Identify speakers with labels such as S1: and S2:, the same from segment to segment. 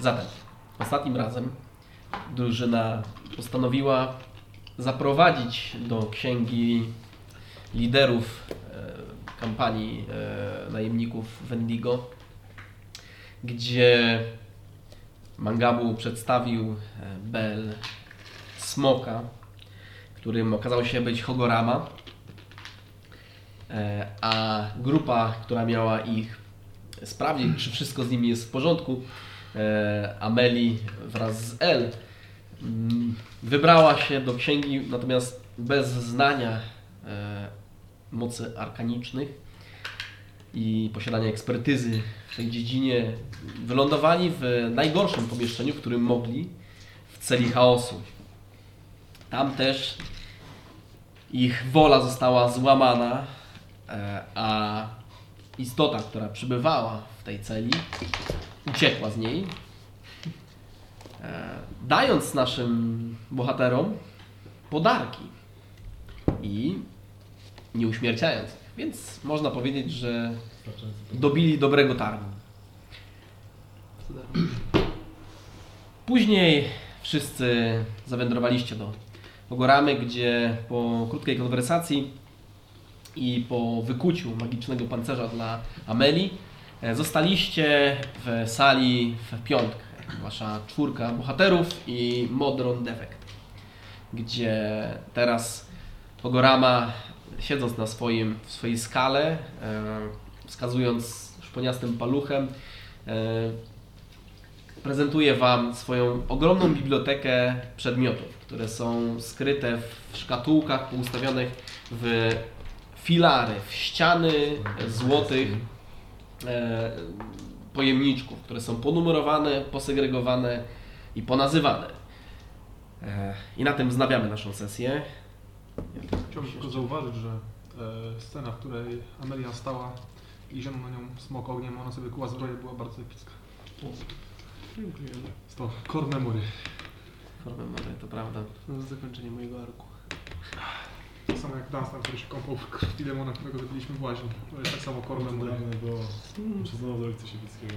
S1: Zatem, ostatnim razem drużyna postanowiła zaprowadzić do księgi liderów e, kampanii e, najemników Wendigo, gdzie Mangabu przedstawił e, Bel Smoka, którym okazał się być Hogorama, E, a grupa, która miała ich sprawdzić, czy wszystko z nimi jest w porządku, e, Ameli wraz z El mm, wybrała się do księgi, natomiast bez znania e, mocy arkanicznych i posiadania ekspertyzy w tej dziedzinie wylądowali w najgorszym pomieszczeniu, w którym mogli, w celi chaosu. Tam też ich wola została złamana, e, a istota, która przybywała w tej celi, uciekła z niej, e, dając naszym bohaterom podarki i nie uśmiercając ich. Więc można powiedzieć, że dobili dobrego targu. Później wszyscy zawędrowaliście do Ogoramy, gdzie po krótkiej konwersacji i po wykuciu magicznego pancerza dla Ameli e, zostaliście w sali w piątkę. Wasza czwórka bohaterów i Modron Defekt, gdzie teraz Ogorama siedząc na swoim, w swojej skale, e, wskazując szponiastym paluchem, e, prezentuje Wam swoją ogromną bibliotekę przedmiotów, które są skryte w szkatułkach poustawionych w filary, w ściany złotych e, pojemniczków, które są ponumerowane, posegregowane i ponazywane. E, I na tym wznawiamy naszą sesję. tak
S2: Chciałbym tylko zauważyć, że e, scena, w której Amelia stała i zionął na nią smok ogniem, ona sobie kuła zbroję, była bardzo epicka.
S3: Dziękuję.
S2: To core memory.
S1: Formę mamy, to prawda.
S3: To jest zakończenie mojego arku.
S2: To Tak samo jak Dunstan, który się kąpał w krwi demona, którego wybiliśmy w łaźni. To jest tak samo core memory.
S4: Dawno było. Muszę znowu zrobić coś epickiego.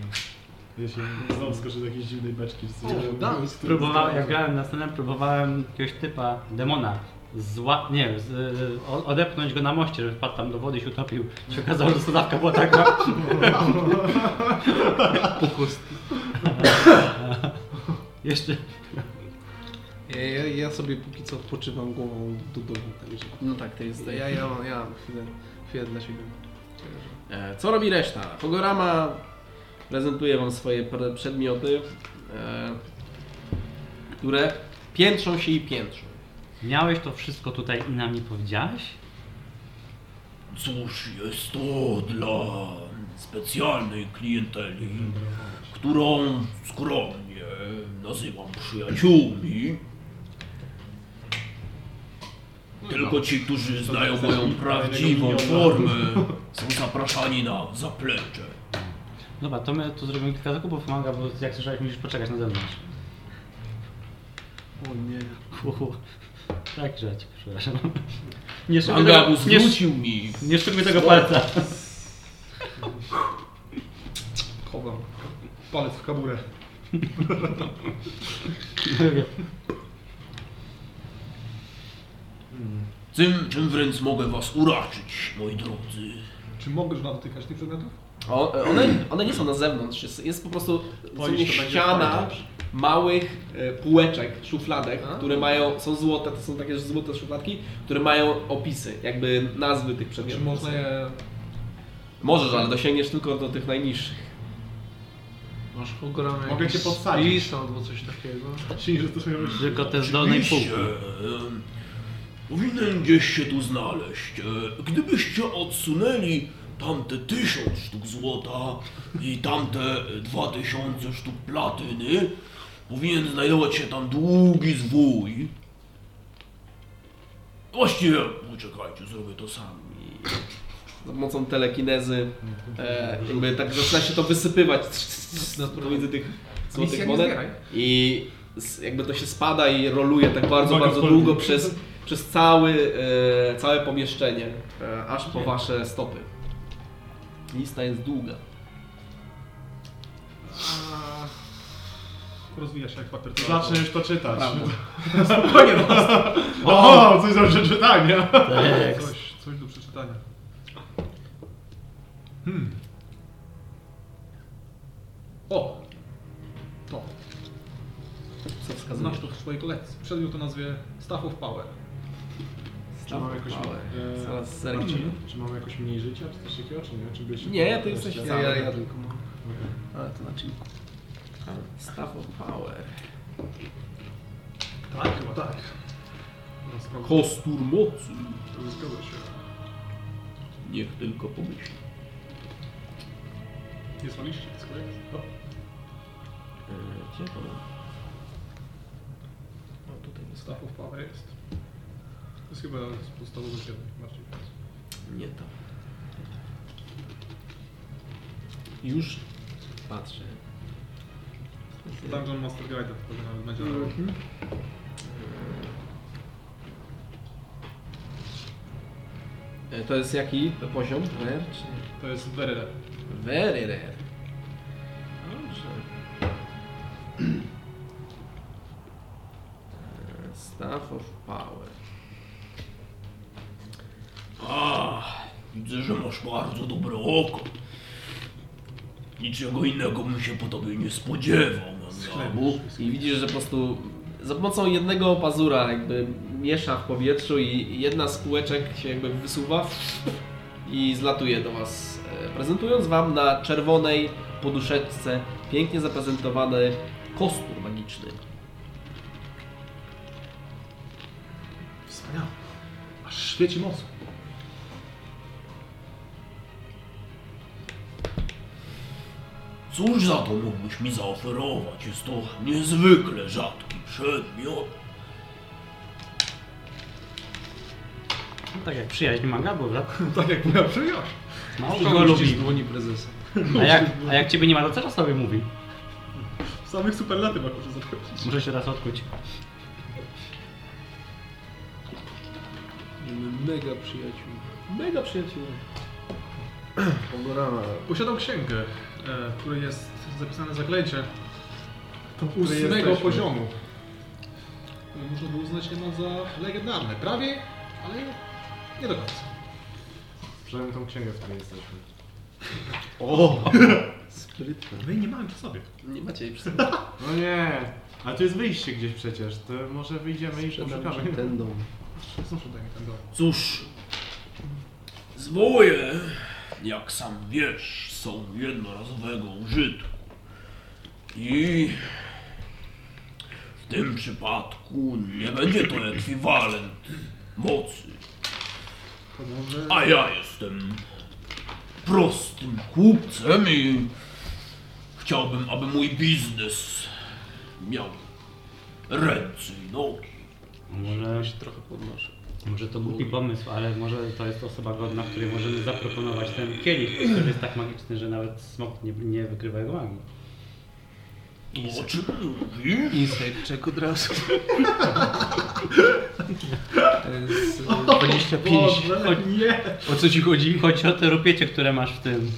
S4: Ja się znowu skoczę do jakiejś dziwnej beczki. czy coś.
S2: O, dans!
S5: Próbowałem, jak grałem na scenę, próbowałem jakiegoś typa, demona, zła, nie, z, y, o- odepchnąć go na moście, żeby wpadł tam do wody i się utopił. Się okazało, że sodawka była taka.
S3: Pokus.
S5: Jeszcze
S3: Ja, ja, ja sobie póki co odpoczywam głową do domu, także.
S1: No tak, to jest.
S3: Ja, ja, mam, ja mam chwilę, chwilę dla siebie.
S1: E, Co robi reszta? Hogorama prezentuje Wam swoje pre- przedmioty, e, które piętrzą się i piętrzą.
S5: miałeś to wszystko tutaj i nam nie powiedziałeś?
S6: Cóż jest to dla specjalnej klienteli, którą skromnie nazywam przyjaciółmi. Tylko ci, którzy znają moją prawdziwą formę, są zapraszani na zaplecze.
S5: Dobra, to my tu zrobimy kilka zakupów, manga, bo jak słyszałeś, musisz poczekać na zewnątrz.
S3: O nie.
S5: Uhu. Tak grzać, przepraszam. Nie szykuj tego,
S6: Angabu
S5: nie, sz-
S6: zwrócił mi
S5: nie szykuj tego palca.
S2: Chowam palec w kaburę.
S6: tym, czym wręcz mogę was uraczyć, moi drodzy.
S2: Czy mogłeś dotykać tych przedmiotów?
S1: O, e, one, one nie są na zewnątrz, jest, jest po prostu zupełnie ściana małych e, półeczek, szufladek,
S3: A.
S1: które mają, są złote, to są takie złote szufladki, które mają opisy, jakby nazwy tych
S2: Czy
S1: przedmiotów.
S2: można je...
S1: Możesz, ale dosięgniesz tylko do tych najniższych.
S3: Masz ogromne.
S2: Mogę cię podsadzić.
S3: albo coś takiego.
S2: Czyli, że to są jakieś-
S5: Tylko te z dolnej półki.
S6: Oczywiście, em, Powinien gdzieś się tu znaleźć. E, Gdybyście odsunęli tamte tysiąc sztuk złota i tamte dwa tysiące sztuk platyny, powinien znajdować się tam długi zwój. Właściwie, poczekajcie, zrobię to sam.
S1: Za pomocą telekinezy, e, jakby tak zaczyna się to wysypywać pomiędzy tych
S3: Misja
S1: złotych
S3: nie
S1: monet.
S3: zbieraj.
S1: I s- jakby to się spada i roluje tak bardzo,
S2: Uwaga,
S1: bardzo
S2: polityk.
S1: długo przez, przez cały, e, całe pomieszczenie, e, aż po wasze stopy. Lista jest długa.
S2: A, Rozwija się jak papier
S4: Zacznę już to czytać.
S1: Prawda.
S4: Spokojnie, no.
S5: O!
S4: O, coś do przeczytania.
S5: Tekst.
S2: Coś, coś do przeczytania. Hmm. O! To.
S1: Co wskazuje?
S2: Znasz to w swojej kolekcji. Przedmiot to nazwie Staff of Power.
S4: Czy mam jakoś,
S1: Małe.
S4: e,
S1: Zaraz zerknę.
S4: czy, czy mam jakoś mniej życia, czy coś takiego, czy nie? Czy byś
S1: Nie, ty jesteś
S4: Okej.
S7: Ja, ja, ja tylko mam.
S1: Ale to znaczy... Staff of Power.
S2: Tak, chyba tak. Rozprawdzę.
S8: Kostur mocy.
S2: Zgadza się.
S8: Niech tylko pomyśli.
S2: Nie zwaliście z kolekcji?
S1: E, Gdzie to mam? O, tutaj jest.
S2: Staff of Power jest. To jest chyba z podstawowy kierunek bardziej.
S1: Nie to. Już patrzę.
S2: Dungeon Master Guide pewnie nawet będzie.
S1: E, To jest jaki to poziom? Rare czy...
S2: To jest very rare.
S1: Very rare. Dobrze. E, Staff of Power.
S8: A, widzę, że masz bardzo dobre oko. Niczego innego bym się po tobie nie spodziewał, no, Mandabu.
S1: I widzisz, że po prostu za pomocą jednego pazura jakby miesza w powietrzu i jedna z kółeczek się jakby wysuwa i zlatuje do Was, e, prezentując Wam na czerwonej poduszeczce pięknie zaprezentowany kostur magiczny.
S2: Wspaniałe. Aż świeci mocno.
S8: Cóż za to mógłbyś mi zaoferować? Jest to niezwykle rzadki przedmiot.
S5: No Tak jak przyjaźń manga, bo
S2: Tak jak moja przyjaźń.
S5: mało
S7: Tylko
S5: kogo
S7: lubi.
S5: lubi.
S7: dłoni prezesa.
S5: A jak, a jak ciebie nie ma, to co sobie mówi?
S2: W samych superlatywach muszę zapewnić.
S5: Muszę się raz odkuć.
S7: Mamy Mega przyjaciół.
S1: Mega przyjaciół.
S4: Pogorana.
S2: Posiadał księgę, e, w której jest zapisane zaklęcie
S4: To
S2: ósmego poziomu. które Można by uznać niemal za legendarne. Prawie, ale nie do końca.
S4: Przynajmniej tą księgę, w której jesteśmy.
S7: Sprytne.
S2: My nie mamy przy sobie.
S1: Nie macie jej przy sobie.
S4: No nie. A tu jest wyjście gdzieś przecież. To może wyjdziemy i
S7: Sprzedam
S4: poszukamy.
S7: ci ten dom.
S2: Proszę, daj mi ten dom.
S8: Cóż, zwoje, jak sam wiesz, są jednorazowego użytku. I w tym przypadku nie będzie to ekwiwalent mocy.
S2: To może...
S8: A ja jestem prostym kupcem i chciałbym, aby mój biznes miał ręce i nogi.
S5: Może,
S7: Trochę podnoszę.
S5: może to głupi pomysł, ale może to jest osoba godna, której możemy zaproponować ten kielich, który jest tak magiczny, że nawet smok nie, nie wykrywa jego magii.
S8: O czym mówisz?
S7: Insight check od razu. To jest e, 25.
S2: Boże, nie!
S7: O co ci chodzi?
S5: Chodzi o te rupiecie, które masz w tym.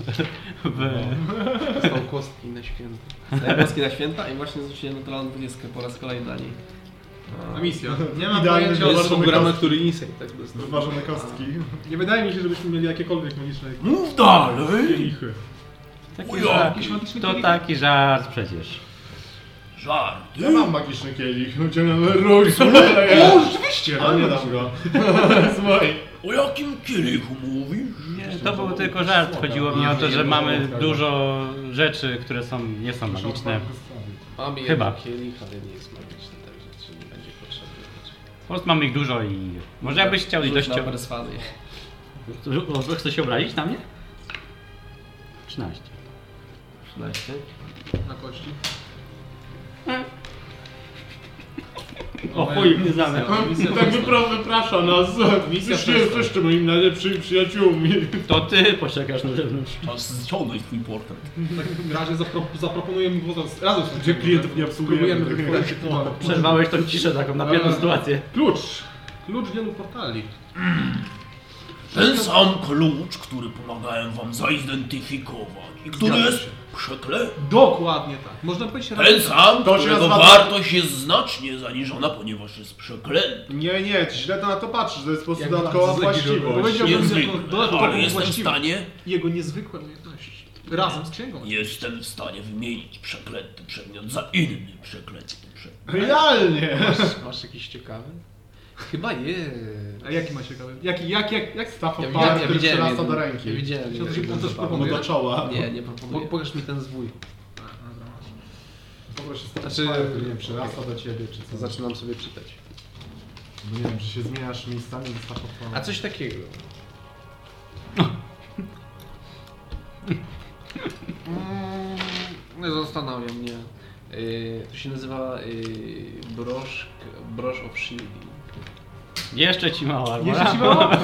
S5: W...
S7: Są kostki na święta.
S1: Najpierw e, na święta i właśnie zwróciłem naturalną 20 po raz kolejny na niej.
S2: A misja. Nie
S4: mam
S2: mam
S4: Idealny
S2: pojęcia
S4: pojęcia o
S2: o
S4: wybór.
S7: Są
S4: Zobaczmy
S7: gramy,
S4: kostki.
S7: który insight tak dostał.
S4: Wyważone kostki.
S2: Nie wydaje mi się, żebyśmy mieli jakiekolwiek magiczne
S8: Mów dalej!
S2: kielichy.
S5: Taki
S8: Ujo,
S5: żart.
S2: jakiś magiczny
S5: To
S2: kielich.
S5: taki żart przecież.
S8: Żarty!
S4: Ja mam magiczny kielich. Uciągnąłem rój.
S2: O, rzeczywiście!
S4: Ale nie dam go. Słuchaj.
S8: O jakim kielichu mówisz?
S5: Nie, to był tylko żart. Chodziło mi o to, że mamy dużo rzeczy, które są, nie są magiczne.
S7: Mamy
S5: Chyba.
S7: jeden kielich, ale nie jest magiczny, także ci nie będzie potrzebny.
S5: Po prostu mamy ich dużo i może jakbyś chciał i
S1: Rzuć
S5: dość...
S1: na perswazję.
S5: Chcesz się obrazić na mnie? 13.
S1: 13.
S2: Na kości.
S5: O chuj, nie znamy.
S4: Tak wypro, wyprasza nas.
S2: Misja
S4: Już nie
S2: przestań.
S4: jesteście moimi najlepszymi przyjaciółmi.
S5: To ty poczekasz na zewnątrz.
S8: Czas zciągnąć twój portret.
S2: W takim razie zapro, zaproponuję mu razem z tym.
S4: Gdzie klientów nie obsługujemy.
S2: Spróbujemy wykonać to.
S5: Przerwałeś tą ciszę taką na
S2: Dobra.
S5: pewną sytuację.
S2: Tak. No, Klucz! Klucz wielu portali.
S8: Ten sam klucz, który pomagałem wam zidentyfikować i który
S2: Zgadza
S8: jest
S2: się.
S8: szekle?
S2: Dokładnie tak. Można powiedzieć
S8: Ten sam,
S4: To się
S8: którego
S4: nazywa-
S8: wartość jest znacznie zaniżona, ponieważ jest przeklęty.
S4: Nie, nie, ty źle to na to patrzysz, to jest po prostu
S3: Jak
S4: dodatkowa
S3: bardzo zlegi
S4: właściwość.
S3: robiłeś.
S2: jako
S8: Niezwykle,
S2: dodatkową
S8: ale jestem w
S2: właściwość.
S8: stanie,
S2: jego niezwykłe umiejętności. Razem z księgą.
S8: jestem w stanie wymienić przeklęty przedmiot za inny przeklęty przedmiot.
S4: Realnie!
S3: Masz, masz jakiś ciekawy? Chyba nie.
S2: A jaki ma ciekawy? Jaki, jak, jak, jak?
S4: Staw
S3: Ja
S4: opar,
S3: widziałem-
S4: który
S3: widziałem
S4: przerasta
S3: jeden.
S4: do
S3: Ja
S4: ręki.
S3: widziałem.
S2: Siadł się
S3: jeden
S2: po coś
S3: zapach.
S4: No do czoła.
S1: Nie, nie
S3: Po,
S1: proponuję.
S3: pokaż mi ten zwój.
S4: Poproszę staw
S3: Znaczy-
S4: opar, który nie przerasta do ciebie, czy
S3: To
S4: co.
S3: zaczynam sobie czytać.
S4: Bo nie wiem, czy się zmieniasz miejscami ze staw oparu.
S3: A coś takiego. Mm, nie zastanawiam mnie. Yy, to się nazywa yy, brosz, brosz of shielding.
S5: Jeszcze ci mała,
S2: Jeszcze ci
S5: Barbara.
S2: mało?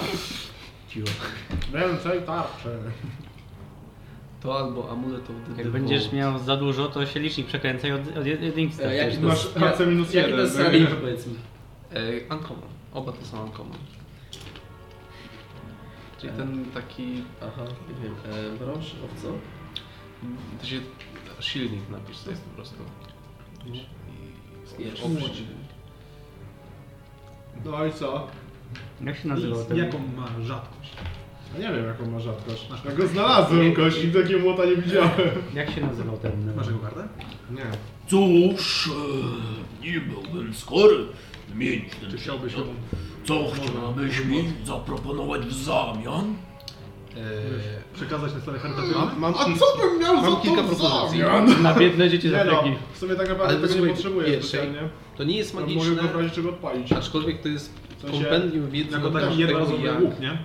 S3: Ciło.
S4: Więcej tarczy.
S3: To albo amulet of the
S5: Jak
S3: Devout.
S5: będziesz miał za dużo, to się licznik przekręca i od, od jed- jedynki
S1: E, jaki
S5: startujesz.
S1: to
S4: Masz
S1: Ja-
S4: AC minus
S1: Jaki to
S4: jeden.
S1: jest
S4: no i-
S1: rating, powiedz mi?
S3: Yy, uncommon. Oba to są uncommon. Czyli ten taki...
S1: Aha, nie wiem. E, brosz, of co?
S3: To się... Shielding napisz sobie po prostu.
S1: Wiesz,
S4: No i co?
S5: Jak się nazywał ten?
S2: Jaką ma rzadkość?
S4: No nie wiem jaką ma rzadkość. Ja go znalazłem kogoś, nigdy takiego młota nie widziałem.
S5: Jak się nazywał ten?
S2: Masz jego kartę?
S4: Nie.
S8: Cóż, e, nie byłbym skory wymienić ten
S2: Czy chciałbyś
S8: przedmiot.
S2: ją...
S8: Co chciałbyś mi zaproponować w zamian?
S3: Yy,
S2: Przekazać na stare charytatywne?
S3: mam
S4: A co bym miał
S3: Mam
S4: za
S3: kilka
S4: to w
S3: propozycji.
S4: zamian?
S5: Na biedne dzieci z
S4: Nie no,
S5: Afryki.
S4: w sumie tak
S3: Ale
S4: naprawdę tego nie
S3: potrzebujesz
S4: potrzebuję
S3: pierwszej.
S4: specjalnie.
S3: to nie jest
S4: No, Mogę
S3: magiczne,
S4: go w razie czego odpalić.
S3: aczkolwiek to jest
S4: W sensie,
S3: kompendium wiedzy
S2: Jako
S3: na temat
S2: taki
S3: tego,
S2: jednorazowy
S3: jak-
S2: łuk, nie?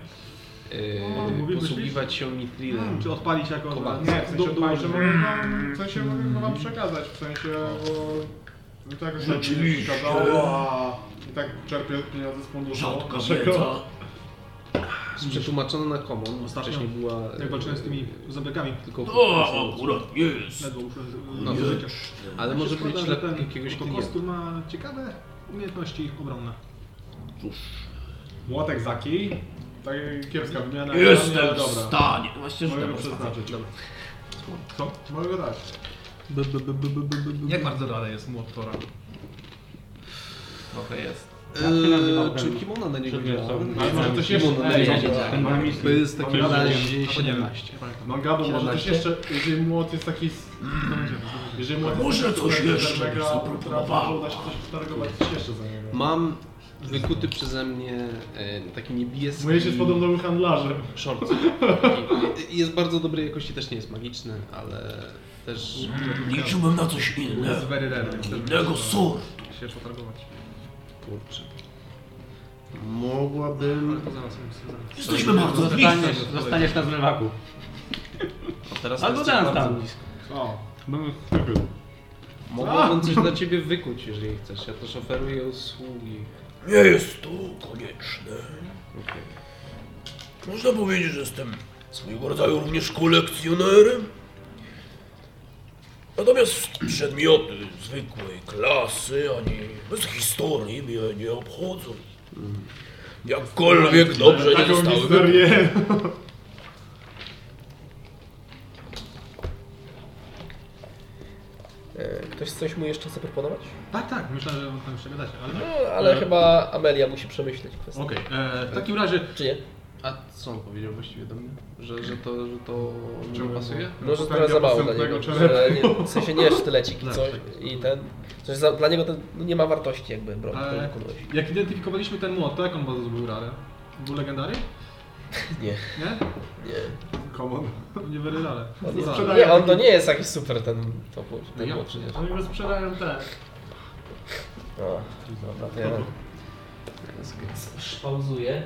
S3: Yy, posługiwać się
S5: Hmm.
S3: nitrilem.
S2: Czy odpalić jako...
S3: Kowalski.
S4: Nie, w sensie
S2: do- Mhm.
S4: odpalić, że
S2: do-
S4: mogę wam, w sensie mogę go wam przekazać, w sensie, bo... mi To jakoś tak nie
S8: Rzeczywiście.
S4: przeszkadzało, a i tak czerpię pieniądze z funduszu
S8: Rzadka
S4: naszego.
S8: wiedza.
S3: Jest przetłumaczona na common,
S2: Ostatnio,
S3: wcześniej była... e,
S2: Jak walczyłem z tymi zombiekami.
S3: Tylko
S8: To akurat jest.
S2: Ledwo uszedłem z-
S3: No,
S2: z
S3: to-
S2: życia.
S3: Ale może
S2: Składam,
S3: być
S2: że
S3: dla
S2: ten
S3: jakiegoś
S2: Oto
S3: klienta.
S2: Kostur ma ciekawe umiejętności obronne.
S8: Cóż,
S4: Młotek za kij. Tak kiepska wymiana. ale
S8: jestem w
S4: dobra.
S8: stanie. Właśnie,
S4: Mogę go
S8: tak.
S4: przeznaczyć.
S3: Dobra.
S4: Co? Mogę go dać.
S2: Jak bardzo rada jest mu od Tora?
S1: Trochę jest.
S5: Jak się
S1: E,
S5: nazywał
S3: Eee, czy
S5: ten
S3: kimona na niego
S5: przedmiot,
S3: działa?
S5: co?
S4: Ale może coś jeszcze
S3: Kimona na
S4: dalej
S3: niego
S4: działa.
S3: działa.
S5: Ten dynamizm.
S3: To jest taki
S5: Mamy
S3: razie
S5: rozumiem.
S3: 17.
S4: Mangabo może coś
S3: 17?
S4: jeszcze, jeżeli młot jest taki... s- Jeżeli młot jest
S8: Może
S4: taki
S8: coś
S4: super,
S8: jeszcze
S4: super
S8: byś
S4: mega,
S8: zaproponowała.
S4: to Uda się coś staregować coś jeszcze za niego.
S3: Mam wykuty przeze mnie e, taki niebieski...
S4: Mój jest podobno był handlarzem.
S3: Short. Taki- Jest bardzo dobrej jakości, też nie jest magiczny, ale też...
S8: Liczyłbym na coś
S2: Jest
S8: innego.
S2: very rare.
S8: Innego sortu.
S2: Się potargować.
S3: Kurczę. Mogłabym...
S2: Ale to zaraz bym sobie zaraz.
S8: Jesteśmy bardzo bliscy.
S5: Zostaniesz, zostaniesz na zmywaku.
S3: O, teraz
S5: Albo
S3: jesteś
S5: ten
S3: bardzo
S5: tam.
S3: blisko.
S4: O.
S3: Mogłabym coś dla ciebie wykuć, jeżeli chcesz. Ja też oferuję usługi.
S8: Nie jest to konieczne. Można powiedzieć, że jestem swojego rodzaju również kolekcjonerem. Natomiast przedmioty zwykłej klasy ani bez historii mnie nie obchodzą.
S1: Mhm.
S8: Jakkolwiek dobrze nie
S4: Taką
S8: zostały
S4: historię.
S1: Ktoś coś mu jeszcze chce proponować?
S2: Tak, tak, myślę, że on tam jeszcze gadacie, ale
S1: No, ale chyba Amelia musi przemyśleć kwestię.
S2: Okej, e, w takim razie
S1: Czy nie?
S3: A co on powiedział właściwie do mnie? Że, że to, że to nie pasuje?
S1: No, że
S4: Potęga
S1: trochę zabawa dla
S4: posępnego
S1: niego.
S4: czerepku.
S1: Że nie, w sensie nie sztylecik i
S2: Tak,
S1: coś
S2: tak.
S1: i ten. Coś za, dla niego to nie ma wartości jakby broń, którą
S2: e,
S1: wykonałeś.
S2: jak identyfikowaliśmy ten młot, to jak on bardzo był rare? Był legendary?
S1: Nie,
S2: Nie?
S1: nie.
S4: Common.
S2: Nie very rare.
S1: On
S2: Rare.
S1: jest,
S4: sprzedaje
S1: nie, on to
S4: taki-
S1: nie jest jakiś super ten
S3: No
S1: topór, ten
S2: Ja-
S1: młot przecież.
S4: Oni go sprzedają tak.
S1: O, dobra, to ja... Pauzuję.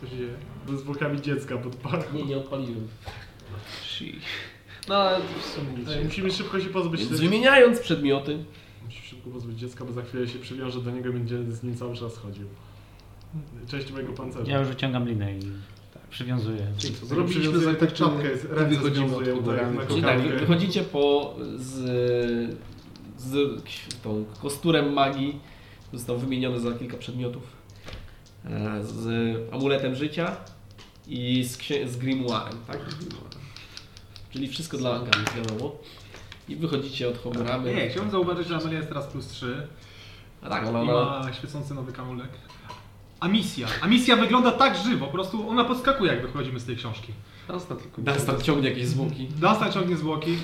S4: Co się dzieje? Ze zwłokami dziecka pod parką.
S1: Nie, nie odpaliłem.
S3: Shi. No ale to w sumie nic.
S4: Ej, Musimy szybko się pozbyć
S1: Więc
S4: tego.
S1: wymieniając przedmioty,
S4: Musimy szybko pozbyć dziecka, bo za chwilę się przywiąże do niego i będzie z nim cały czas chodził. Część mojego pancerza.
S5: Ja już wyciągam linę i
S1: Tak.
S5: przywiązuję.
S4: Zrobiliśmy za tak czapkę, jest ręce
S3: wychodzimy
S4: związuję
S3: od
S4: tutaj
S3: kubelami.
S4: na
S1: czyli tak, wy-
S4: kokardkę.
S1: wychodzicie po z, z tą kosturem magii, został wymieniony za kilka przedmiotów, e, z amuletem życia i z, księ- z grimoirem, tak? Czyli wszystko dla Angami wiadomo. i wychodzicie od Hogoramy.
S2: Nie, no, chciałbym zauważyć, że Amelia jest teraz plus 3
S1: A tak,
S2: i
S1: ona, ona,
S2: ma świecący nowy kamulek. A misja. A misja wygląda tak żywo, po prostu ona podskakuje jak wychodzimy z tej książki.
S3: Dastan tylko.
S1: Dunstan ciągnie jakieś zwłoki.
S2: Dasta ciągnie zwłoki.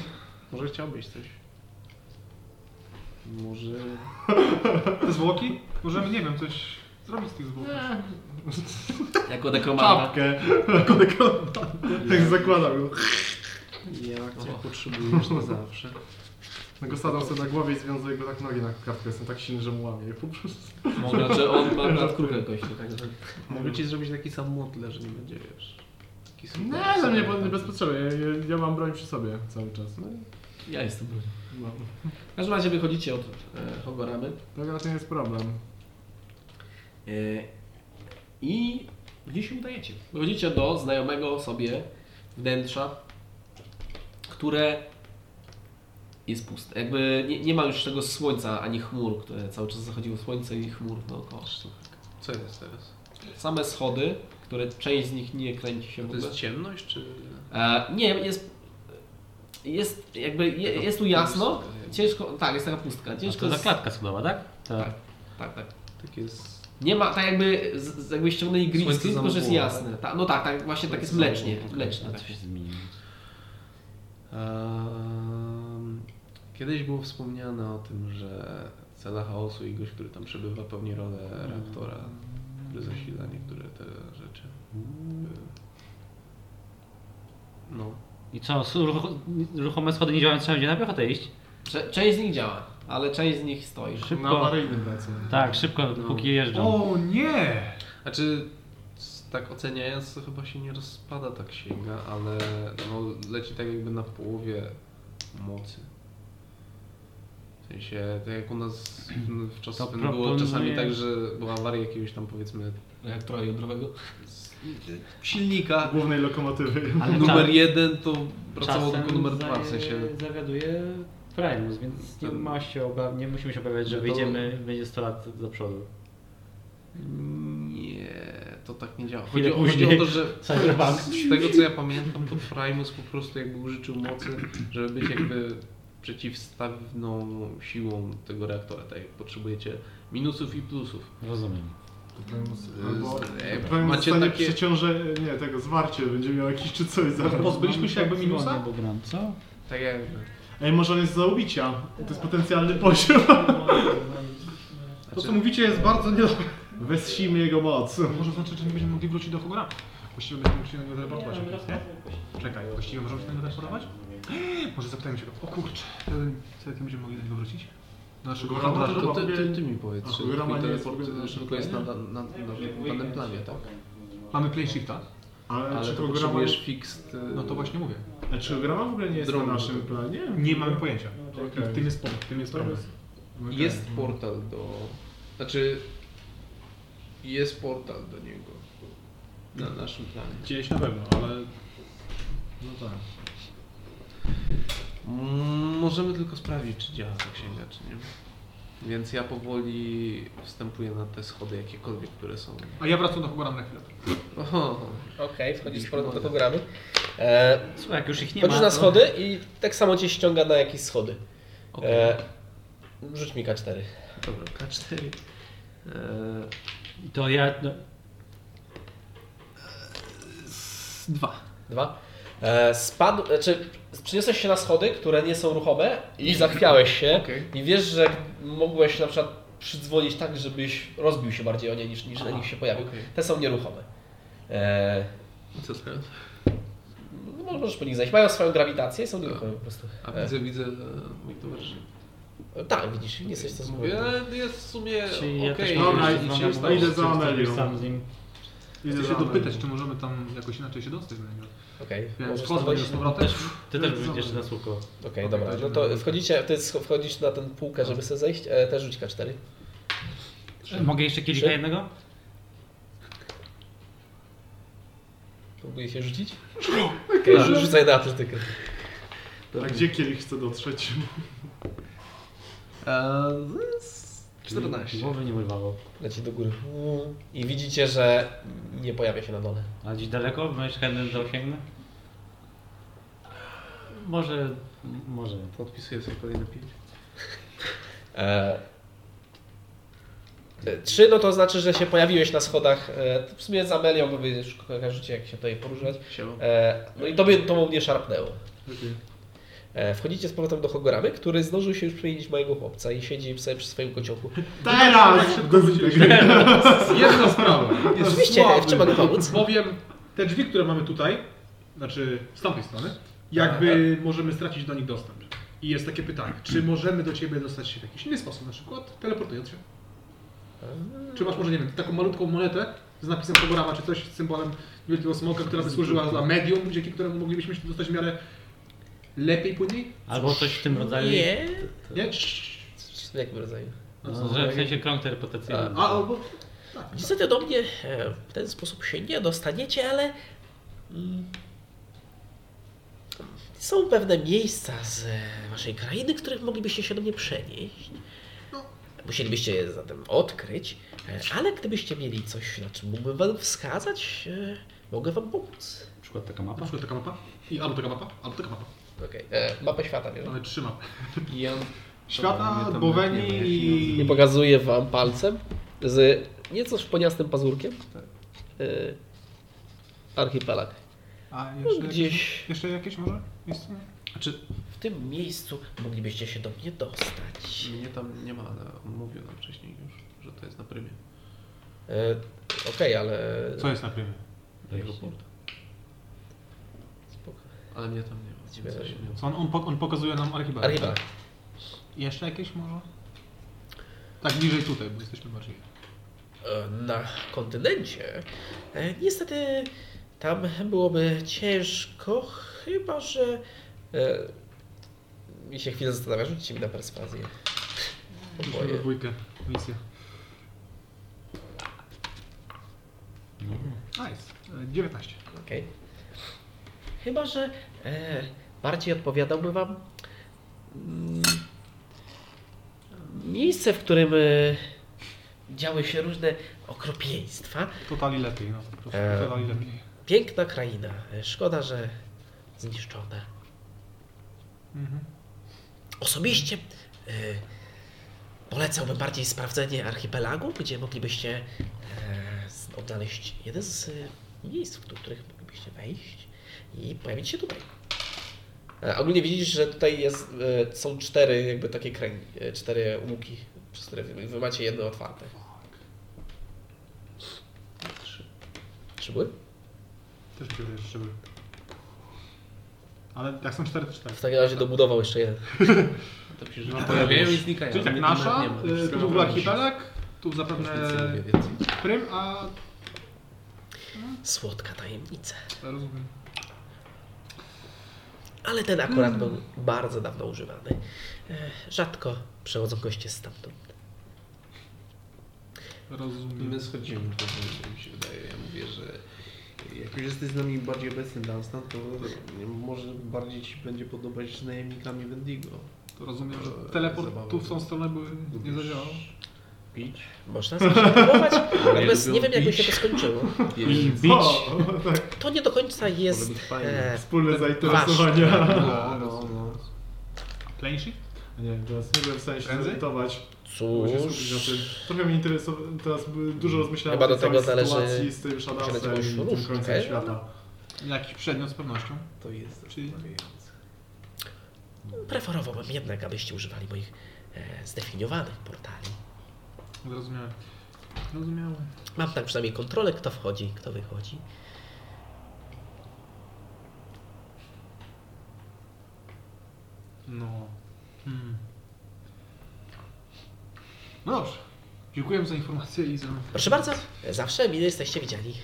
S3: Może chciałbyś coś. Może...
S2: Te zwłoki? Możemy, nie wiem, coś zrobić z tych zwłok.
S1: Jako dekromanta.
S4: Czapkę. Tak zakładał ją.
S3: Jak cię potrzebujesz na zawsze.
S4: No go sadzam sobie na głowie i związuję go tak nogi na kartkę. Jestem tak silny, że mu łamię je po prostu.
S1: Mogę, że Znaczy, on ma akurat krukę kości.
S3: Mogę ci zrobić taki sam modler, że nie będzie wiesz. Taki sam tak.
S4: Nie, no nie, bo nie bez potrzeby. Ja, ja, ja mam broń przy sobie cały czas. No, i-
S1: Ja jestem brudny.
S4: no.
S1: W każdym razie wychodzicie od e, Hogoramy.
S4: To akurat nie jest problem.
S1: E, I gdzieś się udajecie. Wychodzicie do znajomego sobie wnętrza, które jest puste. Jakby nie, nie ma już tego słońca ani chmur, które cały czas zachodziło słońce i chmur dookoła.
S3: Co jest teraz?
S1: Same schody, które część z nich nie kręci się w
S3: To
S1: ogóle.
S3: jest ciemność, czy...
S1: E, nie, jest, jest jakby, je, jest tu jasno, ciężko, tak, jest taka pustka,
S5: A
S1: ciężko
S5: to za
S1: jest,
S5: klatka schodowa, tak? To,
S1: Tak. tak, tak.
S3: Takie jest...
S1: Nie ma, tak jakby, z, z- jakby ściągnęli green
S3: Słońce
S1: screen, tylko że jest
S3: zamówiło,
S1: jasne. Ta, no tak, tak, właśnie tak jest mlecznie, mleczne.
S5: to
S1: Tak.
S5: się zmieni.
S3: Ehm, Kiedyś było wspomniane o tym, że cela chaosu i gość, który tam przebywa, pełni
S5: Mm.
S3: rolę reaktora, który zasila niektóre te rzeczy.
S5: Mm.
S3: No.
S5: I co, s- ruch- ruchome schody nie działają, trzeba będzie na piechotę iść?
S1: Cze- Część z nich działa, ale część z nich stoi.
S4: Na
S5: Szybko.
S4: awaryjnym lecę.
S5: Tak, szybko, póki jeżdżą.
S2: O nie!
S3: A czy s- Znaczy, tak oceniając, to chyba się nie rozpada ta księga, ale no, leci tak jakby na połowie mocy. W sensie, tak jak u nas w- w
S5: To
S3: czasach było czasami
S5: proponuję-
S3: tak, że była awaria jakiegoś tam powiedzmy
S1: Reaktora jądrowego.
S3: silnika,
S4: Głównej lokomotywy.
S5: Ale
S3: numer
S5: czas-
S3: jeden to pracował
S5: czasem
S3: tylko numer dwa, w
S5: zaje-
S3: sensie
S5: Zawiaduje Primus, więc nie,
S3: Ten-
S5: ma się obawia, nie musimy się obawiać, że
S3: No to-
S5: wyjdziemy, będzie 100 lat do przodu.
S3: nie, to tak nie działa.
S5: Chwilę
S3: Chodzi, o- chodzi
S5: później.
S3: o to, że
S5: Cyberpunk.
S3: z tego co ja pamiętam, to Primus po prostu jakby użyczył mocy, żeby być jakby przeciwstawną siłą tego reaktora, tak jak potrzebujecie minusów i plusów.
S5: Rozumiem.
S4: Albo
S3: Ej,
S4: Powiem,
S3: macie
S4: zostanie
S3: takie-
S4: przeciąże, nie, tego zwarcie, będzie miał jakiś czy coś zaraz.
S2: Pozbyliśmy się jakby minusa?
S5: Bo gram, co?
S3: Tak jakby.
S4: Ej, może on jest za ubicia. To jest potencjalny poziom.
S2: To co mówicie jest bardzo nie...
S4: no. Wesimy jego moc.
S2: Może znaczy, że nie będziemy mogli wrócić do Hogora. Właściwie będziemy musieli na niego teleportować. Nie? Czekaj, właściwie możemy się na niego teleportować? Może zapytajmy się go. O kurczę, to- co jak będziemy mogli do niego wrócić? Do naszego
S4: Hogora
S2: Hogora?
S4: może-
S3: To ty, ty, ty mi powiedz,
S4: A
S3: czy
S4: Hurama
S3: twój
S4: nie jest
S3: teleport
S4: w ogóle
S3: tylko jest na, na, na, na danym planie, tak?
S2: Mamy playstylta?
S4: Ale,
S3: Ale
S4: czy
S3: to
S4: programa,
S3: potrzebujesz fixed... y,
S2: No to właśnie mówię.
S4: a czy programa Znaczy, w ogóle nie jest
S3: Drąg.
S4: na naszym planie?
S2: Nie mamy pojęcia.
S4: Okej.
S2: I w tym jest problem. W tym jest
S4: To
S2: problem.
S4: jest- Okej.
S3: Jest portal do... Znaczy... Jest portal do niego. Na naszym planie.
S4: Gdzieś na pewno, ale... No tak.
S3: Mm, Możemy tylko sprawdzić, czy działa ta księga, czy nie. Więc ja powoli wstępuję na te schody jakiekolwiek, które są.
S2: A ja wracam do Hogora na chwilę.
S3: Oho,
S1: Okej, wchodzisz z powrotem do Hogoramy. E,
S5: Słuchaj, jak już ich nie ma,
S1: Chodzisz na
S5: to-
S1: schody i tak samo cię ściąga na jakieś schody.
S3: okej,
S1: E, rzuć mi K4.
S3: dobra, K4. Eee,
S5: To ja... No,
S3: dwa.
S1: Dwa. E, spadł, znaczy przyniosłeś się na schody, które nie są ruchome i zachwiałeś się
S3: Okej.
S1: i wiesz, że mogłeś na przykład przydzwonić tak, żebyś rozbił się bardziej o nie niż, niż na nich się pojawił.
S3: okej.
S1: Te są nieruchome. E,
S3: Co teraz?
S1: no, mo- możesz po nich zejść. Mają swoją grawitację i są nieruchome po prostu.
S3: A
S1: E,
S3: widzę, widzę e, mój towarzyszy.
S1: e, tak, widzisz, nie jesteś co
S3: Mówię,
S1: zmówiony.
S3: ale jest w sumie
S5: czy
S3: E, okej.
S5: ja też
S3: jeśli
S4: Dobra,
S3: nic
S4: idź,
S3: się nie
S4: idź,
S3: stało.
S4: idź. idę za Amelią.
S5: sam z nim.
S4: Idę
S2: Chcę
S4: za
S2: się
S4: mną.
S2: dopytać, czy możemy tam jakoś inaczej się dostać na niego.
S1: Okej,
S2: Więc
S1: możesz
S2: wchodzę do
S1: tam
S2: niego
S1: wejść.
S2: z powrotem.
S5: Ty też wyjdziesz na słupko.
S1: Okej, dobra. No to wchodzicie, ty scho- wchodzisz na ten półkę, żeby sobie zejść. E, też rzuć K4.
S5: Mogę jeszcze kielicha
S1: Trzy?
S5: jednego?
S1: Próbuję się rzucić. Okej, rzu- rzucaj na atletykę.
S4: A gdzie kielich chce dotrzeć?
S3: Eee, to jest 14.
S5: Głowy nie urwało.
S1: Leci do góry. I widzicie, że nie pojawia się na dole.
S5: A gdzieś daleko? Myślę, że chętnie dosięgnę? Może Może.
S3: Podpisuję sobie kolejne pięć.
S8: E, e, Trzy, no to znaczy, że się pojawiłeś na schodach. e, W sumie z Amelią, bo wy już kojarzycie, jak się tutaj poruszać.
S3: Siema.
S8: E, No i tobie to mnie szarpnęło. E, Wchodzicie z powrotem do Hogoramy, który zdążył się już przemienić w mojego chłopca i siedzi sobie przy swoim kociołku.
S4: Teraz!
S2: Jedna sprawa. Jest
S8: Oczywiście,
S2: słaby.
S8: w czym mogę pomóc?
S2: Bowiem te drzwi, które mamy tutaj, znaczy z tamtej strony, jakby możemy stracić do nich dostęp. I jest takie pytanie, czy możemy do ciebie dostać się w jakiś inny sposób, na przykład teleportując się? Czy masz może, nie wiem, taką malutką monetę z napisem Hogorama, czy coś z symbolem wielkiego smoka, która by służyła za medium, dzięki któremu moglibyśmy się dostać w miarę lepiej, płynniej?
S5: Albo coś w tym rodzaju.
S8: Nie.
S2: Nie?
S8: W jakim rodzaju?
S5: No, że w sensie krąg teleportacyjny.
S2: A, albo... Tak.
S8: Niestety do mnie e, w ten sposób się nie dostaniecie, ale mm, są pewne miejsca z e, waszej krainy, w których moglibyście się do mnie przenieść.
S2: No.
S8: Musielibyście je zatem odkryć, e, ale gdybyście mieli coś, na czym mógłbym wam wskazać, e, mogę wam pomóc.
S5: Na przykład taka
S2: Na
S5: mapa.
S2: przykład taka mapa? I albo taka mapa, albo taka mapa.
S8: Okej, okay. mapę świata, wiesz?
S2: Mamy trzy mapy.
S1: I on
S2: Świata,
S3: mnie tam
S2: Boweni
S3: nie
S2: i...
S8: I pokazuję wam palcem z nieco szponiastym pazurkiem. E, archipelag.
S2: A
S8: Gdzieś...
S2: Jeszcze jakieś może miejsce?
S8: W tym miejscu moglibyście się do mnie dostać.
S3: Mnie tam nie ma, ale on mówił nam wcześniej już, że to jest na prymie.
S8: E, Okej, ale.
S2: Co jest na prymie?
S3: Do jego portu.
S8: Spoko.
S3: Ale mnie tam nie ma, więc ja się nie
S2: Co on, on, po- on pokazuje nam archiwum.
S8: Archiwa.
S2: Jeszcze jakieś może? Tak bliżej tutaj, bo jesteśmy bardziej.
S8: E, Na kontynencie. E, Niestety tam byłoby ciężko, chyba że. E, mi się chwilę zastanawia, rzućcie mi na perswazję.
S2: Musimy
S8: Oboje.
S2: we dwójkę. Misja. Nice. E, 19.
S8: Okej. Chyba, że e, bardziej odpowiadałby Wam mm, miejsce, w którym e, działy się różne okropieństwa.
S2: Totali lepiej, no po prostu.
S8: E.
S2: Totali lepiej.
S8: Piękna kraina. E, Szkoda, że zniszczona.
S2: Mhm.
S8: Osobiście e, polecałbym bardziej sprawdzenie archipelagu, gdzie moglibyście e, z- odnaleźć jeden z e, miejsc, do których moglibyście wejść i pojawić się tutaj. E, ogólnie widzisz, że tutaj jest, e, są cztery jakby takie kręgi, e, cztery łuki, przez które wy, wy macie jedno otwarte. Trzy. Trzy były?
S2: Też biorę jeszcze były. Ale jak są 4 to 4.
S8: W takim razie dobudował jeszcze jeden.
S3: To się że pojawiają i znikają.
S2: Czyli tak
S1: no,
S3: Mnie
S2: nasza,
S3: nie ma, nie ma.
S2: e, tu był archipelag, tu zapewne
S3: Nic nie mówię więcej.
S2: prym, a
S8: Słodka tajemnica.
S2: rozumiem.
S8: Ale ten akurat był bardzo dawno używany. E, Rzadko przechodzą goście stamtąd.
S2: Rozumiem.
S3: My schodzimy powoli, mi się wydaje. Ja mówię, że jak już jesteś z nami bardziej obecny Dunstan, to może bardziej ci będzie podobać z najemnikami Wendigo.
S2: To rozumiem, że
S3: E,
S2: teleport
S3: zabawy.
S2: tu w tą stronę by nie
S3: Lubisz
S2: zadziałał.
S3: Pić?
S8: Można coś próbować, natomiast
S3: lubią
S8: nie wiem, jakby się
S3: pić.
S8: to skończyło.
S3: Jeść.
S4: Co?
S8: To nie do końca jest.
S3: być fajnie.
S8: e,
S4: Wspólne
S8: wasz.
S4: zainteresowania.
S3: No, no, no.
S2: Plane shift?
S4: Nie, teraz nie byłem w stanie się
S2: Prędzej?
S4: zorientować. Bo się skupić na tym.
S8: Cóż,
S4: Trochę mnie interesowało, teraz y, dużo rozmyślałem
S8: Chyba
S4: o tej
S8: do tego
S4: całej
S8: zależy-
S4: sytuacji z tym
S8: posiadać
S4: szadawcem
S8: jakąś
S4: i tym końcem
S8: różdżkę.
S4: świata.
S2: Jakiś przedmiot z pewnością.
S3: To jest
S2: Czyli-
S3: zastanawiające.
S8: preferowałbym jednak, abyście używali moich e, zdefiniowanych portali.
S2: Zrozumiałem. Zrozumiałem.
S8: Mam tak przynajmniej kontrolę, kto wchodzi, kto wychodzi.
S2: No. Hmm. No dobrze. Dziękuję za informację i za...
S8: Proszę bardzo, zawsze mile jesteście widziani.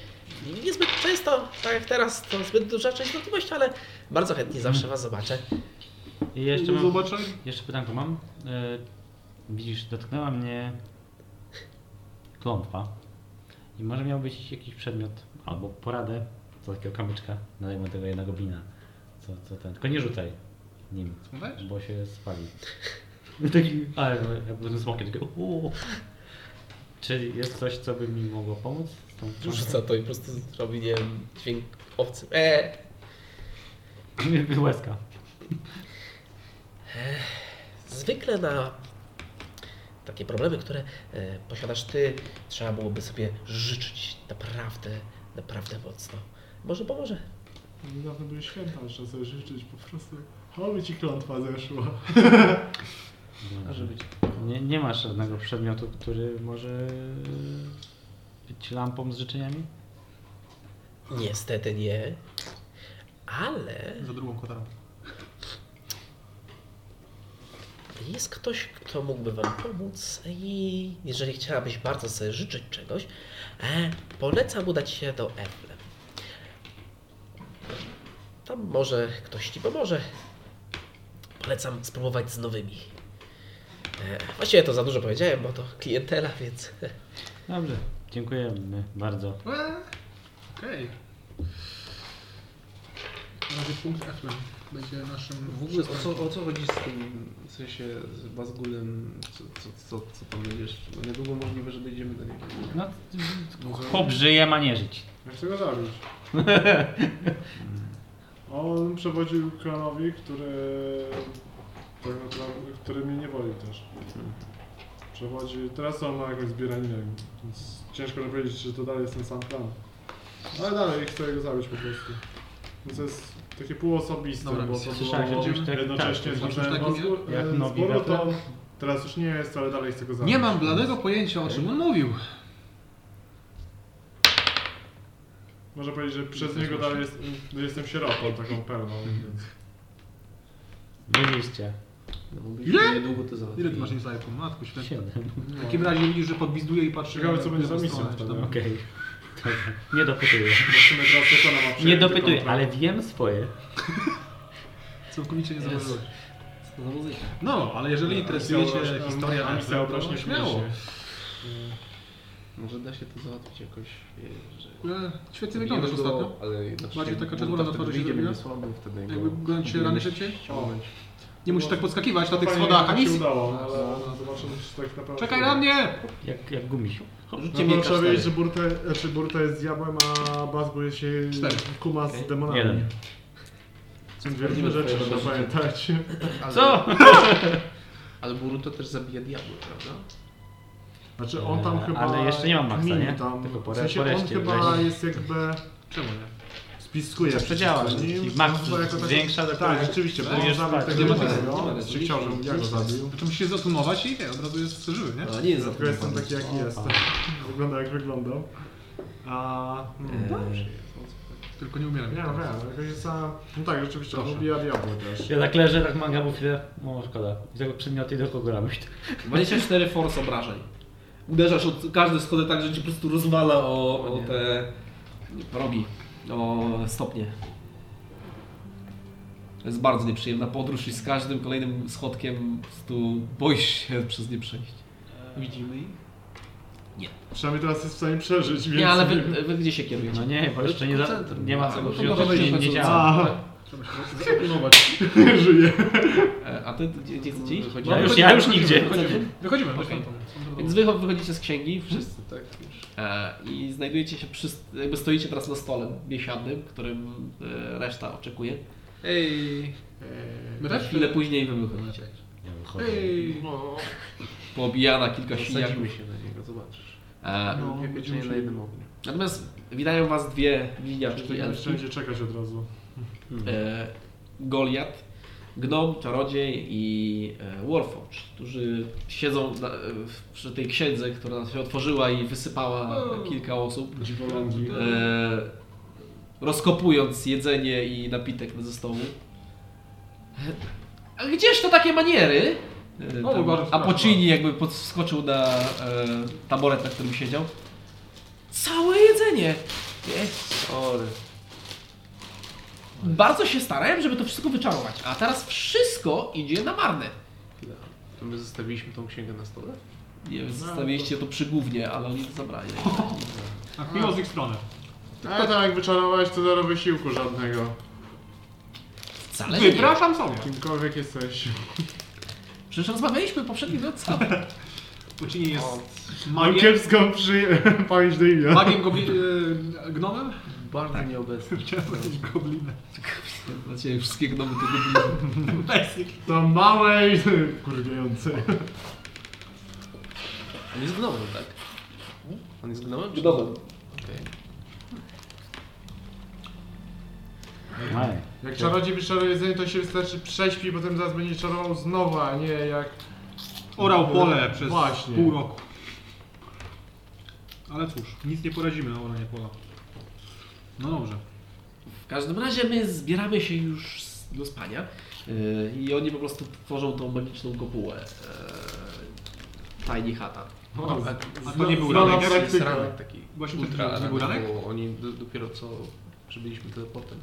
S8: Niezbyt często, tak jak teraz, to zbyt duża częstotliwość, ale bardzo chętnie zawsze was zobaczę.
S5: I jeszcze
S2: Do
S5: mam.
S2: zobaczenia.
S5: Jeszcze pytanko mam. E, widzisz, dotknęła mnie klątwa. I może miał być jakiś przedmiot albo poradę co takiego kamyczka. Nadajmy tego jednego blina. Co, co ten. Tylko nie rzucaj nim,
S2: Słuchaj?
S5: bo się spali. Taki, ale jakby ten smokiem taki, uuu. Czy jest coś, co by mi mogło pomóc? z tą klątwą?
S8: Rzuca to i po prostu robi, nie wiem, dźwięk owcy. E,
S5: Łezka.
S8: zwykle na takie problemy, które e, posiadasz ty, trzeba byłoby sobie życzyć naprawdę, naprawdę mocno. Może pomoże.
S4: Niedawno były święta, trzeba sobie życzyć po prostu. Oby ci klątwa zeszła.
S1: Może być.
S5: Nie, nie masz żadnego przedmiotu, który może być lampą z życzeniami?
S8: Niestety nie. Ale
S2: Za drugą kotarą.
S8: jest ktoś, kto mógłby Wam pomóc i jeżeli chciałabyś bardzo sobie życzyć czegoś, e, polecam udać się do Eflem. Tam może ktoś Ci pomoże. Polecam spróbować z nowymi. E, właściwie to za dużo powiedziałem, bo to klientela, więc
S5: Dobrze, dziękujemy bardzo.
S2: Eee, Okej. Na razie punkt Eflem będzie naszym...
S3: W ogóle o co, o co chodzi z tym, w sensie z Bazgulem, co, co, co, co tam będziesz, bo niedługo możliwe, że dojdziemy do niego.
S5: No, chłop żyje, ma nie żyć.
S4: Ja chcę go zabić. On przewodził klanowi, który, tak naprawdę- który mnie nie woli też. Przewodzi, teraz on ma jakąś zbieraninę, więc ciężko mi powiedzieć, że to dalej jest ten sam klan. Ale dalej chcę go zabić po prostu. Więc to jest takie półosobiste,
S2: Dobra,
S4: bo to
S5: słyszałem, że
S4: było
S5: gdzieś tak-
S4: jednocześnie
S5: tak,
S4: z
S2: tak,
S4: Bosnem
S2: tak,
S4: Bosku-
S5: jak
S4: e, z
S5: nowi
S4: Boruto.
S5: Bethel.
S4: Teraz już nie jest, ale dalej chcę go zabić.
S2: Nie mam bladego pojęcia o czym on mówił.
S4: Można powiedzieć, że przez niego dalej jest, jestem sierotą taką pełną, więc...
S5: Tak. Byliście.
S3: No, mogliśmy
S2: Ile?
S3: Niedługo to załatwić.
S2: Ile ty masz insightów? Matku święta.
S5: Siedem.
S2: W takim razie widzisz, że podbizduje i patrzy...
S4: Ciekawe, co
S2: w
S4: będzie za
S2: lewą
S4: misją
S2: stronę, czy
S4: wtedy.
S2: tam-
S5: Okej. Dobra, Nie dopytuję.
S4: Zobaczymy teraz, jak ona ma
S5: Nie
S4: przejęty
S5: dopytuję,
S4: kontrakt.
S5: ale wiem swoje.
S2: Całkowicie nie
S1: Jest.
S2: zauważyłeś.
S1: Co za muzyka.
S2: No, ale jeżeli interesuje
S4: Misja
S2: Cię
S4: obrośnie-
S2: historia
S4: a misja
S2: Eflem, to
S4: obrośnie
S2: śmiało.
S4: śmieje się.
S3: Może da się to załatwić jakoś, e, że...
S2: E, Świetnie wyglądasz ostatnio.
S3: Ale znaczy,
S2: Bardziej taka
S3: buta
S2: czerwona na
S3: wtedy
S2: twarzy się
S3: wyjdzie,
S2: zrobiła?
S3: będzie słabo wtedy.
S2: Jakby gonią Cię rany szybciej?
S3: Moment.
S2: Nie musisz tak podskakiwać na tych
S4: Fajnie,
S2: schodach, a
S4: jak się
S2: misji.
S4: udało, no. ale zobaczymy, czy tak na pewno...
S2: Czekaj na mnie!
S5: Jak, jak gumisiu.
S1: Rzućcie
S4: No
S1: mnie
S4: to trzeba wiedzieć, że Burta, znaczy Burta jest diabłem, a Bazgu jest się
S2: Cztery.
S4: kuma z demonami.
S5: Jeden.
S4: Są dwie różne rzeczy, trzeba pamiętać.
S3: Ale,
S5: Co?
S3: Ale Boruto też zabija diabły, prawda?
S4: Znaczy on tam
S5: E,
S4: chyba...
S5: ale jeszcze nie mam maksa,
S4: kminił
S5: nie?
S4: Tam.
S5: Tylko po
S4: w sensie
S5: re- po
S4: on
S5: reszcie
S4: chyba
S5: wlezie.
S4: jest jakby...
S2: Czemu nie?
S4: Spiskuje.
S5: Przedziała,
S4: wszystko, nie?
S5: czyli
S4: Już
S5: max
S4: chyba jako tak-
S5: zwiększa do
S4: Tak,
S5: kogoś.
S4: rzeczywiście, bo on
S5: Będziesz
S4: zabił
S5: spać.
S4: tego
S2: Nie ma
S4: jednego,
S1: tego.
S4: czy chciałbym, ja go zabił.
S2: Znaczy musisz się zasumować i nie, od razu jest żywy, nie?
S1: A, nie jest
S4: Dlatego jestem
S1: zatrudniony.
S4: taki jaki jestem. Wygląda jak wyglądał. A...
S1: Eee,
S2: Tylko nie umieram.
S4: Nie wiem, wiem, jakoś jest za... No tak, rzeczywiście, on
S2: Proszę.
S4: ubija diabły też.
S5: Ja tak leżę, tak manga, bo chwilę, no szkoda. I tego przedmioty do kogo ramuś.
S1: 24 force obrażeń. Uderzasz od każdy schody tak, że ci po prostu rozwala o, o te progi, o stopnie. To jest bardzo nieprzyjemna podróż i z każdym kolejnym schodkiem po prostu boisz się przez nie przejść.
S2: Widzimy ich.
S4: Przynajmniej teraz jest w stanie przeżyć, więc...
S1: Nie, ale wy, wy gdzie się kierujecie?
S5: No nie, bo jeszcze nie, za, nie ma co,
S1: No to
S5: bo przecież
S1: dawaj
S5: nie,
S1: się
S5: nie
S1: chodź.
S5: działa.
S1: Tak,
S4: A,
S2: Trzeba się zasumować.
S4: nie żyje.
S1: E, A ty gdzie, gdzie chcecie iść?
S3: Wychodzi-
S5: Ja już, ja już nigdzie.
S2: Wychodzimy, wychodzimy. no do
S1: Okej.
S2: świątyni.
S1: Więc wy wychodzicie z księgi wszyscy
S3: Tak, już.
S1: e, i znajdujecie się przy, jakby stoicie teraz na stole biesiadnym, którym e, reszta oczekuje.
S2: Ej. My też?
S1: Chwilę później wy wychodzicie.
S2: Ej. no.
S1: Poobijana kilka siniaków.
S3: Zasadzimy się na niego, zobaczysz.
S1: E,
S4: No,
S3: No,
S4: będziemy
S3: Pieczenie na
S4: się-
S3: jednym ogniu.
S1: Natomiast witają was dwie
S4: Czyli
S1: liniaczki
S4: tak
S1: elfki.
S4: wszędzie czekać od razu.
S1: E, Goliat, Gnom, Czarodziej i e, Warforge, którzy siedzą na, e, w- przy tej księdze, która się otworzyła i wysypała kilka osób,
S4: Dziwolągi.
S1: e, rozkopując jedzenie i napitek ze stołu. E, A gdzież to takie maniery? E,
S2: O,
S1: tam
S2: No, bardzo
S1: Apocini jakby podskoczył na e, taboret, na którym siedział. Całe jedzenie! Jest
S3: Sorry.
S1: Bardzo się starałem, żeby to wszystko wyczarować, a teraz wszystko idzie na marne.
S3: Chwila. To my zostawiliśmy tą księgę na stole?
S1: Nie wiem, zostawiliście No, to przy głównie, ale oni to zabrali.
S2: A piło z ich strony.
S4: Ale tam tak jak wyczarowałeś, to zero wysiłku żadnego.
S1: Wcale nie.
S2: Wypraszam sobie.
S4: Kimkolwiek jesteś.
S1: Przecież rozmawialiśmy poprzednio do całe.
S2: Pucinie jest
S4: Mam
S2: magiem,
S4: kiepską przy... pamięć do imienia.
S2: magiem gobli... e, gnomem?
S3: bardzo nieobecny.
S2: Chciałem powiedzieć goblinę.
S1: Dla Ciebie wszystkie gnomy to gobliny.
S4: To małe i kurwiające.
S3: On jest gnomem, tak? On jest gnomem? czy-
S1: Gnomem.
S3: Okej.
S5: Aj.
S4: Jak czarodziej by czaruje jedzenie, to się wystarczy prześpi, potem zaraz będzie czarował znowu, a nie jak...
S2: Orał pole przez
S4: Właśnie.
S2: pół roku. Ale cóż, nic nie poradzimy na oranie pola. No dobrze.
S1: W każdym razie my zbieramy się już s- do spania yy, i oni po prostu tworzą tą magiczną kopułę. Yy, Tiny Hata.
S4: O,
S3: No, A,
S2: A to nie był
S4: Znana
S2: ranek?
S3: to jest
S4: praktyka.
S3: ranek taki.
S2: Właśnie
S3: Ultra
S2: to nie był ranek?
S3: ranek, bo oni do, dopiero co przybyliśmy teleportem.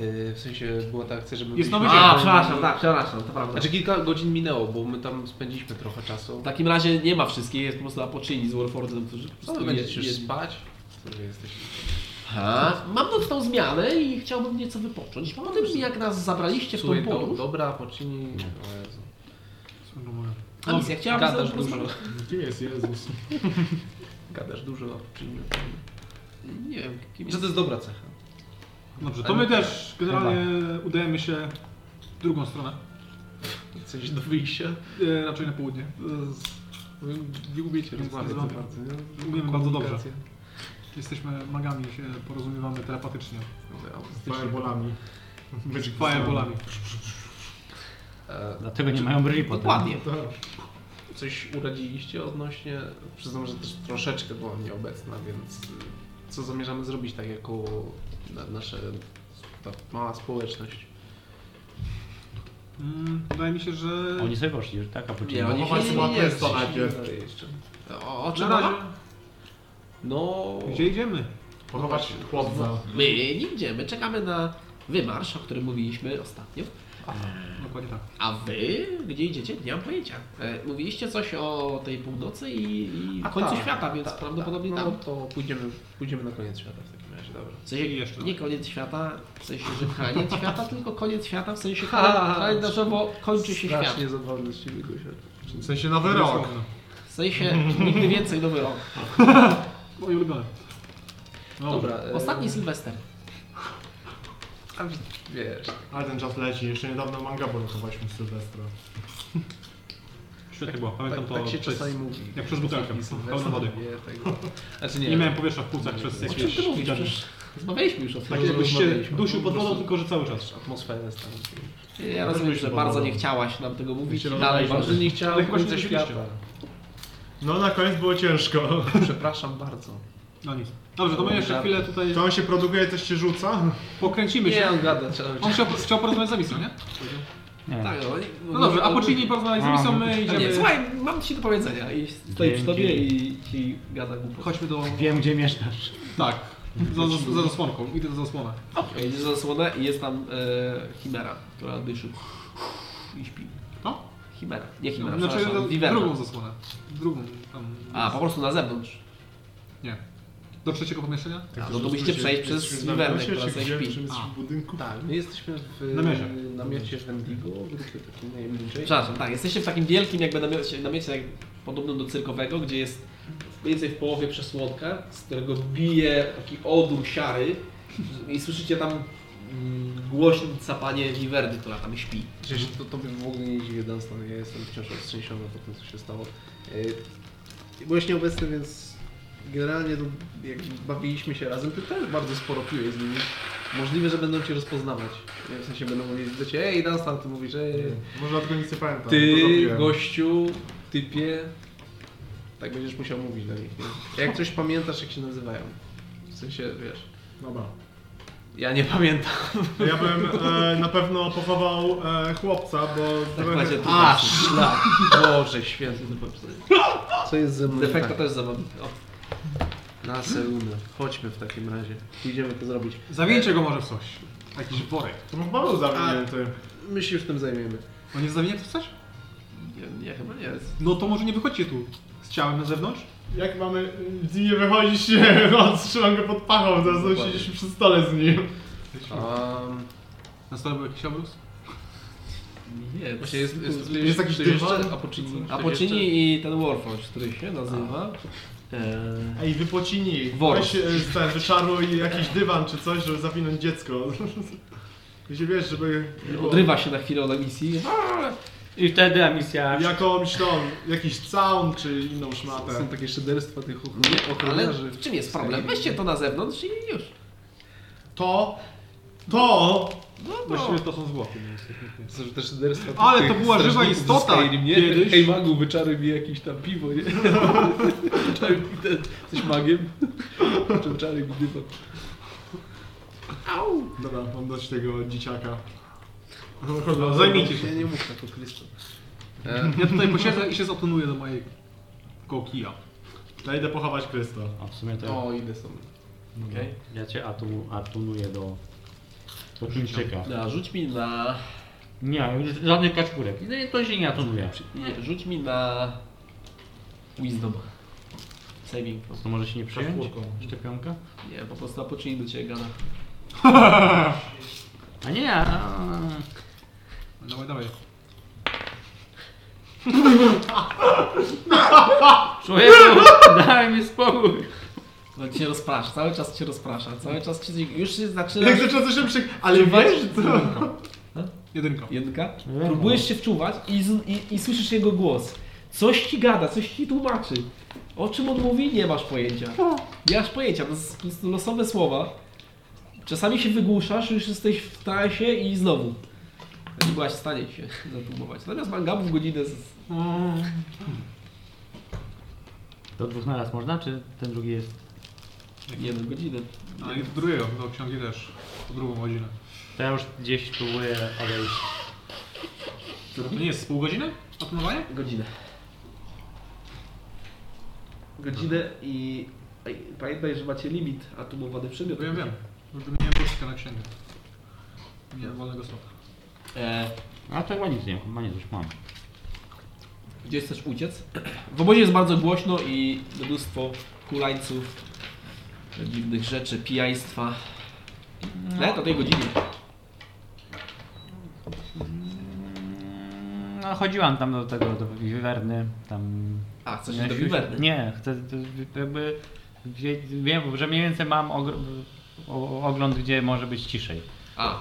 S3: Yy, w sensie była ta akcja, żeby...
S2: Jest
S3: byliśmy-
S2: nowy dzień. A,
S1: tak, przepraszam, to prawda.
S3: Znaczy kilka godzin minęło, bo my tam spędziliśmy trochę czasu.
S1: w takim razie nie ma wszystkich, jest po prostu apoczyni z Warfordem, którzy po
S3: Co
S1: prostu
S3: wy No, będziecie już
S1: jedni-
S3: spać? Co wy jesteście?
S1: Aha. Mam nocną zmianę i chciałbym nieco wypocząć. Po tym, jak nas zabraliście w tą
S3: Słuchaj, do,
S1: podróż...
S3: dobra, poczyni... O Jezu.
S1: A misja, chciałabym
S3: Gadasz
S1: sobie po prostu-
S3: dużo.
S4: Kim jest Jezus?
S3: Gadasz dużo, a poczyni...
S1: Nie wiem, kim
S3: Że
S1: jest...
S3: to jest dobra cecha.
S2: Dobrze, to my też generalnie udajemy się w drugą stronę.
S3: Coś do wyjścia.
S2: E, raczej na południe.
S3: Wy Nie umiecie rozmawiać za
S2: Rozmawiam.
S3: bardzo. nie?
S2: Umiemy bardzo dobrze.
S3: Komunikacja.
S2: Jesteśmy magami, się porozumiewamy telepatycznie.
S3: No,
S4: Fireballami. Magic
S2: Fireballami.
S3: E,
S5: Dlatego nie mają brwi potem.
S1: Dokładnie.
S3: Coś uradziliście odnośnie, przyznam, że też troszeczkę byłam nieobecna, więc y, co zamierzamy zrobić tak jako na, nasze, ta mała społeczność?
S2: Mm, wydaje mi się, że...
S5: Oni sobie poszli już, tak? A później...
S1: Nie, oni
S4: Chować
S1: się nie,
S4: sobie
S1: nie,
S4: pestę
S1: nie,
S4: najpierw.
S3: Dalej jeszcze.
S1: O, o
S2: Na
S1: czym
S2: razie,
S1: mowa? No...
S2: gdzie idziemy? No,
S4: Pochować chłopca.
S1: My nie idziemy, czekamy na wymarsz, o którym mówiliśmy ostatnio.
S2: Dokładnie tak.
S1: A wy gdzie idziecie? Nie mam pojęcia. E, mówiliście coś o tej północy i, i
S3: A
S1: końcu
S3: tak,
S1: świata, więc
S3: tak,
S1: prawdopodobnie
S3: tak.
S1: tam.
S3: No to pójdziemy, pójdziemy na koniec świata w takim razie, dobra.
S1: W sensie
S2: I jeszcze.
S1: nie koniec świata, w sensie, że koniec świata, tylko koniec świata, w sensie
S3: Ha, ha, ha.
S1: kalendarzowo kończy się świat.
S3: Strasznie zabawny z ciebie, Gosia.
S4: W sensie nowy rok.
S2: Dosłownie.
S1: W sensie nigdy więcej nowy rok.
S2: Moje ulubione. No,
S3: Dobra. e,
S1: Ostatni Sylwester.
S3: A w- wiesz,
S2: No
S4: Ale ten czas leci. Jeszcze niedawno manga chowaliśmy z Sylwestra.
S2: Świetnie było. Pamiętam
S3: tak,
S2: to
S3: tak się
S2: przez...
S3: czasami mówi.
S2: jak przez butelkę,
S3: Sylwester
S2: pełno wody.
S3: wie tego. Znaczy nie,
S2: Nie miałem powietrza w płucach przez
S4: No,
S1: O czym
S2: jakieś...
S1: ty mówisz?
S2: tydzień.
S1: Przecież rozmawialiśmy już o tym.
S2: Tak jakbyś się
S3: Rozmawialiśmy.
S2: dusił pod wodą, tylko że cały czas.
S3: atmosferę stanu.
S1: Ja rozumiem, że bardzo nie chciałaś nam tego mówić i
S4: Wiecie,
S1: dalej
S4: rozmawialiśmy.
S1: masz.
S3: Może nie chciałem
S2: Ale właśnie
S3: końca
S2: rzeczywiście.
S3: świata.
S4: No na koniec było ciężko.
S3: Przepraszam bardzo.
S2: No nic. Dobrze, to my jeszcze chwilę tutaj
S4: To on się produkuje, coś się rzuca?
S2: pokręcimy
S3: Nie,
S2: się.
S3: on gada cały
S2: On
S3: czas.
S2: chciał, chciał porozmawiać z Amisą, nie?
S5: Nie.
S1: Tak,
S2: No dobrze, a po czyni porozmawiać z Amisą, my
S1: A Nie,
S2: idziemy...
S1: słuchaj, mam ci do powiedzenia i stoję przy tobie i ci gada głupot.
S2: Chodźmy do...
S5: Wiem, gdzie mieszkasz.
S2: Tak. Za, za, za zasłonką. Idę za zasłonę.
S1: Jedziesz za zasłonę i jest tam e, Chimera, która dyszy i śpi. No,
S2: To?
S1: Chimera, nie Chimera,
S2: Znaczy
S1: No, przepraszam,
S2: za-
S1: Wiwerna.
S2: drugą zasłonę. Drugą tam...
S1: A, po prostu na zewnątrz.
S2: Nie. Do trzeciego pomieszczenia?
S1: A, no to musicie przejść przez Wiwernę, która sobie śpi.
S4: w budynku?
S3: Tak, my jesteśmy w
S2: Namiocie.
S3: namiocie Wendigo, grupy takiej najemniczej.
S1: Przepraszam, tak, jesteście w takim wielkim jakby namiocie, namiocie jak, podobnym do cyrkowego, gdzie jest mniej więcej w połowie przesłonka, z którego bije taki odór siary i słyszycie tam mm, głośne sapanie Wiwerny, która tam śpi.
S3: Przecież to tobie w
S1: Um,
S3: ogóle nie dziwię, Dunstan. Ja jestem wciąż roztrzęsiony po tym, co się stało. E, Yy, Byłeś nieobecny, więc generalnie to jak bawiliśmy się razem, ty też bardzo sporo piłeś z nimi. Możliwe, że będą cię rozpoznawać. Nie, W sensie będą mówić do ciebie, ej Dunstan, ty mówisz, ej,
S4: Może dlatego nic nie pamiętam.
S3: Mhm. ty
S4: Pozabiłem.
S3: gościu, typie. Tak będziesz musiał mówić do nich. nie? Jak coś pamiętasz, jak się nazywają. W sensie, wiesz,
S4: Dobra.
S3: ja nie pamiętam.
S4: Ja bym e, na pewno pochował e, chłopca, bo...
S1: Tak macie tu
S3: A, szlak! Boże święty,
S1: no
S3: co jest ze mną?
S1: Defekta
S3: tak?
S1: też zabawi. O,
S3: Na seunę. Chodźmy w takim razie. Pójdziemy to zrobić.
S2: Zawieńcie go może w coś. Jakiś worek.
S4: To mu Paweł zawinięty.
S3: My się już tym zajmiemy.
S2: On jest zawinięty w coś?
S1: nie, nie, chyba nie jest.
S2: No to może nie wychodźcie tu. Z ciałem na zewnątrz?
S4: Jak mamy z nim nie wychodzić, nie, no, trzymam go pod pachą, zaraz siedzieliśmy przy stole z nim.
S3: Um,
S2: Na stole był jakiś obrus?
S1: Nie,
S3: właśnie jest, jest,
S4: Jest jakiś
S3: jeszcze,
S4: dywan?
S3: A poczyni?
S1: A poczyni i ten Warforge, który się nazywa. E,
S9: Ej, wypocini.
S1: Woros.
S9: Weź e, ten, wyczaruj jakiś dywan czy coś, żeby zawinąć dziecko. Jeśli wiesz, żeby...
S1: Odrywa się na chwilę od misji.
S5: I wtedy emisja.
S9: Jakąś tą, jakiś caun czy inną szmatę.
S3: Są takie szyderstwa tych
S1: Ale
S3: ochroniarzy.
S1: w czym jest problem? Weźcie to na zewnątrz i już.
S9: To... To...
S2: Właściwie to są złoty. więc nie- nie-
S3: Są te szyderstwa
S2: Ale
S3: tych
S2: to była żywa
S3: strażników
S2: istota
S3: ze Skyrim, nie?
S2: kiedyś.
S3: Hej magu, wyczaruj mi jakieś tam piwo, nie? Wyczaruj mi ten- Jesteś magiem? Czy wyczaruj mi dywan?
S9: Dobra, mam dość tego dzieciaka.
S2: No, Zajmijcie się.
S3: Ja nie mów tak o Krystu.
S2: Ja tutaj posiedzę i się zatonuję do mojej koło kija.
S9: Ja idę pochować Krysta.
S5: A No, w sumie
S1: No.
S5: to
S3: O, idę sobie.
S1: Okay.
S5: ja cię atu, atunuję do. do Chińczyka.
S1: No, rzuć mi na.
S5: Nie, już żadnych kaczkurek. No i to się nie atunuje.
S1: Nie, rzuć mi na. Wisdom. Saving. throw.
S5: To może się nie przejąć?
S9: Czwórką.
S5: Szczepionka?
S1: Nie, po prostu poczyni do ciebie gana.
S5: A nie, a...
S2: Dawaj, dawaj.
S5: człowieku, daj mi spokój.
S1: No cię rozprasza, cały czas cię rozprasza, cały czas cię już się zaczyna.
S9: Jak zaczyna coś się przy... Ale wiesz co?
S2: Jedynka.
S1: Jedynka. Próbujesz się wczuwać i, z- i, i słyszysz jego głos. Coś ci gada, coś ci tłumaczy. O czym on mówi, nie masz pojęcia. Nie masz pojęcia, to są po prostu losowe słowa. Czasami się wygłuszasz, już jesteś w transie i znowu. Nie byłaś w stanie się zatłumować. Natomiast mangabów godzinę z...
S5: Do dwóch na raz można, czy ten drugi jest?
S1: nie no, godzinę.
S2: A i do drugiego, do książki też. Po drugą godzinę.
S5: To ja już gdzieś próbuję odejść.
S2: To nie jest z pół godziny? Atomowanie?
S1: Godzinę. Godzinę i... Ej, Pamiętaj, że macie limit atomowany przedmiot.
S2: Bo ja wiem. Już wymieniłem kostkę na księgę. Nie, wolnego slota.
S1: E,
S5: A No, to chyba nic nie, chyba nie coś mam.
S1: Gdzie chcesz uciec? W obozie jest bardzo głośno i mnóstwo kulańców, dziwnych rzeczy, pijaństwa. Nawet o tej godzinie.
S5: No chodziłam tam do tego, do wiwerny, tam...
S1: A, chcesz
S5: Nie,
S1: iść do
S5: siusiu-
S1: Wiwerny.
S5: Nie, chcę to jakby... wie- Wiem, że mniej więcej mam ogr- o- ogląd, gdzie może być ciszej.
S1: A,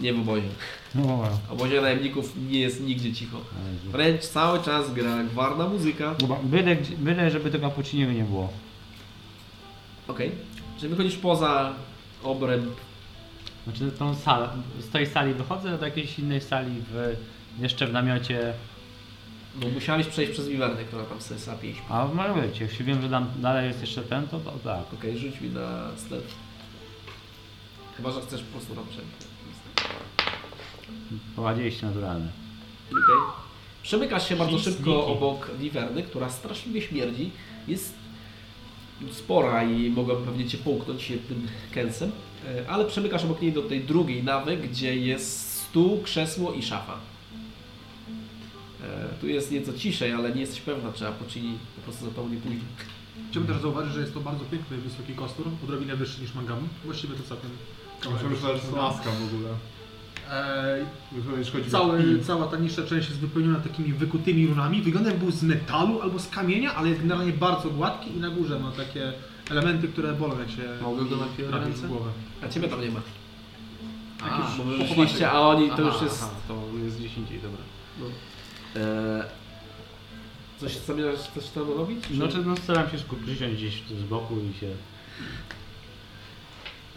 S1: nie w obozie.
S5: No,
S1: W obozie najemników nie jest nigdzie cicho. Wręcz cały czas gra gwarna muzyka.
S5: Chyba Byle, gdzie- byle, żeby tego cappuccino nie było.
S1: Okej. Czyli wychodzisz poza obręb.
S5: Znaczy tą salę, z tej sali wychodzę do jakiejś innej sali w, jeszcze w namiocie,
S1: No musiałeś przejść przez Wiwernę, która tam sobie sapie i śpi.
S5: a może wiecie, jeśli wiem, że tam dalej jest jeszcze ten, to, to tak.
S1: Okej, rzuć mi na stealth. Chyba, że chcesz po prostu tam przejść.
S5: Prowadzieliście naturalne.
S1: Okej. Przemykasz się bardzo szybko obok wiwerny, która straszliwie śmierdzi. Jest spora i mogę pewnie cię połknąć jednym kęsem, E, ale przemykasz obok niej do tej drugiej nawy, gdzie jest stół, krzesło i szafa. E, Tu jest nieco ciszej, ale nie jesteś pewna, czy Apoczyni po prostu za tobą nie pójdzie.
S2: Chciałbym też zauważyć, że jest to bardzo piękny, wysoki kostur. Odrobinę wyższy niż mangamu. Właściwie to całkiem...
S9: Myślę, że to jest laska w ogóle.
S2: Eee,
S9: Już chodzi o
S2: Cały,
S9: pin.
S2: cała ta niższa część jest wypełniona takimi wykutymi runami. Wyglądem był z metalu albo z kamienia, ale jest generalnie bardzo gładki i na górze ma takie elementy, które bolą jak się
S3: Mogę go na chwilę
S2: trafisz
S3: ręce?
S2: w głowę.
S1: A ciebie tam nie ma.
S2: Jakieś-
S1: bo wy wyszliście, a oni to już jest...
S3: Aha, to jest gdzieś indziej, dobra.
S1: E, Coś zamierzasz coś tam robić? czy-
S5: Znaczy no staram się skupić przysiąść gdzieś tu z boku i się...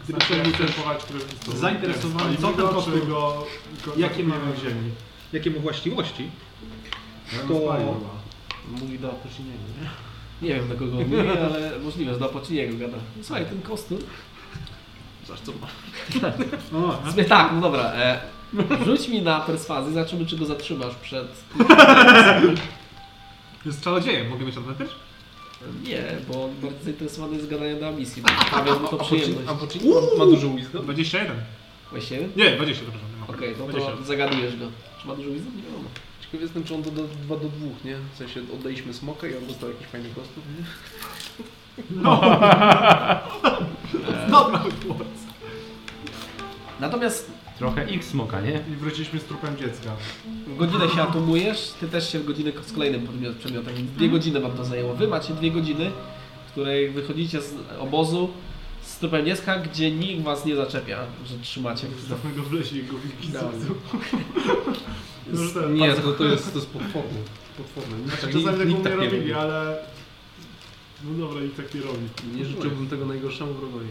S2: Gdyby
S9: Znaczy,
S2: ktoś był też
S9: pochować Krystów.
S2: zainteresowany, co ten
S9: go, czy
S2: kostur-
S9: go...
S2: jakie ma-
S9: w ziemi.
S2: jakie ma właściwości,
S9: To...
S2: to
S3: Mówi do opoczynienia, nie?
S1: Nie wiem do kogo on mówi, ale możliwe, że do Paciniego gada. Słuchaj, ten kostur.
S3: Zasz co ma?
S2: no,
S1: Zmy, tak, no dobra. E, rzuć mi na perswazję, zobaczymy czy go zatrzymasz przed...
S2: jest czarodziejem, mogę mieć advantage?
S1: Nie, bo on bardzo zainteresowany jest gadaniem na misji. bo Sprawia mu to przyjemność.
S3: ma dużo wisdom?
S2: 21.
S1: Właśnie?
S2: Nie, 20, przepraszam. nie ma.
S1: Okej, no to
S2: 20.
S1: zagadujesz go. Czy ma dużo widzów? Nie wiadomo.
S3: Ciekaw jestem, czy on to do 2 do 2, nie? W sensie oddaliśmy smoka i on dostał jakiś fajny kostur, nie?
S2: Dobra, chłopcy.
S1: Natomiast
S5: trochę ich smoka, nie?
S9: I wróciliśmy z trupem dziecka.
S1: Godzinę się atomujesz, ty też się w godzinę z kolejnym podmiot- przedmiotem, więc dwie godziny wam to zajęło. Wy macie dwie godziny, w której wychodzicie z obozu z trupem dziecka, gdzie nikt was nie zaczepia, że trzymacie.
S9: Zostawmy go w lesie i go wilki
S1: Tak.
S9: zjedzą.
S1: Z-
S9: że tak,
S3: Nie,
S9: bardzo-
S3: to, to jest, to jest potworne. potworne. Tak,
S9: Czasami tak
S3: nikt
S9: nie
S3: tak nie
S9: robili,
S3: robi.
S9: ale... No dobra, nikt tak nie robi.
S3: Nie życzyłbym tego najgorszemu wrogowi.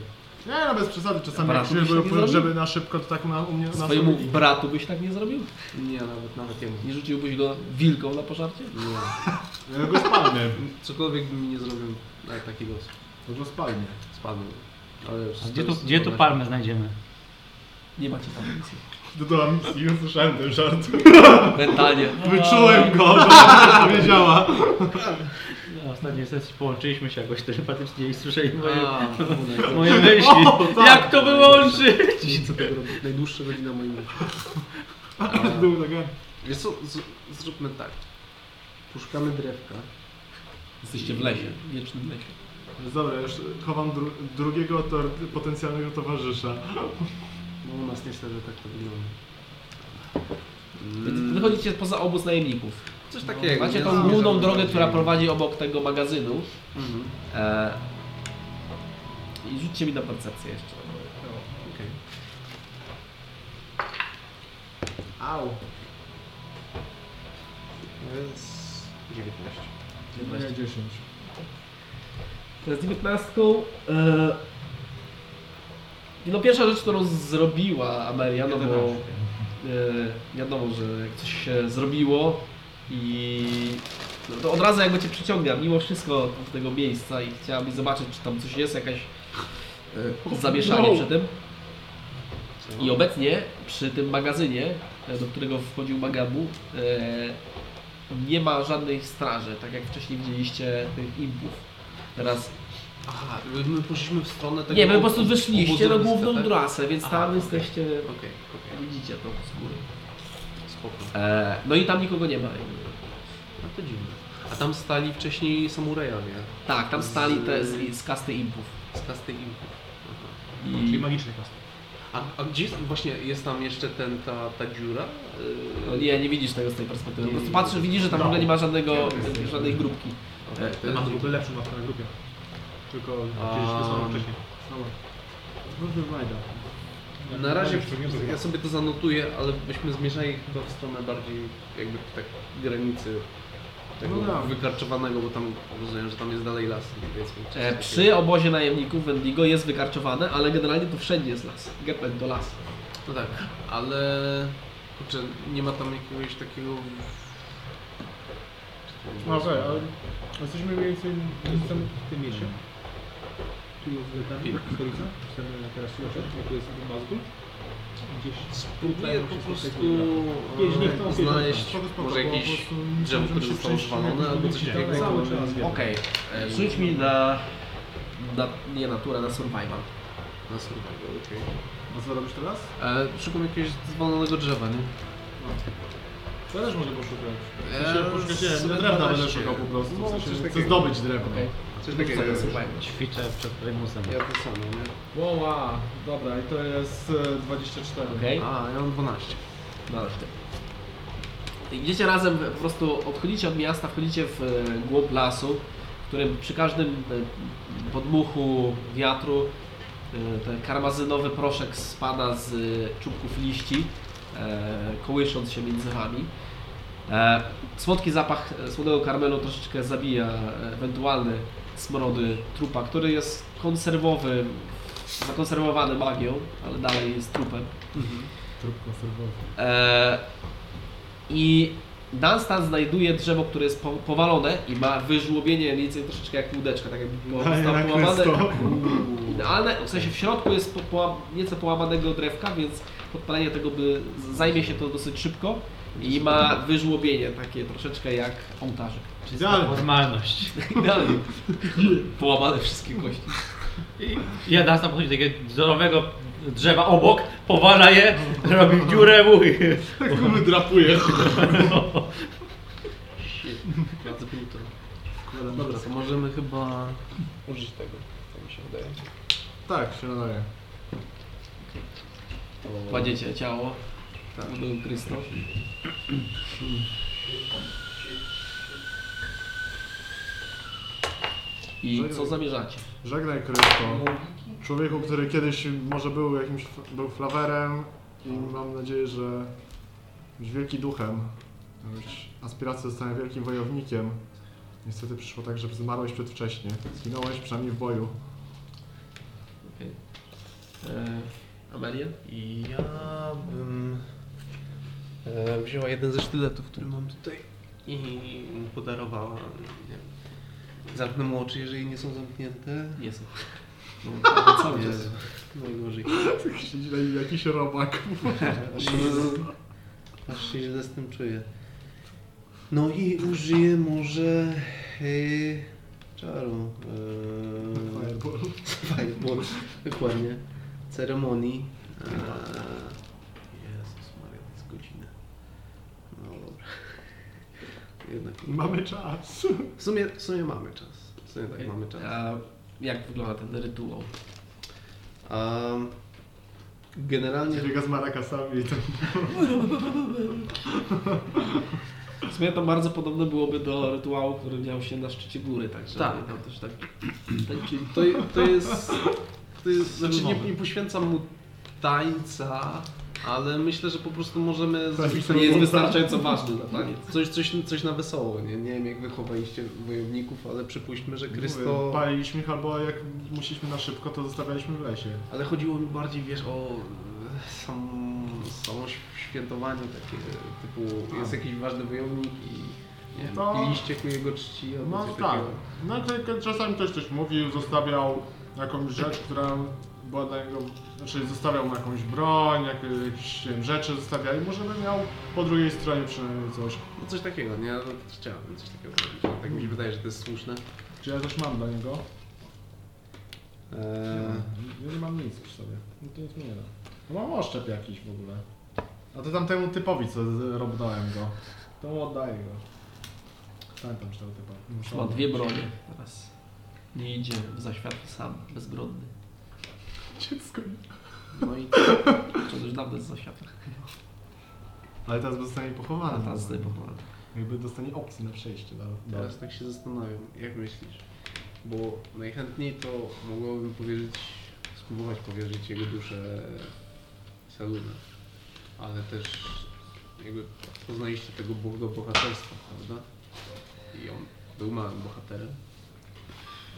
S9: Nie, no bez przesady, czasami
S1: Dobra,
S9: jak
S1: to
S9: się
S1: byś tak nie
S9: żeby,
S1: zrobił?
S9: żeby na szybko to tak na, u mnie... na
S1: Swojemu
S9: sobie-
S1: bratu byś tak nie zrobił?
S3: Nie, nawet, nawet jemu.
S1: Nie rzuciłbyś go wilką na pożarcie?
S3: Nie.
S9: Ja E, go spalnię.
S3: Cokolwiek by mi nie zrobił na taki los.
S9: Ja go spalnię.
S3: Spadł. Ale już
S5: A gdzie tu,
S3: jest-
S5: gdzie tu palmę znajdziemy?
S1: Nie macie tam nic.
S9: Dodałam misji, już słyszałem ten żart.
S1: Mentalnie.
S9: Wyczułem go, że ona tak powiedziała.
S5: Na ostatniej sesji połączyliśmy się jakoś telepatycznie i tak. słyszeli moje,
S3: A, kurde,
S5: moje myśli. Jak to wyłączy?
S3: Nic tego robić. Najdłuższa godzina w moim życiu.
S9: Był taka...
S3: Wiesz co, z, zróbmy tak. Puszkamy drewka.
S1: Jesteście w lesie, w wiecznym lesie.
S9: Więc Dobra, ja już chowam dru drugiego tor potencjalnego towarzysza.
S3: No u nas niestety tak to wygląda.
S1: Wy-
S3: Mm,
S1: Wychodzicie poza obóz najemników.
S3: coś takiego.
S1: No, Macie
S3: nie?
S1: tą główną
S3: Zbierzemy
S1: drogę,
S3: takie-
S1: która prowadzi obok tego magazynu.
S3: Mhm.
S1: E, I rzućcie mi na percepcję jeszcze.
S3: Okej.
S9: Au.
S3: Więc 19.
S9: Nie, 10.
S1: To jest 19. E, i no pierwsza rzecz, którą zrobiła Amelia, no bo e, wiadomo, że jak coś się zrobiło i no to od razu jakby cię przyciąga mimo wszystko do tego miejsca i chciałabyś zobaczyć, czy tam coś jest, jakaś e, zamieszanie
S9: No.
S1: przy tym. I obecnie przy tym magazynie, e, do którego wchodził Magabu, e, nie ma żadnej straży, tak jak wcześniej widzieliście tych impów. Teraz
S3: Aha, my poszliśmy w stronę tego...
S1: nie, wy po prostu
S3: obozu-
S1: wyszliście na
S3: obozu
S1: główną
S3: tak?
S1: trasę, więc tam
S3: Aha, okej.
S1: jesteście.
S3: Okej, okej,
S1: Widzicie to z góry.
S3: spoko.
S1: E, no i tam nikogo nie ma.
S3: No to dziwne. A tam stali wcześniej samurajowie
S1: Tak, tam stali te z, z kasty impów.
S3: z kasty No, impów.
S2: Czyli
S1: I,
S2: magiczny kast.
S3: A, a gdzie jest, właśnie jest tam jeszcze ten, ta, ta dziura? Yy,
S1: no nie, nie widzisz tego z tej perspektywy. Po
S3: Nie,
S1: prostu
S3: nie.
S1: patrzysz, widzisz, że tam w ogóle nie ma żadnego, żadnej grupki.
S3: okej, to
S2: Ja
S3: jest
S2: mam w
S3: dziura.
S2: ogóle lepszą mapkę na grupie. Tylko
S3: A.
S2: gdzieś wysłałem wcześniej.
S9: Dobra. Może wajda.
S3: Na razie
S2: Wciągnięto
S3: ja
S2: chyba.
S3: sobie to zanotuję, ale byśmy zmierzali chyba w stronę bardziej jakby tak granicy tego
S9: No tak.
S3: wykarczowanego, bo tam rozumiem, że tam jest dalej las. Więc
S1: E, przy obozie najemników Wendigo jest wykarczowane, ale generalnie to wszędzie jest las. Gepet do las.
S3: No tak, ale kurczę, nie ma tam jakiegoś takiego...
S9: No okej, ale jesteśmy mniej więcej...
S2: Jestem w tym mieście. Tu jest Wietnam, stolica. Jestem teraz w Joczek, tu jest Mazgul. Gdzieś
S3: Spróbuję po prostu
S2: Jeźdź, niech tam
S3: e,
S2: jeździ.
S3: znaleźć może jakieś drzewo, które zostało spalone albo coś
S2: Tak,
S3: takiego.
S2: cały czas wiem.
S1: Okej, e, rzuć mi na, na. Nie naturę, na survival.
S3: Na survival, okej.
S9: A co robisz teraz?
S3: E, Szukam jakiegoś zwolnionego drzewa, nie?
S9: To też może poszukać.
S3: Eee,
S9: Ja się poszukać, nie
S4: no,
S9: wiem,
S3: sobie
S9: ja drewna będę
S3: 12.
S9: szukał po prostu.
S3: No,
S9: w sensie,
S3: coś
S9: chcę
S3: takiego.
S9: zdobyć drewno.
S1: Okej.
S3: Coś
S1: Rzuć
S3: takiego
S1: sobie
S3: jest.
S1: survival.
S5: Ćwiczę przed prymusem.
S3: Ja to samo, nie?
S9: Wow, wow, dobra i to jest e, 24.
S1: Okej.
S3: A, ja mam 12.
S1: Należy Idziecie razem, po prostu odchodzicie od miasta, wchodzicie w e, głąb lasu, w którym przy każdym e, podmuchu wiatru e, ten karmazynowy proszek spada z e, czubków liści, e, kołysząc się między wami. E, Słodki zapach e, słonego karmelu troszeczkę zabija e, ewentualne smrody trupa, który jest konserwowy, zakonserwowany magią, ale dalej jest trupem.
S9: Mhm. Trup konserwowy.
S1: E, I Dunstan znajduje drzewo, które jest po, powalone i ma wyżłobienie mniej więcej troszeczkę jak łódeczka, tak jakby było
S9: Daję na
S1: połamane.
S9: kresko.
S1: Idealne, w sensie w środku jest po, połam- nieco połamanego drewka, więc podpalenie tego by zajmie się to dosyć szybko i ma wyżłobienie takie troszeczkę jak ołtarzyk.
S5: Czysta formalność.
S1: Idealnie. Połamane wszystkie kości.
S5: I ja dam sam podchodzi do takiego wzorowego drzewa obok, powala je, robi dziurę mój.
S9: Kumy drapuje.
S3: Shit, bardzo to. Dobra, to możemy chyba użyć tego, tak mi się wydaje.
S9: Tak, się nadaje.
S1: Kładziecie ciało.
S3: Tak.
S1: Tak. Był Krystus.
S3: No
S1: I co zamierzacie?
S4: Żegnaj Krysto. Człowieku, który kiedyś może był jakimś był flawerem i mam nadzieję, że być wielki duchem. Miałeś aspiracje zostania wielkim wojownikiem. Niestety przyszło tak, że zmarłeś przedwcześnie. Zginąłeś przynajmniej w boju.
S1: E, Amelię?
S3: Ja bym e, wzięła jeden ze sztyletów, który mam tutaj i mu podarowała. Nie wiem. Zamknę mu oczy, jeżeli nie są zamknięte.
S1: Nie są.
S3: No, to cały czas. Najgorzej.
S4: Siedzi na nim Tak jakiś robak.
S3: Aż się, aż się źle z tym czuję. No i użyję może yy, czaru. Yy,
S4: Fireball.
S3: Fireball, dokładnie. Ceremonii. Eee, Jezus Maria, to jest godzina. No dobra. Jednak,
S4: Mamy czas.
S3: w, sumie, w sumie mamy czas. W sumie tak, mamy czas.
S1: A jak wygląda ten rytuał?
S3: Um, generalnie
S4: Biega z marakasami i tam
S1: W sumie to bardzo podobne byłoby do rytuału, który miał się na szczycie góry, także
S3: Tak.
S1: tam też tak
S3: to, to jest... To jest znaczy nie,
S1: Zaczynowy.
S3: nie poświęcam mu tańca, ale myślę, że po prostu możemy zrobić
S1: To nie jest wystarczająco ważne dla taniec.
S3: coś, coś, coś na wesoło. Nie, nie wiem jak wy chowaliście wojowników, ale przypuśćmy, że Krysto...
S4: Mówię, paliliśmy ich albo jak musieliśmy na szybko, to zostawialiśmy w lesie.
S3: Ale chodziło mi bardziej, wiesz, o e, sam, samo ś- świętowanie takie, typu jest jakiś ważny wojownik i nie wiem,
S4: No.
S3: piliście ku jego czci albo
S4: No
S3: coś
S4: tak.
S3: takiego.
S4: No to jak czasami ktoś coś mówił, zostawiał jakąś rzecz, która była dla niego, znaczy zostawiał mu jakąś broń, jakieś nie wiem, rzeczy zostawiał i może by miał po drugiej stronie przynajmniej coś.
S3: No coś takiego, nie? No, chciałbym coś takiego zrobić. ale Tak mi się wydaje, że to jest słuszne.
S4: Czy ja coś mam dla niego?
S3: Eee,
S4: Ja nie mam nic przy sobie. No to nic mi nie da. No mam oszczep jakiś w ogóle. A to tamtemu typowi, co z- robnąłem go. To mu oddaję go. Pamiętam, czy tego typa. Muszę
S1: Ma
S4: oddać.
S1: dwie bronie teraz. Nie idzie w zaświatki sam, bezbrodny.
S4: Dziecko.
S1: No i to już dawno jest zaświatki.
S4: Ale teraz zostanie
S1: A
S4: pochowany.
S1: teraz sobie pochowany.
S4: Jakby dostanie opcję na przejście. Do, do.
S3: teraz tak się zastanawiam, jak myślisz? Bo najchętniej to mogłabym powierzyć, spróbować powierzyć jego duszę Saluna. Ale też jakby poznaliście tego Boga bohaterstwa, prawda? I on był małym bohaterem.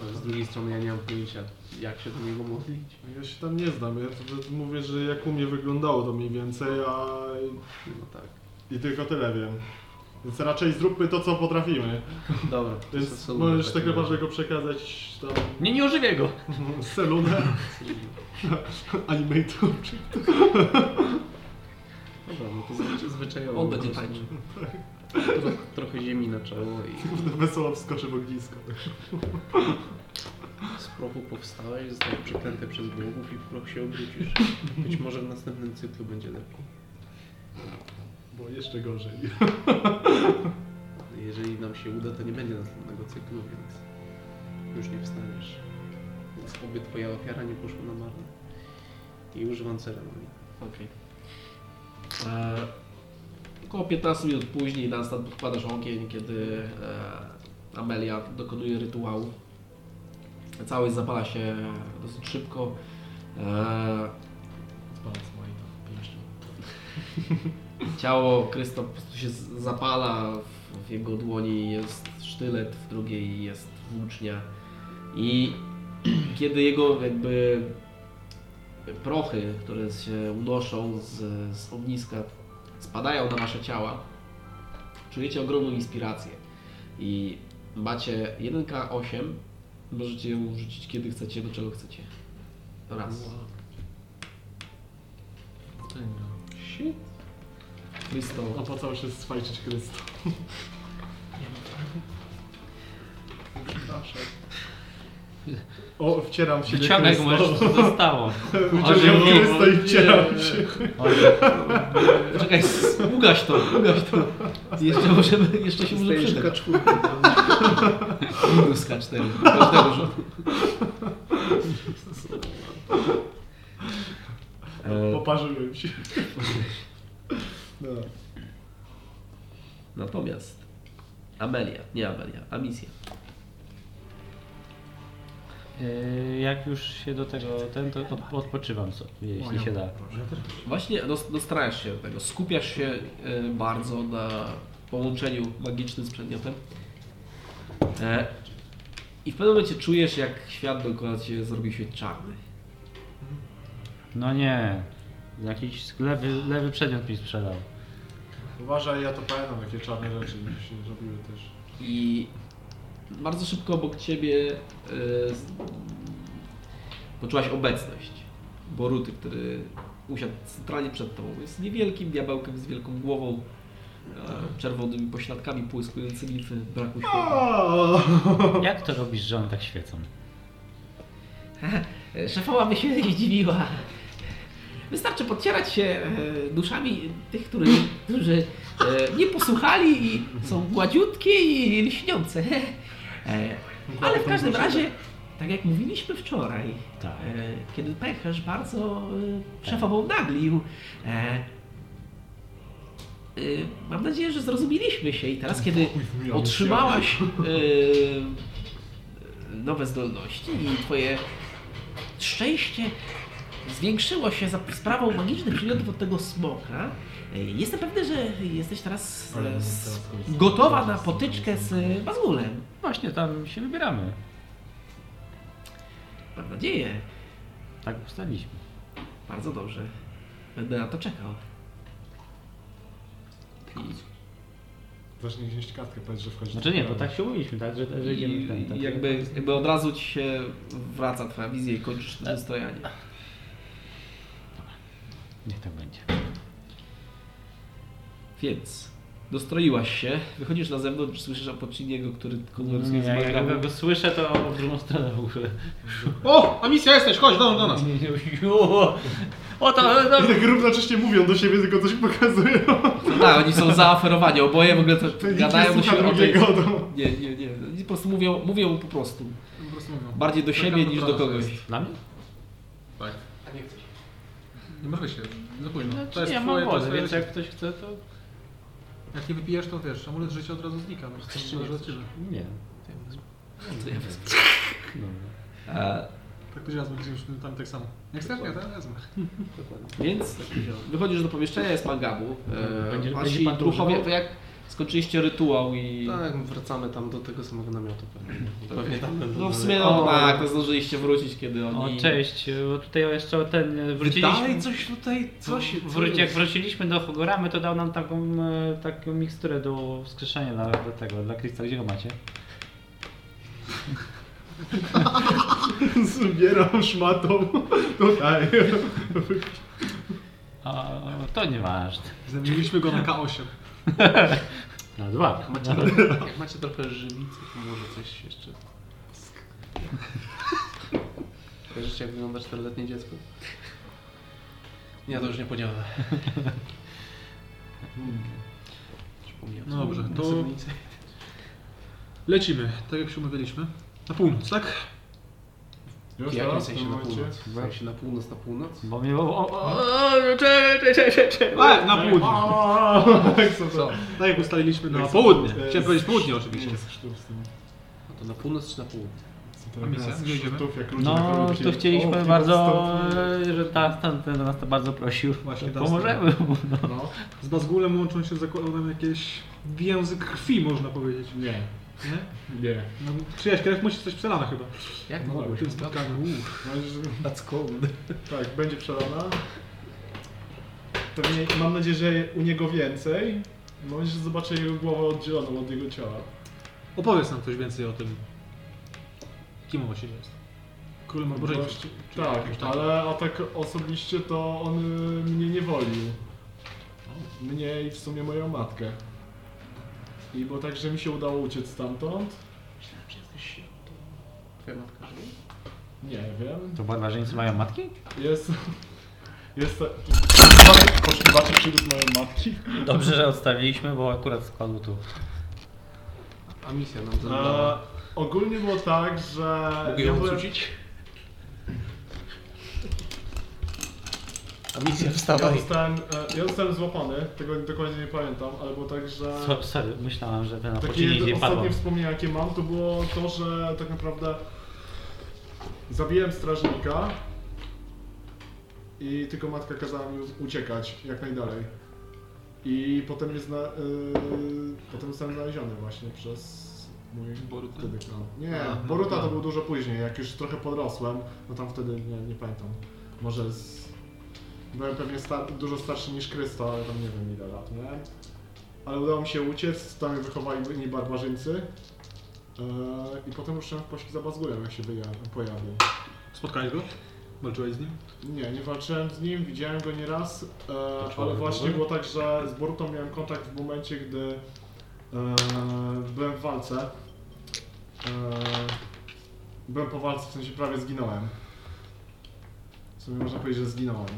S3: Ale z drugiej strony ja nie mam pojęcia, jak się do niego modlić.
S4: Ja się tam nie znam. Ja tu mówię, że jak u mnie wyglądało to mniej więcej, a
S3: No tak.
S4: i tylko tyle wiem. Więc raczej zróbmy to, co potrafimy.
S3: Dobra,
S4: Więc możesz tak naprawdę go przekazać tam
S5: Nie, nie ożywię go!
S4: Selunę, animator czy
S3: Dobra, no to zwycz- zwyczajowo.
S1: On będzie tańczył.
S3: Tro, trochę ziemi na czoło i
S4: wesoło wskoczy w ognisko.
S3: z prochu powstałeś, zostałeś przeklęty przez bogów i w proch się obrócisz. Być może w następnym cyklu będzie lepiej.
S4: Bo jeszcze gorzej.
S3: Jeżeli nam się uda, to nie będzie następnego cyklu, więc już nie wstaniesz. Więc oby twoja ofiara nie poszła na marne. I używam ceremonii.
S1: Okej. E, Około 15 minut później Dunstan podkładasz ogień, kiedy e, Amelia dokonuje rytuału. Całość zapala się dosyć szybko. E, Ciało Krysto po prostu się z- zapala, w- w jego dłoni jest sztylet, w drugiej jest włócznia. I kiedy jego jakby prochy, które się unoszą z, z ogniska, spadają na wasze ciała, czujecie ogromną inspirację. I macie 1K8, możecie ją rzucić kiedy chcecie, do czego chcecie. Raz.
S3: Shit.
S1: Krysto.
S4: Opłacało się swajczyć Chrysta. O, wcieram się
S5: Wyciągaj go, może co zostało.
S4: Wyciągam
S5: Ożywię.
S4: Chrysta i wcieram się.
S1: Czekaj, ugaś to, ugaś to. Jeszcze możemy, jeszcze się może
S3: Dostajesz
S1: przydać.
S3: kaczurkę.
S1: Minus K4, każdego rzutu. E,
S4: Po Oparzyłem się. No. Dobra.
S1: Natomiast Amelia, nie Amelia, Amisja.
S5: Yy, Jak już się do tego ten, to od, odpoczywam sobie, jeśli się da.
S1: Właśnie dos- dostarasz się do tego, skupiasz się e, bardzo na połączeniu magicznym z przedmiotem. E, I w pewnym momencie czujesz, jak świat dookoła ciebie zrobił się czarny.
S5: No nie, jakiś lewy, lewy przedmiot mi sprzedał.
S4: Uważaj, ja to pamiętam, jakie czarne rzeczy mi się robiły też.
S1: I bardzo szybko obok ciebie e, z- poczułaś obecność Boruty, który usiadł centralnie przed tobą. Jest niewielkim diabełkiem z wielką głową, e, czerwonymi pośladkami błyskującymi w braku światła.
S5: Jak to robisz, że on tak świecą?
S1: E, Szefowa by się nie zdziwiła. Wystarczy podcierać się e, duszami tych, którzy, którzy e, nie posłuchali i są gładziutkie i lśniące. E, Ale w każdym razie, tak jak mówiliśmy wczoraj,
S5: Tak.
S1: e, kiedy pęcherz bardzo e, szefową naglił, e, e, mam nadzieję, że zrozumieliśmy się i teraz, kiedy otrzymałaś e, nowe zdolności i twoje szczęście zwiększyło się za sprawą magicznych przedmiotów od tego smoka. E, Jestem pewny, że jesteś teraz e, s- gotowa na potyczkę z e, Bazgulem.
S5: Właśnie, tam się wybieramy.
S1: Mam nadzieję.
S5: Tak ustaliliśmy.
S1: Bardzo dobrze. Będę na to czekał.
S4: Zacznij gdzieś kartkę, powiedz, że wchodzi.
S5: Znaczy nie, bo tak się umówiliśmy, tak, że, że idziemy w ten, tak.
S1: jakby, jakby od razu ci się wraca twoja wizja i kończysz to dostrojanie.
S5: Niech tak będzie.
S1: Więc dostroiłaś się, wychodzisz na zewnątrz, słyszysz Apociniego, który
S5: No
S1: konwersuje
S5: nie,
S1: z
S5: jak, jak
S1: Balgramem.
S5: go słyszę, to w drugą stronę w ogóle.
S2: O, Amisja jesteś, chodź do, do nas.
S5: O to, no,
S4: I tak równocześnie mówią do siebie, tylko coś pokazują.
S1: Tak, oni są zaaferowani, oboje w ogóle też
S4: To nikt nie
S1: gadają do
S4: słucha
S1: siebie.
S4: drugiego. No.
S1: Nie, nie, nie. Oni po prostu mówią, mówią po prostu.
S2: Po prostu mówią.
S1: Bardziej do
S2: Taka
S1: siebie niż do
S2: dobra
S1: kogoś.
S2: jest.
S5: Dla mnie?
S2: Tak.
S3: A nie chcesz.
S2: Nie no. możesz się, za późno.
S5: Znaczy, ja mam wodę, więc jak ktoś chce, to...
S2: Jak nie wypijesz, to wiesz, amulet życia od razu znika. No, to zależy od ciebie.
S5: Nie.
S1: To ja wezmę.
S5: Dobra.
S1: E,
S2: Tak to raz będziemy już tam tak samo. Nie chcesz? Nie, to ja wezmę.
S1: Więc wychodzisz do pomieszczenia, jest Mangabu. E,
S5: Będzie-
S1: wasi
S5: będzie pan
S1: duchowie,
S5: używał?
S1: to jak skończyliście rytuał i...
S3: Tak, wracamy tam do tego samego namiotu pewnie. Tak. Pewnie tam będą
S1: No w
S3: dalej.
S1: sumie no, tak, to zdążyliście wrócić, kiedy
S5: O,
S1: oni...
S5: cześć, bo tutaj jeszcze ten... e,
S3: Dalej
S5: Wróciliśmy,
S3: coś tutaj, coś...
S2: No,
S3: co
S5: wróci, jak
S3: jest?
S5: wróciliśmy do Hogoramy, to dał nam taką, e, taką miksturę do wskrzeszenia dla, dla tego, dla Krista. Gdzie go macie?
S4: Zbieram szmatą. tak. Tutaj.
S5: A, to nieważne.
S2: Zamieniliśmy go na K8.
S5: Na dwa.
S3: Jak macie, trochę, jak macie trochę żywicy, to może coś jeszcze... Kojarzycie jak wygląda czteroletnie dziecko? Nie, to już nie podzielę.
S2: No dobrze, to- Lecimy, tak jak się umawialiśmy. Na północ, tak?
S4: Już
S3: Jak nie
S4: teraz, w
S3: się
S4: tym
S3: na
S4: momencie.
S3: północ? W sensie na północ, na północ?
S5: Bo mnie... O, o, o.
S2: A, E, na południe.
S4: Aaa, jak są
S3: Co?
S4: to?
S2: Tak jak ustaliliśmy na
S4: Jak są-
S2: południe.
S4: e,
S2: Chciałem powiedzieć południe oczywiście.
S4: Nie, z szturcem.
S3: No to na północ czy na północ?
S4: Co to
S2: A misja?
S4: jest?
S2: Gdzie idziemy?
S4: Sztów, jak ludzie na
S5: No,
S4: kolumnie
S5: tu
S4: chcieli-
S5: chcieliśmy
S4: O,
S5: bardzo,
S4: stąd-
S5: e, że ta, ta, ten nas to bardzo prosił.
S2: Właśnie
S5: To
S2: ta
S5: Pomożemy mu. No.
S2: No. Z Bazgulem łączą się, zakładam jakieś więzy krwi, można powiedzieć.
S4: Nie,
S2: Nie?
S4: nie.
S2: No, czyjaś krew musi coś przelana chyba.
S3: Jak
S4: No
S2: W
S3: mogłeś?
S2: tym spotkaniu.
S4: That's cold. No, Tak, będzie przelana. Pewnie, mam nadzieję, że u niego więcej. Mam nadzieję, że zobaczę jego głowę oddzieloną od jego ciała.
S2: Opowiedz nam coś więcej o tym. Kim on właściwie jest? Królem Alborzyńców.
S4: Gość- No, Tak, ale a tak osobiście to on y, mnie nie wolił. Mnie i w sumie moją matkę. I bo tak, że mi się udało uciec stamtąd.
S3: Myślałem, że jesteś się. Twoja matka żyje?
S4: Nie wiem.
S5: To barbarzyńcy mają matki?
S4: Jest... Jest... Poszukiwacze przygód mojej matki.
S5: Dobrze, że odstawiliśmy, bo akurat spadł tu.
S3: A misja nam
S4: E,
S3: zabrała.
S4: ogólnie było tak, że...
S3: Mogę ją odrzucić?
S8: Misja
S4: Ja
S8: wstawaj.
S4: zostałem, e, ja zostałem złapany, tego dokładnie nie pamiętam, ale było tak, że...
S5: So, sorry, myślałem, że ten na
S4: Takie
S5: pocinie
S4: ostatnie
S5: nie padło.
S4: wspomnienie, jakie mam, to było to, że tak naprawdę zabiłem strażnika i tylko matka kazała mi uciekać jak najdalej. I potem mnie zna, yy, potem zostałem znaleziony właśnie przez mój
S3: Boruta?
S4: wtedy klan. Nie,
S3: A,
S4: Boruta
S3: no,
S4: to
S3: tak.
S4: był dużo później, jak już trochę podrosłem, bo tam wtedy nie, nie pamiętam. Może z... byłem pewnie star- dużo starszy niż Krysto, ale tam nie wiem ile lat miałem. Ale udało mi się uciec, tam mnie wychowali inni barbarzyńcy. Eee, I potem ruszyłem w pościg za Bazgurem, jak się wyja- pojawił.
S2: Spotkałeś go? Walczyłeś z nim?
S4: Nie, nie walczyłem z nim, widziałem go nieraz, e, ale
S3: człowiek
S4: właśnie
S3: dobry?
S4: było tak, że z Burtą miałem kontakt w momencie, gdy e, byłem w walce. E, byłem po walce, w sensie prawie zginąłem. W sumie można powiedzieć, że zginąłem.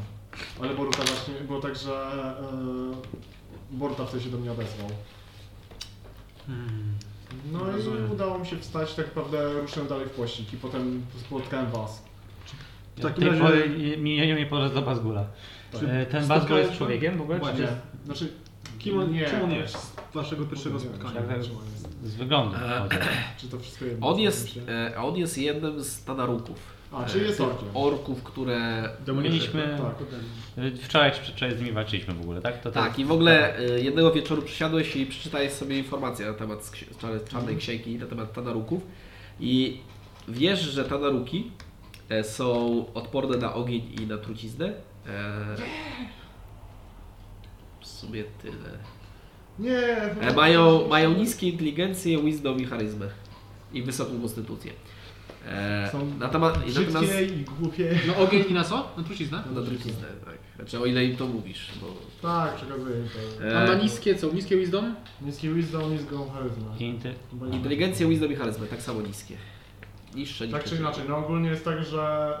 S4: Ale Boruta właśnie, było tak, że e, Boruta wtedy się do mnie odezwał. No
S3: Hmm, Rozumiem.
S4: i udało mi się wstać, tak naprawdę ruszyłem dalej w pościg i potem spotkałem was.
S2: W
S5: Ja
S2: takim
S5: tej
S2: razie-
S5: pory i- Minieniu mi poszedł do Bazgula.
S4: Tak.
S5: E, Ten
S2: Spotkałeś
S5: Bazgul jest
S2: się?
S5: człowiekiem w ogóle? czy
S2: Właśnie.
S5: jest
S4: Znaczy,
S2: Kim on,
S4: Nie.
S2: czym on jest z waszego pierwszego spotkania?
S5: Tak, tak.
S4: Czym on jest?
S5: Z
S1: E,
S5: wyglądu. chodzi.
S4: Czy to wszystko jedno?
S1: On jest,
S4: Się-
S1: e, on jest jednym z tadaruków.
S4: A, czy jest
S1: Tych
S4: orkiem?
S1: orków, które...
S5: Mieliśmy...
S4: Tak.
S5: e, Wczoraj czy przedwczoraj z nimi walczyliśmy w ogóle, tak? To
S1: Tak, i w ogóle e, jednego wieczoru przysiadłeś i przeczytałeś sobie informacje na temat z ksi- z czarnej-
S4: Mhm.
S1: czarnej księgi, na temat tadaruków. I wiesz, że tadaruki e, są odporne na ogień i na truciznę. E, W sumie tyle.
S4: Nie,
S1: E, Mają, mają niskie inteligencję, wisdom i charyzmę. I wysoką konstytucję. E,
S4: Są
S1: natomiast, natomiast
S4: brzydkie i głupie.
S2: Na No ogień i na co? Na truciznę?
S1: na truciznę, tak. Znaczy o ile im to mówisz, bo...
S4: Tak, przekazuję im to.
S2: A na
S1: E,
S2: niskie co? Niskie wisdom?
S4: Niski wisdom, niską charyzmę.
S5: Kinty.
S4: Bo nie-
S1: inteligencję, wisdom i charyzmę, tak samo niskie. Niższe niż
S4: Tak czy inaczej, no ogólnie jest tak, że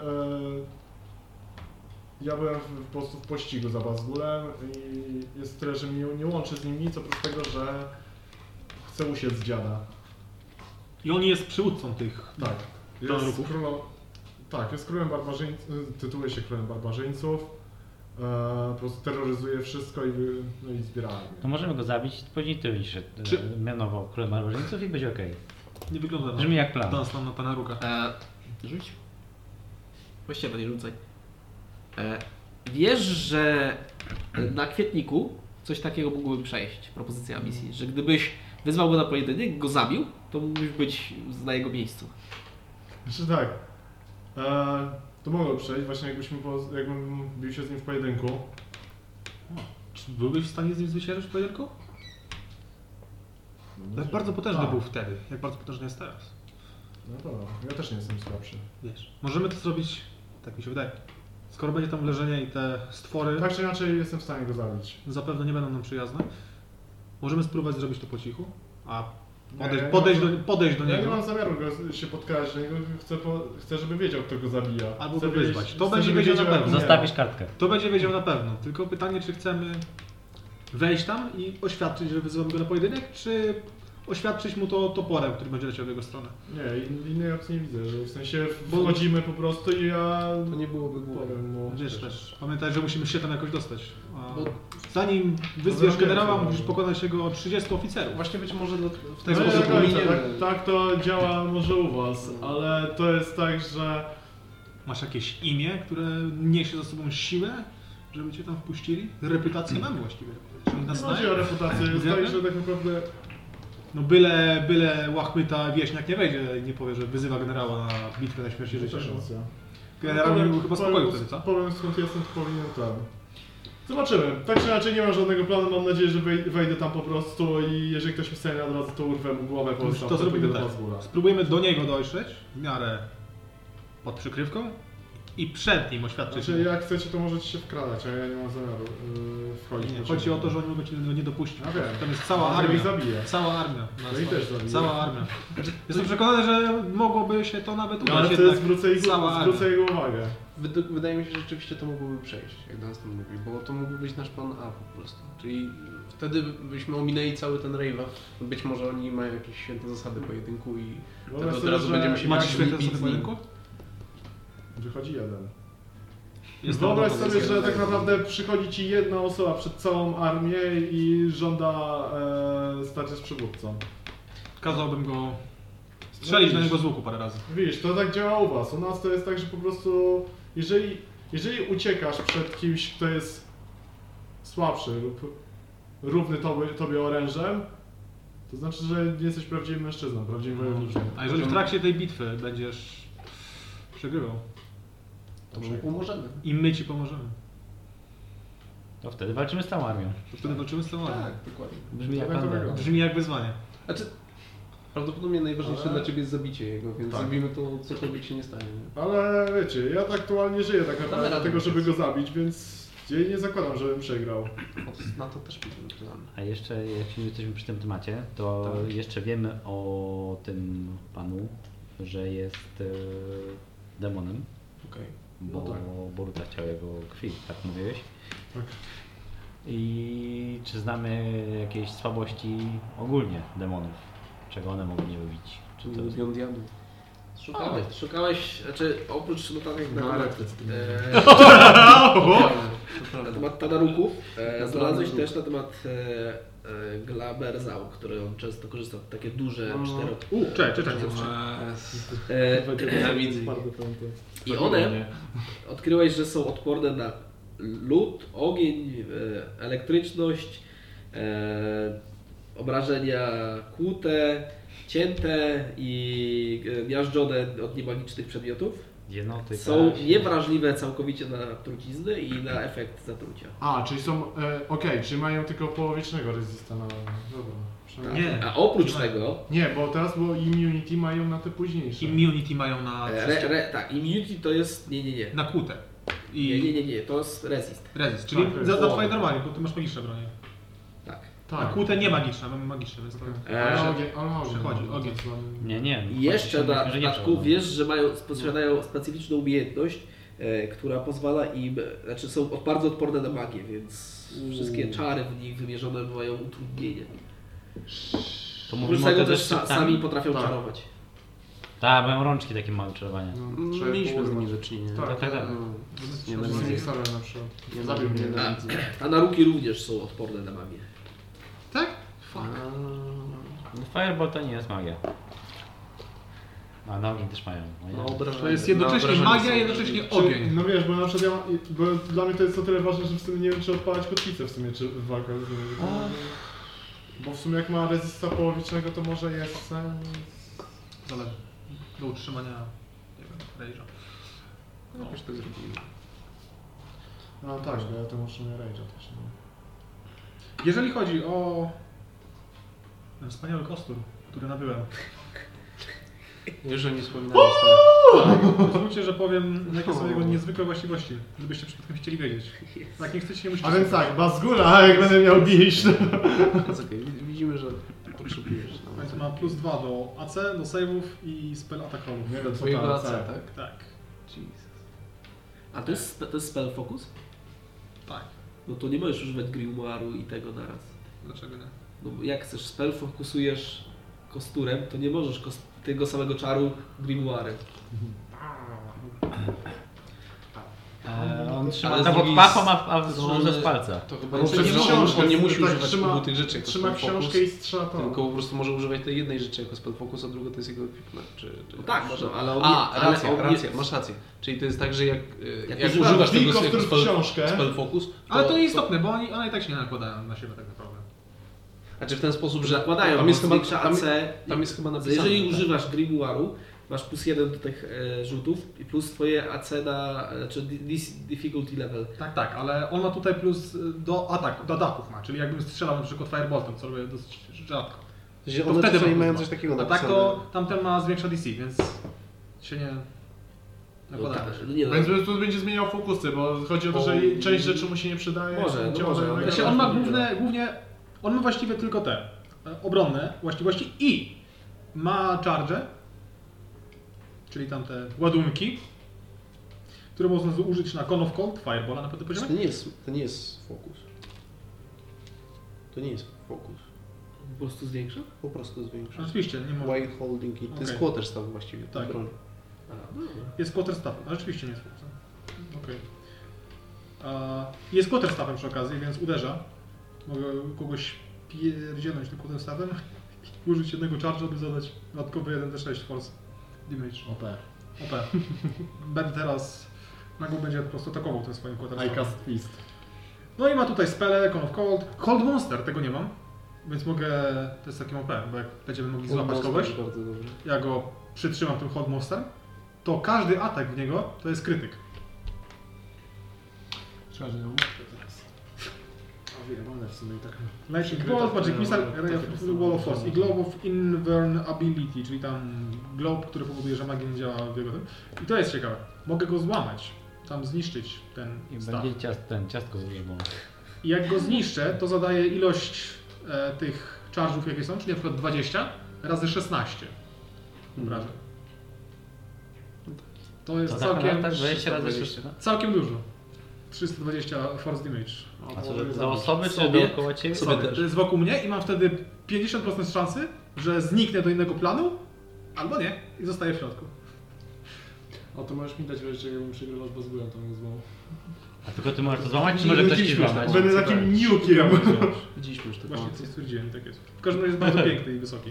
S4: y, ja byłem w, po prostu w pościgu za Bazgulem i jest tyle, że mnie nie łączy z nim nic, oprócz tego, że chcę usiec z dziada.
S2: I on jest przywódcą tych.
S4: Tak. Jest
S2: Tadruków?
S4: królą, tak, jest królem barbarzyńców, tytułuje się królem barbarzyńców. E, po prostu terroryzuje wszystko i, wy- no i zbiera armię.
S5: To możemy go zabić, później ty będziesz się
S2: Czy-
S5: Czy... mianował królem barbarzyńców i będzie okej.
S2: Nie wygląda
S5: Brzmi
S2: na
S5: jak plan.
S2: dans tam na pana ruka.
S1: E, rzuć. Właściwie nie rzucaj. E, wiesz, że na kwietniku coś takiego mógłby przejść, propozycja misji, że gdybyś wyzwał go na pojedynek, go zabił, to mógłbyś być na jego miejscu.
S4: Znaczy tak. E, to mogło przejść, właśnie jakbyśmy po, jakbym bił się z nim w pojedynku.
S2: Czy byłbyś w stanie z nim zwyciężyć pojedynką? Jak bardzo potężny
S4: Tak.
S2: był wtedy, jak bardzo potężny jest teraz.
S4: No dobra, ja też nie jestem słabszy.
S2: Wiesz, możemy to zrobić, tak mi się wydaje. Skoro będzie tam leżenie i te stwory
S4: Tak czy inaczej jestem w stanie go zabić.
S2: zapewne nie będą nam przyjazne, możemy spróbować zrobić to po cichu, a
S4: Nie,
S2: podejść, podejść,
S4: ja-
S2: do, podejść do
S4: Ja nie
S2: niego.
S4: mam zamiaru go, się podkarać, niego chcę, po, chcę, żeby wiedział, kto go zabija.
S2: Albo
S4: chcę
S2: go
S4: wiedzieć-
S2: wyzwać. To
S4: chcę,
S2: będzie
S4: żeby
S2: wiedział
S4: wiedział,
S2: na
S4: jak
S2: pewno.
S4: umiera.
S5: Zostawisz kartkę.
S2: To będzie wiedział na pewno, tylko pytanie, czy chcemy wejść tam i oświadczyć, że wyzywamy go na pojedynek, czy oświadczyć mu to toporem, który będzie leciał w jego stronę.
S4: Nie, in- innej opcji nie widzę, że w sensie wchodzimy po prostu i ja
S3: To nie no, byłoby głupie.
S4: powiem no. mu.
S2: Wiesz
S3: tak.
S2: też, pamiętaj, że musimy się tam jakoś dostać. A
S3: Bo-
S2: zanim wyzwiesz
S4: Dobra,
S2: generała,
S4: dobra.
S2: musisz pokonać jego 30 oficerów.
S3: Właśnie być może do, w ten
S4: No
S3: sposób
S4: nie do końca, tak,
S3: pominiemy.
S4: tak to działa może u was, ale to jest tak, że
S2: Masz jakieś imię, które niesie za sobą siłę, żeby cię tam wpuścili? Reputację
S4: Hmm.
S2: mam właściwie. Czy oni
S4: nie
S2: nas
S4: chodzi
S2: znają?
S4: o reputację, jest
S2: Wiemy?
S4: tak, że tak naprawdę
S2: No byle, byle łachmyta wieśniak nie wejdzie i nie powie, że wyzywa generała na bitwę na śmierć i życie. Generał nie był chyba spokoju wtedy, co?
S4: Powiem skąd jestem, to powinien ten. Zobaczymy. Tak czy inaczej nie mam żadnego planu, mam nadzieję, że wej- wejdę tam po prostu i jeżeli ktoś mi stanie na drodze, to urwę mu głowę po
S2: To,
S4: prostu.
S2: to zrobimy
S4: pójdę do
S2: tak.
S4: Pazgula.
S2: Spróbujemy do niego dojrzeć w miarę pod przykrywką i przed nim oświadczyć.
S4: Znaczy jak chcecie, to możecie się wkradać, a ja nie mam zamiaru yy, wchodzić.
S2: Nie,
S4: po
S2: chodzi
S4: ciebie.
S2: o to, że oni mogą cię nie dopuścić.
S4: Ja wiem.
S2: Tam jest cała
S4: Ale
S2: armia.
S4: ich zabije.
S2: Cała armia.
S4: No i też zabije.
S2: Cała armia. Jestem przekonany, że mogłoby się to nawet udać.
S4: No, Ale
S2: No,
S4: to
S2: jednak
S4: jest zwrócę ich,
S2: cała armia.
S4: zwrócę jego uwagę.
S3: Wyd- Wydaje mi się, że rzeczywiście to mogłoby przejść, jak do nas to mówi, bo to mógłby być nasz plan A po prostu. Czyli wtedy byśmy ominęli cały ten rave'a. Być może oni mają jakieś święte zasady pojedynku i wtedy
S4: Wyobraź
S3: od
S4: sobie,
S3: razu
S4: że
S3: będziemy się
S2: Macie
S3: bić-
S2: świetne
S3: bić z
S2: zasady
S3: nim.
S2: rynku?
S4: Wychodzi jeden.
S3: Jestem
S4: Wyobraź
S3: gotowy
S4: sobie,
S3: z-
S4: że tak naprawdę przychodzi ci jedna osoba przed całą armię i żąda e, starcia z przywódcą.
S2: Kazałbym go strzelić na niego z łuku parę razy.
S4: Widzisz, to tak działa u was. U nas to jest tak, że po prostu jeżeli, jeżeli uciekasz przed kimś, kto jest słabszy lub równy tobie, tobie orężem, to znaczy, że nie jesteś prawdziwym mężczyzną, prawdziwym wojownikiem.
S2: Mhm. A jeżeli w trakcie tej bitwy będziesz przegrywał,
S10: To mu
S3: tak.
S10: pomożemy.
S2: i my ci pomożemy,
S5: To wtedy walczymy z całą armią.
S2: to wtedy walczymy z tą armią.
S10: Tak, dokładnie.
S5: Brzmi jak
S4: Tak to
S5: plan.
S4: wygląda.
S2: Brzmi jak wyzwanie.
S3: Znaczy, prawdopodobnie najważniejsze
S4: Ale-
S3: dla ciebie jest zabicie jego, więc zrobimy to, cokolwiek się nie stanie. Nie?
S4: Ale wiecie, ja tak aktualnie żyję tak naprawdę
S10: radę,
S4: dlatego, żeby go zabić, więc ja nie zakładam, żebym przegrał.
S3: Od- Na to też będziemy plan.
S5: A jeszcze, jak już jesteśmy przy tym temacie, to jeszcze wiemy o tym panu, że jest e, demonem,
S3: Okej.
S5: bo
S3: No tak.
S5: Boruta chciał jego krwi, tak mówiłeś.
S4: Tak.
S5: I czy znamy jakieś słabości ogólnie demonów? Czego one mogą nie lubić? Czy to jest...
S1: Mm.
S3: Lubią diabłów.
S1: Szukamy. Szukałeś, znaczy oprócz notatek na
S4: ale
S1: temat,
S4: to jest-
S1: e, na temat Tanaruków, e, znalazłeś
S3: Tanaruk.
S1: też na temat e, e, Glaberzał, który on często korzysta, takie duże cztero...
S2: U, czekaj, czekaj. Eee,
S1: E,
S4: Twarde piąty.
S1: I one odkryłeś, że są odporne na lód, ogień, e, elektryczność, e, obrażenia kłute, cięte i e, miażdżone od niemagicznych przedmiotów.
S5: Jednoty,
S1: Są
S5: karaś?
S1: niewrażliwe całkowicie na trucizny i na efekt zatrucia.
S4: A, czyli są. E, Okej, czyli mają tylko połowicznego rezista na. Dobra. przynajmniej-
S2: Nie,
S1: Tak. A oprócz tego,
S2: Tak.
S4: Nie, bo teraz było immunity mają na te późniejsze.
S2: immunity mają na,
S1: re, re, tak, immunity to jest, nie, nie, nie.
S2: na kłute.
S1: Nie, nie,
S2: I
S1: nie, nie, to jest resist.
S2: resist, czyli
S4: Tak,
S2: za, za
S4: o.
S2: twoje normalnie, bo ty masz magiczne bronie.
S1: Tak.
S2: A
S4: Tak.
S2: kłute nie magiczne, mamy magiczne, więc to...
S4: Ale
S1: E,
S4: ogień, ale ogień. no, tak
S2: Przechodzi, ogień.
S5: Nie, nie.
S1: I jeszcze
S5: chodzi się,
S1: na
S5: że nie
S1: dodatku
S5: trzeba.
S1: wiesz, że mają, posiadają specyficzną umiejętność, e, która pozwala im, znaczy są od- bardzo odporne na magię, więc wszystkie czary w nich wymierzone mają utrudnienie.
S5: To
S1: Oprócz
S5: mówimy o
S1: tego
S5: tym
S1: też
S5: też
S1: sa, sami potrafią czarować.
S5: Tak, mają rączki takie małe czarowania.
S4: No,
S3: Mieliśmy z nimi do czynienia.
S4: Tak,
S5: Tak, tak, tak.
S3: No,
S4: Nie
S3: Nie
S4: na
S3: na nic.
S4: na
S2: no.
S4: przykład. Zabił
S3: nie
S4: mnie.
S3: na nic.
S1: Tak, A naruki również są odporne na magię.
S2: Tak?
S5: No, Fireball to nie jest magia. A na ogień też mają. No,
S3: Na
S5: ja-
S3: obrażenie-
S2: To jest jednocześnie
S3: na obrażenie
S2: magia,
S3: są-
S2: jednocześnie
S4: Czy-
S2: ogień.
S4: No wiesz, bo na przykład ja, bo dla mnie to jest o tyle ważne, że w sumie nie wiem, czy odpalać kotwicę w sumie, czy w walkę. Bo w sumie jak ma rezista połowicznego, to może jest e, sens.
S2: Zależy. Do utrzymania, nie wiem, rage'a.
S3: No, już to zrobimy.
S4: No tak, bo ja to muszę mieć rage'a też. No.
S2: Jeżeli chodzi o ten wspaniały kostur, który nabyłem,
S3: Już o nie wspominałem. stary.
S2: pozwólcie, że powiem, jakie są jego niezwykłe właściwości, żebyście przypadkiem chcieli wiedzieć. Tak, nie chcecie, nie musicie.
S4: A więc tak, Bazgula, a jak będę miał bić, to...
S3: Jest tak. okej, wid- Widzimy, że no. potrzebujesz.
S2: A Więc ma plus 2 do AC, do save'ów i spell attack rollów.
S4: Nie wiem, co
S3: Twojego
S4: to
S3: AC,
S4: AC.
S3: tak?
S2: Tak,
S3: Jesus.
S1: A to jest, spe- to jest spell focus?
S2: tak.
S1: No to nie możesz używać grimoiru i tego naraz.
S2: Dlaczego nie?
S1: No bo jak chcesz spell fokusujesz kosturem, to nie możesz kos- tego samego czaru grimoirem.
S5: E, on trzyma
S3: Ale
S5: to
S3: z
S5: pod
S3: drugiej
S5: pachą, a,
S3: strony-
S5: a złożył z palca.
S3: To chyba
S4: Bo
S3: jest
S4: przez
S3: nie, on,
S4: książkę
S3: on nie musi
S4: tak
S3: używać
S4: trzyma-
S3: obu tych rzeczy jako
S4: Trzyma
S3: spell focus,
S4: książkę i strzela to.
S3: Tylko po prostu może używać tej jednej rzeczy jako spell focus, a druga to jest jego equipment. Czy, czy...
S1: No tak, może, ale on
S3: A,
S1: ale
S3: racja,
S1: on
S3: racja, masz rację. Czyli to jest tak, że jak, e,
S1: Jak
S3: jak,
S1: używasz
S3: używasz tego
S4: Wilkow,
S3: jako
S4: który w
S3: spell,
S4: książkę.
S3: spell focus, to,
S2: Ale to nieistotne, bo oni, one i tak się nie nakładają na siebie tak naprawdę.
S3: Znaczy w ten sposób, że
S1: zakładają,
S3: tam jest chyba,
S1: większa
S3: tam,
S1: AC.
S3: tam jest chyba napisane.
S1: Jeżeli
S3: tak.
S1: używasz grimoiru, masz plus jeden do tych e, rzutów i plus twoje AC na, e, czy di- dis- difficulty level.
S3: No
S2: Tak, tak, ale on ma tutaj plus y, do ataku, do ataków ma, czyli jakbym strzelał na przykład fireboltem, co robię dosyć rzadko.
S3: W sensie
S2: to
S3: One
S2: wtedy
S3: czasami
S2: ma-
S3: mają coś takiego
S2: A
S3: napisane.
S2: tak to tamten ma zwiększa DC, więc się nie
S1: No,
S2: nakładają.
S1: tak, no nie no,
S4: Więc tu będzie zmieniał fokusy, bo chodzi o to, że
S1: Bo-
S4: część rzeczy mu się nie przydaje.
S1: Może, no
S4: ciągle
S1: może,
S4: innego.
S1: ale-
S2: Znaczy on ma główne, głównie, on ma właściwie tylko te e, obronne właściwości i ma charge, czyli tamte ładunki, które można użyć na Call of Cold, Firebola na pewnym poziomie.
S3: Znaczy, To nie jest, to nie jest fokus. To nie jest fokus.
S1: po prostu zwiększa?
S3: Po prostu zwiększa.
S2: Rzeczywiście, nie ma.
S3: White holding i to jest
S2: Okej.
S3: quarter staw właściwie.
S2: Tak.
S3: Tak. Broń.
S1: A, no,
S2: Jest quarterstaff, a rzeczywiście nie jest fokusem. Okej. A jest quarterstaffem przy okazji, więc uderza. Mogę kogoś pierdzielnąć tym quarterstaffem i użyć jednego charge'a, by zadać dodatkowy 1d6 force damage.
S4: OP.
S2: OP. Będę teraz... Nagu będzie po prostu atakował tym swoim
S4: I
S2: quarterstaffem.
S4: cast fist.
S2: No i ma tutaj spele, Con of Cold. Cold Monster, tego nie mam. Więc mogę... To jest takie OP, bo jak będziemy mogli złapać kogoś,
S3: Bardzo dobrze.
S2: ja go przytrzymam tym Cold Monster, to każdy atak w niego to jest krytyk.
S4: Trzeba, że nie mam to teraz. A wyjebane w sumie tak.
S2: Lightning
S4: Krytyk,
S2: Bolt, Magic
S4: nie,
S2: Missile,
S4: no,
S2: Ray of
S4: takie
S2: Wall of
S4: są.
S2: Force i Globe of Invulnerability, czyli tam glob, który powoduje, że magia nie działa w jego tym. I to jest ciekawe. Mogę go złamać, tam zniszczyć ten
S5: I
S2: staw.
S5: będzie ciast, ten ciastko z wróżbą.
S2: I jak go zniszczę, to zadaję ilość e, tych charge'ów, jakie są, czyli na przykład 20 razy 16 obrażeń. To jest
S5: To
S2: całkiem,
S5: tak, tak, 20 razy szybciej.
S2: całkiem dużo. 320 force damage.
S5: no. A co, że dla osoby czy
S2: Sobie-
S5: dookoła ciebie?
S2: Sobie To jest wokół mnie i mam wtedy 50% szansy, że zniknę do innego planu, albo nie, i zostaję w środku.
S4: O, to możesz mi dać, wiesz, jakbym przegrywał z bazgulem, to mnie złamał.
S5: A tylko ty możesz to złamać, czy może ktoś ci złamać?
S4: Będę
S3: tak?
S4: takim niukiem.
S3: Widzieliśmy już taką
S2: Właśnie
S3: akcję.
S2: coś stwierdziłem, tak jest. W każdym razie jest bardzo piękny i wysoki.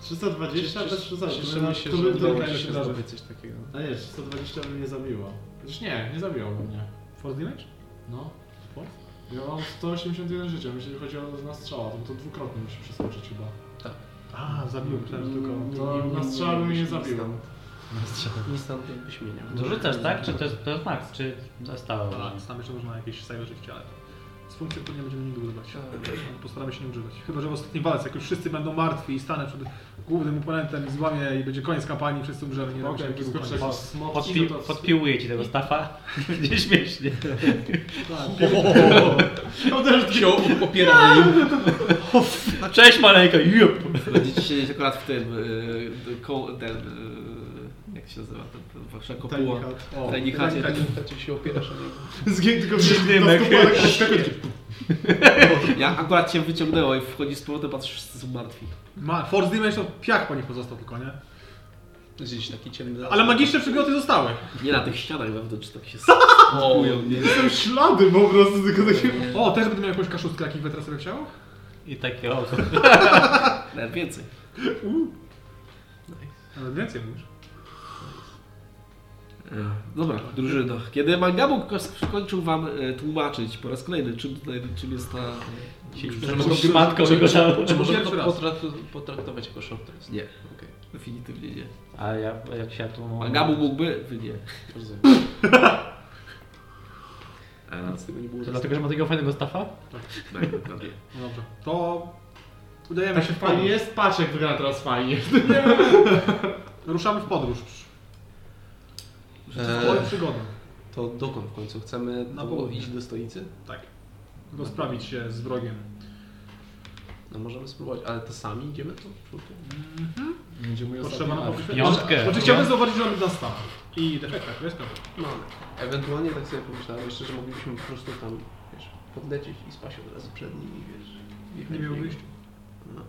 S4: 320
S3: Cieszę-
S4: też 320.
S3: Cieszymy się,
S4: to
S3: że
S4: by to
S3: udało
S4: by
S3: ci
S4: się
S3: się
S4: zdarzy.
S3: zdobyć coś takiego.
S4: A nie, 320 by mnie zabiło. Przecież nie, nie zabiłoby mnie.
S2: Force damage?
S4: No. Ja mam 181 życia, jeśli chodzi o na strzała, to, to dwukrotnie muszę przeskoczyć chyba.
S2: A, zabiłem teraz tylko.
S4: To na strzała by mnie nie zabiło.
S3: Instant jakbyś mieniał.
S5: Dorzucasz, tak? Czy to jest, to jest max? Czy zostało?
S2: A, tam jeszcze można jakieś sajwerzyć w ciele. Z funkcji pewnie będziemy nigdy używać. Postaramy się nie używać. Chyba, że w ostatni walce, jak już wszyscy będą martwi i stanę przed głównym oponentem i złamię i będzie koniec kampanii, wszyscy umrzemy. Nie
S4: Mogę,
S2: będziemy
S4: jak
S2: jakiego
S4: wyskoczę
S2: koniec.
S4: jakiś smok,
S5: Podpi
S4: to-
S5: podpiłuję ci tego stafa. Będzie śmiesznie.
S3: Się opieram nim.
S5: Cześć maleńka, jup!
S1: Będziecie siedzieć akurat w tym, y, ko- ten, y, jak się nazywa, ten, ten wasza kopuła.
S4: Tiny Hut.
S1: O, Tiny chacie.
S3: Tak się opierasz o niego.
S4: Zgię tylko wiesz, na skuparek pod szczepionki.
S1: Ja akurat cię wyciągnęło i wchodzi z powrotem, patrzysz, wszyscy są martwi.
S2: Ma, force damage to piach po nich pozostał tylko, nie?
S3: Gdzieś taki ciemny...
S2: Ale magiczne przedmioty zostały.
S1: Nie na tych ścianach wewnątrz tak się skupują, nie?
S4: Są ślady po prostu, tylko takie...
S2: O, też będę miał jakąś kaszustkę, jakich wetra sobie chciał?
S5: I takie oko.
S1: Nawet E, więcej.
S2: Nawet więcej mówisz.
S1: Dobra, drużyno. Kiedy Mangabuk skończył wam e, tłumaczyć po raz kolejny, czym, tutaj, czym jest ta...
S5: Taką szmatką wyglądało.
S3: Czy możemy
S2: Pierwszy
S3: to
S2: raz.
S3: potraktu- potraktować jako short rest?
S1: Nie,
S3: Okej,
S1: definitywnie nie.
S5: A ja, jak się tu...
S1: Mangabuk mógłby, wy nie.
S3: rozumiem.
S1: A,
S3: Z tego nie było
S5: To dlatego, że ma takiego fajnego stafa?
S1: najprawdopodobniej.
S2: No dobrze. To udajemy
S4: Tak
S2: się w
S4: fajnie
S2: podróż.
S4: jest, patrz jak wygląda teraz fajnie.
S2: Ruszamy w podróż.
S3: Eee.
S2: Eee. przygodę.
S3: To dokąd w końcu? Chcemy
S2: Na
S3: na
S2: południe.
S3: iść do stolicy?
S2: Tak. Rozprawić się z wrogiem.
S3: No możemy spróbować, ale to sami idziemy tu?
S4: Będzie mój
S2: Potrzeba nam
S4: ostatni
S2: pokoju.
S5: Piątkę.
S2: Znaczy chciałbym zobaczyć, że mamy na stan. I defekta, to jest prawda.
S3: No ale ewentualnie tak sobie pomyślałem jeszcze, że moglibyśmy po prostu tam, wiesz, podlecieć i spać od razu przed nimi, wiesz.
S2: Nie
S3: wjechać
S2: miał
S3: w niego.
S2: wyjścia.
S3: No.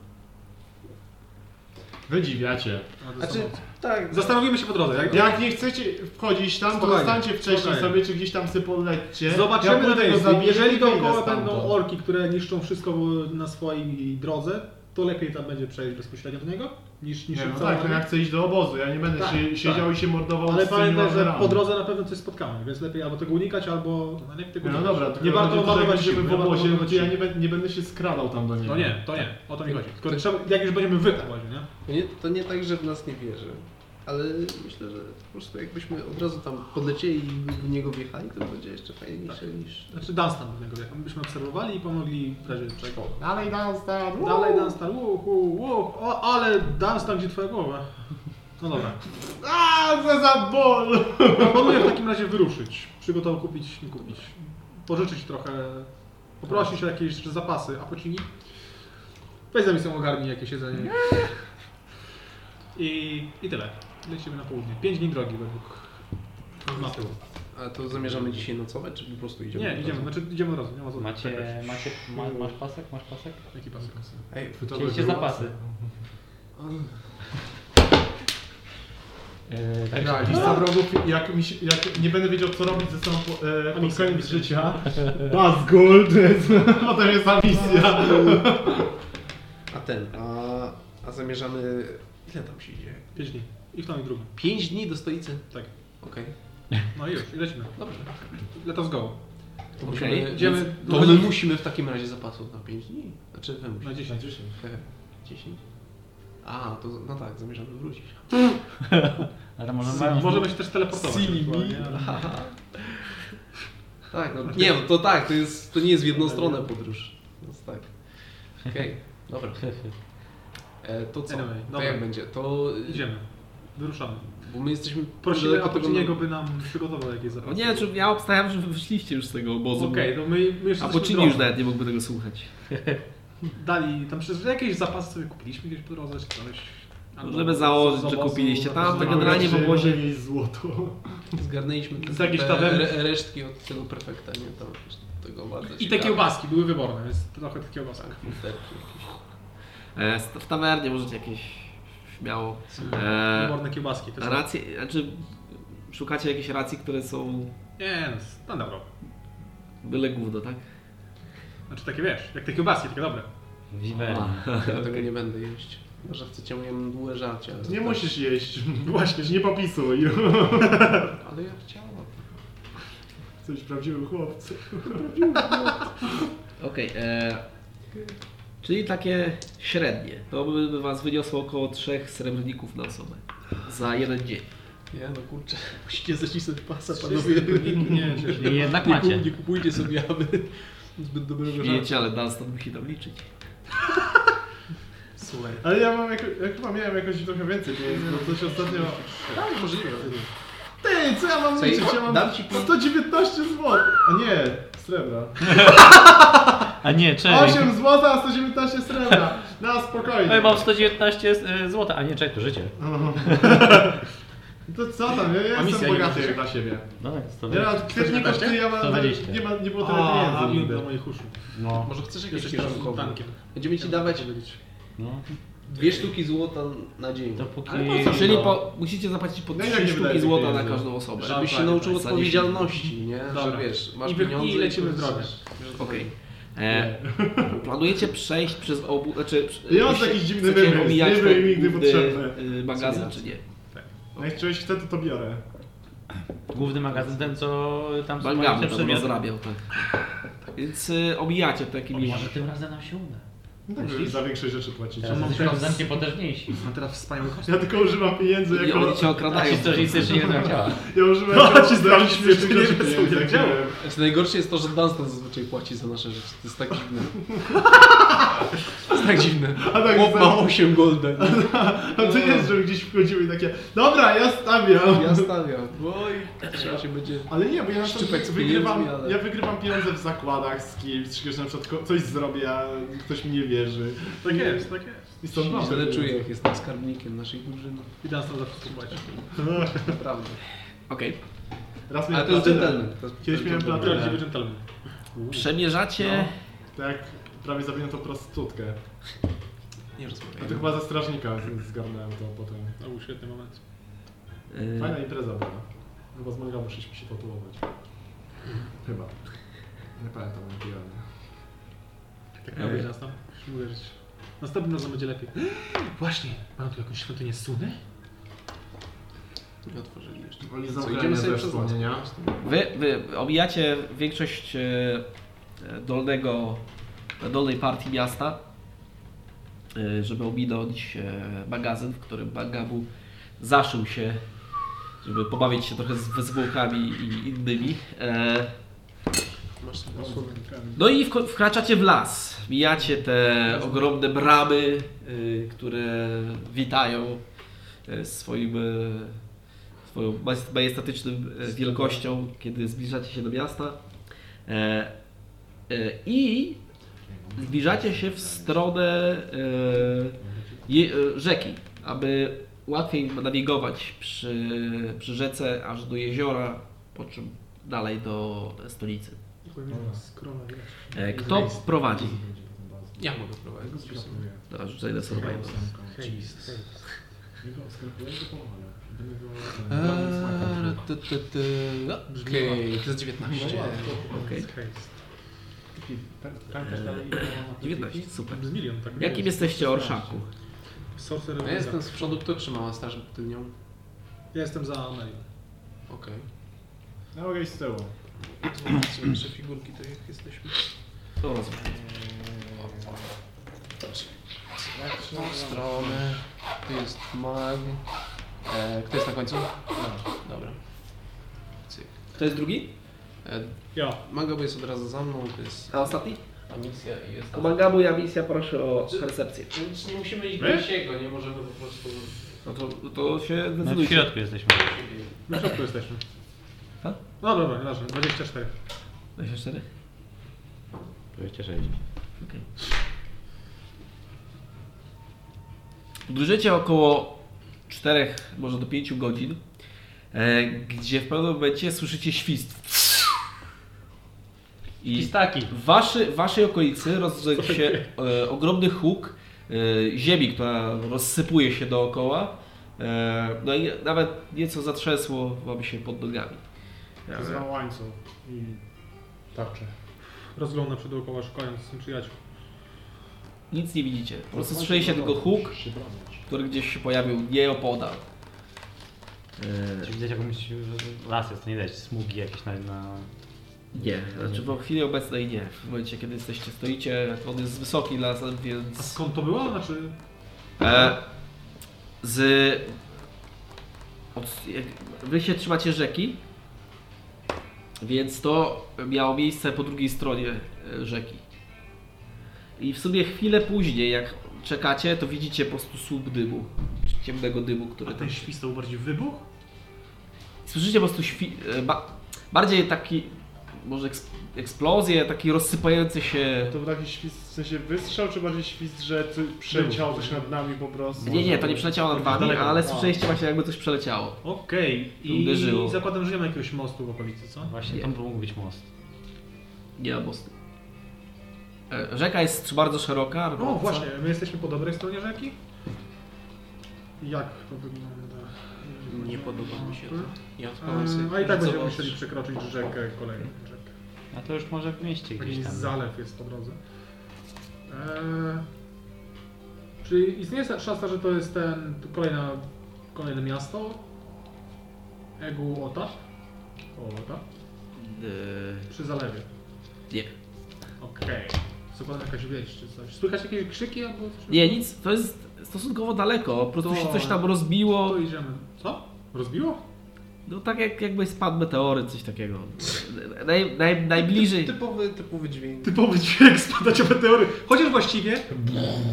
S4: Wydziwiacie.
S2: Ale to
S3: Znaczy,
S2: samo.
S3: tak,
S2: Zastanowimy się po drodze. Jak,
S4: Jak nie chcecie wchodzić tam, to
S2: Spokojnie,
S4: zostańcie wcześniej
S2: spokojnie.
S4: sobie, czy gdzieś tam sobie polećcie.
S2: Zobaczymy
S4: pójdę
S2: na
S4: tylko
S2: tej
S4: zabieram i
S2: Jeżeli
S4: wyjdę
S2: dookoła
S4: stamtąd.
S2: będą orki, które niszczą wszystko na swojej drodze, to lepiej tam będzie przejść bezpośrednio do niego, niż niż
S4: Nie, no
S2: im
S4: tak,
S2: całym.
S4: no ja chcę iść do obozu, ja nie będę
S2: Tak,
S4: się,
S2: tak.
S4: siedział i się mordował
S2: Ale
S4: z tymi
S2: pamiętaj, że
S4: marderami.
S2: po drodze na pewno coś spotkamy, więc lepiej albo tego unikać, albo... No, nie, tego
S4: Nie, no
S2: unikać.
S4: dobra, tylko
S2: nie warto
S4: chodzi o to, że jak
S2: obawiać się,
S4: będziemy
S2: nie
S4: w
S2: warto
S4: obozie,
S2: obawiać
S4: to ja
S2: się.
S4: nie, bę- nie będę się skradał tam do niego.
S2: No nie, to nie, o to mi chodzi. Tylko trzeba, jak już będziemy wy w obozie, nie?
S3: to nie, to nie tak, że w nas nie wierzy. Ale myślę, że po prostu jakbyśmy od razu tam podlecieli i w niego wjechali, to będzie jeszcze fajniejsze niż...
S2: Znaczy Dunstan pewnego wieka. Myśmy obserwowali i pomogli w razie czego.
S4: Dalej Dunstan! uuu.
S2: Dalej Dunstan, łuch, łuch, łuch. O, ale Dunstan, gdzie twoja głowa? No dobra.
S4: A, co za ból!
S2: Proponuję w takim razie wyruszyć. Przygotował kupić, nie kupić. Pożyczyć trochę, poprosić o jakieś zapasy, a pocini? Weź za misją ogarnij jakieś jedzenie. I, I tyle. Lecimy na południe. 5 dni drogi według mapy.
S3: A to zamierzamy dzisiaj nocować, czy po prostu idziemy? od
S2: Nie,
S3: razu?
S2: idziemy, znaczy idziemy razem, nie ma co
S5: Macie,
S2: czekać.
S5: macie, ma, masz pasek? Masz pasek?
S2: Jaki pasek?
S3: Ej,
S5: Chcieliście zapasy. E,
S11: Ja,
S5: Także
S11: lista wrogów, jak, mi się, jak nie będę wiedział co robić ze sobą po, e, pod koniec życia,
S2: tak.
S11: No, Basgul, to jest, bo to jest ta misja.
S3: A ten, tak. a, a zamierzamy... Ile tam się idzie?
S2: 5 dni. I w tam i drugą.
S3: 5 dni do stolicy?
S2: Tak.
S3: Okej,
S2: No i już, i lecimy.
S3: dobrze.
S2: Lata z gołą.
S1: Okej,
S3: To musimy,
S1: więc
S3: idziemy, no-
S1: to
S3: to my
S1: my-
S3: musimy w takim razie zapasów na 5 dni. Znaczy wy
S2: Na
S3: musicie.
S2: 10. 10.
S3: E, 10? A, to no tak, zamierzamy wrócić.
S5: Ale może No, mają...
S2: Możemy się też teleportować. ewentualnie, ale-
S3: Tak, no, nie, no to tak, to, jest, to nie jest w jedną stronę podróż. Więc tak. Okej, dobra. E, to co?
S2: Anyway,
S3: to
S2: dobra.
S3: jak będzie? To idziemy.
S2: Idziemy. Wyruszamy.
S3: Bo my jesteśmy...
S2: Prosimy
S3: daleko tego-
S2: Apociniego, by nam przygotował jakieś zapasy.
S1: Nie, czy ja obstawiam, że wy wyszliście już z tego obozu.
S2: Okej, no my, my już
S1: A
S2: jesteśmy
S1: Pocini
S2: w
S1: już
S2: drodze.
S1: nawet nie mógłby tego słuchać.
S2: Dali tam przez jakieś zapasy sobie kupiliśmy gdzieś po drodze, czy coś. Albo
S1: Możemy założyć,
S2: z
S1: że
S2: obozu,
S1: kupiliście tam,
S2: albo z
S1: to
S2: obozu.
S1: No, tak generalnie w obozie-
S4: Jej złoto.
S3: Zgarnęliśmy te,
S2: Z jakiejś
S3: te
S2: tawerny.
S3: re, resztki od tego prefekta, nie? Tam jakieś tego bardzo
S2: I te
S3: ciekawe.
S2: kiełbaski były wyborne, więc trochę te kiełbaski.
S3: Tak, filterki jakieś.
S1: E, st- W tawernie możecie jakieś śmiało. E,
S2: Wyborne kiełbaski. To jest...
S1: racje, znaczy szukacie jakichś racji, które są
S2: Nie, no standardowo.
S1: byle gówno, tak?
S2: Znaczy takie wiesz, jak te kiełbaski, takie dobre.
S5: Wiwer.
S3: Ja tego nie będę jeść. Może chcecie moje mdłe żarcie. ale
S4: Nie
S3: tak.
S4: musisz jeść. Właśnie, że nie popisuj.
S3: Ale ja chciałam.
S4: Coś prawdziwy chłopcy.
S1: Okej. e, Czyli takie średnie. To by by was wyniosło około 3 srebrników na osobę. Za jeden dzień.
S3: Nie, no kurczę. Musicie zacisnąć pasa,
S2: Panowie, nie, nie,
S5: I jednak
S3: Nie,
S5: macie.
S3: kup, nie kupujcie sobie aby zbyt dobrego żarcia.
S1: Wiecie, ale Dunstan musi tam liczyć.
S3: Słuchaj.
S4: Ale ja mam jako, ja chyba miałem jakoś trochę więcej pieniędzy, bo coś ostatnio... No,
S3: Tak, możliwe.
S4: Ty, co ja mam
S3: Słuchaj,
S4: liczyć? Ja mam
S3: dam ci po...
S4: 119 zł. A nie, srebra.
S5: A nie, cześć.
S4: 8 zł, a 119 srebra. Na spokojnie.
S5: Ej, mam 119 zł, a nie, cześć, to życie.
S4: To co tam, ja, ja jestem
S2: misja
S4: bogaty
S2: ile
S4: jak na siebie.
S5: No jest to.
S4: Ja mam kwietników, ty ja mam...
S5: 120.
S4: Nie, ma, nie było tyle
S2: A, a
S4: pieniędzy
S2: miód
S4: nigdy.
S2: na moich uszu.
S5: No,
S3: Może chcesz jakieś
S2: Jesteś teraz
S3: kierunkowe?
S2: tankiem.
S3: Będziemy ci dawać
S5: no.
S3: dwie sztuki złota na dzień.
S5: Dopóki...
S4: Ale po co?
S5: no,
S1: Czyli po, musicie zapłacić po
S4: No i
S1: 3
S4: jak nie
S1: sztuki
S4: wydaje
S1: złota na
S4: pieniędzy?
S1: każdą osobę.
S2: Żeby-
S3: Żebyś się
S2: tak,
S3: nauczył
S1: tak, za
S3: odpowiedzialności, nie? Że
S2: Dobra.
S3: wiesz, masz
S2: I wy- i
S3: pieniądze
S2: lecimy
S3: to
S2: w drogę.
S3: chcesz.
S1: Okej. E, Planujecie przejść przez obu... Znaczy, przy-
S4: Ja mam
S1: chcecie-
S4: jakiś dziwny
S1: chcecie
S4: wymysł,
S1: omijać
S4: nie
S1: ten
S4: był mi nigdy
S1: główny,
S4: potrzebny.
S1: y, magazyn, czy nie?
S4: No Jak czegoś chce, to to biorę.
S5: Główny magazyn ten, co tam
S1: Bangamy tam
S5: przebiera.
S1: rozrabiał, tak. Więc y, omijacie to
S5: O,
S1: jakimiś...
S5: Może tym razem nam się uda.
S4: No tak, żeby
S5: Myślisz?
S4: za większe rzeczy płacić.
S5: Teraz jesteśmy rozdankiem potężniejsi.
S2: Mam teraz wspaniały kostium.
S4: Ja tylko używam pieniędzy
S1: I
S4: jako...
S1: oni cię
S5: A
S1: okradają.
S5: ci Tak coś nic jeszcze nie będą chciała.
S4: Ja używam
S2: No,
S4: jako...
S2: ci
S4: używam
S2: zdradzisz,
S4: śmiesznych
S2: że nie
S4: rzeczy
S2: wiem, co będzie
S4: pieniędzy, jak
S2: działo.
S4: miałem.
S3: Znaczy, najgorsze jest to, że Dunstan zazwyczaj płaci za nasze rzeczy. To jest tak dziwne. to jest tak dziwne.
S4: A tak,
S3: Chłop ma
S4: za-
S3: 8 golden.
S4: A to jest, że gdzieś wchodziły takie... Dobra, ja stawiam!
S3: No. Ja stawiam. Oj, trzeba się będzie...
S4: Ale nie, bo ja na
S3: Szczypek
S4: przykład
S3: z
S4: wygrywam,
S3: pieniędzmi, ale-
S4: ja wygrywam pieniądze w zakładach z kimś, czy że na przykład ko- coś zrobię, a ktoś mi nie wierzy.
S2: Tak jest, tak jest.
S4: I stąd mam.
S3: Źle czuję, jak jestem skarbnikiem naszej drużyny.
S2: I nas tam zawsze spróbować.
S3: Naprawdę.
S1: Okej.
S4: Raz
S3: Ale
S4: miałem
S3: to jest
S4: platynę.
S3: dżentelmen. to jest-
S4: Kiedyś
S3: to
S4: miałem
S3: jest
S4: platynę.
S2: Prawdziwy dżentelmen.
S1: Przemierzacie...
S4: Tak, prawie zabiłem tą prostytutkę.
S3: dżentelmen. Nie
S4: A to
S3: rozmawiajmy.
S4: chyba ze strażnika z- zgarnąłem to potem.
S2: To był świetny moment.
S1: y,
S4: Fajna impreza była. Chyba z manga musieliśmy się tatuować. Chyba. Nie pamiętam, jak pijany.
S2: Tak miał być nas tam. Musimy uderzyć. Następnym razem będzie lepiej. Właśnie, mam tu jakąś świątynię Suny?
S3: Nie otworzyli jeszcze.
S4: Oni
S3: Co,
S4: zamknęli
S3: idziemy sobie
S4: ze
S3: przez las.
S4: wspomnienia.
S1: Wy, wy omijacie większość e, e, dolnego, dolnej partii miasta, e, żeby ominąć e, magazyn, w którym Bangabu zaszył się, żeby pobawić się trochę z wezwłokami i innymi. E,
S3: Masz sobie osłonę.
S1: no i wko- wkraczacie w las. Mijacie te ogromne bramy, y, które witają y, swoim, y, swoją maj- majestatycznym y, wielkością, kiedy zbliżacie się do miasta. E, e, I zbliżacie się w stronę e, je, e, rzeki, aby łatwiej nawigować przy, przy rzece aż do jeziora, po czym dalej do stolicy.
S2: Skrona, wiesz.
S1: E, Kto prowadzi?
S3: Ja mogę prowadzić.
S1: Dobra, rzucaj na survival.
S2: Hej, hej.
S4: Nie go sklepuję, to pomogę. Będę go...
S3: Eee, ty, ty, ty. Okej, to jest
S2: No
S3: 19.
S1: Okej.
S2: Dziewiętnaście,
S1: super.
S2: Z milion, tak?
S1: Jakim jesteście orszaku?
S2: Sorcerer
S3: Ja
S2: Wizard.
S3: jestem z przodu, kto trzymała straż tylnią?
S2: ja jestem za Amelią.
S3: Okej.
S4: No mogę iść z tyłu.
S3: Zobaczmy nasze figurki, to jak jesteśmy.
S1: To rozumiem.
S3: W tą stronę. Tu jest mag. E, kto jest na końcu? Dobra. Cyk.
S1: Kto jest drugi?
S3: E,
S2: Ja.
S3: Magabu jest od razu za mną, to jest
S1: A ostatni?
S3: Amicia i jest...
S1: Kumangamu i Amicia, proszę o percepcję.
S3: Więc nie musimy iść do siego, nie możemy po prostu...
S1: No to, to się
S5: No, w środku jesteśmy.
S2: Na środku jesteśmy.
S1: A?
S2: No dobra, nieważne. 24.
S1: 24?
S5: 26.
S1: Podróżujecie około 4, może do 5 godzin, e, gdzie w pewnym momencie słyszycie świst. I
S5: Pistaki.
S1: w waszy, w waszej okolicy rozległ się e, ogromny huk e, ziemi, która rozsypuje się dookoła. E, no i nawet nieco zatrzęsło wam się pod nogami.
S4: Zrywam łańcuch i tarczę.
S2: Rozglądam się dookoła, szukając przyjaciół.
S1: Nic nie widzicie. Po prostu słyszeliście tylko huk,
S4: Się bronić.
S1: który gdzieś się pojawił nieopodal. E,
S5: Czy widać jakąś y, las jest, to nie widać smugi jakieś na... na...
S1: Nie, znaczy w chwili obecnej nie. W momencie, kiedy jesteście, stoicie, on jest wysoki lasem,
S2: A
S1: więc...
S2: skąd to było? Znaczy...
S1: E, z... Od, jak, wy się trzymacie rzeki, więc to miało miejsce po drugiej stronie e, rzeki. I w sumie chwilę później, jak czekacie, to widzicie po prostu słup dymu, czy ciemnego dymu, który
S2: A ten świst to był bardziej wybuch?
S1: Słyszycie po prostu świ- e, ba- bardziej taki, może eks- eksplozję, taki rozsypający się...
S4: To był taki świst, w sensie wystrzał, czy bardziej świst, że ty przeleciał coś nad nami po prostu?
S1: Nie, nie, to nie przeleciało nad wami,
S2: Daleko.
S1: ale
S2: A.
S1: słyszeliście właśnie jakby coś przeleciało.
S2: Okej.
S1: Uderzyło.
S2: I zakładam, że nie ma jakiegoś mostu w okolicy, co?
S5: no Właśnie, tam mógł być most.
S1: Nie ma mostu. E, Rzeka jest bardzo szeroka.
S2: No
S1: rwąca.
S2: właśnie, my jesteśmy po dobrej stronie rzeki? Jak to wygląda?
S3: Nie podoba mi się to. Ja odpalam
S2: Eee,
S3: sobie...
S2: A i tak będziemy
S3: zobacz.
S2: musieli przekroczyć rzekę, kolejną rzekę.
S5: A to już może w mieście
S2: Jakiś
S3: Mm.
S5: gdzieś tam.
S2: zalew jest po drodze. Eee, czy istnieje sa- szansa, że to jest ten to kolejna, kolejne miasto? Egu Ota? O, Ota?
S3: Eee.
S1: E,
S2: Przy zalewie.
S1: nie.
S2: Okej. Zakładam jakaś wieś czy coś. Słychać jakieś krzyki albo coś?
S1: Nie, nic, to jest stosunkowo daleko. Po prostu
S2: To-
S1: się coś tam rozbiło.
S2: To idziemy. Co? Rozbiło?
S1: No tak jak, jakby spadł meteoryt, coś takiego. Naj, naj, najbliżej.
S3: Typowy, typowy dźwięk.
S2: Typowy dźwięk spadać o meteory. Chociaż właściwie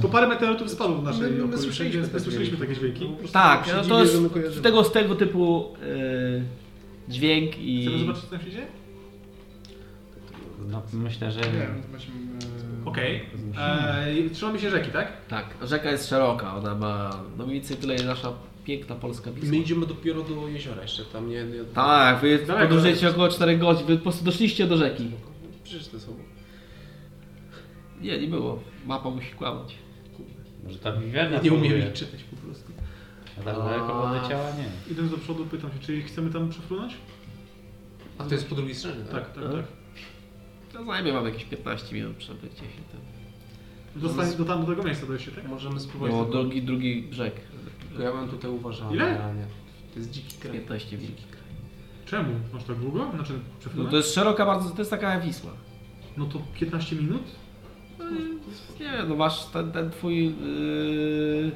S2: to parę meteorytów spadło w naszej
S3: My- my
S2: okolicy,
S3: słyszeliśmy
S2: więc
S3: te
S2: my słyszeliśmy
S3: dźwięki.
S2: takie dźwięki.
S1: Tak,
S3: się
S1: no
S3: dziwię,
S1: to jest
S3: że my kojarzymy.
S1: tego, z tego typu e, dźwięk i...
S2: Chcemy zobaczyć, co tam się dzieje?
S5: No, myślę, że...
S4: Nie wiem, weźmy...
S2: Okej. Eee, Trzymamy się rzeki, tak?
S1: Tak, rzeka jest szeroka, ona ma no mniej więcej tyle ile nasza piękna polska
S3: My
S1: Wisła.
S3: idziemy dopiero do jeziora jeszcze, tam nie... nie
S1: Tak, wy
S2: Daleko
S1: podróżujecie
S2: jest.
S1: około 4 godzin, wy po prostu doszliście do rzeki.
S3: Przecież to są...
S1: Nie, nie było. Mapa musi kłamać.
S5: Może ta wiwerna
S3: Nie umiem
S5: próbuje.
S3: ich czytać po prostu.
S5: A tak daleko odleciała? Nie.
S2: Idąc do przodu pytam się, czy chcemy tam przepłynąć?
S3: A to jest po drugiej stronie, tak?
S2: Tak, tak,
S1: Mhm.
S2: tak.
S1: To zajmie wam jakieś 15 minut przebycie się tym.
S2: Dostań, do, tam, do tego miejsca dojście, tak?
S3: Możemy spróbować.
S1: No,
S3: tego.
S1: drugi, drugi brzeg.
S3: Tylko ja bym tutaj uważał.
S2: Ile?
S3: generalnie. To jest dziki kraj.
S1: 15 minut.
S2: Czemu? Masz tak długo? Znaczy,
S1: No
S2: przepłynąć?
S1: to jest szeroka bardzo, to jest taka Wisła.
S2: No to 15 minut?
S1: No, nie wiem, no masz ten, ten twój yy,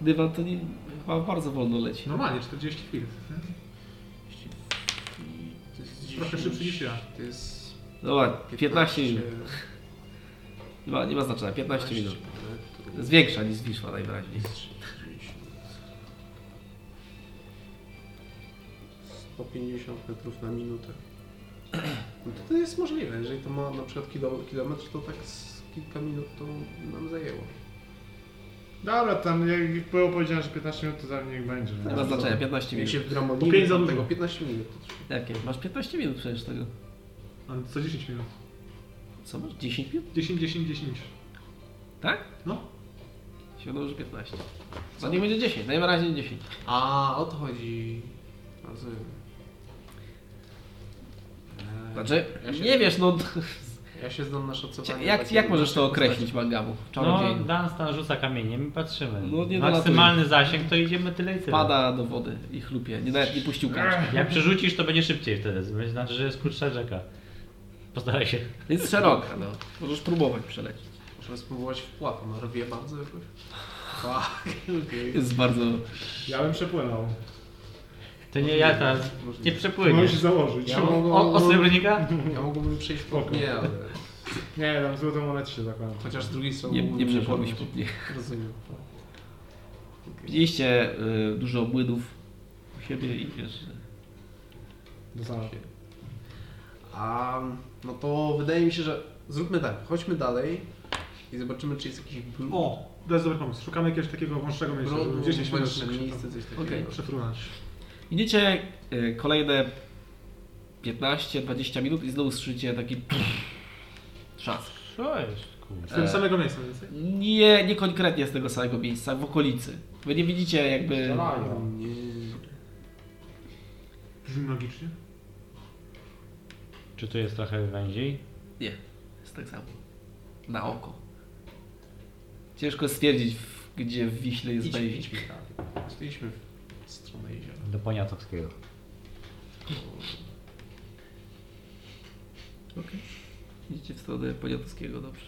S1: dywan, to nie, chyba bardzo wolno leci.
S2: Normalnie, 40 chwil.
S3: To jest
S2: Trochę
S3: 10,
S2: szybszy niż ja.
S3: To jest
S1: Dobra, 15 No minut. Nie ma, nie ma znaczenia, 15 minut. Jest większa niż Wisła najwyraźniej.
S3: Po 50 metrów na minutę. No to, to jest możliwe, jeżeli to ma na przykład kilo, kilometr, to tak z kilka minut to nam zajęło.
S4: Dobra, tam jak było powiedziane, że 15 minut, to tam niech będzie.
S1: Nie ma znaczenia, 15
S3: Jak
S1: minut.
S3: się
S2: Po pięć
S3: wdramonimy
S2: za
S3: do
S2: dużo.
S3: tego 15 minut. to trwa.
S1: Jakie? Masz 15 minut przecież tego.
S2: Ale co 10 minut?
S1: Co masz? 10 minut?
S2: 10, 10, 10.
S1: Tak?
S2: No.
S1: Siłą już 15. Za No niech będzie 10, dajmy razie 10.
S3: A, o to chodzi. Rozumiem. Eee,
S1: Znaczy,
S3: ja się,
S1: nie wiesz, no
S3: Ja się znam na szacowanie.
S1: jak,
S3: takiej
S1: jak możesz to
S3: postaci.
S1: określić, Mangabu?
S5: No,
S1: Czarodziej.
S5: Dunstan rzuca kamieniem i patrzymy.
S1: No, nie
S5: Maksymalny zasięg to idziemy tyle i tyle.
S1: Pada do wody i chlupie, nie, nawet nie puścił kaczki.
S5: Jak przerzucisz, to będzie szybciej wtedy. Będzie Znaczy, że jest krótsza rzeka. Postaraj się.
S1: Jest szeroka, no. Możesz próbować przelecieć.
S3: Muszę spróbować wpłat, ona rwie bardzo jakoś. Tak, okej.
S1: Jest bardzo...
S4: Ja bym przepłynął.
S5: To nie ja teraz. Nie
S4: Możesz
S5: przepłyniesz.
S4: się założyć.
S3: Ja mam-
S5: O, o, o srebrnika?
S3: Ja mogłabym przejść po dnie, ale
S4: Nie, tam złote monety się zakładam.
S3: chociaż z drugiej strony
S1: Nie,
S3: mógłbym
S1: nie przeporwić
S3: podnieść.
S1: pod nie.
S3: Rozumiem.
S1: Widzieliście y, dużo obłydów u siebie i wiesz... że-
S4: Do samego.
S3: A no to wydaje mi się, że zróbmy tak, chodźmy dalej i zobaczymy, czy jest jakiś br-
S2: O, to jest dobry pomysł. Szukamy jakiegoś takiego wąższego miejsca, żeby
S3: brodu,
S2: 10 minut
S3: węższe miejsce, coś takiego.
S1: Okej.
S2: przepłynąć.
S1: Idziecie y, kolejne 15-20 minut i znowu słyszycie taki trzask.
S5: Co jest? Kurde.
S2: Z tego
S1: E.
S2: samego miejsca więcej.
S1: Nie, nie konkretnie z tego samego miejsca, w okolicy. Wy nie widzicie jakby...
S3: Nie.
S2: Brzmi logicznie.
S5: Czy to jest trochę węziej?
S1: Nie, jest tak samo. Na oko. Ciężko stwierdzić, w- gdzie w Wiśle jest
S3: Idźmy,
S1: wejście.
S3: idźmy dalej. Stoiliśmy w stronę jeziora.
S5: Do poniatowskiego.
S1: Idziecie w stronę Poniatowskiego, dobrze.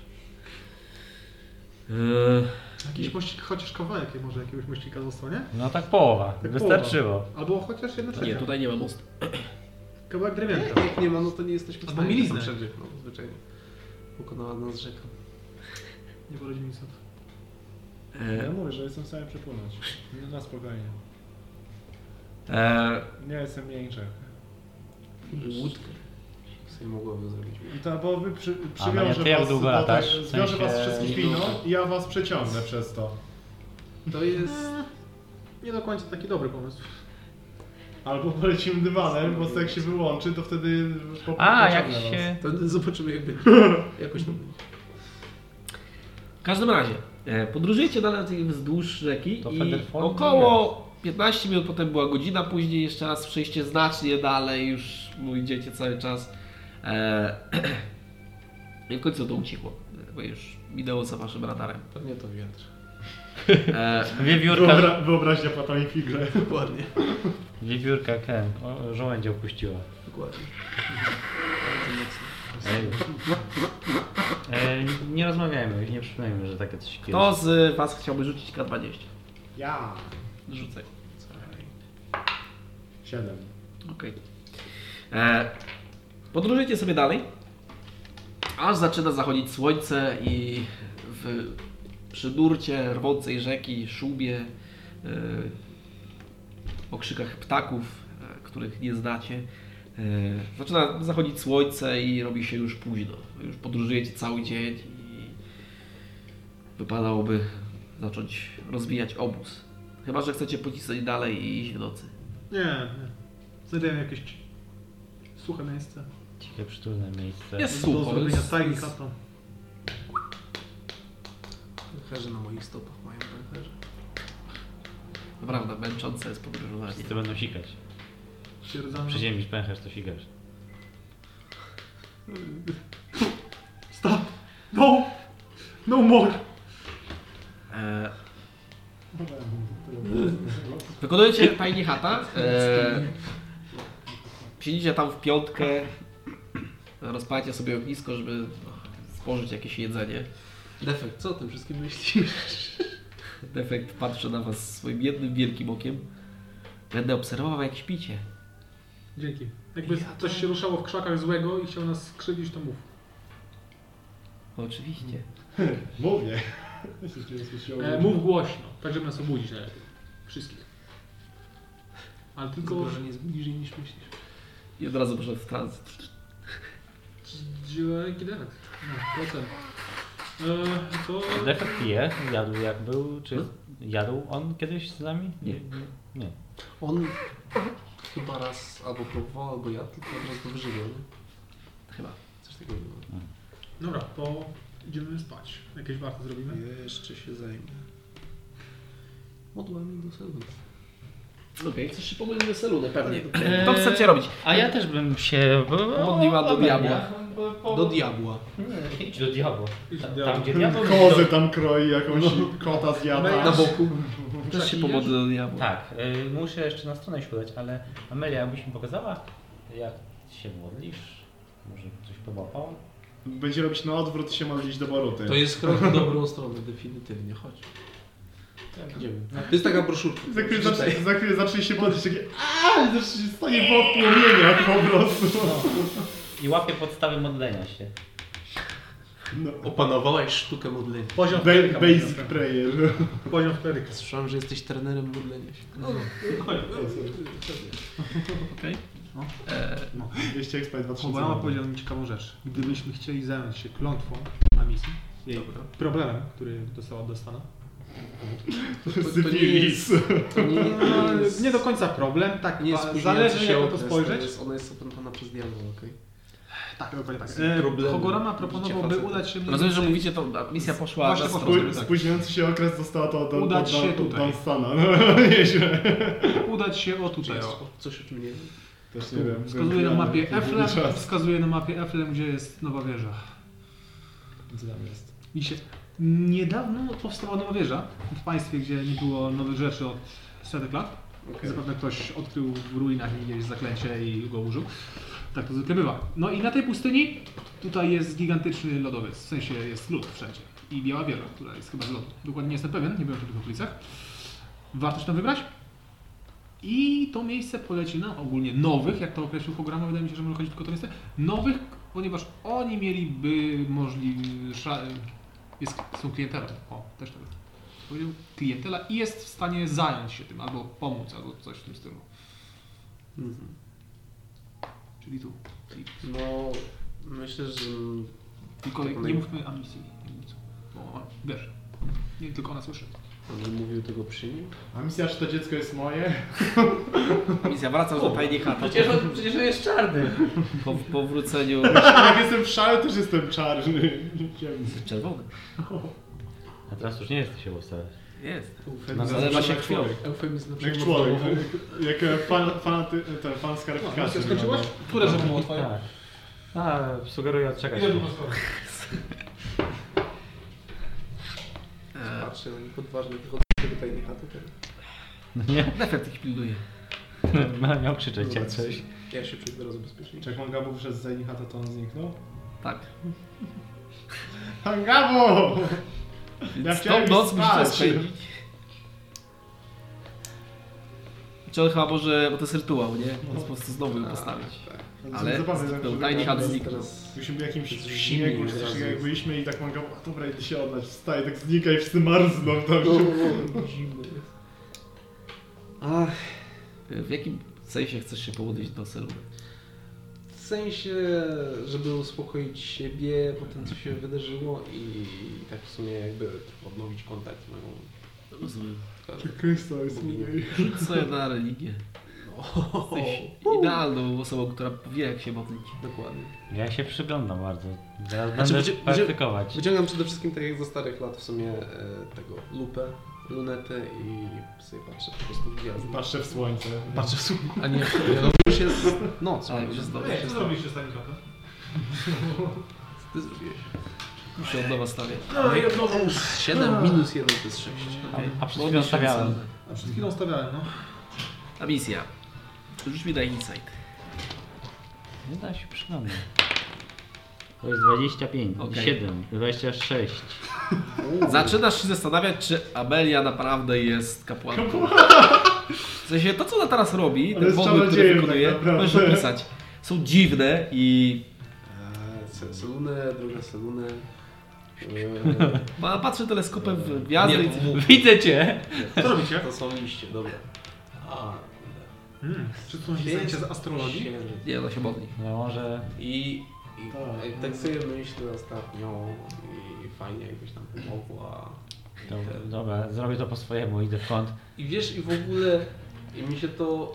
S1: Tak
S2: Jakiś mościk, chociaż kawałek może jakiegoś mościka został, nie?
S5: No tak połowa.
S2: połowa.
S5: Wystarczyło.
S2: Albo chociaż jedna
S1: Znaczy, nie,
S2: trzecia.
S1: tutaj nie ma mostu.
S2: Kawałek drewnianka.
S3: Jak nie ma, no to nie jesteśmy w
S2: Albo
S3: stanie
S2: miliznę.
S3: tam przeżyć, no zwyczajnie. Pokonała nas rzeka.
S2: Nie poradzi mi sobie.
S4: Ja
S1: E,
S4: mówię, że jestem w stanie przepłynąć. Na spokojnie.
S1: e,
S4: Nie jestem mniejszy.
S3: Łódkę. Sobie mogłoby zrobić.
S4: I to, bo wy przy,
S5: Ania,
S4: przywiążę
S5: ty jak
S4: was
S5: długo
S4: do tej-
S5: latasz? W
S4: Zwiążę
S5: sensie
S4: was wszystkich
S3: niedługo.
S4: liną i ja was przeciągnę przez to.
S3: To jest...
S2: Nie do końca taki dobry pomysł.
S4: Albo polecimy dywanem, bo jak się wyłączy, to wtedy po,
S5: A, jak
S4: pociągnę was.
S5: się.
S3: To zobaczymy jak będzie. Jakoś to będzie.
S1: w każdym razie, e, podróżujecie dalej wzdłuż rzeki
S5: To
S1: i
S5: Federford
S1: około 15 minut, potem była godzina, później jeszcze raz przejście znacznie dalej, już mu idziecie cały czas. E, I w końcu to ucichło, bo już minęło za waszym radarem.
S3: Pewnie to wiatr.
S1: E,
S5: Wiewiórka.
S4: Wyobra wyobraźnia płata mi figle.
S3: Dokładnie.
S5: Wiewiórka Ken. O, żołędzie opuściła.
S3: Dokładnie. Bardzo mocno.
S5: Ej. E, nie rozmawiajmy, nie przypominajmy, że takie coś kiedyś.
S1: Kto z Was chciałby rzucić K20?
S4: Ja.
S1: Rzucaj.
S4: Siedem.
S1: Okej. E, Podróżujcie sobie dalej, aż zaczyna zachodzić słońce i w, przy nurcie rwącej rzeki, szubie, e, okrzykach ptaków, e, których nie znacie, e, zaczyna zachodzić słońce i robi się już późno. Już podróżujecie cały dzień i wypadałoby zacząć rozwijać obóz. Chyba, że chcecie pocisnąć dalej i iść w nocy.
S2: Nie, nie. Znajdujemy jakieś suche miejsce.
S5: Ciche, przytulne miejsce.
S1: Jest
S2: Do
S1: sucho,
S2: zrobienia
S1: jest,
S2: tajni
S1: jest,
S2: katą.
S3: Pęcherze na moich stopach mają pęcherze.
S1: Naprawdę, męczące jest podróżowanie.
S5: Wszyscy będą sikać.
S2: Stwierdzamy.
S5: Przyziemisz pęcherz, to sikasz.
S2: Stop! No! No more!
S1: E, wykonujecie tajni chata. E, siedzicie tam w piątkę. Rozpalacie sobie ognisko, żeby spożyć jakieś jedzenie.
S3: Defekt, co o tym wszystkim myślisz?
S1: Defekt patrzy na was swoim jednym wielkim okiem. Będę obserwował jak śpicie.
S2: Dzięki. Jakby
S3: Ja
S2: coś
S3: to-
S2: się ruszało w krzakach złego i chciał nas skrzywdzić, to mów.
S1: Oczywiście.
S4: Mówię. Jeśli cię nie słyszałem.
S2: E, mów głośno, tak żeby nas obudzić najlepiej. Wszystkich. Ale tylko...
S3: Zagrożenie jest bliżej niż myślisz.
S1: I od razu poszedł w trans.
S2: Dziła jaki defekt. No, potem. E, to...
S5: Defekt je, jadł jak był, czy
S1: Hmm?
S5: jadł on kiedyś z nami? Nie. Nie.
S3: On chyba raz albo próbował, albo ja, tylko od razu wyżywiał, nie?
S1: Chyba.
S3: Coś takiego było.
S2: Dobra, to idziemy spać. Jakieś warto zrobimy?
S3: Jeszcze się zajmę. Modłem i do selu.
S1: Okej, chcesz się pomylić do salonu, pewnie.
S5: Eee,
S1: To chcecie robić.
S5: A ja też bym się...
S1: Modliła do diabła. Do
S5: Do,
S1: diabła.
S5: idź do diabła. Ta- Tam gdzie diabeł...
S4: Kozy tam kroi, jakąś kota
S2: No.
S4: zjada.
S1: Na boku. Też się pomodlę do diabła.
S5: Tak, y, muszę jeszcze na stronę się udać, ale Amelia, jakbyś mi pokazała, jak się modlisz, może coś połapał?
S4: Będzie robić na odwrót się modlić do Boruty.
S3: To jest krok w dobrą stronę, definitywnie, chodź.
S5: Tak, idziemy.
S3: To jest taka broszurka.
S4: Za chwilę, zacznie, za chwilę zacznie się modlić, takie aaa, i zacznie stanie po płomieniach po prostu.
S5: I łapię podstawy modlenia się.
S3: Opanowałaś sztukę modlenia.
S2: Poziom
S4: Ba-
S2: kleryka.
S4: basic prayer.
S2: Poziom kleryka.
S3: Słyszałem, że jesteś trenerem modlenia się.
S2: No.
S4: E, no. Jeszcze XP 2000.
S2: Moja mama powiedziała mi ciekawą rzecz. Gdybyśmy chcieli zająć się klątwą na misji, jej problemem, który dostała od Dostana,
S4: Syfilis.
S3: To No, nie, jest,
S2: No, nie do końca problem, tak,
S3: nie jest
S2: pa-
S3: spóźniający
S2: zależy
S3: się
S2: jak na to
S3: okres,
S2: spojrzeć.
S3: To jest, ona jest opętana przez diabła, No, okej?
S2: Tak, dokładnie tak.
S3: Z problemem.
S2: Hogorama
S3: Widzicie
S2: proponował, by
S3: faceta.
S2: udać się... mniej
S1: No, Rozumiem, że
S2: więcej-
S1: mówicie, to a misja poszła
S2: Właśnie
S1: na
S2: poszła.
S1: stronę.
S4: Spój- Spóźniający się okres została to do, do, do,
S2: tak. Udać się
S4: do, do
S2: tutaj.
S4: Dunstana. No, nieźle.
S2: Udać się o
S3: To
S2: tutaj.
S3: jest
S1: tak.
S2: o.
S3: coś, o czym nie wiem.
S4: Też nie wiem.
S2: Wskazuje na mapie Eflem,
S4: Czas.
S2: wskazuje na mapie Eflem, gdzie jest nowa wieża. Co tam jest? Widzicie, niedawno powstała nowa wieża w państwie, gdzie nie było nowych rzeczy od setek lat. Zapewne ktoś odkrył w ruinach jakieś zaklęcie i go użył. Tak to zwykle bywa. No i na tej pustyni tutaj jest gigantyczny lodowiec, w sensie jest lód wszędzie. I biała wieża, która jest chyba z lodu. Dokładnie nie jestem pewien, nie byłem w tych okolicach. Warto się tam wybrać. I to miejsce poleci na ogólnie nowych, jak to określił Hograma, wydaje mi się, że może chodzić tylko o to miejsce, nowych, ponieważ oni mieliby możliwy... sza- Jest, są klientelą. O, też tak powiedział. Klientela i jest w stanie zająć się tym, albo pomóc, albo coś w tym stylu. Czyli tu. Czyli,
S3: Mhm. No, myślę, że...
S2: tylko
S3: Tak,
S2: nie
S3: naj-
S2: mówmy o misji. nie mówmy co. Bo ona- wiesz, nie tylko ona słyszy.
S3: On mówił tego przy nim?
S4: A misja, czy to dziecko jest moje?
S1: Misja wraca do tajnej chaty.
S5: Przecież on, przecież on jest czarny.
S1: Po powróceniu
S4: Jak jestem w szale, też jestem czarny.
S1: czerwony.
S5: A teraz już nie jesteś obstawy.
S1: Jest.
S4: No,
S1: Zalewa się krwią.
S3: Eufemizm na
S4: Jak
S3: przykład.
S4: człowiek. Jak e, fan, fan, ty, ten fan z karyfikacji.
S2: Które żeby było twoje?
S5: Tak. A, sugeruję odczekać.
S3: Patrzę na nich odważnie, wychodzą z tego tajnej chaty. tak.
S5: No nie, no,
S1: Nefert E, ich pilnuje.
S5: miał krzyczeć jak coś.
S3: Ja się czuję teraz bezpiecznie.
S4: Czy jak Mangabu wszedł z Zenihata, to on zniknął?
S1: Tak.
S4: Mangabu!
S1: Więc
S4: Ja
S1: tą
S4: chciałem
S1: noc
S4: spać.
S1: musicie spędzić. Czy on chyba może, bo to jest rytuał, nie? Więc po prostu znowu
S3: Tak.
S1: ją postawić. Ale był tajny
S4: hat
S1: chat
S3: Teraz-
S1: zniknął.
S3: teraz-
S4: Byliśmy w
S3: Przez
S4: jakimś
S3: zimie
S4: śniegu, czy
S3: od
S4: coś
S3: razu
S4: takiego, jak
S3: jest.
S4: byliśmy i tak Mangabu, a dobra, idę się oddać, wstaje, tak znika i wszyscy marzną tam.
S3: O,
S4: Się...
S3: o, Zimno jest. Ach,
S1: E, W jakim sensie chcesz się połodzić do celu?
S3: w sensie, żeby uspokoić siebie po tym, co się wydarzyło i tak w sumie jakby odnowić kontakt no. Tak. z moją...
S1: Rozumiem.
S4: Krysta jest mniej.
S1: Rzuć sobie na religię. Jesteś idealną osobą, która wie jak się modlić.
S3: Dokładnie.
S5: Ja się przyglądam bardzo. Zaraz
S3: Znaczy,
S5: będę
S3: będzie- będzie-
S5: praktykować.
S3: Wyciągam przede wszystkim, tak jak ze starych lat, w sumie e, tego lupę, lunetę i sobie patrzę po prostu w gwiazdy.
S4: Patrzę w słońce.
S3: Patrzę w sumie. A nie, no, już jest noc.
S1: A,
S3: no,
S1: już jest noc.
S3: już
S2: Co
S3: jest
S2: zrobiliście z tajnika?
S3: Ty zrobiłeś.
S1: Już się od nowa stawię.
S3: No i od nowa już 7 minus 1 to jest 6.
S5: A przed chwilą stawiałem.
S2: A przed chwilą stawiałem, no.
S1: A misja. Rzuć mi na insight.
S5: Nie da się przyglądać. To jest 25,
S1: Okej.
S5: 7, 26.
S1: Zaczynasz się zastanawiać, czy Amelia naprawdę jest kapłanką. W sensie to, co ona teraz robi,
S4: Ale
S1: te
S4: z
S1: wody, które
S4: czarodziejem
S1: wykonuje,
S4: tak naprawdę.
S1: możesz opisać. Są dziwne i
S3: E, Selunę, druga selunę. E,
S1: ma- patrzy teleskopem w gwiazdy. i-
S5: Widzę cię!
S2: Co robicie?
S3: To są liście, dobra. A,
S2: Hmm. Czy to są
S3: Jest-
S2: zdjęcia z astrologii?
S3: księżyc.
S1: Nie, ona się modli.
S5: No może
S3: I, i
S4: Tak.
S2: no.
S3: i tak sobie myślę ostatnio i fajnie jakbyś tam pomogła.
S5: To, dobra, zrobię to po swojemu, idę w kąt.
S3: I wiesz, i w ogóle i mi się to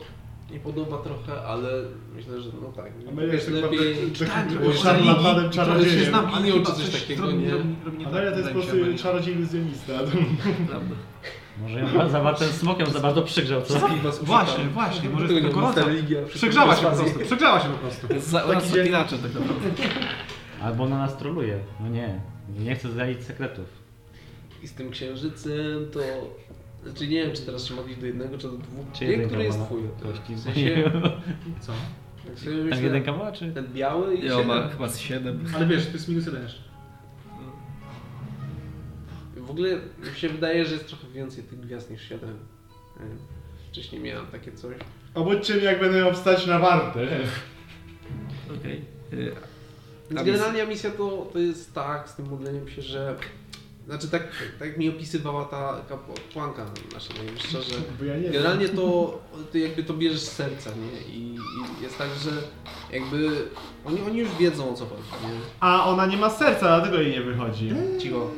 S3: nie podoba trochę, ale myślę, że no tak.
S4: A my
S3: wiesz,
S4: jeszcze
S3: lepiej...
S4: tak, tak,
S2: tak,
S4: tak,
S2: bo
S4: szarlatanem
S2: Ale się
S4: czarodziejem.
S2: znam,
S3: Opinią czy coś takiego, nie?
S2: tak.
S4: Amelia to jest po prostu czarodziej iluzjonista.
S1: Prawda.
S5: Może ją pan za bardzo, smokiem za bardzo przygrzał, co?
S2: was
S4: Właśnie, właśnie, może
S2: Tego
S4: jest
S2: nie
S4: tylko
S2: ma, ta
S4: rosa.
S2: religia.
S4: Przegrzała się po prostu, przegrzała się po prostu.
S1: Za,
S4: Taki
S1: oraz
S4: dzień.
S1: inaczej tak naprawdę.
S5: Albo ona nas troluje. No nie, nie chcę zdradzić sekretów.
S3: I z tym księżycem to... Znaczy nie wiem, czy teraz się modlić do jednego, czy do dwóch.
S5: Czy
S3: nie,
S5: jedynka
S3: który jest
S5: była?
S3: twój?
S5: Kości
S3: W sensie, Tak,
S2: Co?
S3: jak sobie
S5: Ten
S3: myślę,
S5: jedynka była, czy?
S3: ten biały i
S1: Ja ma
S3: siedem.
S1: chyba z 7.
S2: Ale wiesz, to jest minus jeden jeszcze.
S3: W ogóle mi się wydaje, że jest trochę więcej tych gwiazd niż siedem. Nie wiem. Wcześniej miałem takie coś.
S9: Obudźcie mnie, jak będę miał wstać na wartę.
S1: Okej.
S3: Więc
S1: Tam
S3: generalnie misja to, to jest tak, z tym modleniem się, że... Znaczy tak, tak jak mi opisywała ta kapłanka nasza najwyższa, że
S9: Bo ja nie wiem.
S3: generalnie to ty jakby to bierzesz z serca, nie? I, i jest tak, że jakby oni, oni już wiedzą o co chodzi, nie?
S9: A ona nie ma serca, dlatego jej nie wychodzi.
S3: Cicho.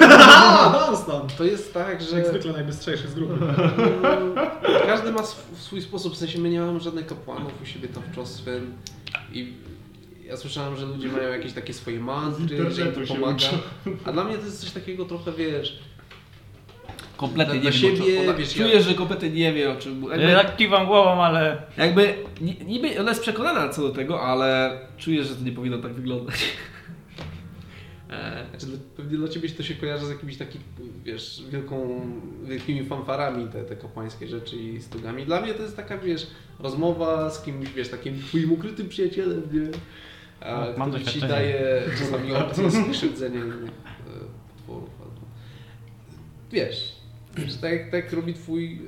S2: A, Dunstan!
S3: To jest tak, że...
S2: Jak zwykle najbystrzejszy z grupy.
S3: Mm, Każdy ma sw- w swój sposób, w sensie my nie mamy żadnych kapłanów u siebie tam w Czoswym i ja słyszałem, że ludzie mają jakieś takie swoje mantry, że im
S9: internetu
S3: to
S9: się
S3: pomaga,
S9: uczą.
S3: a dla mnie to jest coś takiego trochę, wiesz,
S1: Kompletnie
S3: Dla-
S1: nie
S3: dla
S1: wiem. o
S3: siebie,
S1: czym ona-
S3: wiesz,
S1: Czujesz, że kompletnie nie wie o czym.
S5: Ja
S1: Jakby,
S5: tak kiwam głową, ale...
S1: jakby ni- niby ona jest przekonana co do tego, ale czujesz, że to nie powinno tak wyglądać.
S3: znaczy, dla- pewnie dla Ciebie to się kojarzy z jakimiś takimi, wiesz, wielką, wielkimi fanfarami te, te kapłańskie rzeczy i stugami. Dla mnie to jest taka, wiesz, rozmowa z kimś, wiesz, takim Twoim ukrytym przyjacielem, nie? A,
S5: No, mam
S3: który Ci
S5: doświadczenie.
S3: daje czasami opcję skrzywdzenia innych e, potworów. albo- Wiesz, wiesz tak, jak- tak jak robi Twój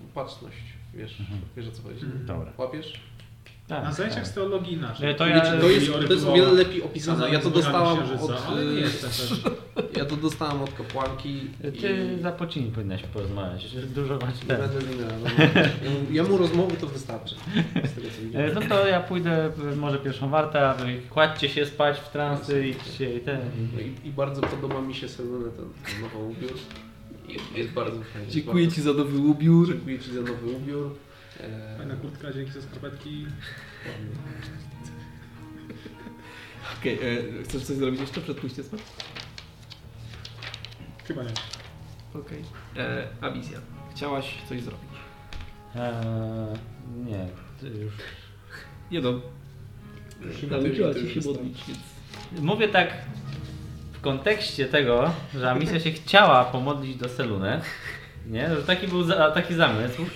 S3: e, opatrzność, wiesz,
S1: Mhm.
S3: wiesz o co chodzi.
S5: Dobra.
S3: Łapiesz?
S5: Tak,
S2: Na zajęciach z teologii
S5: Nie,
S2: inaczej.
S5: to ja...
S3: Wiecie, to, jest,
S2: Teorie
S3: to jest o
S2: próbowa-
S3: wiele lepiej opisane. Ja to
S2: Związane z
S3: dostałam
S2: bogami
S3: od,
S2: księżyca, ale nie
S3: y,
S2: jestem pewien.
S3: ja to dostałam od kapłanki i
S5: Ty za pocini powinnaś porozmawiać, dużo masz
S3: i
S5: ten.
S3: będę winna. no. Ja mu rozmowy to wystarczy. Z tego, co widziałem.
S5: E, No to ja pójdę e, może pierwszą wartę, a wy kładźcie się spać w transy i się i ten.
S3: No I, I bardzo podoba mi się Selene ten, ten nowy ubiór. I- Jest bardzo fajny. jest
S1: Dziękuję
S3: bardzo-
S1: Ci za nowy ubiór.
S3: Dziękuję Ci za nowy ubiór. E,
S2: Fajna kurtka, dzięki za skarpetki.
S1: Okej, e, chcesz coś zrobić jeszcze przed pójściem spać?
S2: Chyba nie.
S1: Okej. E, A wizja. Chciałaś coś zrobić.
S5: Eee, nie, ty już.
S1: Nie no. Nauczyła Cię się modlić, więc...
S5: Mówię tak w kontekście tego, że Amicia się chciała pomodlić do Seluny. Nie, że taki był za, taki zamysł.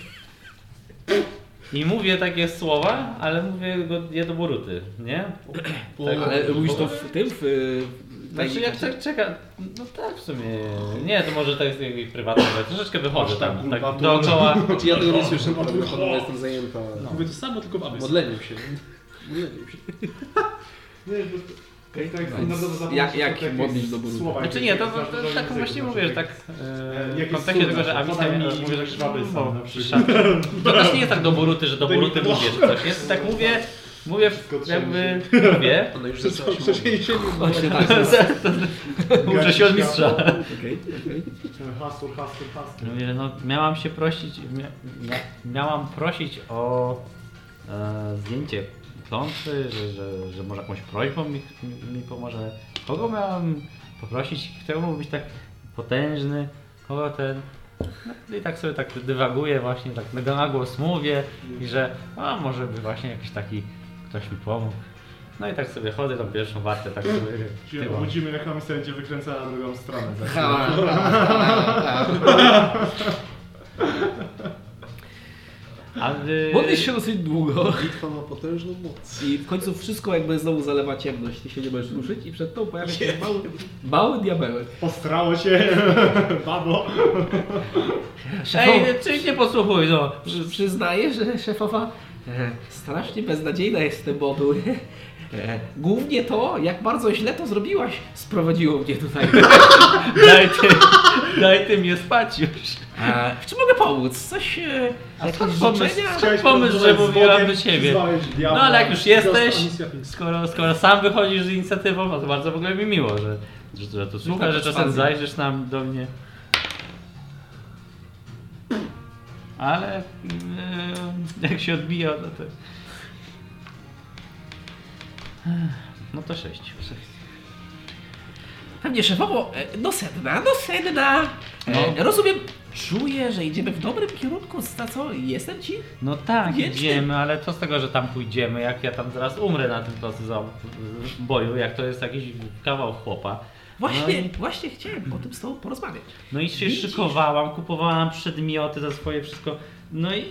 S5: I mówię takie słowa, ale mówię go je do Boruty, nie?
S1: Tak, ale mówisz to w tym, w... w
S5: Znaczy
S1: tajemnicy?
S5: jak tak czeka, no tak w sumie, nie, to może to jest jakby prywatne, ale troszeczkę wychodzę tam, tak dookoła.
S3: Znaczy ja tego nie słyszę, bo ja jestem zajęta
S9: No.
S2: Mówię to samo, tylko w Abyss.
S3: modleniem się. Modleniem się.
S9: Okej, tak
S1: Więc
S9: standardowo zapomnieć
S1: jak- jak
S9: takie
S1: modlić do Boruta?
S9: słowa,
S5: Znaczy
S9: jakieś
S5: nie, to,
S9: za-
S5: to,
S9: za-
S5: tak
S9: języku,
S5: właśnie
S9: znaczy,
S5: mówię, że tak
S9: jak
S5: e, w
S9: jest
S5: kontekście
S9: cuda,
S5: tego, że
S9: że
S5: Amicia
S9: podaj mi
S5: mi mówi, że
S9: żwawy
S5: no,
S9: sam na
S5: szat- To też nie jest tak do Boruty, że do Boruty mówię czy coś, jest tak mówię, mówię jakby, mówię,
S3: Ona już zaczęła się modlić.
S2: Przecież się nie
S1: Właśnie tak.
S5: uczę się od mistrza.
S1: Okej, okej.
S9: Hasło, hasło, hasło.
S5: Mówię, że no miałam się prosić, mia, mia, miałam prosić o e, zdjęcie klątwy, że, że, że może jakąś prośbą mi, mi pomoże. Kogo miałam poprosić, kto mógł być tak potężny, kogo ten... No i tak sobie tak dywaguję właśnie, tak na głos mówię i że a może by właśnie jakiś taki ktoś mi pomógł. No i tak sobie chodzę tą pierwszą wartę, tak sobie
S9: Czyli
S5: tyłem.
S9: obudzimy reklamistę, będzie wykręcała na drugą stronę. Tak, no. za chwilę.
S1: Ha, ha, ha, ha.
S5: A y, wy-
S1: Modlisz się dosyć długo
S3: Bitwa ma potężną moc.
S1: i w końcu wszystko jakby znowu zalewa ciemność. Ty się nie możesz ruszyć i przed tą pojawia się mały, mały diabełek.
S9: Postrało się, babo.
S5: Ej, czyś nie posłuchuj, no.
S1: Przy, przyznaję, że szefowa e, strasznie beznadziejna jest tym modu. E, głównie to, jak bardzo źle to zrobiłaś, sprowadziło mnie tutaj.
S5: Daj ty, daj ty mnie spać już.
S1: E, w czym mogę pomóc? Coś... E, jakieś
S5: pomysł.
S1: życzenia?
S5: Chciałeś pomysł, że mówiłam do ciebie. No ale jak już jesteś, skoro, skoro sam wychodzisz z inicjatywą, no to bardzo w ogóle mi miło, że, że, że to słuchasz, że czasem zajrzysz nam do mnie. Ale yy, jak się odbija, no to... No to sześć.
S8: Pewnie szefowo, e, no sedna, no sedna. E,
S5: No.
S8: Rozumiem, czuję, że idziemy w dobrym kierunku, za co jestem ci?
S5: No tak,
S8: Wiecznie.
S5: idziemy, ale co z tego, że tam pójdziemy, jak ja tam zaraz umrę na tym placu za- w boju, jak to jest jakiś kawał chłopa.
S8: Właśnie,
S5: No i-
S8: właśnie chciałem o tym z tobą porozmawiać.
S5: No i się
S8: Widzisz?
S5: szykowałam, kupowałam przedmioty za swoje wszystko. No i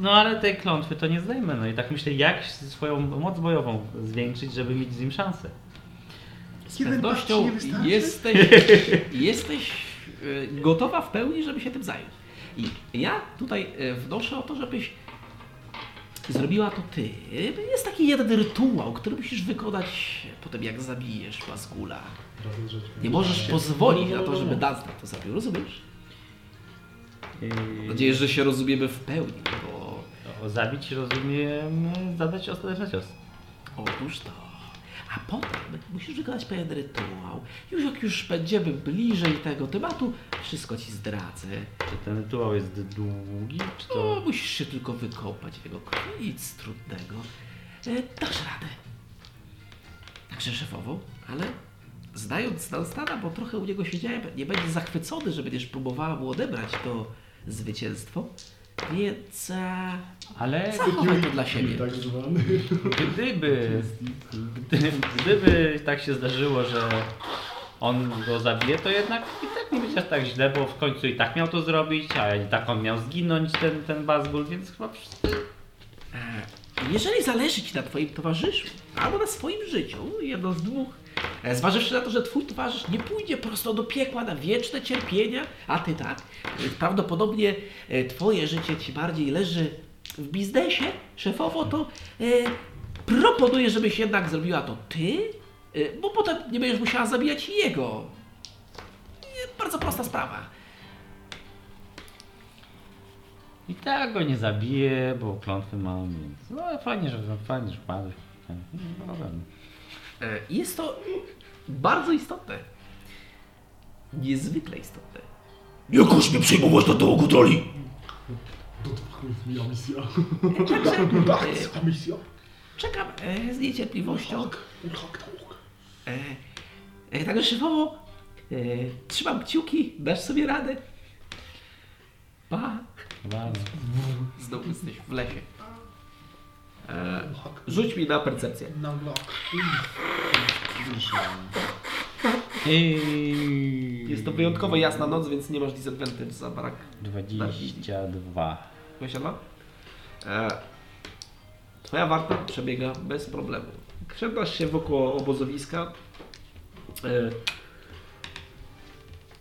S5: no ale tej klątwy to nie zdejmę. No i tak myślę, jak swoją moc bojową zwiększyć, żeby mieć z nim szansę.
S1: Z
S2: Jeden
S1: pewnością
S2: patrzy nie wystarczy?
S1: jesteś, jesteś e, gotowa w pełni, żeby się tym zająć. I ja tutaj e, wnoszę o to, żebyś zrobiła to ty. Jest taki jeden rytuał, który musisz wykonać po tym, jak zabijesz Pasgula. Nie możesz pozwolić na to, żeby Dazda to zrobił, rozumiesz? Mam nadzieję, że się rozumiemy w pełni, bo
S5: O, zabić rozumiem, zadać ostateczny cios.
S1: Otóż to. A potem musisz wykonać pewien rytuał. Już jak już będziemy bliżej tego tematu, wszystko ci zdradzę.
S5: Czy ten rytuał jest długi, czy
S1: No,
S5: to...
S1: musisz się tylko wykopać tego nic trudnego. E, dasz radę. Także szefową, ale znając Dunstana, bo trochę u niego siedziałem, nie będzie zachwycony, że będziesz próbowała mu odebrać to zwycięstwo, więc e,
S5: Ale
S1: zachowaj to dla siebie.
S9: Tak zwany.
S5: gdyby, gdy, gdyby tak się zdarzyło, że on go zabije, to jednak i tak nie będzie aż tak źle, bo w końcu i tak miał to zrobić, a i tak on miał zginąć, ten, ten Bazgul, więc chyba wszyscy...
S1: Jeżeli zależy Ci na Twoim towarzyszu albo na swoim życiu, jedno z dwóch, e, zważywszy na to, że Twój towarzysz nie pójdzie prosto do piekła na wieczne cierpienia, a Ty tak, e, prawdopodobnie e, Twoje życie Ci bardziej leży w biznesie szefowo, to e, proponuję, żebyś jednak zrobiła to Ty, e, bo potem nie będziesz musiała zabijać jego. E, Bardzo prosta sprawa.
S5: I tak go nie zabije, bo klątwy mam, więc... No ale fajnie, że, fajnie, że padł. No, dobra.
S1: E, Jest to bardzo istotne. Niezwykle istotne.
S6: Nie każ mnie przejmować na to kontroli.
S9: To chuj, moja misja.
S1: Także e,
S2: A misja?
S1: czekam e, z niecierpliwością.
S2: Urhak, tauk.
S1: E, e, Także szefowo, e, trzymam kciuki, dasz sobie radę. Pa.
S5: Dobra.
S1: Znowu jesteś w lesie. E,
S2: Urhak.
S1: rzuć mi na percepcję.
S2: Nalak.
S5: Ej,
S1: Jest to wyjątkowo jasna noc, więc nie masz disadvantage za brak
S5: 22.
S1: Wysiadła? E, twoja warta przebiega bez problemu. Krzepasz się wokół obozowiska, e,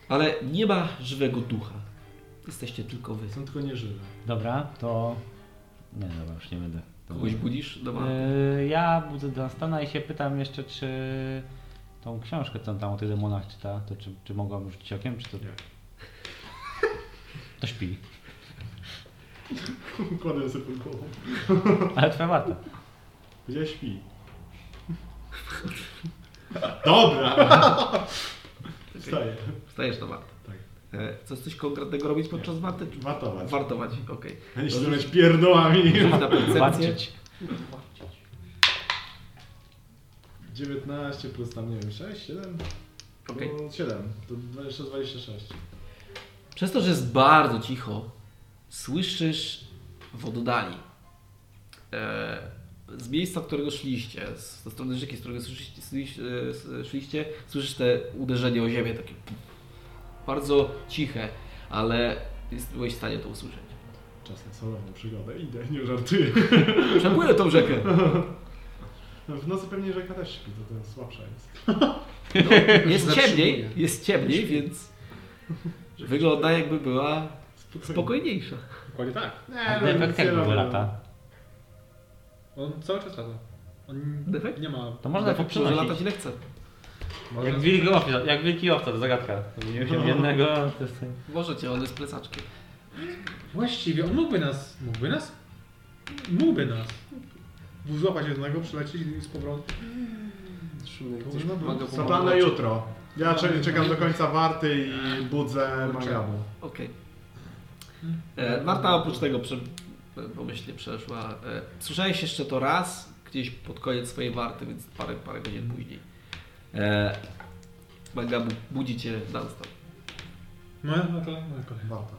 S1: ale nie ma żywego ducha. Jesteście tylko wy.
S9: Są tylko nieżywe.
S5: Dobra, to... Nie, dobra, już nie będę.
S1: Kogoś budzisz? Dobra.
S5: Yy, Ja budzę Dunstana i się pytam jeszcze, czy tą książkę, co on tam o tych demonach czyta, to czy, czy mogłam rzucić okiem, czy to... To śpi.
S9: Kładę sobie pod głową.
S5: Ale twoja warta.
S9: Gdzie śpi? Dobra!
S4: E, tak.
S9: Wstaję.
S1: Wstajesz na wartę.
S9: Tak.
S1: E, chcesz coś konkretnego robić podczas warty?
S9: Watować.
S1: Wartować, okej.
S9: Jeśli to jest pierdołami.
S1: Rzuć na percepcję.
S5: Warczyć.
S9: 19 plus tam, nie wiem, 6, 7?
S1: Okej.
S9: No, 7. To 20, 26.
S1: Przez to, że jest bardzo cicho, słyszysz w oddali e, z miejsca, którego szliście, z ze strony rzeki, z którego słyszycie, słyś- e, s- szliście, słyszysz te uderzenie o ziemię, takie pum. bardzo ciche, ale jest- byłeś w stanie to usłyszeć.
S9: Czas na solową przygodę. Idę, nie żartuję. No,
S1: Przepłynę tą rzekę.
S9: W nocy pewnie rzeka też śpi, to ten słabsza jest.
S1: No, jest
S2: Zatrzymuję.
S1: ciemniej, jest ciemniej, więc wygląda jakby była
S9: Spokojnie.
S1: spokojniejsza.
S2: Dokładnie tak.
S9: Nie, no,
S5: Efekt
S9: nic nie
S5: jak
S9: robię.
S5: lata.
S2: On cały czas lata. On
S1: Defekt?
S2: nie ma...
S5: To można tak to
S1: Może tak latać
S5: przenosić.
S1: ile chce.
S2: Można-
S5: Jak wilki owca, jak wilki owca, to zagadka. Zmieniłem się w jednego, to jest...
S1: Możecie, on jest plecaczkiem.
S2: Właściwie on mógłby nas... Mógłby nas? Mógłby nas. Złapać jednego, przylecieć i z powrotem.
S1: Coś
S2: Można
S1: pomaga
S2: było.
S1: pomagać.
S9: Plan na jutro. Ja cze- czekam do końca warty i budzę Magabu.
S1: Okej. E, Marta oprócz tego prze, pomyślnie przeszła. E, słyszałeś jeszcze to raz, gdzieś pod koniec swojej warty, więc parę, parę godzin później. E, Baga bu- budzi cię Dunstan.
S2: No, no to moja kolej.
S9: Warto.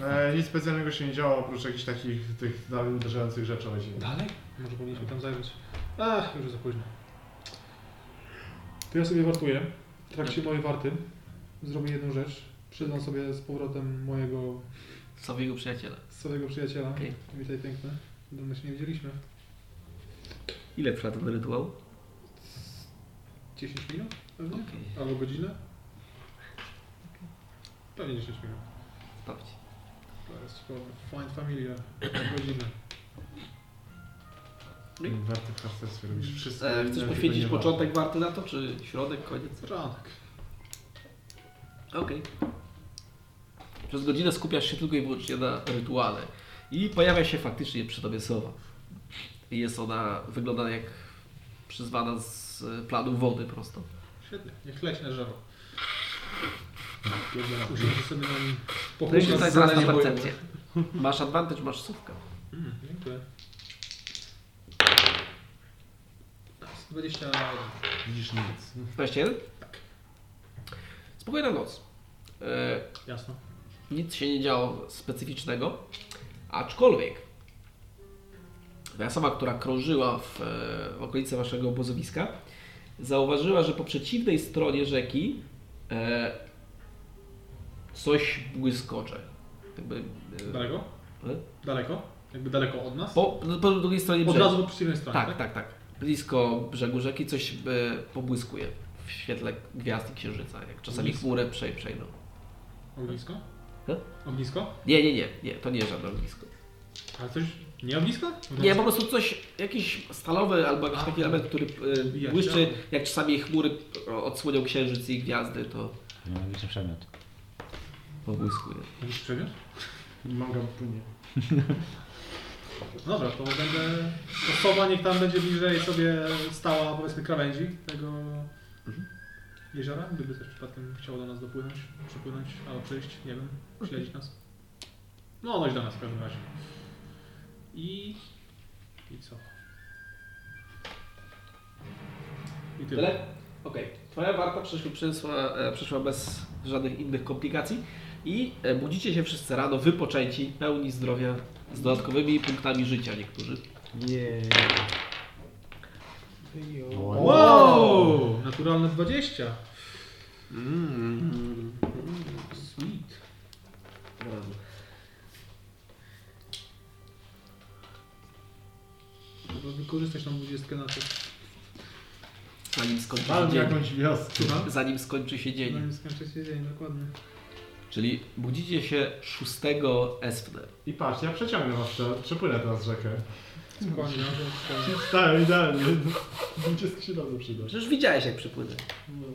S9: E, nic specjalnego się nie działo, oprócz jakichś takich tych dalej uderzających rzeczy o ziemię.
S2: Dalej? Może powinniśmy tam zajrzeć. Ach, już za późno. To ja sobie wartuję. W trakcie mojej warty zrobię jedną rzecz. Przyznam sobie z powrotem mojego
S1: Sławy jego przyjaciela.
S2: swojego przyjaciela.
S1: Okej.
S2: Witaj piękny. Dawno się nie widzieliśmy.
S1: Ile trwa ten rytuał?
S2: 10 minut pewnie?
S1: Okej.
S2: Albo godzinę? Pewnie 10 minut.
S1: Sprawdź.
S2: To jest ciekawe. Find familia. Godzinę.
S9: Warto w harcerstwie robisz wszystko.
S1: E,
S9: ile
S1: chcesz
S9: tego
S1: poświęcić
S9: nie warto.
S1: początek warty na to, czy środek, koniec?
S2: Początek.
S1: Okej. Przez godzinę skupiasz się tylko i wyłącznie na rytuale. I pojawia się faktycznie przy tobie sowa. I Jest ona, wygląda jak przyzwana z e, planu wody prosto.
S2: Świetnie. Niech leci na drzewo. Usiądź sobie na nim.
S1: To jest
S2: Pochłonę
S1: tutaj No zaraz na
S2: zadanie bojowe.
S1: percepcję. Masz advantage, masz słówkę.
S2: Mm, Dziękuję. 21.
S9: Widzisz nic.
S1: 21? Spokojna noc. E,
S2: Jasno.
S1: nic się nie działo specyficznego, aczkolwiek ta sama, która krążyła w, e, w okolicy waszego obozowiska, zauważyła, że po przeciwnej stronie rzeki e, coś błyskocze. Jakby, e,
S2: Daleko?
S1: e,
S2: Daleko? Jakby daleko od nas?
S1: po, no, po drugiej stronie
S2: Od
S1: brzegu.
S2: razu po przeciwnej stronie, tak?
S1: Tak, tak, tak. Blisko brzegu rzeki coś e, pobłyskuje w świetle gwiazd i księżyca, jak czasami
S2: Blisko.
S1: chmurę przej- przejdą.
S2: Ognisko?
S1: E?
S2: Ognisko?
S1: Nie, nie, nie, nie, to nie żadne ognisko.
S2: Ale coś... Nie ognisko?
S1: Nie, po prostu coś, jakiś stalowy albo jakiś
S2: A. tak.
S1: taki element, który y,
S2: Ja
S1: błyszczy,
S2: chciałem.
S1: jak czasami chmury odsłonią księżyc i gwiazdy, to
S5: Magiczny przedmiot.
S1: pobłyskuje.
S2: Jakiś przedmiot?
S9: Manga płynie.
S2: No Dobra, to będę... Osoba niech tam będzie bliżej sobie stała, powiedzmy, krawędzi tego jeziora, gdyby też przypadkiem chciało do nas dopłynąć, przypłynąć, albo przyjść, nie wiem, śledzić nas. No, dość do nas w każdym razie. I... i co? I tyle.
S1: Tyle? Okej. Twoja warta przeszła, przeszła, e, przeszła bez żadnych innych komplikacji i e, budzicie się wszyscy rano wypoczęci, pełni zdrowia, z dodatkowymi punktami życia niektórzy.
S5: Jej.
S2: Wow! Naturalne 20. Mm. Sweet. Trzeba wykorzystać tą 20 na coś.
S1: Zanim skończy się
S9: Mam
S1: dzień.
S9: jakąś wioskę.
S2: Słucham?
S1: Zanim skończy się dzień.
S2: Zanim skończy się dzień, dokładnie.
S1: Czyli budzicie się 6 Esfner.
S9: I patrz, ja przeciągnę was, prze- przepłynę teraz rzekę.
S2: Spokojnie, no, spokojnie.
S9: Stałem idealnie. 20 się dobrze przyda.
S1: Przecież widziałeś jak przypłynę.
S9: No.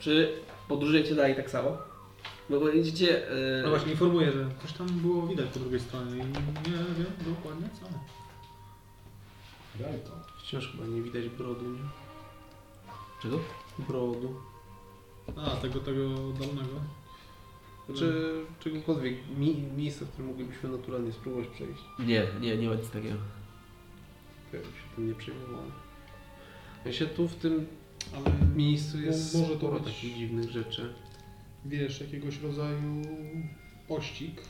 S1: Czy podróżujecie dalej tak samo? No bo jedziecie... e,
S2: No właśnie, informuję, że coś tam było widać po drugiej stronie i nie wiem dokładnie co.
S9: Daj to.
S3: Wciąż chyba nie widać brodu, nie?
S1: Czego?
S3: Brodu.
S2: A, tego, tego dolnego.
S3: Znaczy czegokolwiek, mi, miejsca, w którym moglibyśmy naturalnie spróbować przejść.
S1: Nie, nie, nie ma nic takiego.
S3: Ja się tym nie przejmowałem. Ja się tu w tym
S2: Ale
S3: miejscu jest
S2: No, Może to
S3: sporo
S2: być-
S3: takich dziwnych rzeczy.
S2: wiesz, jakiegoś rodzaju pościg.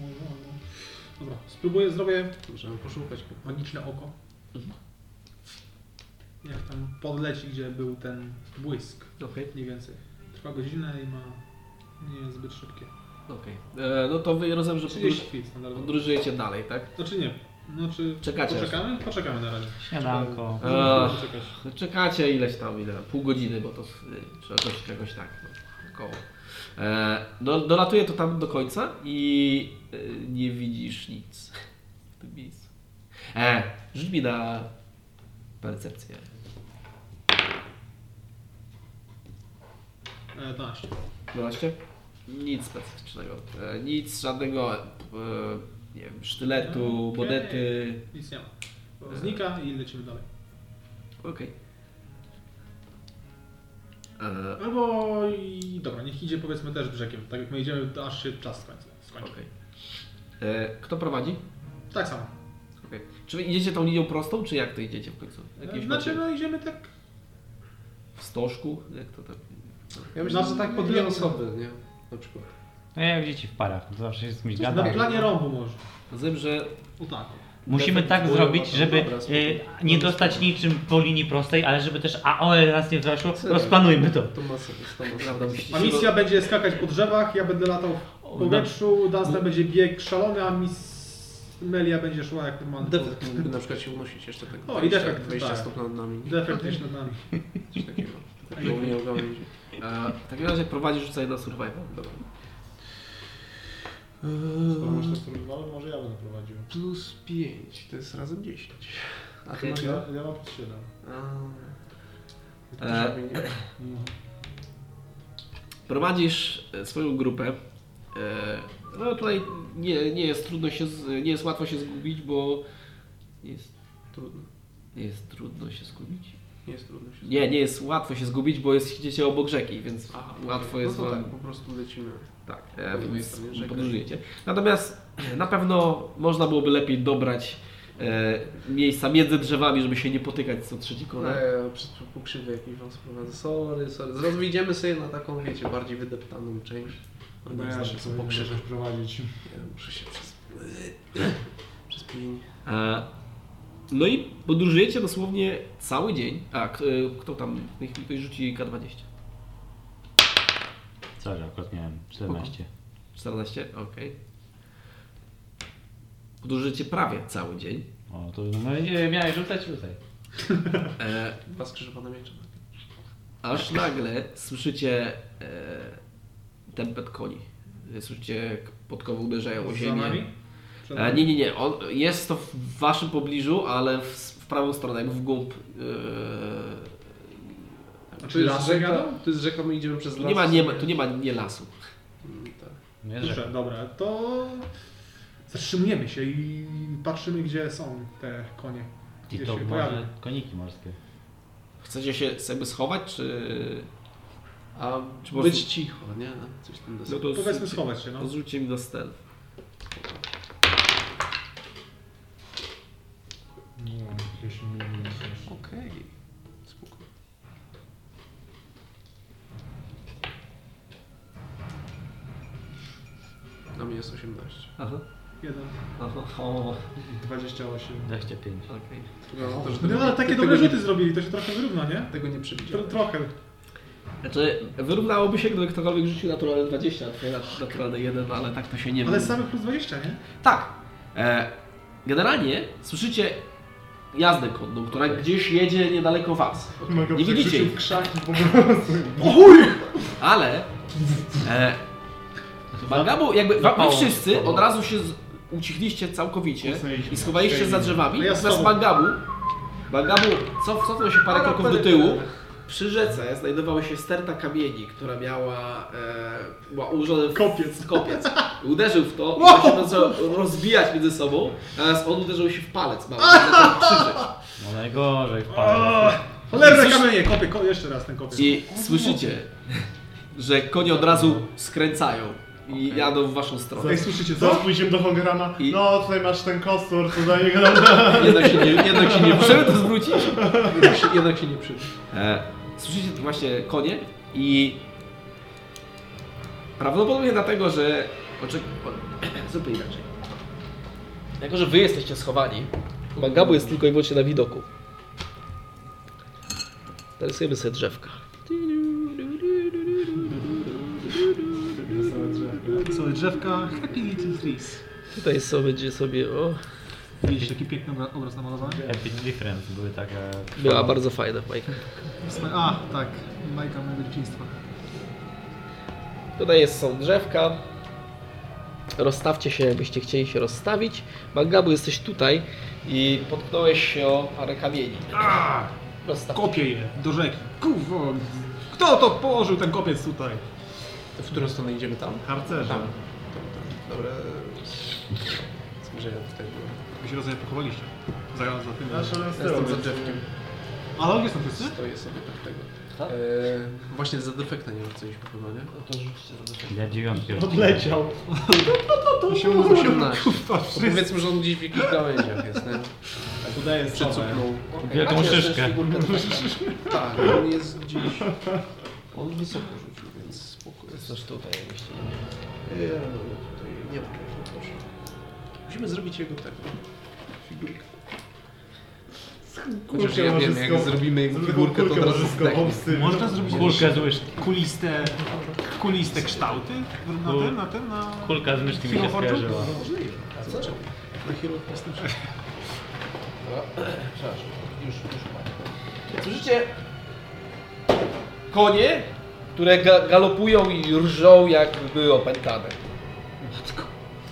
S2: Może, albo... Dobra, spróbuję, zrobię
S3: Możemy poszukać.
S2: magiczne oko. Mhm. Jak tam podleci, gdzie był ten błysk,
S1: Okej,
S2: mniej więcej. Trwa godzinę i ma nie jest zbyt szybkie.
S1: okej. E, No to wy rozumiem, że
S2: 30
S1: podróż,
S2: chwil standardowo.
S1: podróżujecie dalej, tak?
S2: Znaczy nie. Znaczy
S1: Czekacie.
S2: poczekamy? Poczekamy na razie.
S5: Śniadanko.
S3: No,
S1: Eee.
S2: Poczekać.
S1: Czekacie ileś tam, ile, pół godziny, bo to y, czy jakoś, jakoś tak, no, około. E, No, dolatuje to tam do końca i y, nie widzisz nic w tym miejscu. E, rzuć mi na percepcję.
S2: E, 12.
S1: 12? Nic specyficznego. E, Nic, żadnego e, nie wiem, sztyletu,
S2: Okej.
S1: monety.
S2: Nic nie ma. Znika i lecimy dalej.
S1: Okej. E,
S2: Albo i dobra, niech idzie powiedzmy też brzegiem. Tak jak my idziemy, to aż się czas skończy. skończy.
S1: okej. E, Kto prowadzi?
S2: Tak samo.
S1: Okej. Czy wy idziecie tą linią prostą, czy jak to idziecie w końcu? Jakieś
S2: Znaczy,
S1: macie
S2: no idziemy tak...
S1: w stożku? Jak to tak?
S3: Ja myślę,
S2: Na-
S3: że tak po dwie osoby, nie? Na przykład.
S5: No jak dzieci w parach, zawsze się z kimś
S2: Na
S5: gada.
S2: planie rombu może.
S1: Rozumiem, że
S2: O tak.
S5: Musimy tak
S3: Kurwa,
S5: zrobić,
S3: no
S5: żeby
S3: dobra, spoko.
S5: y, nie dostać niczym po linii prostej, ale żeby też AOE nas nie weszło, rozplanujmy to.
S3: To ma sens, to ma
S1: prawda
S3: sens.
S1: musicie
S2: A
S1: się
S2: misja będzie skakać po drzewach, ja będę latał w powietrzu, Dunstan będzie bieg szalony, a miss... Melia będzie szła jak normalny.
S3: Defekt mógłby na przykład się unosić jeszcze tak
S2: O, i defekt,
S3: 20
S2: tak.
S3: stóp nad nami. nie?
S2: Defekt jest nad nami.
S3: Coś takiego.
S2: tak.
S3: Żeby mnie ogarnąć.
S1: E, W takim razie prowadzisz rzucaj na survival. Dobra.
S4: Skoro
S2: Eee,
S4: masz też survival, może ja będę prowadził.
S3: Eee, Plus 5, to jest razem 10. A ty
S4: Ja,
S3: masz...
S1: no.
S3: A,
S4: ja mam plus 7.
S3: to
S1: Eee.
S3: żadnej nie.
S1: Prowadzisz e, swoją grupę. E, No tutaj nie, nie jest trudno się, z- nie jest łatwo się zgubić, bo jest,
S3: Trudno.
S1: nie jest trudno się zgubić.
S3: Nie jest trudno się
S1: Nie, nie jest łatwo się zgubić, bo jest, siedzicie obok rzeki, więc
S3: Aha,
S1: łatwo
S3: no
S1: jest
S3: to
S1: wam...
S3: tak, po prostu lecimy.
S1: Tak,
S3: Po
S1: e,
S3: drugiej
S1: więc
S3: stronie rzeki.
S1: podróżujecie. Natomiast na pewno można byłoby lepiej dobrać e, miejsca między drzewami, żeby się nie potykać co trzeci
S3: No,
S1: kole.
S3: ja przez pokrzywę jakiś wam sprowadzę. Sorry, sorry. Zaraz wyjdziemy sobie na taką, wiecie, bardziej wydeptaną część.
S4: No ja się co pokrzyżę prowadzić.
S3: Ja muszę się przez... przez pień.
S1: E, no i podróżujecie dosłownie cały dzień. A, k- e, kto tam? Niech mi ktoś rzuci K20.
S5: Co, że akurat miałem 14.
S1: 14? Okej. Podróżujecie prawie cały dzień.
S5: O, to no, nie, miałeś rzucać, rzucaj.
S1: E,
S3: Dwa skrzyżowane miecze.
S1: aż nagle słyszycie e, tempet koni. Słyszycie, jak podkowy uderzają o
S2: Za
S1: ziemię.
S2: nami? Przed
S1: E,
S2: nami.
S1: nie, nie, nie. On, jest to w waszym pobliżu, ale w, w prawą stronę, jakby w głąb. e,
S3: A
S2: Czy lasy jadą?
S3: To jest rzeka, my idziemy przez
S1: E,
S3: las.
S1: nie ma, nie ma, tu nie ma nie lasu.
S3: Mm, Tak.
S5: Nie, że...
S2: Dobrze, dobra, to zatrzymujemy się i patrzymy, gdzie są te konie.
S5: I
S2: Gdzie
S5: to
S2: się pojawią.
S5: może koniki morskie.
S1: Chcecie się jakby schować, czy...
S3: A
S1: Czy po
S3: być
S1: prostu-
S3: cicho, nie? Coś tam
S1: No
S3: deser.
S1: to
S2: Powiedzmy
S1: zrzućcie-
S2: schować się, no.
S1: to Zrzućcie mi na stealth.
S4: Nie, jakieś nie wiem. coś.
S3: Okej. Spoko. Na mnie jest 18.
S1: Aha,
S2: Jeden.
S1: aha, o,
S4: 28.
S5: 25.
S1: okej.
S3: No, to, że
S2: No
S3: tego,
S2: ale takie
S3: tego
S2: dobre
S3: nie-
S2: rzuty zrobili, to się trochę wyrówna, nie?
S3: tego nie
S2: Tro,
S3: przewidziałem.
S2: trochę.
S1: Znaczy, wyrównałoby się, gdyby ktokolwiek rzucił naturalne 20, a twoje nat- naturalne 1, ale tak to się nie
S2: Ale
S1: wyrówna.
S2: same plus 20, nie?
S1: Tak. E, generalnie słyszycie jazdę konną, która gdzieś jedzie niedaleko was.
S4: Mega
S1: Nie widzicie
S4: przekrzyczę
S1: ich.
S4: w krzaki po prostu.
S1: Ale e,
S2: No.
S1: Mangabu, jakby wa- wy wszyscy od razu się z, ucichliście całkowicie i schowaliście się za drzewami.
S2: No ja
S1: Natomiast
S2: schowam.
S1: Mangabu, Mangabu cof, cofnął się
S2: No,
S1: parę kroków do tyłu. Przy rzece znajdowała się sterta kamieni, która miała e, była ułożona w kopiec. kopiec. Uderzył w to i to się zaczęło rozbijać między sobą, natomiast on uderzył się w palec mały, i zaczął krzyczeć.
S5: No najgorzej w parach.
S2: Cholerne kamienie, kopię, ko jeszcze raz ten kopię.
S1: I słyszycie, że konie od razu skręcają i jadą w waszą stronę.
S2: Ej, słyszycie
S9: Zaraz
S2: co?
S9: pójdziemy do Hograna.
S1: I-
S9: No, tutaj masz ten kostur, co daje go
S1: Jednak się nie, jednak się nie przyda, zwrócić.
S3: Jednak się, jednak się nie przyda.
S1: E, słyszycie tu właśnie konie i prawdopodobnie dlatego, że oczek... o- zróbmy inaczej. Jako, że wy jesteście schowani, Mangabu jest tylko i wyłącznie na widoku. Narysujemy sobie drzewka.
S2: Są drzewka, happy little trees.
S1: Tutaj sobie będzie sobie, o,
S2: Widzisz taki piękny obra- obraz namalowany?
S5: Happy Difference były takie...
S1: była bardzo fajna bajka.
S2: Wspania- A, tak, bajka mojego dzieciństwa.
S1: Tutaj jest, są drzewka. Rozstawcie się, jakbyście chcieli się rozstawić. Mangabu, jesteś tutaj i potknąłeś się o parę kamieni.
S2: A,
S1: Rozstaw.
S2: kopię je do rzeki. Kurwo, kto to położył ten kopiec tutaj?
S3: To w którą stronę idziemy tam?
S9: Harcerze.
S3: Dobra. Zmierzenia tutaj było.
S2: Wy się rozumiem pochowaliście. Za, za tym.
S9: Nasze
S3: Ja
S9: lesy
S3: Jestem za drzewkiem.
S2: Ale gdzie są wszyscy?
S3: Stoję sobie tak tego. E, właśnie za defekta nie wracaliśmy chyba, nie?
S1: No to rzućcie za defekt.
S5: Ja dziewiątki
S4: Odleciał.
S3: Się 18. To powiedzmy, że on gdzieś w jakichś gałęziach jest, nie?
S2: Tak,
S4: A tutaj jest same.
S3: Przycupnął.
S5: Wielką
S1: Macie też
S5: szyszkę.
S1: figurkę defekta.
S3: Tak, on jest gdzieś... On wysoko rzucił, więc spoko jest.
S1: Coś tutaj jakbyście nie
S3: Nie, no, tutaj nie ma czegoś, no proszę. Musimy zrobić jego tego. Figurkę. Chociaż
S4: Kurczę,
S3: ja
S4: może
S3: wiem, jak
S4: sko-
S3: zrobimy jego
S4: Zrobię
S3: figurkę, to
S4: kulkę
S3: od razu
S4: może z
S3: zdechnie.
S4: kobobsy.
S2: Można zrobić
S5: Kulkę z łyżki.
S2: kuliste, kuliste kształty na
S5: Kul-
S2: ten, na ten, na...
S5: Kulka z myszki mi
S2: Wheel
S5: się
S2: of Fortune?
S5: skojarzyła.
S3: Na chwilę jestem
S1: Przepraszam, już, już mam. Słyszycie konie, które ga galopują i rżą jakby były opętane.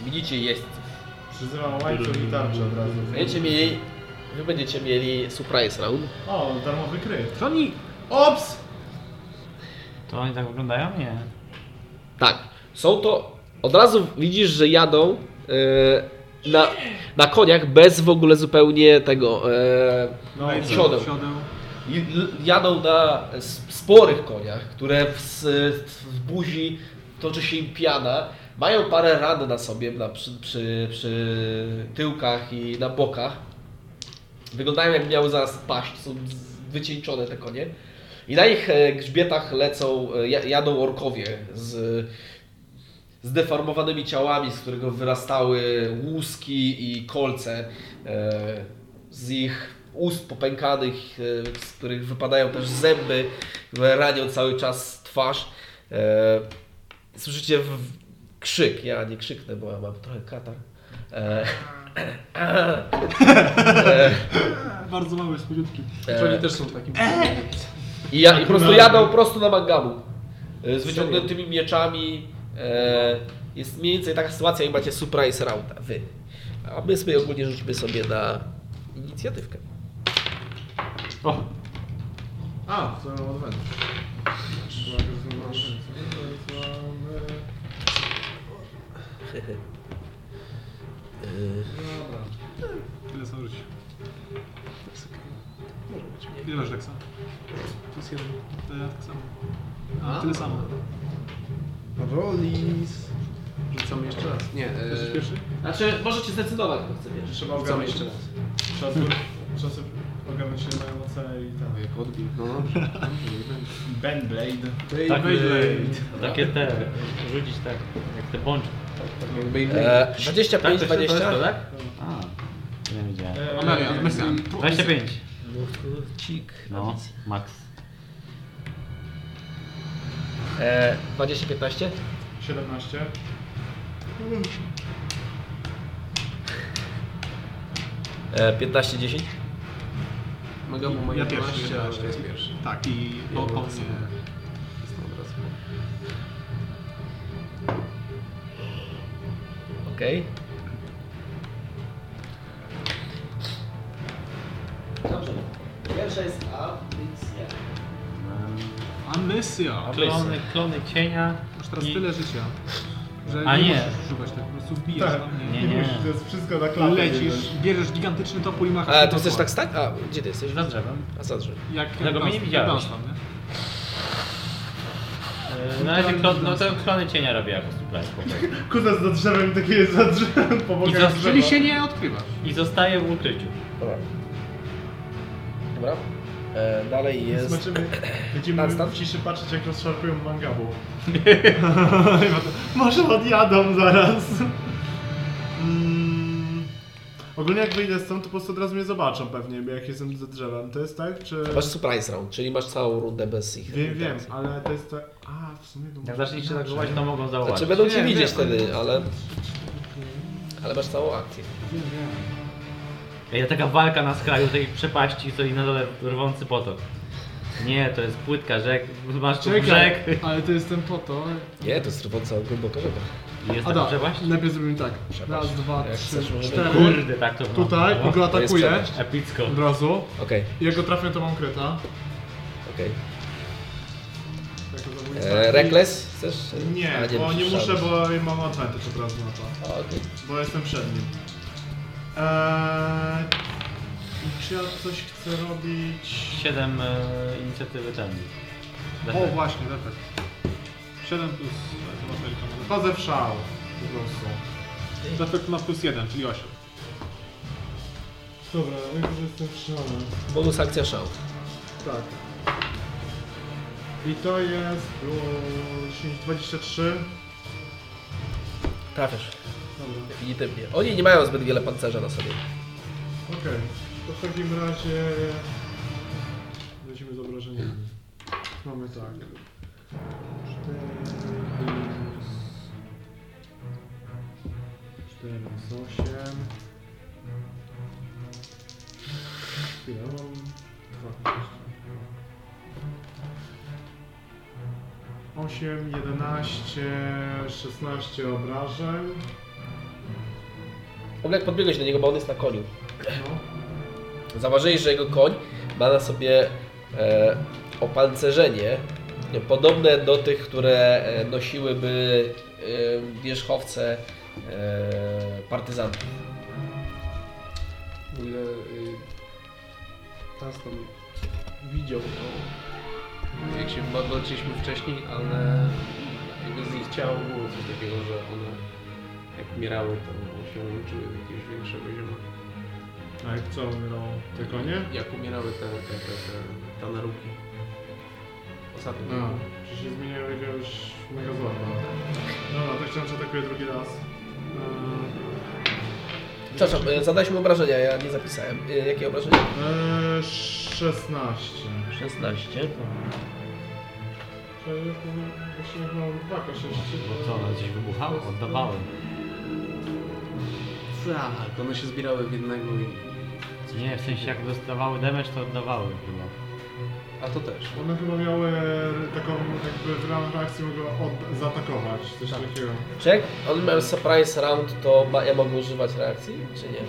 S1: Widzicie, jest.
S4: Przyzywam łańcuch i tarczę od razu.
S1: Będziecie mieli, wy będziecie mieli surprise round.
S4: O, darmowy kryt.
S2: To oni
S4: Ops!
S5: To oni tak wyglądają? Nie.
S1: Tak, są to, od razu widzisz, że jadą e, na, na koniach bez w ogóle zupełnie tego, e,
S2: no,
S1: i siodeł.
S2: siodeł.
S1: i- l- jadą na s- sporych koniach, które w, s- w buzi toczy się im piana, mają parę ran na sobie, na, przy, przy, przy tyłkach i na bokach. Wyglądają jak miały zaraz paść, są z- wycieńczone te konie. I na ich e, grzbietach lecą, e, ja- jadą orkowie z zdeformowanymi ciałami, z którego wyrastały łuski i kolce. e, Z ich ust popękanych, e, z których wypadają też zęby, które ranią cały czas twarz. E, Słyszycie w- w- krzyk, ja nie krzyknę, bo ja mam trochę katar. E,
S2: Bardzo małe, słodziutki.
S3: Czy oni też są takim...
S1: I, ja, i po prostu jadą prosto na mangamu. E, Z wyciągniętymi mieczami. E, jest mniej więcej taka sytuacja, jak macie surprise rounda. Wy. A my sobie ogólnie rzućmy sobie na inicjatywkę.
S12: A, to mam odwędrz.
S2: Tyle są żyć. Ile masz tak samo? Plus jeden. To ja tak samo. A, tyle samo.
S3: Rolis. Rzucamy jeszcze raz. Nie,
S2: Jesteś
S3: e,
S2: pierwszy?
S1: Znaczy, możecie zdecydować, kto chce wiesz.
S4: Trzeba
S3: rzucamy
S4: ogarnąć.
S3: no jeszcze raz.
S4: Czasy, czasy ogarnąć się na moce i tam.
S3: Jak odbił. No dobrze. Dobrze,
S4: Benblade.
S3: nie będę.
S5: Tak.
S3: Beyblade.
S5: Takie te, rzucić tak, jak te pączki.
S3: Tak, jak Beyblade.
S1: E, 25,
S5: Tak, to się- to jest
S1: 20.
S5: to, tak? A, nie widziałem.
S3: Amelia, Amelia.
S5: 25.
S1: Cik.
S5: No, max.
S1: E, 20, 15.
S4: 17.
S1: E, 15, 10.
S3: Magamu ma
S2: Ja pierwszy,
S3: 11,
S2: ja
S3: a jest pierwszy.
S2: Tak, i
S3: Ja
S2: po, po
S3: wracam.
S2: mnie.
S3: Jestem od razu.
S1: Okej. Dobrze. Pierwsza jest A, więc ja.
S2: Amnesia.
S5: Klony, klony cienia.
S2: Masz teraz
S5: I-
S2: tyle życia, że
S5: A
S2: nie,
S5: nie.
S2: musisz szukać, tak po prostu wbijasz
S4: Tak,
S2: tak.
S5: Nie,
S4: nie,
S5: nie.
S4: musisz, to jest wszystko na
S2: tam,
S4: klatę.
S2: lecisz, bierzesz gigantyczny topór i machasz.
S1: A
S2: tym
S1: to chcesz
S2: toporem.
S1: tak stać? A gdzie ty jesteś?
S5: Za drzewem.
S1: A za drzewem.
S2: Jak
S5: Tego mnie
S2: Gunstam,
S5: nie widziałeś.
S2: jak Gunstam, nie?
S5: E, Na razie klon, no to klony cienia robię jako surprise. po prostu.
S4: Kutas za drzewem, takie jest za drzewem, po bokach
S5: zastrzyli
S4: drzewa.
S2: Czyli się nie odkrywasz.
S5: I zostaję w ukryciu.
S1: Dobra. Dobra. E, dalej jest.
S4: Zobaczymy, będziemy
S1: Dunstan?
S4: w ciszy patrzeć jak rozszarpują mangabu. Może odjadą zaraz.
S12: Mm, ogólnie jak wyjdę stąd, to po prostu od razu mnie zobaczą pewnie, bo jak jestem za drzewem. To jest tak, czy...
S1: Masz surprise round, czyli masz całą rundę bez ich.
S12: Wiem, wiem,
S1: interakcji.
S12: ale to jest tak... A, w sumie... to
S5: Jak
S12: może
S5: zaczniecie tak
S12: inaczej.
S5: wołać, to mogą zauważyć.
S1: Znaczy będą cię
S2: Nie,
S1: widzieć
S2: wiem.
S1: wtedy, ale. Ale masz całą akcję.
S5: Ej, taka walka na skraju tej przepaści, co i na dole rwący potok. Nie, to jest płytka rzek, masz tu brzeg.
S2: ale to jestem po to.
S1: Nie, to jest trwąca głęboko rzeka.
S5: I Jest taka
S2: Ada,
S5: przepaść?
S2: najpierw zrobimy tak.
S1: Przepaść.
S2: Raz, dwa,
S1: Jak
S2: trzy,
S1: chcesz, możemy-
S2: cztery.
S5: Kurde, tak to wygląda.
S4: Tutaj,
S5: No.
S4: bo go
S1: To jest
S4: atakuje.
S1: przepaść.
S5: Epicko.
S4: Od razu.
S1: Okej,
S4: Jak go trafię, to mam kryta.
S1: okej.
S4: Jako
S1: E,
S4: zabójca.
S1: Reckless chcesz?
S4: Nie,
S1: A,
S4: bo nie
S1: musisz
S4: muszę,
S1: żadnych.
S4: bo mam advantage od razu na to.
S1: A, okej.
S4: Bo jestem przed nim.
S2: E,
S4: Eee, i czy ja coś chcę robić?
S5: 7 e, inicjatywy ten.
S2: O właśnie, tak, tak. 7 plus...
S4: Wchodzę w szał. Po prostu.
S2: Defekt ma plus 1, czyli 8.
S13: Dobra, jak już jestem wstrzymany.
S1: Bonus akcja szał.
S4: Tak. I to jest było 10, 23.
S1: Trafiasz.
S4: Dobra.
S1: Definitywnie. Oni nie mają zbyt wiele pancerza na sobie.
S4: Okej. To w takim razie lecimy z obrażeniami. Mamy tak. Cztery plus- cztery plus osiem. Chwila, mam no, dwa kości. Osiem, jedenaście, szesnaście obrażeń.
S1: W ogóle jak podbiegłeś do niego, bo on jest na koniu.
S4: No.
S1: Zauważyłeś, że jego koń ma na sobie e, opancerzenie e, podobne do tych, które e, nosiłyby e, wierzchowce e, partyzantów.
S3: W ogóle y, Taz tam widział to, jak się walczyliśmy wcześniej, ale jakby z nich ciała było coś takiego, że one jak umierały, to się łączyły do jakiegoś większego zioma.
S4: A jak co no, umierało? Te konie?
S3: Jak umierały te, te, te, te, te naruki. Ostatnio.
S4: No, czy się zmieniają jakiegoś mega złota. Dobra, to chciałem, że atakuję drugi raz. E,
S1: Przepraszam, e, zadałeś mi obrażenia, ja nie zapisałem. E, jakie obrażenia?
S4: Eee, 16.
S1: 16.
S4: Czy Właśnie mam 2 K6,
S5: Bo co, one gdzieś wybuchały? Oddawały.
S3: Tak, one się zbierały w jednego i...
S5: Nie, w sensie jak dostawały damage, to oddawały chyba.
S3: A to też.
S4: One chyba miały taką jakby w ramach akcji mogły od- zaatakować, coś takiego.
S1: Czy jak on miał surprise round, to ma, ja mogę używać reakcji, czy nie?
S2: E,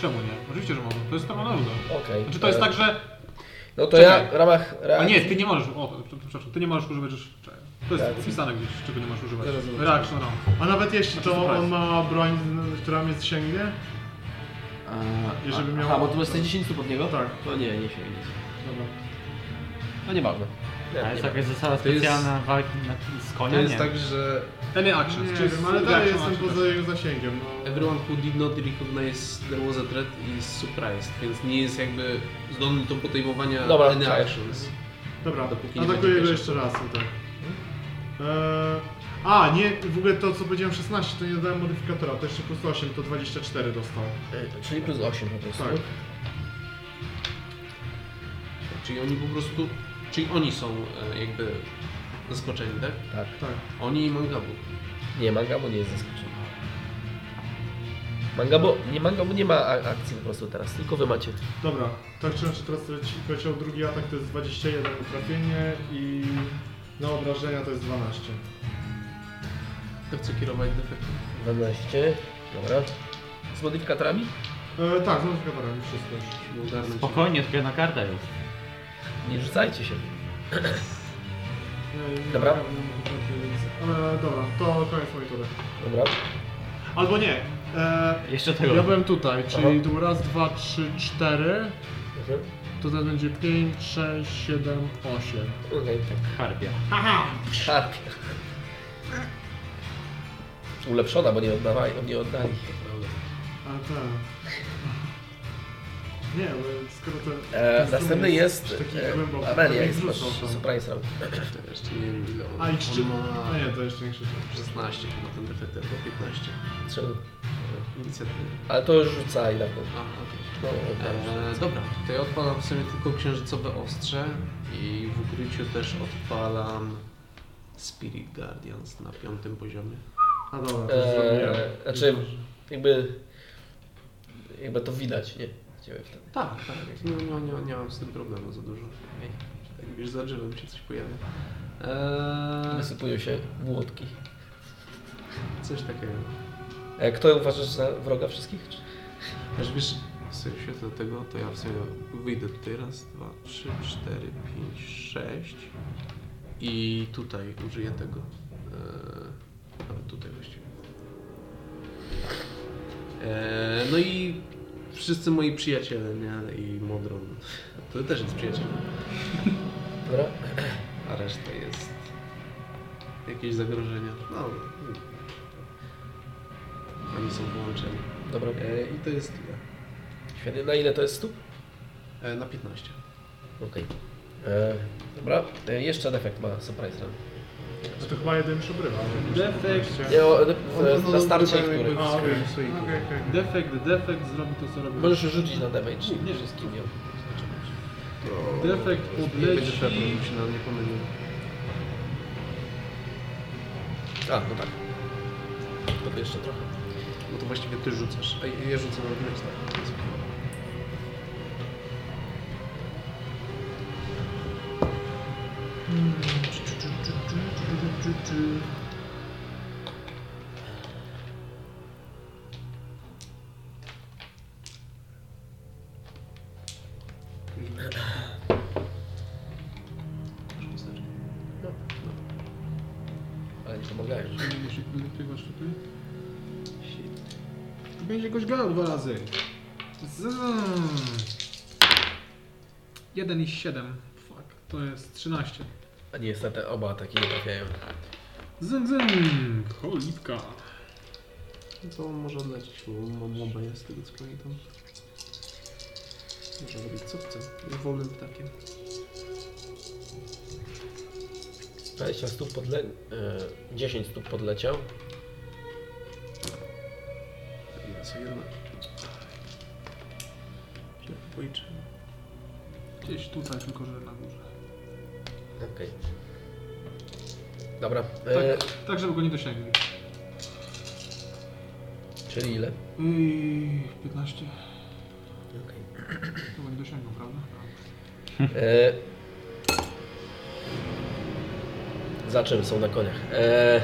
S2: Czemu nie? Oczywiście, że mogę. To jest sama naruda.
S1: Okej.
S2: Znaczy to jest
S1: E,
S2: tak, że...
S1: No to
S2: czekaj.
S1: ja w ramach
S2: A
S1: reakcji...
S2: nie, ty nie możesz... O, przepraszam, ty nie możesz używać... Czekaj. To jest wpisane gdzieś, czego nie możesz używać.
S1: Ja Tak. rozumiem.
S2: Reaction round.
S4: A nawet jeśli to
S2: surprise.
S4: on ma broń, która mnie sięgnie? Jeżeli miał-
S1: A, bo tu jesteś 10 stóp od niego?
S4: Tak.
S1: To No nie, nie sięgnie.
S4: Dobra.
S1: No nieważne.
S5: A
S1: Nie,
S5: jest
S1: nie
S5: jakaś zasada
S3: To jest-
S5: specjalna walki na, z
S3: To
S5: koniem?
S3: jest tak, że
S2: Any actions.
S4: Nie
S2: czyli
S4: wiem, ale dalej
S2: reaction,
S4: jestem
S2: action,
S4: poza jego zasięgiem. No.
S3: everyone who did not recognize there was a threat is surprised, więc nie jest jakby zdolny do podejmowania
S1: Dobra,
S3: any
S1: tak.
S3: actions.
S4: Dobra,
S3: Dopóki nie
S4: atakuję
S3: będzie
S4: go
S3: pierwszy.
S4: jeszcze raz i tak. Eee, a, nie, w ogóle to co powiedziałem 16 to nie dodałem modyfikatora, to jeszcze plus 8, to 24 dostał.
S1: E, Czyli plus 8 po prostu.
S4: Tak.
S3: Czyli oni po prostu, czyli oni są e, jakby zaskoczeni, tak?
S1: Tak.
S4: Tak.
S3: Oni i Mangabu.
S1: Nie, Mangabo nie jest zaskoczony. Mangabo, nie, Mangabo nie ma a- akcji po prostu teraz, tylko wy macie.
S4: Dobra, tak czy inaczej teraz leci- leciał drugi atak, to jest 21 trafienie i na obrażenia to jest 12.
S3: To chcę kierować defektem.
S1: 12, dobra. Z modyfikatorami?
S4: Eee, tak, z modyfikatorem wszystko już.
S3: żeby ogarnąć.
S5: Spokojnie, tylko jedna karta jest.
S1: Nie rzucajcie się.
S4: Nie, nie
S1: Dobra.
S4: mam modyfikatorów, więc- Eee, dobra, to koniec mojej tury.
S1: Dobra.
S4: Albo nie, eee,
S5: Jeszcze tego.
S4: ja byłem tutaj, czyli
S1: Aha.
S4: tu raz, dwa, trzy, cztery.
S1: Mhm.
S4: To teraz będzie 5, 6, 7, 8.
S1: Okej.
S5: Harpia.
S1: Szarpie. Ulepszona, bo nie oddawali, nie oddali.
S4: A tak. Nie, bo skoro to.
S1: E,
S4: to
S1: następny jest
S4: taki głęboki,
S1: e,
S4: to
S1: Amelia,
S4: nie
S1: jest masz
S4: wrzucą tam.
S1: surprise round.
S3: Ja Jeszcze nie wiem ile on,
S4: A i szczyt.
S3: on ma
S4: A No nie, to jeszcze nie krzyczę.
S3: 16 chyba ten defekt, albo 15.
S1: Trzy.
S3: Inicjatywy.
S1: Ale to już rzucaj
S8: tak,
S1: na to.
S3: A, okej.
S1: No, dobra.
S3: E, dobra, to ja odpalam w sumie tylko księżycowe ostrze i w ukryciu też odpalam Spirit Guardians na piątym poziomie.
S4: A dobra, to już zrobiłem.
S1: E, znaczy, jakby, jakby to widać, nie? Ciebie wtedy.
S3: Tak, tak, nie, nie, nie, nie mam z tym problemu za dużo. Ej, tak wiesz, za drzewem się coś pojawia. Eee,
S1: Wysypują się młotki.
S3: coś takiego.
S1: E, Kto uważasz za wroga wszystkich? Czy-
S3: Aż wiesz, w sumie w świetle tego, to ja w sumie wyjdę tutaj raz, dwa, trzy, cztery, pięć, sześć i tutaj użyję tego. Eee, nawet tutaj właściwie. Eee, no i wszyscy moi przyjaciele, nie? I Modron. To też jest przyjaciel.
S8: Dobra.
S3: a reszta jest jakieś zagrożenia. No, oni są połączeni.
S8: Dobra.
S3: E, I to jest tyle.
S8: Świetnie. Na ile to jest stóp?
S3: E, na 15.
S8: Okej. E, Dobra. E, Jeszcze defekt ma surprise run.
S14: No to chyba jeden przybrywa.
S2: Defekt,
S8: Nie, o, e,
S1: No,
S8: e, na starcie
S4: tak
S8: który.
S14: A, okej.
S4: no,
S14: Okej, okej.
S2: defekt, defekt zrobi to co robi.
S8: Możesz rzucić na damage.
S2: Nie, nie.
S8: wszystkim. nie?
S2: Defekt
S3: Nie będzie
S2: podleci.
S3: pewny, żeby się na nie pomylił.
S8: A, no tak. To jeszcze trochę.
S3: No to właściwie ty rzucasz. A ja rzucę na wlecz, tak. Więc-
S8: Ale nie pomagają.
S2: Będzie goś gadał dwa razy. Z... Jeden i siedem. Fuck, to jest 13.
S8: A niestety oba ataki nie trafiają.
S2: Zyng, zyng. Cholipka.
S3: No To może odlecieć, bo mam łobę jest z tego co pamiętam. Może robić co chce. Jest wolnym ptakiem.
S8: 20 stóp podle... E, 10 stóp podleciał.
S3: Ja sobie jednak. Źle to policzyłem.
S2: Gdzieś tutaj, tylko że na górze.
S8: Okej. Dobra. E,
S2: Tak, tak żeby go nie dosięgli.
S8: Czyli ile?
S2: Yy, 15.
S8: Okej.
S2: To go nie dosięgną, prawda?
S8: E, za czym są na koniach? E,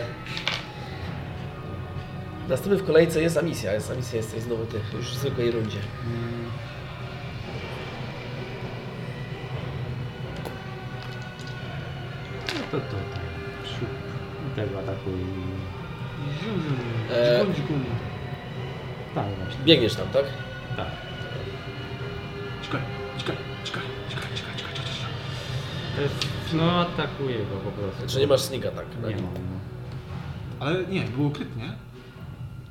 S8: następny w kolejce jest Amisja. Jest Amisja, jesteś znowu ty. Już w zwykłej rundzie.
S5: No to to tak. Siup. Tego ataku i...
S2: Zyng, zyng.
S8: E,
S2: Dzikum, dzikum.
S5: Tak, właśnie.
S8: biegniesz tam, tak?
S5: Tak.
S2: Czekaj, czekaj, czekaj, czekaj, czekaj, czekaj, czekaj. czekaj.
S5: To jest, no atakuje go po prostu.
S8: Znaczy nie masz snika, tak? Na
S5: Nie
S8: nim.
S5: mam. no.
S2: Ale nie, był ukryty, nie?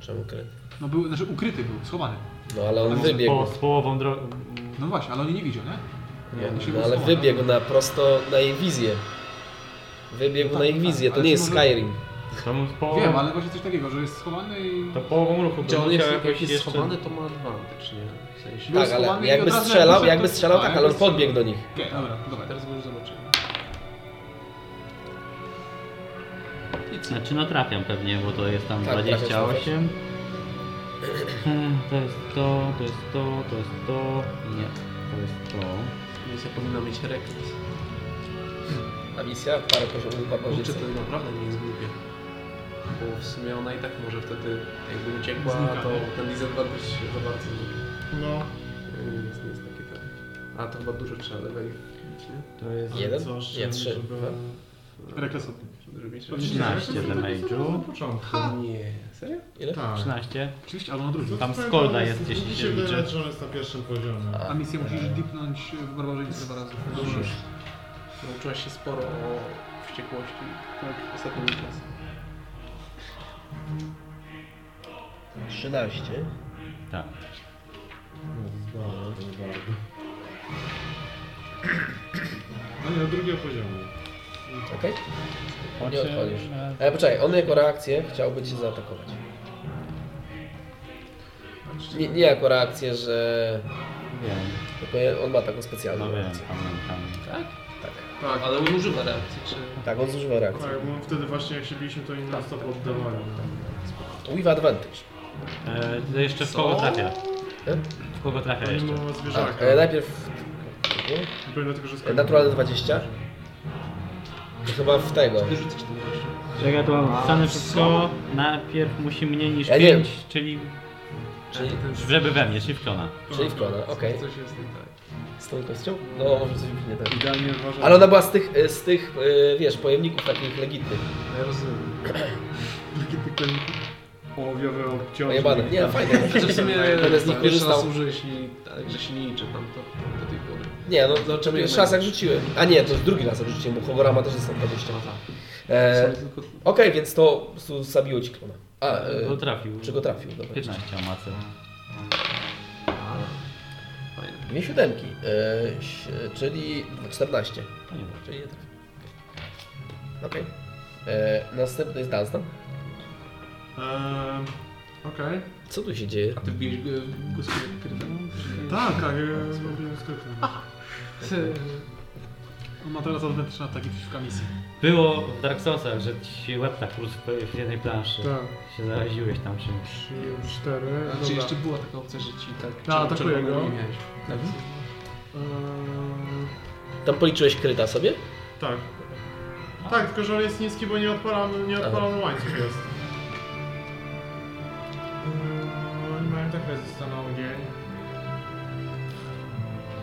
S8: Czemu kryt?
S2: No był, znaczy ukryty był, schowany.
S8: No ale on
S5: On
S8: wybiegł.
S5: Po, z połową drogi.
S2: No właśnie, ale oni nie widział, nie?
S8: Nie,
S2: on się
S8: no, ale
S2: wysunął,
S8: wybiegł na prosto na jej wizję. Wybiegł na ich wizję, to
S2: ale
S8: nie
S2: czy
S8: jest
S2: może-
S8: Skyrim.
S5: To mu z połową,
S2: Wiem, ale właśnie coś takiego, że jest schowany i...
S5: To połową ruchu.
S3: Czy
S5: bo
S3: on jest,
S5: musiał
S3: jak
S5: jakoś
S3: jest
S5: jeszcze-
S3: schowany, to ma advantage, nie? W sensie...
S2: Był
S8: Tak, ale
S2: schowany i
S8: jakby
S2: od razu
S8: strzelał,
S2: jakby
S8: jakby
S2: to-
S8: strzelał,
S2: a,
S8: tak,
S2: jakby
S8: ale on
S2: strzelał.
S8: podbiegł do nich.
S2: Okej, dobra, No dobra.
S3: Teraz go już zobaczymy.
S5: Znaczy no trafiam pewnie, bo to jest tam
S8: Tak, trafiasz,
S5: 28. Hmm, To jest to, to jest to, to jest to. Nie, to jest to.
S3: Więc ja powinna mieć rekres.
S8: A misja? Parę poziomów
S3: Kurczę,
S8: barbarzycy.
S3: to naprawdę nie jest głupie. Bo w sumie ona i tak może wtedy, jakby uciekła,
S2: Znika, tak.
S3: to
S2: nie?
S3: ten disadvantage się za bardzo nie-
S4: No,
S3: nie jest, nie jest takie tak. A to chyba dużo trzeba leveli wbić, nie?
S5: To jest
S8: Jeden?
S4: coś,
S8: Nie,
S4: żeby-
S8: trzy.
S4: żeby-
S2: Rekres
S3: Żeby robić
S5: 13 damage'u.
S3: Ha! Nie. Serio?
S8: Ile?
S4: Tak.
S5: 13.
S2: Oczywiście, albo na drugim.
S5: Tam
S4: Twojego
S5: skolda jest 10
S4: Musi wydawać,
S5: liczy.
S4: że on jest na pierwszym poziomie.
S2: A misję musisz dipnąć w barbarzyńcy dwa razy. Dobrze.
S3: Nauczyłaś się sporo o wściekłości
S2: Tak.
S3: w ostatnim czasie.
S8: 13.
S5: Tak.
S4: No nie, na drugiego poziomu.
S8: Okej. Nie
S5: Chociaż-
S8: odchodzisz.
S5: e,
S8: Ale poczekaj, on jako reakcję chciałby cię zaatakować. Nie, nie jako reakcję, że...
S5: Wiem,
S8: Tylko je- on ma taką specjalną
S5: no wiem,
S8: reakcję.
S5: pamiętam.
S8: Tak.
S3: Tak, ale on używa reakcji, czy...
S8: Tak, on zużywa reakcję.
S4: Tak, bo wtedy właśnie jak się biliśmy, to inna stop oddawali.
S8: With advantage.
S5: E, to jeszcze w kogo trafia?
S8: E?
S5: W kogo trafia jeszcze?
S4: Pomimo
S8: Tak,
S4: zwierzaka.
S8: e, najpierw...
S4: Powinno tylko, że
S8: E, Naturalne 20. To chyba w tego.
S3: Wyrzucić ten gościu.
S5: Czekaj, tu Tak, mam wpisane wszystko. Najpierw musi mniej niż
S8: Ja nie wiem.
S5: 5, czyli
S8: Czyli,
S5: żeby we mnie, czyli w klona.
S8: czyli w kolor, okej.
S3: Coś jest nie tak.
S8: Z tą kością? No, może coś nie tak.
S4: Idealnie uważam.
S8: Ale ona była z tych, e, z tych
S3: No
S8: e, wiesz, pojemników takich legitnych.
S3: Ja rozumiem.
S1: Ołowiowy obciążnik.
S8: Pojebane. Nie, no fajnie.
S3: Znaczy w sumie
S8: Będę z nich
S3: pierwszy raz
S8: korzystał.
S3: użyłeś i tak, że się nie liczy tam to do tej pory.
S8: Nie, no
S3: Dlaczego
S8: pierwszy
S3: nie
S8: raz jak
S3: będziesz?
S8: rzuciłem. A nie, to drugi raz jak rzuciłem, bo Hogorama też jest tam 20.
S3: No tak.
S8: E,
S3: W sumie tylko
S8: Okej, więc to po prostu zabiło ci klona. A, e,
S5: Go trafił.
S8: czy go trafił? Dobra.
S5: 15 macy.
S3: fajne.
S8: Dwie siódemki, e, ś- e, czyli 14.
S5: To nie wiem.
S8: Czyli nie trafił. Okej. E, Następny jest Dunstan.
S4: Ehm,
S2: Tak.
S4: Okej.
S8: Co tu się dzieje?
S3: A ty wbiłeś e, go, go sobie krytem?
S4: Tak, tak, ja zrobiłem skryptem.
S2: On ma teraz odwetyczne ataki przeciwko misji.
S5: Było w Dark Soulsach, że ci się łeb tak rósł w jednej planszy.
S4: Tak,
S5: Się zaraziłeś tam czymś.
S1: Tak.
S4: 3, 4.
S3: Znaczy jeszcze była taka opcja, że ci tak
S4: No, atakuję
S3: czerwonego nie
S4: go.
S3: miałeś. Tak.
S8: Tam policzyłeś kryta sobie?
S4: Tak. Tak, tylko że on jest niski, bo nie odpalany, nie odpalany łańcuch jest.
S5: No,
S15: Oni mają tak rezystan na ogień.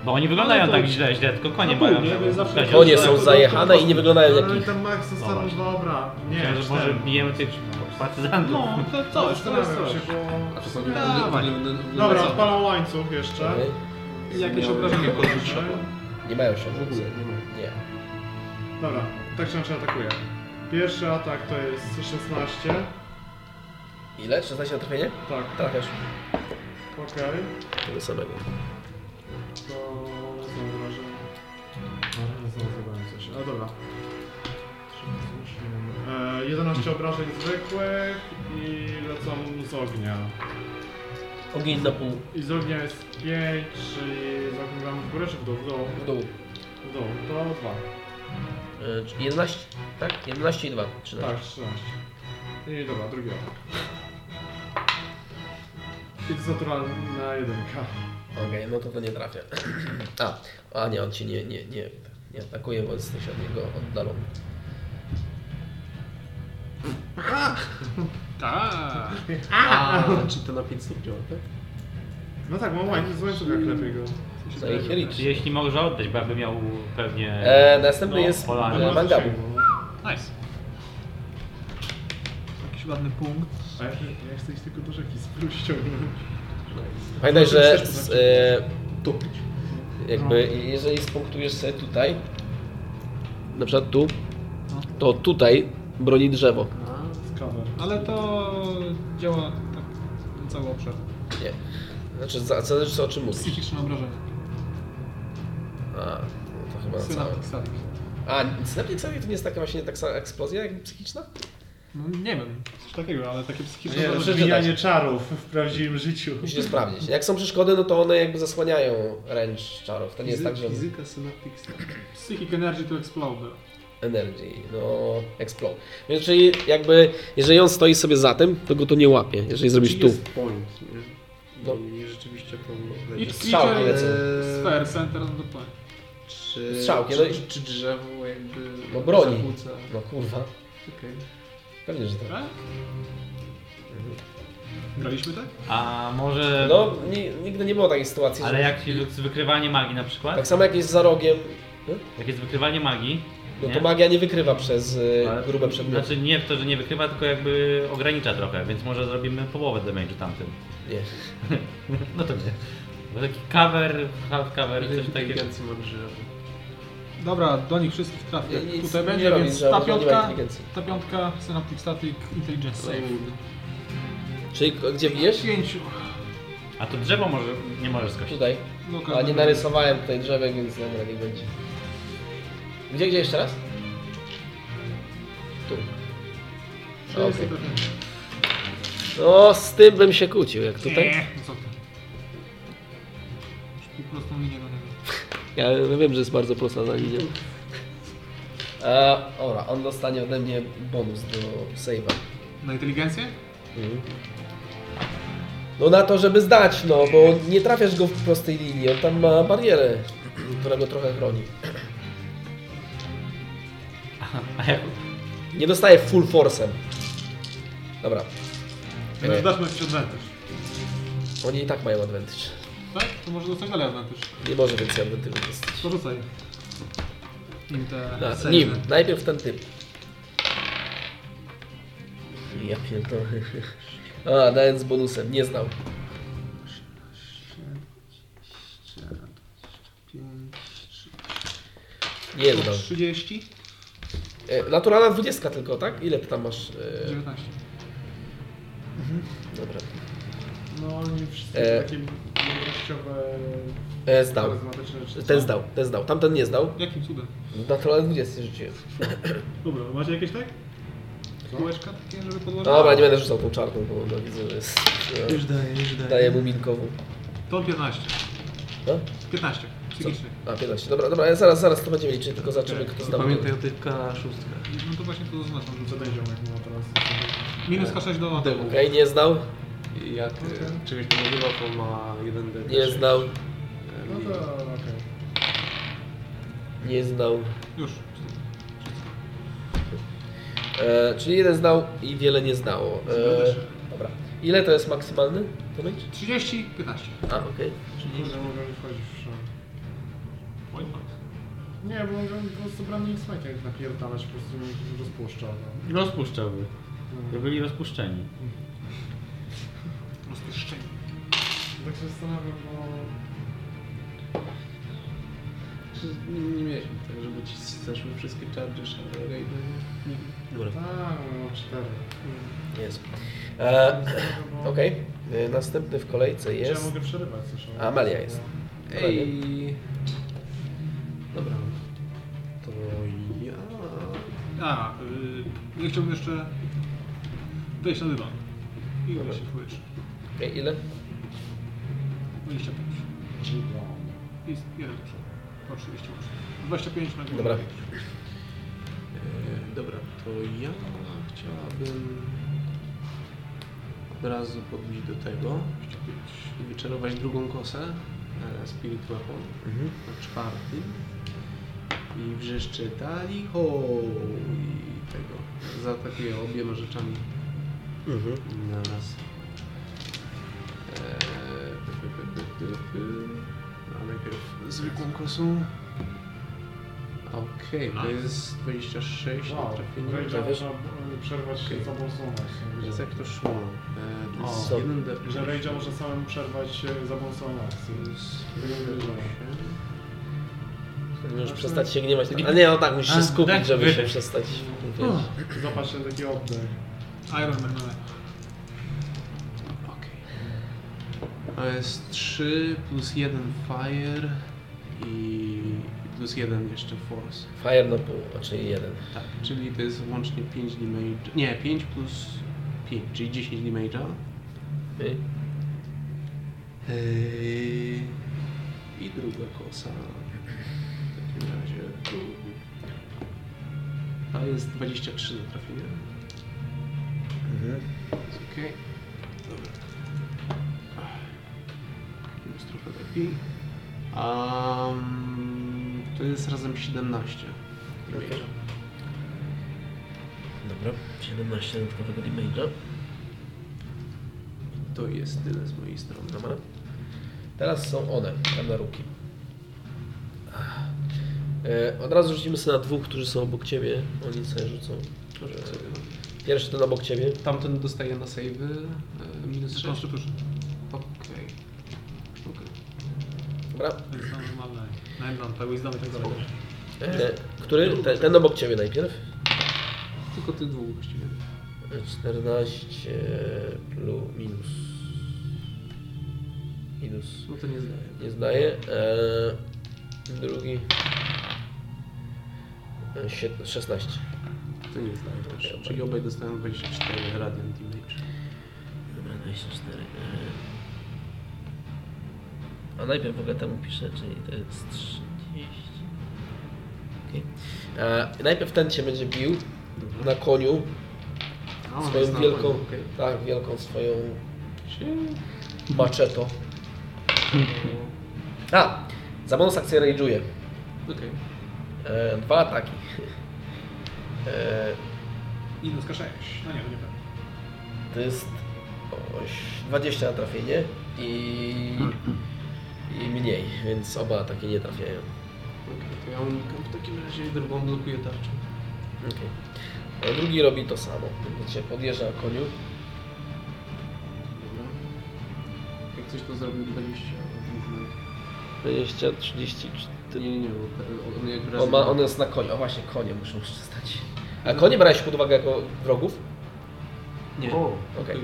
S5: Bo oni wyglądają tak źle, źle, tylko konie
S15: No
S5: mają.
S15: pół, nie?
S5: żeby
S15: Więc zawsze-
S5: wleźć.
S8: Konie są zajechane i nie wyglądają
S4: No, Ale
S8: jak ich.
S4: ten max został,
S5: właśnie.
S4: dobra. Nie,
S5: Myślałem, że może
S4: cztery.
S5: bijemy tych partyzantów.
S15: No, to coś, to jest
S4: Zastanawiam
S15: coś. No.
S4: się, bo...
S3: A to są nie
S4: Dawaj. Dobra, odpalam łańcuch jeszcze.
S8: Okej.
S3: Jakieś obrażenie podrzuciło.
S8: Nie mają się
S3: W ogóle nie ma.
S8: Nie.
S4: Dobra, tak czy inaczej atakuję. Pierwszy atak to jest 16.
S8: Ile? 16 na trafienie?
S4: Tak,
S8: Trafiasz.
S4: okej.
S8: Tego samego.
S4: To są wrażenia. Ale zauważyłem coś. A dobra. E, 11 obrażeń zwykłych i lecą z ognia.
S8: Ogień na pół
S4: I z ognia jest 5, czyli zaokrąglamy w górę czy w dół? W dół.
S8: w dół.
S4: W dół. To 2.
S8: E, czyli 11, tak? 11 i 2. 13.
S4: Tak, 13. I dobra, drugi atak. I to jest naturalna jedynka.
S8: Okej, no to to nie trafia. A, a nie, on ci nie, nie, nie, nie atakuje, bo jesteś od niego oddalony.
S2: Tak.
S3: A, czy to na 5 stopni działa, tak?
S4: No tak, mam łańcuch, z łańcucha lepiej go.
S8: Za ich
S5: Czy jeśli może oddać, bo ja bym miał pewnie...
S8: E, następny
S5: No,
S8: jest
S5: Polanie.
S8: e, Mangabu.
S2: Nice. Jakiś ładny punkt.
S4: A ja, ja chcę iść tylko do rzeki z pluścią.
S2: No
S8: Pamiętaj, że z, e, tu. Jakby jeżeli spunktujesz sobie tutaj, na przykład tu,
S2: No.
S8: to tutaj broni drzewo.
S2: Ale to działa tak na cały obszar.
S8: Nie. Znaczy, za- zależy co o czym mówisz.
S2: Psychiczne obrażenia.
S8: A, no to chyba na całe.
S2: Synaptik, statik.
S8: A, synaptik sobie to nie jest taka właśnie tak sama eksplozja jak psychiczna?
S2: No nie wiem, coś takiego, ale takie psychiczne
S8: Nie,
S2: obrażenia.
S1: Rozwijanie no, czarów w prawdziwym życiu.
S8: Musicie sprawdzić. Jak są przeszkody, no to one jakby zasłaniają ręcz czarów. To nie jest tak, że
S3: Fizyka synaptic static.
S2: Psychic energy to explode.
S8: energy, no explode. Więc czyli jakby, jeżeli on stoi sobie za tym, to go to nie łapie, jeżeli zrobisz tu.
S3: Jest point, nie?
S8: No.
S3: I rzeczywiście to
S2: Each
S3: leci.
S8: Strzałki
S2: creature
S8: lecą.
S2: is sphere center of the plane.
S3: Czy,
S8: Strzałki, no
S3: czy,
S8: i-
S3: czy, czy drzewo jakby...
S8: No broni.
S3: zakłóca?
S8: No kurwa,
S3: Okej.
S8: pewnie, że tak.
S2: Tak? Graliśmy tak?
S5: A może...
S8: No, ni- nigdy nie było takiej sytuacji,
S5: Ale
S8: że...
S5: jak jest wykrywanie magii na
S8: Tak
S5: przykład?
S8: samo jak jest za rogiem,
S5: Jak jest wykrywanie magii,
S8: no
S5: nie?
S8: to magia nie wykrywa przez y,
S5: Ale-
S8: grube przedmioty.
S5: Znaczy nie w to, że nie wykrywa, tylko jakby ogranicza trochę, więc może zrobimy połowę damage'u tamtym.
S8: Nie.
S5: No to nie. Bo taki cover, half cover, coś takiego.
S3: Inteligencji ma drzewo.
S2: Dobra, do nich wszystkich trafię.
S8: Nie, nic
S2: Znaczy, Tutaj
S8: nie
S2: będzie,
S8: robi,
S2: więc
S8: że
S2: ta
S8: nie ma
S2: piątka,
S8: inteligencji.
S2: ta piątka, synaptic static, intelligence save.
S8: Czyli k- gdzie bijesz?
S2: Pięciu.
S5: A to drzewo może, nie możesz skosić.
S8: Tutaj.
S2: Lokalny.
S8: A No, nie narysowałem tutaj drzewek, więc dobra, nie będzie. Gdzie, gdzie jeszcze raz? Tu. A, okej. No, z tym bym się kłócił, jak tutaj.
S2: Nie, co ty? Już po prostu linię do niego.
S8: Ja wiem, że jest bardzo prosta za linią. E, Dobra, on dostanie ode mnie bonus do save'a.
S2: Na inteligencję?
S8: No na to, żeby zdać, no, bo nie trafiasz go w prostej linii, on tam ma barierę, która go trochę chroni.
S5: A jak
S8: Nie dostaje full force'em. Dobra,
S2: Więc dasz mu jakiś advantage.
S8: oni i tak mają advantage.
S2: Tak? To może dostać dalej advantage.
S8: Nie może więcej advantage dostać.
S2: To rzucaj. Im te...
S8: Na,
S2: save.
S8: nim, najpierw ten typ. Ja pierdolę. A, dając z bonusem, nie znał.
S2: 5,
S8: Nie znał.
S2: 30,
S8: E, Naturalna 20 tylko, tak? Ile ty tam masz? E,
S2: 19.
S8: dobra.
S4: No oni wszyscy
S8: E.
S4: takie mądrościowe,
S8: E, zdał.
S4: charyzmatyczne rzeczy.
S8: Ten zdał, ten zdał. Tamten nie zdał.
S2: Jakim cudem?
S8: Naturalna 20 rzuciłem.
S4: Dobra, macie jakieś tak?
S2: Kółeczka takie, żeby podłożyć?
S8: Dobra, nie będę rzucał tą czarną, bo no, widzę, że jest...
S2: Już daję, już daję.
S8: Daję mu minkową.
S2: To 15.
S8: No?
S2: 15. Psychiczny.
S8: A, 15. Dobra, dobra, ja zaraz, zaraz to będziemy liczyć, tylko zobaczymy, kto zdał.
S3: Pamiętaj o tych K6.
S2: No to właśnie to zaznaczam, że
S4: Co ten ziomek ma teraz?
S2: minus K6 do ataku.
S8: Okej, nie znał,
S3: Jak e, czegoś nie używa, to ma jeden d
S8: nie znał,
S4: No to okej.
S8: nie znał.
S2: Już.
S8: E, czyli jeden znał i wiele nie znało. E, dobra. Ile to jest maksymalny damage?
S2: 30, 15.
S8: A, okej.
S4: Kurde, mogę mi wchodzić w szan. Nie, bo mogę po prostu brany smakiem jak napierdalać, po prostu mnie rozpuszcza. No.
S5: Rozpuszczałby. To byli rozpuszczeni.
S2: Rozpieszczenie.
S4: Tak się zastanawiam, bo...
S3: Nie, nie mieliśmy tak, żeby ci zeszły wszystkie charge, ale rejdy.
S4: Tak, no cztery.
S8: Jest. E,
S4: Zastanawiam, bo-
S8: okej, E, następny w kolejce
S4: Czy ja
S8: jest...
S4: mogę przerywać, słyszałem.
S8: Amelia jest.
S3: Ej. Dobra. To ja.
S2: A, yy, ja chciałbym jeszcze wejść na dywan. I
S8: Dobra.
S2: uda się wchodzić.
S8: Okej, ile?
S2: 25. Jest jeden lepszy. Po 38. 25 na górę.
S8: Dobra.
S3: E, dobra, to ja chciałabym od razu podbić do tego
S2: 25.
S3: i wyczarować drugą kosę e, Spirit Weapon
S8: Mhm.
S3: na czwartym i wrzeszczy dali ho i tego zaatakuję obiema rzeczami
S8: Mhm.
S3: na raz. Eee, py, py, py, py, py, py. A najpierw zwykłą kosą. Okej, to jest 26 na
S4: Tak. Wow,
S3: trafienie.
S4: wejdzie,
S8: Trafisz?
S4: można e, przerwać
S3: Okej.
S4: okay. całą sumę.
S3: Więc jak to szło? Eee, to
S4: O,
S3: jest 1 d
S4: no, Że Rage'a może samemu przerwać e, za bonusową akcję.
S8: Już przestać się gniewać. A nie, no tak, musisz się skupić, żeby się przestać.
S4: Zobacz ten taki oddech.
S2: Iron Man. ale-
S3: Okej. To jest 3 plus 1 fire i i plus 1 jeszcze force.
S8: Fire na pół, a czyli jeden.
S3: Tak, czyli to jest łącznie 5 damage. Nie, 5 plus 5, czyli 10 damage'a.
S8: Okej.
S3: Yy, I druga kosa. W takim razie tu. A jest 23 do trafienia. Jest okej. Dobra. Jest trochę lepiej. Um, to jest razem 17.
S8: Okej. Dobra, 17 dodatkowego damage'a.
S3: To jest tyle z mojej strony.
S8: Dobra. Teraz są one, kanaruki. E, od razu rzucimy sobie na dwóch, którzy są obok ciebie. Oni sobie rzucą.
S3: Proszę sobie.
S8: Pierwszy ten obok ciebie.
S3: Tamten dostaje na save minus 6. Okej.
S2: Constitution.
S3: Okej.
S8: Dobra.
S2: To jest normalne. Na Emblem, to jest damy tak dalej.
S8: E, który? Ten, ten obok ciebie najpierw.
S3: Tylko tych dwóch właściwie.
S8: 14 plus minus. Minus.
S3: No to nie zdaje.
S8: Nie zdaje. E, drugi. E, siedem- 16.
S3: To nie zdaje też. Czyli obaj dostają 24 radiant damage.
S8: Dobra, 24. e. A najpierw w ogóle temu piszę, czyli to jest 30. Okay. E, najpierw ten cię będzie bił na koniu
S3: Mhm. A on jest
S8: swoją
S3: na
S8: wielką,
S3: wojnie, okej.
S8: tak, wielką swoją
S3: Się-
S8: maczetą. A! Za bonus akcję rage'uje.
S3: Okej.
S8: E, dwa ataki. E,
S2: Minus K6. No nie, nie tak.
S8: to jest oś, 20 na trafienie i, i mniej, więc oba ataki nie trafiają.
S3: Okej, To ja unikam w takim razie i drugą blokuję tarczą.
S8: Okej. E, Drugi robi to samo. Cię podjeżdża na koniu.
S3: ktoś to zrobił 20 minut.
S8: 20, 30.
S3: Nie, nie, nie, bo on jak
S8: On, ma, on jest na koniu. O właśnie, konie muszą przestać. A konie brałeś pod uwagę jako wrogów?
S3: Nie.
S5: O,
S8: Okej.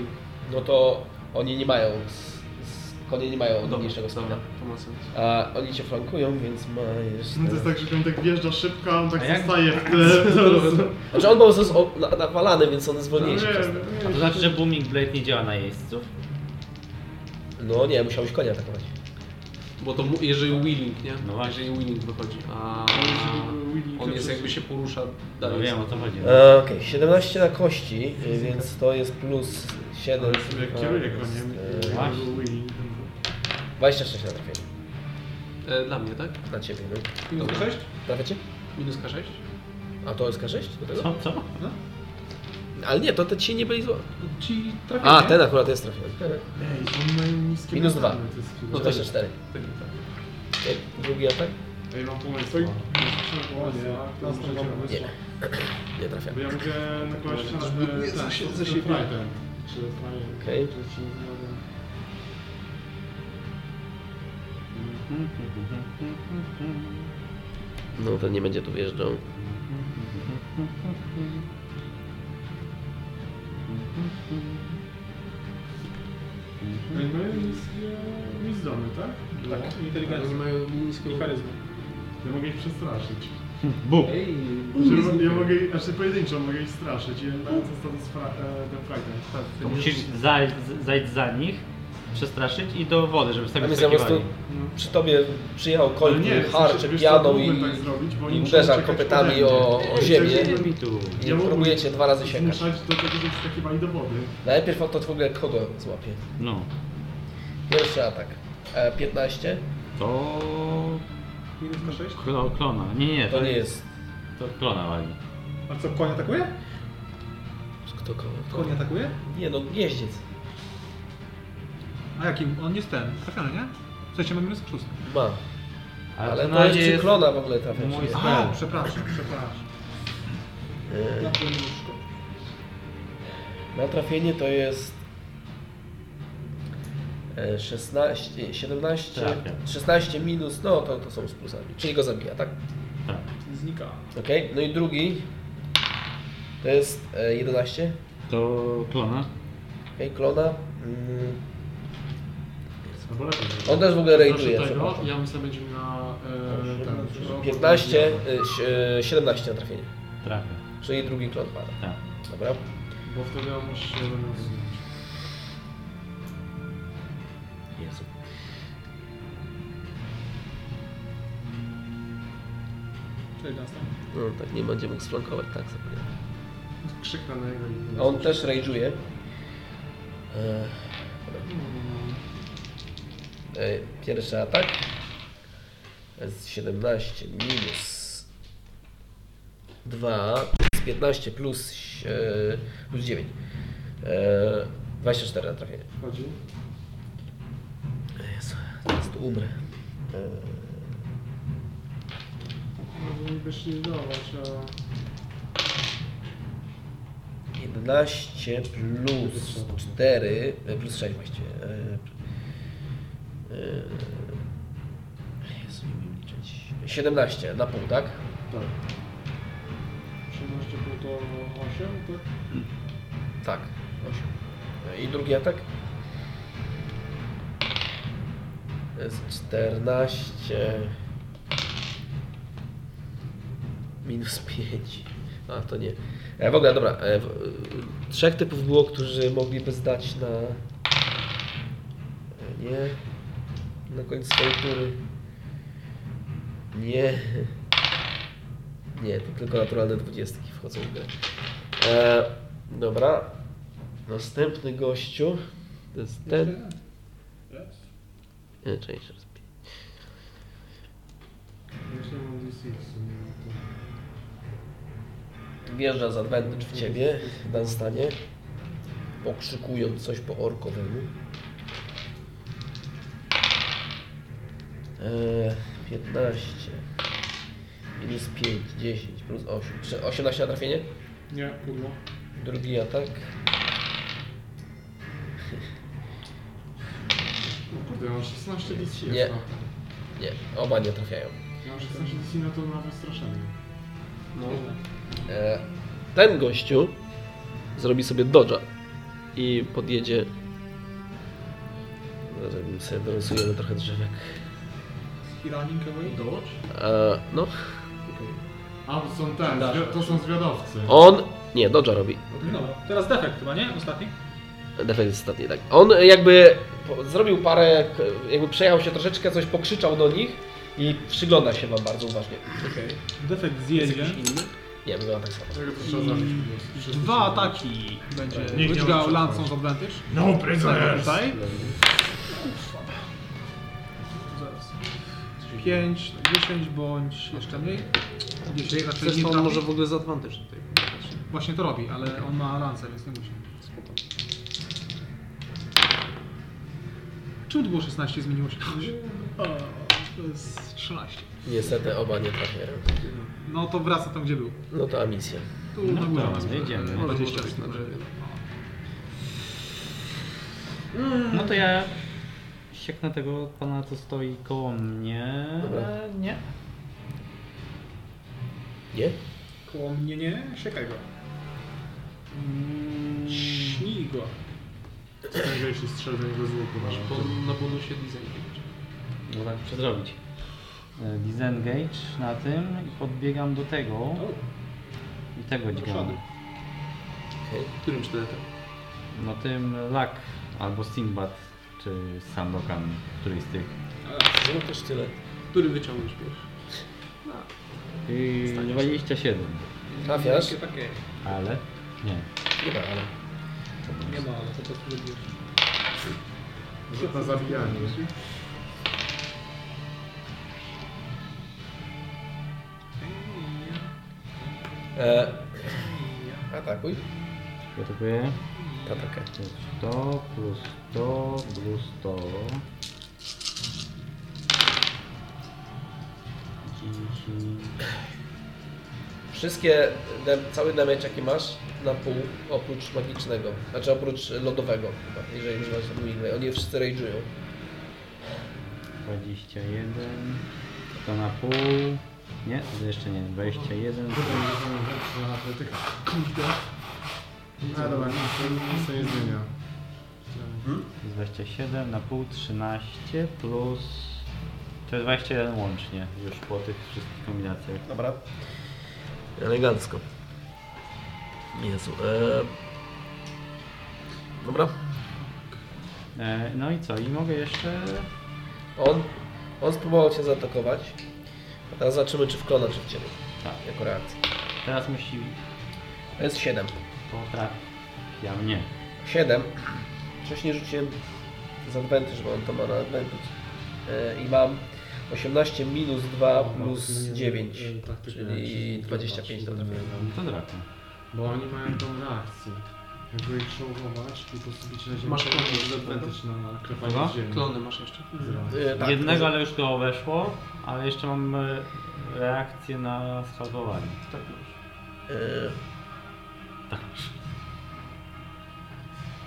S8: No to oni nie mają. s- s- Konie nie mają mniejszego
S3: dobra,
S8: spina.
S3: to ma sens.
S8: A oni cię flankują, więc majesz.
S4: No to jest tak, że on tak wjeżdża szybko, a on
S5: A
S4: tak
S5: jak-
S4: zostaje w tle.
S8: Znaczy on był zes- o- na- nawalany, więc on jest
S4: Nie,
S8: wolniejszy. przez to.
S5: A to znaczy, że Booming Blade nie działa na jeźdźców?
S8: No nie, musiałeś konia atakować.
S3: Bo to mu, jeżeli winning, nie?
S5: No właśnie.
S3: jeżeli winning wychodzi, a on jest jakby się porusza
S5: No
S3: dalej.
S5: wiem o co chodzi.
S8: E, Okej, 17 na kości, y, więc to jest plus 7.
S16: Ale sobie kieruję koniem.
S8: e,
S5: Właśnie.
S8: 26 na trafienie.
S3: E, dla mnie, tak?
S8: Na ciebie, no.
S2: Minus
S3: Dobra.
S2: 6?
S8: Trafia cię?
S3: Minus K6?
S8: A to jest K6? Do tego?
S5: Co, co?
S8: Ale nie, to te ci nie byli zło.
S2: Ci trafienie.
S8: A, ten akurat jest trafiony.
S4: Ej, on ma niskie
S8: Minus
S4: metany,
S8: dwa.
S4: to jest chwila.
S8: No 24.
S3: Tak, tak.
S8: E, Drugi atak?
S16: Ej, mam pomysł. O nie, to może
S17: Następny.
S16: wam wysłać.
S8: Nie trafia.
S16: Bo ja mogę nakładać na
S3: Nie, za się- za siebie.
S16: Frighten. Czy Frighten.
S8: Okej.
S16: Czy się zgadzam?
S8: No to nie będzie tu wjeżdżał.
S16: Ej,
S4: no
S16: mają niskie wizdony, tak?
S2: Tak,
S3: Ale Oni
S2: inteligencja.
S3: mają niską...
S2: I charyzmę.
S16: Ja mogę ich przestraszyć.
S3: Ej,
S4: Znaczy, ja mogę, znaczy pojedynczo mogę ich straszyć i dając status fra- e, ten fragment. Tak,
S5: To musisz zajść, zajść za nich, przestraszyć i do wody, żeby
S8: A
S5: sobie
S8: więc zamiast tu
S5: wskakiwali.
S8: przy tobie przyjechał koń,
S4: nie,
S8: harczy
S4: znaczy, wiesz co,
S8: pianą i,
S4: mógłbym tak zrobić, bo oni
S8: i
S4: muszą
S8: uderza
S4: czekać
S8: kopytami
S4: ode mnie.
S8: o, o ziemię.
S4: Ja
S5: I no tu.
S8: I próbujecie dwa razy sięgać.
S4: Zmuszać do tego, żeby wskakiwali do wody.
S8: Najpierw on to w ogóle kogo złapie.
S5: No.
S8: Pierwszy atak. E, 15.
S5: To...
S2: Minus K6?
S5: Klo, klona. Nie, nie, to,
S8: To nie jest.
S5: To klona wali.
S2: A co, koń atakuje?
S8: Kto kogo?
S2: Koń atakuje?
S8: Nie no, jeździec.
S2: A jakim? On jest ten, trafiony, nie? W sensie ma minus 6.
S8: Ma.
S5: Ale,
S8: Ale
S5: to
S8: to
S5: na
S8: jest
S5: razie
S8: czy
S5: jest...
S8: klona w ogóle trafia.
S5: mój
S8: czy nie?
S4: Tak.
S5: spell.
S2: Przepraszam, przepraszam.
S8: E,
S2: Na to nóżko.
S8: Na trafienie to jest e, 16, 17,
S5: Trafia.
S8: 16 minus, no to, to są z plusami, czyli go zabija, tak?
S5: Tak.
S2: Znika.
S8: Ok, no i drugi to jest e, 11,
S5: To klona.
S8: ok, klona. Mm,
S4: Albo lepiej.
S8: on też w ogóle
S4: Proszę
S8: rajduje,
S4: Znaczy tego,
S8: przepraszam.
S4: ja myślę, będzie na... E, ten,
S8: 15, e, si- e, 17 na trafienie,
S5: Trafia.
S8: czyli drugi klon pada,
S5: Tak.
S8: dobra?
S4: Bo wtedy on masz... e,
S8: Jezu.
S2: Czyli następny.
S8: No tak, nie będzie mógł sflankować, tak zapomniałem.
S4: Krzyknę na jego i...
S8: A On też rage'uje. E, E, pierwszy atak. Z 17 minus 2. Z 15 plus, e, plus 9. E, 24 na trafienie.
S4: Chodzi?
S8: Jezu, teraz tu umrę.
S4: Może niby się no nie dawać, a...
S8: 11 plus 4, e, plus 6 właściwie. e, e, Jezu, nie umiem liczyć. 17 na pół, tak?
S4: Tak.
S16: 18 było to
S4: no,
S16: 8, tak?
S8: Tak, 8. I drugi atak? To jest 14 minus 5. A to nie. E, w ogóle, dobra. E, w, e, trzech typów było, którzy mogliby zdać na. E, nie. Na końcu swojej tury. Nie. Nie, to tylko naturalne dwudziestki wchodzą w grę. E, dobra. Następny gościu. To jest ten. Nie, czekaj, jeszcze raz.
S4: Jeszcze mam D6 w sumie.
S8: Wjeżdża za advantage w ciebie, na stanie, pokrzykując coś po orkowemu. Eee, 15 minus 5, 10 plus 8, Czy 18 na trafienie?
S16: Nie, kurwa.
S8: Drugi atak.
S4: Kurde, mam 16 DC.
S8: Nie. Nie, oba nie trafiają.
S4: Ja mam 16 DC na to na wystraszenie.
S8: E, ten gościu zrobi sobie dodża i podjedzie. Zaraz sobie dorysujemy trochę drzewek.
S2: Running away? Dodge?
S8: E, no,
S4: A, to są ten, zwi- to są zwiadowcy.
S8: on. Nie, dodża robi.
S2: No dobra. Teraz defekt chyba, nie? Ostatni?
S8: Defekt ostatni, tak. On jakby po- zrobił parę. k- Jakby przejechał się troszeczkę, coś pokrzyczał do nich i przygląda się wam bardzo uważnie.
S2: Okej. Defekt zjedzie.
S8: Nie, wygląda tak samo.
S4: Tego to trzeba zabić po prostu. Wszyscy
S2: Dwa
S4: są- Tak,
S2: ataki będzie.
S4: nie
S2: Which
S4: ma
S2: go
S4: przetrwania.
S2: lands on advantage.
S4: No
S2: Tak,
S4: prisoners!
S2: tutaj. Zaraz. 5, 10 bądź jeszcze mniej. 10 raczej nie
S3: Zresztą on
S2: trafi.
S3: może w ogóle z Advantage tutaj.
S2: Właśnie to robi, ale on ma lancę, więc nie musi. Czemu to było 16 zmieniło się kiedyś? O, To jest 13.
S8: Niestety oba nie trafiają.
S2: No to wraca tam, gdzie był.
S8: No to misja.
S2: Tu
S5: No
S2: na górę.
S5: to,
S2: nas
S5: no jedziemy.
S2: było.
S5: To
S2: 20
S3: może być
S2: dobrze.
S3: dobrze.
S5: No to ja sieknę tego pana, co stoi koło mnie.
S8: Dobra.
S5: E, Nie.
S8: Nie?
S2: Koło mnie nie, siekaj go.
S5: Mm,
S2: Śnij go.
S4: Stęgaj się strzel do niego z łuku.
S3: Masz
S4: nawet.
S3: po, na bonusie disengage.
S5: No tak, przedrobić. E, Disengage na tym i podbiegam do tego. I tego dźgam.
S2: szady.
S3: Którym sztyletem?
S5: No tym Lak albo Sinbad czy Sandokan, któryś z tych.
S8: No też tyle.
S3: Który wyciągniesz pierwszy?
S5: I 27.
S8: Trafiasz?
S2: Takie, takie.
S5: Ale? Nie.
S8: Nie ma, ale.
S2: Nie ma, ale to po prostu robisz.
S4: Rzut na zabijanie.
S8: E, atakuj.
S5: Gotowy.
S8: Atakę.
S5: Plus 100, plus 100, plus 100.
S8: Wszystkie, dam- cały damage jaki masz na pół, oprócz magicznego, znaczy oprócz lodowego, chyba, jeżeli używasz Wingway. Oni wszyscy rage'ują.
S5: 21. To na pół. Nie, to jeszcze nie. 21.
S4: No dobra, nic, to- nic to nie zmienia.
S5: 27 na pół 13 plus. To jest 21 łącznie już po tych wszystkich kombinacjach.
S8: Dobra. Elegancko. Jezu. E... Dobra.
S5: E, no i co? I mogę jeszcze.
S8: On, on spróbował cię zaatakować. A teraz zobaczymy, czy w klona, czy w ciebie.
S5: Tak.
S8: Jako reakcja.
S5: Teraz musi.
S8: To jest 7.
S5: Potrafia mnie.
S8: 7. Wcześniej rzuciłem z advantage, bo on to ma na advantage. E, I mam 18 minus 2 plus 9. Czyli 25 do trafienia.
S5: No to draka.
S4: Bo oni mają tą reakcję. Jakby ich czołgować i po prostu bić na ziemię.
S3: Masz
S4: to
S3: klony
S4: jest
S3: jeszcze,
S4: advantage na
S5: Chyba?
S4: klepanie z ziemi.
S3: Klony masz jeszcze.
S4: Zra-
S8: E, tak,
S5: Jednego, ale już go weszło, ale jeszcze mam e, reakcję na schalkowanie.
S3: Tak masz.
S8: E, tak.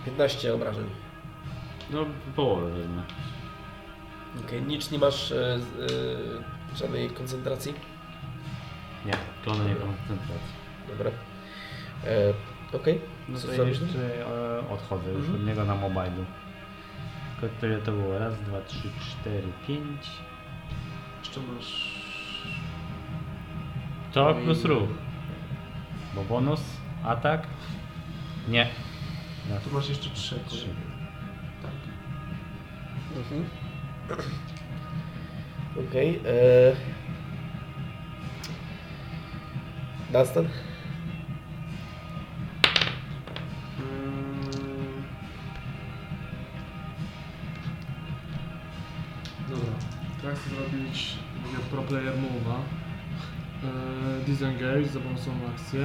S8: 15 obrażeń.
S5: No połowę wezmę.
S8: Okej, nic nie masz e, z- e, żadnej koncentracji.
S5: Nie, klony nie koncentracji.
S8: Dobra. E, Okej.
S5: No
S8: Co
S5: to
S8: zrobisz? Mhm.
S5: jeszcze e, odchodzę już od niego na mobilu. Tylko Które to było? Raz, dwa, trzy, cztery, pięć.
S3: Jeszcze masz...
S5: To
S3: No i-
S5: plus ruch. Bo bonus, atak? Nie.
S3: Tu masz jeszcze trzy.
S5: Trzy.
S3: Tak.
S8: Okej. e, Dunstan?
S4: Mm. Dobra, to ja chcę zrobić mówię, pro player move'a. E, disengage za pomocą akcji.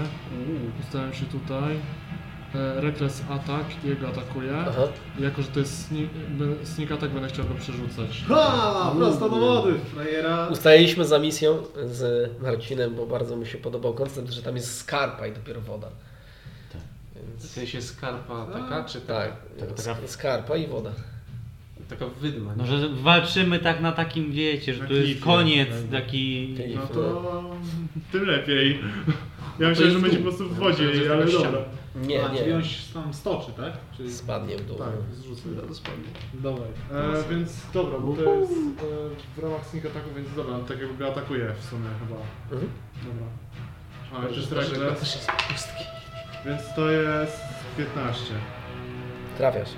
S4: Ustawiam się tutaj. E, reckless attack, jego atakuję.
S8: Aha.
S4: I Jako, że to jest sneak, be- sneak attack, będę chciał go przerzucać.
S2: Ha! Prosto do wody! Frajera.
S8: Ustaliliśmy za misją z Marcinem, bo bardzo mu się podobał koncept, że tam jest skarpa i dopiero woda.
S3: W sensie skarpa
S2: A.
S3: taka, czy taka?
S8: Tak,
S5: taka-
S8: skarpa i woda.
S3: Taka wydma.
S5: No, że walczymy tak na takim, wiecie, że
S4: Na
S5: to jest
S4: klifie,
S5: koniec
S4: tak.
S5: taki...
S8: Klif.
S4: No to tym lepiej. Ja myślałem, że
S1: jest
S4: będzie
S1: tu.
S4: po prostu w
S2: myślałem, że
S4: wodzie,
S2: jest
S4: ale
S2: jakaś
S4: dobra.
S8: Nie,
S2: A, czyli on
S8: nie.
S2: się tam stoczy, tak? Czyli...
S8: Spadnie w dół.
S4: Tak, zrzucę.
S2: Dobra.
S4: E, więc dobra, bo to jest e, w ramach sync ataku, więc dobra, tak jakby atakuje w sumie chyba.
S8: Mhm.
S4: Dobra. A, jeszcze tak, stragle,
S8: Też jest pustki.
S4: więc to jest 15.
S8: Trafiasz.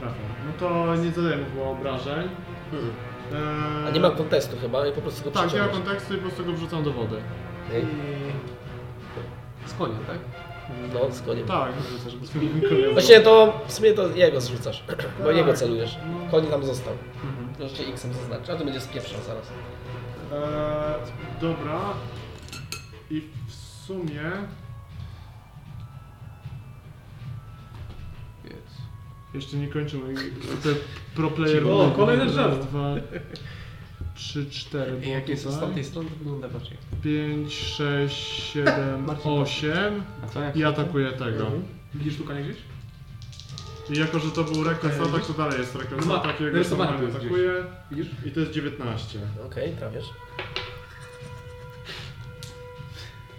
S4: Trafia. No to nie zadaję mu chyba obrażeń.
S8: Mhm.
S4: E,
S8: A nie ma kontestu chyba i po prostu go
S4: Tak, nie ma
S8: przeciągasz.
S4: kontekstu i po prostu go wrzucam do wody.
S8: Ej,
S3: Z konia, tak?
S8: No, z koniem.
S4: Tak, wrzucasz go z kolei.
S8: Właśnie to w sumie to jego zrzucasz,
S4: Tak.
S8: bo jego celujesz.
S4: No.
S8: Koń tam został.
S4: Mhm.
S8: To Jeszcze X-em zaznaczy, a to będzie spieprzał zaraz.
S4: Eee, dobra. I w sumie
S3: Więc...
S4: jeszcze nie kończymy. Te pro player
S2: O, kolejne drzewo.
S4: 2, 3, 4,
S3: I jak jest z
S4: tutaj.
S3: tamtej strony, to wygląda bardziej.
S4: 5, 6, 7,
S5: Marcin.
S4: 8
S5: A co, jak
S4: i atakuje tego.
S2: Mhm. Widzisz tu konia gdzieś?
S4: I jako, że to był reckless
S2: Okej,
S4: atak, to dalej jest reckless
S2: No,
S4: atak, jego
S2: narysowany
S4: samochód
S2: był gdzieś.
S4: atakuje
S2: Widzisz?
S4: i to jest 19.
S8: Okej, trafiasz.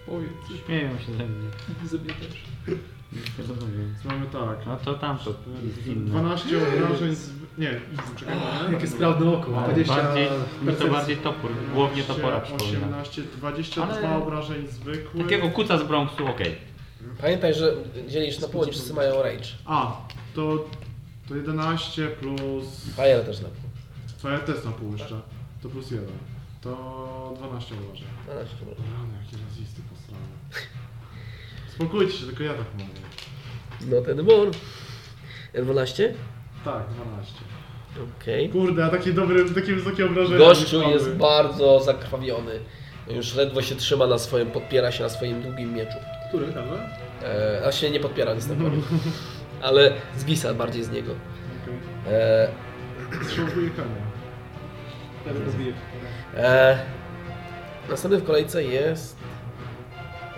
S5: to? Śmieją się ze mnie.
S3: Zabiję też.
S4: Więc mamy tak.
S5: No to tamto jest
S2: No.
S5: inne.
S4: 12 obrażeń z... nie, no, czekaj.
S2: Jakie sprawne oko.
S5: Ale
S2: 20...
S5: No, Bardziej, mi to
S2: percepcji.
S5: bardziej topór, głównie topora przypomina.
S4: 18, 22
S5: Ale-
S4: obrażeń zwykłych.
S5: Takiego kuca z Bronxu, okej.
S8: Pamiętaj, że dzielisz na pół, oni wszyscy mają rage.
S4: A, to, to 11 plus...
S8: Fajer też na pół.
S4: To ja też na pół jeszcze. To plus 1. To 12 obrażeń.
S8: No, no, dobra.
S4: Rany, jakie rasisty posrane. Spokójcie się, tylko ja tak mówię.
S8: No ten mur. 12?
S4: Tak, 12.
S8: Okej.
S4: Kurde, a takie dobre, takie wysokie obrażenia.
S8: Gościu
S4: słaby.
S8: jest bardzo zakrwawiony. Już ledwo się trzyma na swoim, podpiera się na swoim długim mieczu.
S2: Który, prawda?
S8: E, a się nie podpiera nic na koniu. Ale zwisa bardziej z niego.
S4: Okej.
S8: E,
S4: Strzelbuje konia.
S2: Teraz rozbiję.
S8: e, następny w kolejce jest...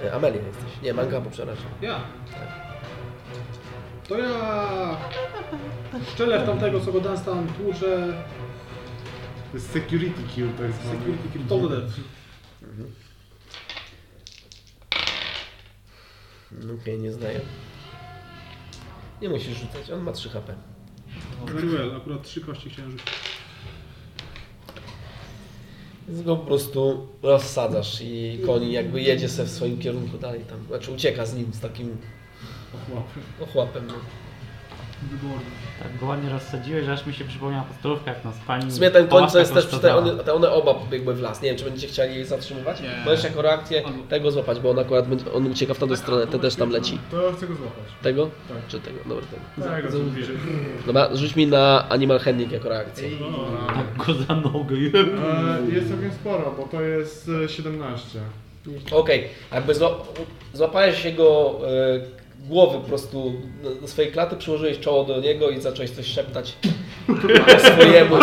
S8: E, Amelia jesteś. Nie, Mangabu, przepraszam.
S2: Ja. To ja szczelę w tamtego, co go dance tam tłuczę.
S4: To jest security kill tak zwany.
S2: Security kill. To będę.
S8: Okej, nie znaję. Nie musisz rzucać, on ma 3 HP.
S2: Very well, akurat trzy kości chciałem rzucić.
S8: Więc go po prostu rozsadzasz i koń jakby jedzie se w swoim kierunku dalej tam. Znaczy ucieka z nim, z takim ochłapem. No.
S2: Wyborny.
S5: Tak go ładnie rozsadziłeś, że aż mi się przypomniała podstawówka, jak nas pani...
S8: W sumie ten koń, co
S5: połaska
S8: jest też przy te,
S5: kosztowała.
S8: one, te one oba biegły w las. Nie wiem, czy będziecie chcieli jej zatrzymywać?
S2: Nie.
S8: Możesz jako reakcję tego złapać, bo on akurat będzie, on ucieka w tamtą stronę, ten też tam leci.
S4: To chcę go złapać.
S8: Tego?
S4: Tak.
S8: Czy tego? Dobra, tego.
S4: Tak, go
S8: Dobra, rzuć mi na Animal Handling jako reakcję.
S5: Tak go za nogę.
S4: E, Jest całkiem sporo, bo to jest e, 17.
S8: Okej, jakby zła, złapałeś jego e, głowy po prostu do, do swojej klaty, przyłożyłeś czoło do niego i zacząłeś coś szeptać po swojemu.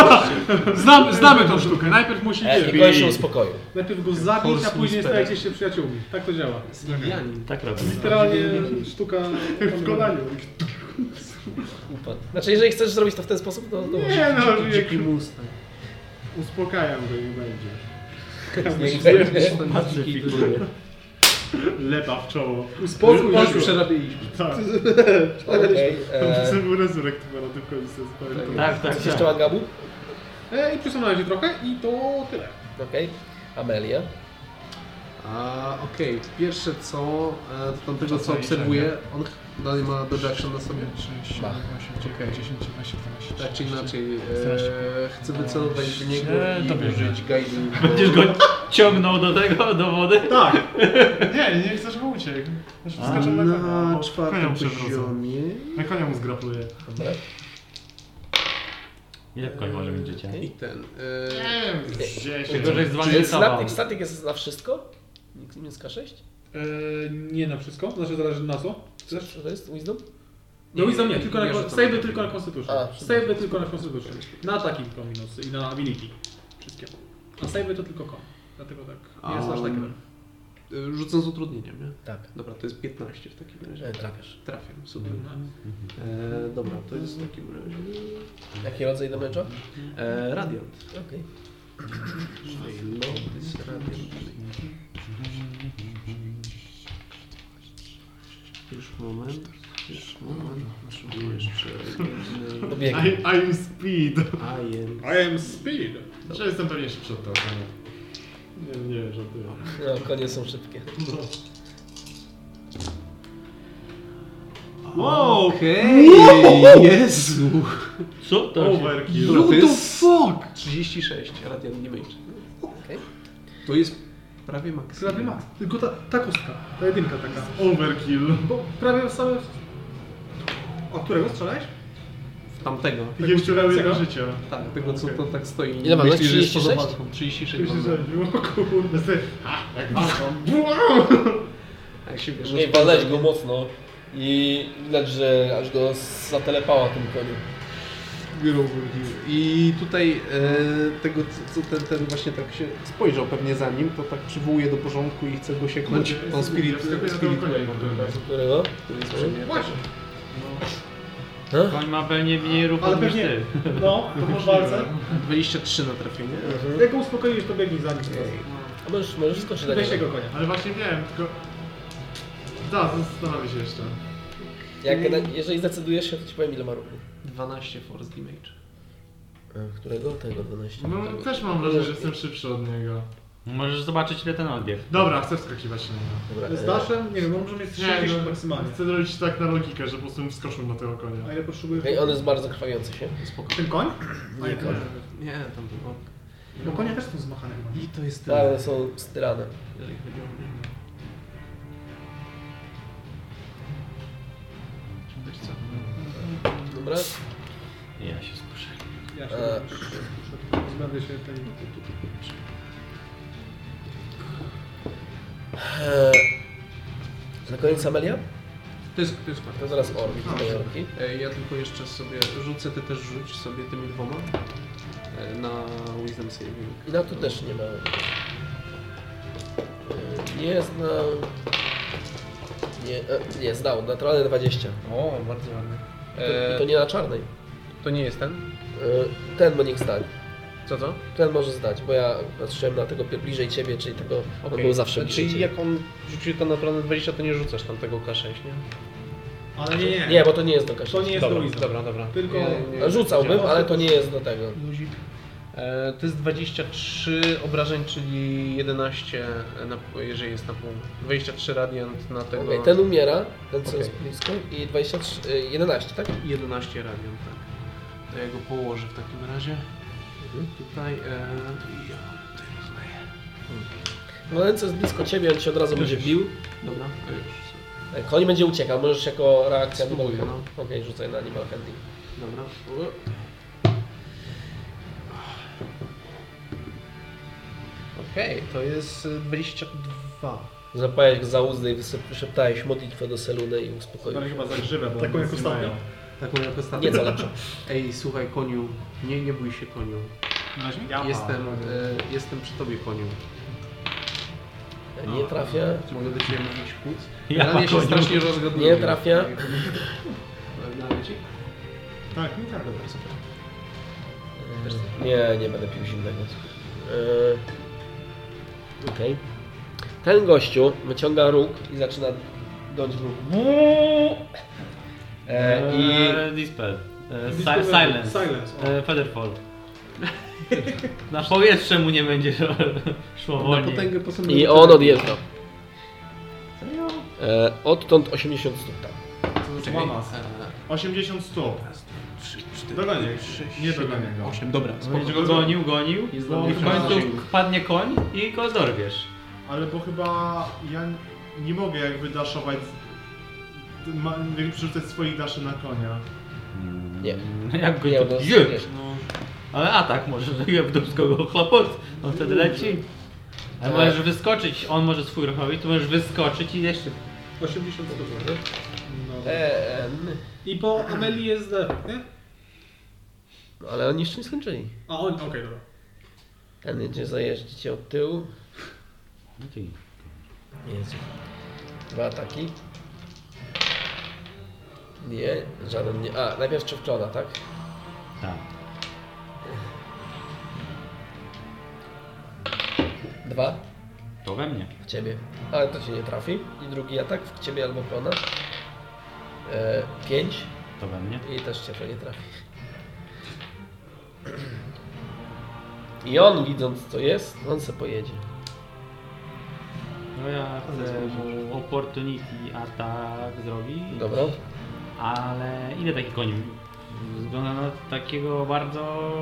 S2: Znam, znamy tą sztukę. Najpierw musi
S8: E, I koń się uspokoił.
S2: Najpierw go zabić, a później stajecie się przyjaciółmi. Tak to działa.
S3: Indianin.
S5: Tak robię.
S2: Literalnie sztuka
S4: W kolaniu.
S8: Upadł. Znaczy, jeżeli chcesz zrobić to w ten sposób, to, to możesz.
S4: Nie no, że jak... Uspokajam go, nie będzie.
S8: Niech będzie.
S5: Pacyfikuję.
S4: Lepa w czoło.
S2: Uspokój
S4: Uspokój.
S2: już przerabiliśmy.
S4: Tak.
S8: Okej,
S4: To
S8: e,
S4: był resurrect chyba na tym końcu, pamiętam.
S5: Tak, tak,
S8: Coś jeszcze
S5: tak.
S8: Mangabu?
S2: E, I przesunąłem się trochę i to tyle.
S8: Okej. Amelia.
S3: A, okej, pierwsze co, e, to tamtego co
S14: Czasami
S3: obserwuję, on ch- dalej ma dodge action na sobie.
S14: 30,
S8: Bah.
S14: 8, 9, 10, 11, 12,
S3: Tak czy
S14: 13.
S3: inaczej, e,
S14: 14.
S3: chcę wycelować w niego
S14: Nie,
S3: i
S14: dobierze.
S3: użyć guiding.
S5: Będziesz go ciągnął do tego, do wody?
S4: Tak! Nie, nie chcesz go uciekł. Znaczy wskoczył na konia,
S3: Na
S4: bo konia
S3: czwartym
S4: mu przewrócę.
S3: poziomie.
S4: Na konia mu zgrapluję.
S8: Dobra.
S5: Ile koń może mieć dziecię?
S3: I ten.
S4: Nie
S3: E,
S4: wiem,
S5: Tylko, że
S4: 10.
S5: jest
S8: Czy jest
S5: zwalnicował.
S8: static, static jest na wszystko? Nikt nie ska 6?
S2: E, nie na wszystko, znaczy zależy na co. Chcesz?
S8: Czy to jest wisdom?
S2: No i za mnie, tylko
S3: nie,
S2: na,
S3: że to-
S2: save tylko na Constitution.
S8: A,
S2: Save tylko na Constitution. Na ataki tylko minusy i na ability. Wszystkie. A save to tylko kon. Dlatego tak, nie jest aż tak
S3: Um,
S2: wiele.
S3: Y, Rzucę z utrudnieniem, nie?
S8: Tak.
S3: Dobra, to jest 15 w takim razie.
S8: E, Trafiasz.
S3: Trafię, super. E, dobra, to jest w takim razie...
S8: Jaki rodzaj damage'a?
S3: E, radiant.
S8: Okej.
S3: I love this radiant. Już moment, już moment. Potrzebuję jeszcze jednej-
S8: Pobiegnie.
S9: I, I'm speed.
S3: I am...
S2: I am speed.
S9: Że jestem pewniejszy przed tobą. no. Nie, nie, żartuję.
S8: No, konie są szybkie.
S3: Wow! Okej! Jezu!
S14: Co? To
S9: Overkill.
S3: What the fuck? 36, radiant nie będzie.
S8: Okej.
S3: To jest prawie maks.
S2: Prawie ma. Tylko ta, ta kostka, ta jedynka taka.
S9: Overkill.
S2: Bo prawie same... O którego strzelałeś?
S3: W Tamtego.
S9: I jeszcze miał jedno
S2: Czego?
S9: życie.
S3: Tak, tego co to tak stoi.
S8: Ile mam,
S3: Myślisz, że jest
S8: 36?
S3: poza walką. 36
S9: Już się
S3: mam.
S9: zabił, o kurde. Ty,
S3: Znaczy,
S9: a, jak walczą.
S3: A jak się wiesz,
S8: Nie, walnąłeś go mocno i widać, że aż go zatelepała tym koniu.
S3: I tutaj e, tego, co- co ten, ten właśnie tak się spojrzał pewnie za nim, to tak przywołuje do porządku i chce go sieknąć. On spirit,
S4: wskakuję na Znaczy, tego
S3: spirit
S4: konia i mam
S3: weapon,
S8: Którego?
S3: który jest przy mnie.
S2: Właśnie.
S5: Koń ma pewnie mniej ruchu
S2: Ale
S5: niż
S2: pewnie-
S5: ty.
S2: No, to po walce.
S3: 23 na trafienie.
S2: Jak go uspokoiłeś, to biegnij za nim teraz.
S8: A możesz, możesz skoczyć na
S2: Weź
S8: niego.
S2: tego konia.
S9: Ale właśnie wiem, tylko... Da, zastanowię się jeszcze.
S8: Jak, na- jeżeli zdecydujesz się, to ci powiem ile ma ruchu.
S3: 12 force damage.
S8: Którego? Tego 12.
S9: No, też mam wrażenie, że jestem szybszy od niego.
S5: Możesz zobaczyć ile ten odbieg.
S9: Dobra, chcę wskakiwać na niego.
S8: Dobra,
S2: Z
S8: e,
S2: daszem? Nie wiem, może mieć
S9: Nie,
S2: 60
S9: no,
S2: maksymalnie.
S9: Chcę zrobić tak na logikę, że po prostu bym wskoczył na tego konia.
S2: A ile potrzebujesz?
S8: Okej, on jest bardzo krwawiący się.
S3: Spoko.
S2: Ten koń? A
S8: Nie,
S2: nie,
S8: koń.
S2: koń.
S3: Nie, tam było.
S2: Bo konie też są zmachane. chyba.
S3: I to jest
S8: Tak,
S3: tyle,
S8: one są z tyranem.
S3: jeżeli chodzi o mnie. Wiesz co?
S8: Dobra?
S5: Ja się spuszczę.
S2: Ja się
S8: E.
S2: pozbędę się tej...
S8: E, na koniec Amelia?
S3: To jest, to jest fakt.
S8: To zaraz Orbi, tutaj Orbi.
S3: E, Ja tylko jeszcze sobie rzucę, ty też rzuć sobie tymi dwoma e, na Wisdom Saving.
S8: No tu też nie ma. E, Nie znam. Nie, e, nie znał, naturalne 20.
S3: O, bardzo ładnie.
S9: E,
S3: E,
S8: I to nie na czarnej.
S3: to nie jest ten?
S8: E, Ten bo niech zdać.
S3: Co to?
S8: Ten może zdać, bo ja patrzyłem na tego pi- bliżej ciebie, czyli tego on był zawsze bliżej
S3: Czyli
S8: ciebie.
S3: Znaczy, jak on rzucił to na naturalne 20, to nie rzucasz tam tego K6, nie?
S2: Ale nie, nie.
S8: Nie, bo to nie jest do kasza.
S2: To nie jest do Wizard.
S3: Dobra, dobra.
S2: Tylko-
S8: Rzucałbym, ale to nie jest do tego.
S3: Luzik. E, to jest 23 obrażeń, czyli 11, na, jeżeli jest na pół. 23 radiant na tego.
S8: Okej, ten umiera, ten co
S3: Okej.
S8: jest blisko i 23, y, 11, tak?
S3: 11 radiant, tak. To ja go położę w takim razie.
S8: Mhm.
S3: Tutaj. E, i ja mam tyle zleję.
S8: No ten co jest blisko ciebie, on ci od razu będzie bił.
S3: Dobra, e, to już. sobie.
S8: Tak, Koń będzie uciekał, możesz jako reakcja...
S3: Spróbuję,
S8: Okej,
S3: no.
S8: rzucaj na animal handling.
S3: Dobra. Okej, to jest e, 22.
S8: Zapałeś go za uzdy i wysyp- wyszeptałeś modlitwę do Seluny i uspokoił
S4: Ale
S8: się.
S4: chyba za grzywę, bo
S2: Taką
S4: one
S2: jak
S4: nic nie mają.
S2: ostatnio.
S3: Taką jak ostatnio.
S8: Nieco lepszą.
S3: Ej, słuchaj koniu, nie, nie bój się koniu. Jestem, e, jestem przy tobie koniu.
S8: Nie trafia.
S3: Czy mogę do ciebie mówić płuc?
S5: Ja
S3: Ja się
S5: koniu.
S3: strasznie rozgadnuje.
S8: Nie trafia.
S3: Dałem ci? E,
S2: Tak, nie
S9: no
S2: tak.
S3: Dobra, super.
S8: Nie, nie będę pił zimnego. Yy... Okej. Ten gościu wyciąga róg i zaczyna dąć róg. E, I
S5: E, Dispel. E, si silence.
S2: Silence, o.
S5: E, featherfall. Na powietrze mu nie będzie szło
S3: Na
S5: wolniej.
S3: potęgę posądzę.
S8: I on odjeżdża. E, odtąd 80 stóp tam.
S3: Czekaj.
S9: 80 stóp.
S3: 3, 4,
S4: Dogonię. Nie dogonię go.
S3: 8, dobra,
S5: Będziesz
S3: spoko.
S5: go gonił, gonił.
S3: Jest
S5: I w końcu
S3: zasięgu.
S5: padnie koń i go dorwiesz.
S9: Ale bo chyba ja nie mogę jakby daszować... z- Ma, jakby przerzucać swoich daszy na konia.
S8: Nie.
S5: Jak go
S8: Nie,
S5: nie
S8: bo-
S5: Jeb!
S8: wiesz.
S5: Ale atak może, że jeb do kogo chlapot. On wtedy leci. Ale
S8: Tak.
S5: możesz wyskoczyć, on może swój ruch robić, to możesz wyskoczyć i jeszcze
S2: 80 stopni. No.
S8: E, n-
S2: I po Amelii jest defekt, nie?
S8: no, ale oni jeszcze nie skończyli.
S2: A on, okej, dobra.
S8: Ten jedzie zajeżdżać od tyłu. Jezu. Dwa ataki. Nie, żaden nie. A, najpierw czy wklona, tak?
S5: Tak.
S8: Dwa
S5: To we mnie.
S8: w ciebie, ale to cię nie trafi. I drugi atak w ciebie albo klona. E, pięć
S5: To we mnie.
S8: i też cię to nie trafi. I on widząc co jest, on se pojedzie.
S5: No ja chcę mu opportunity atak zrobić.
S8: Dobra?
S5: Ale ile taki koń? Wygląda na takiego bardzo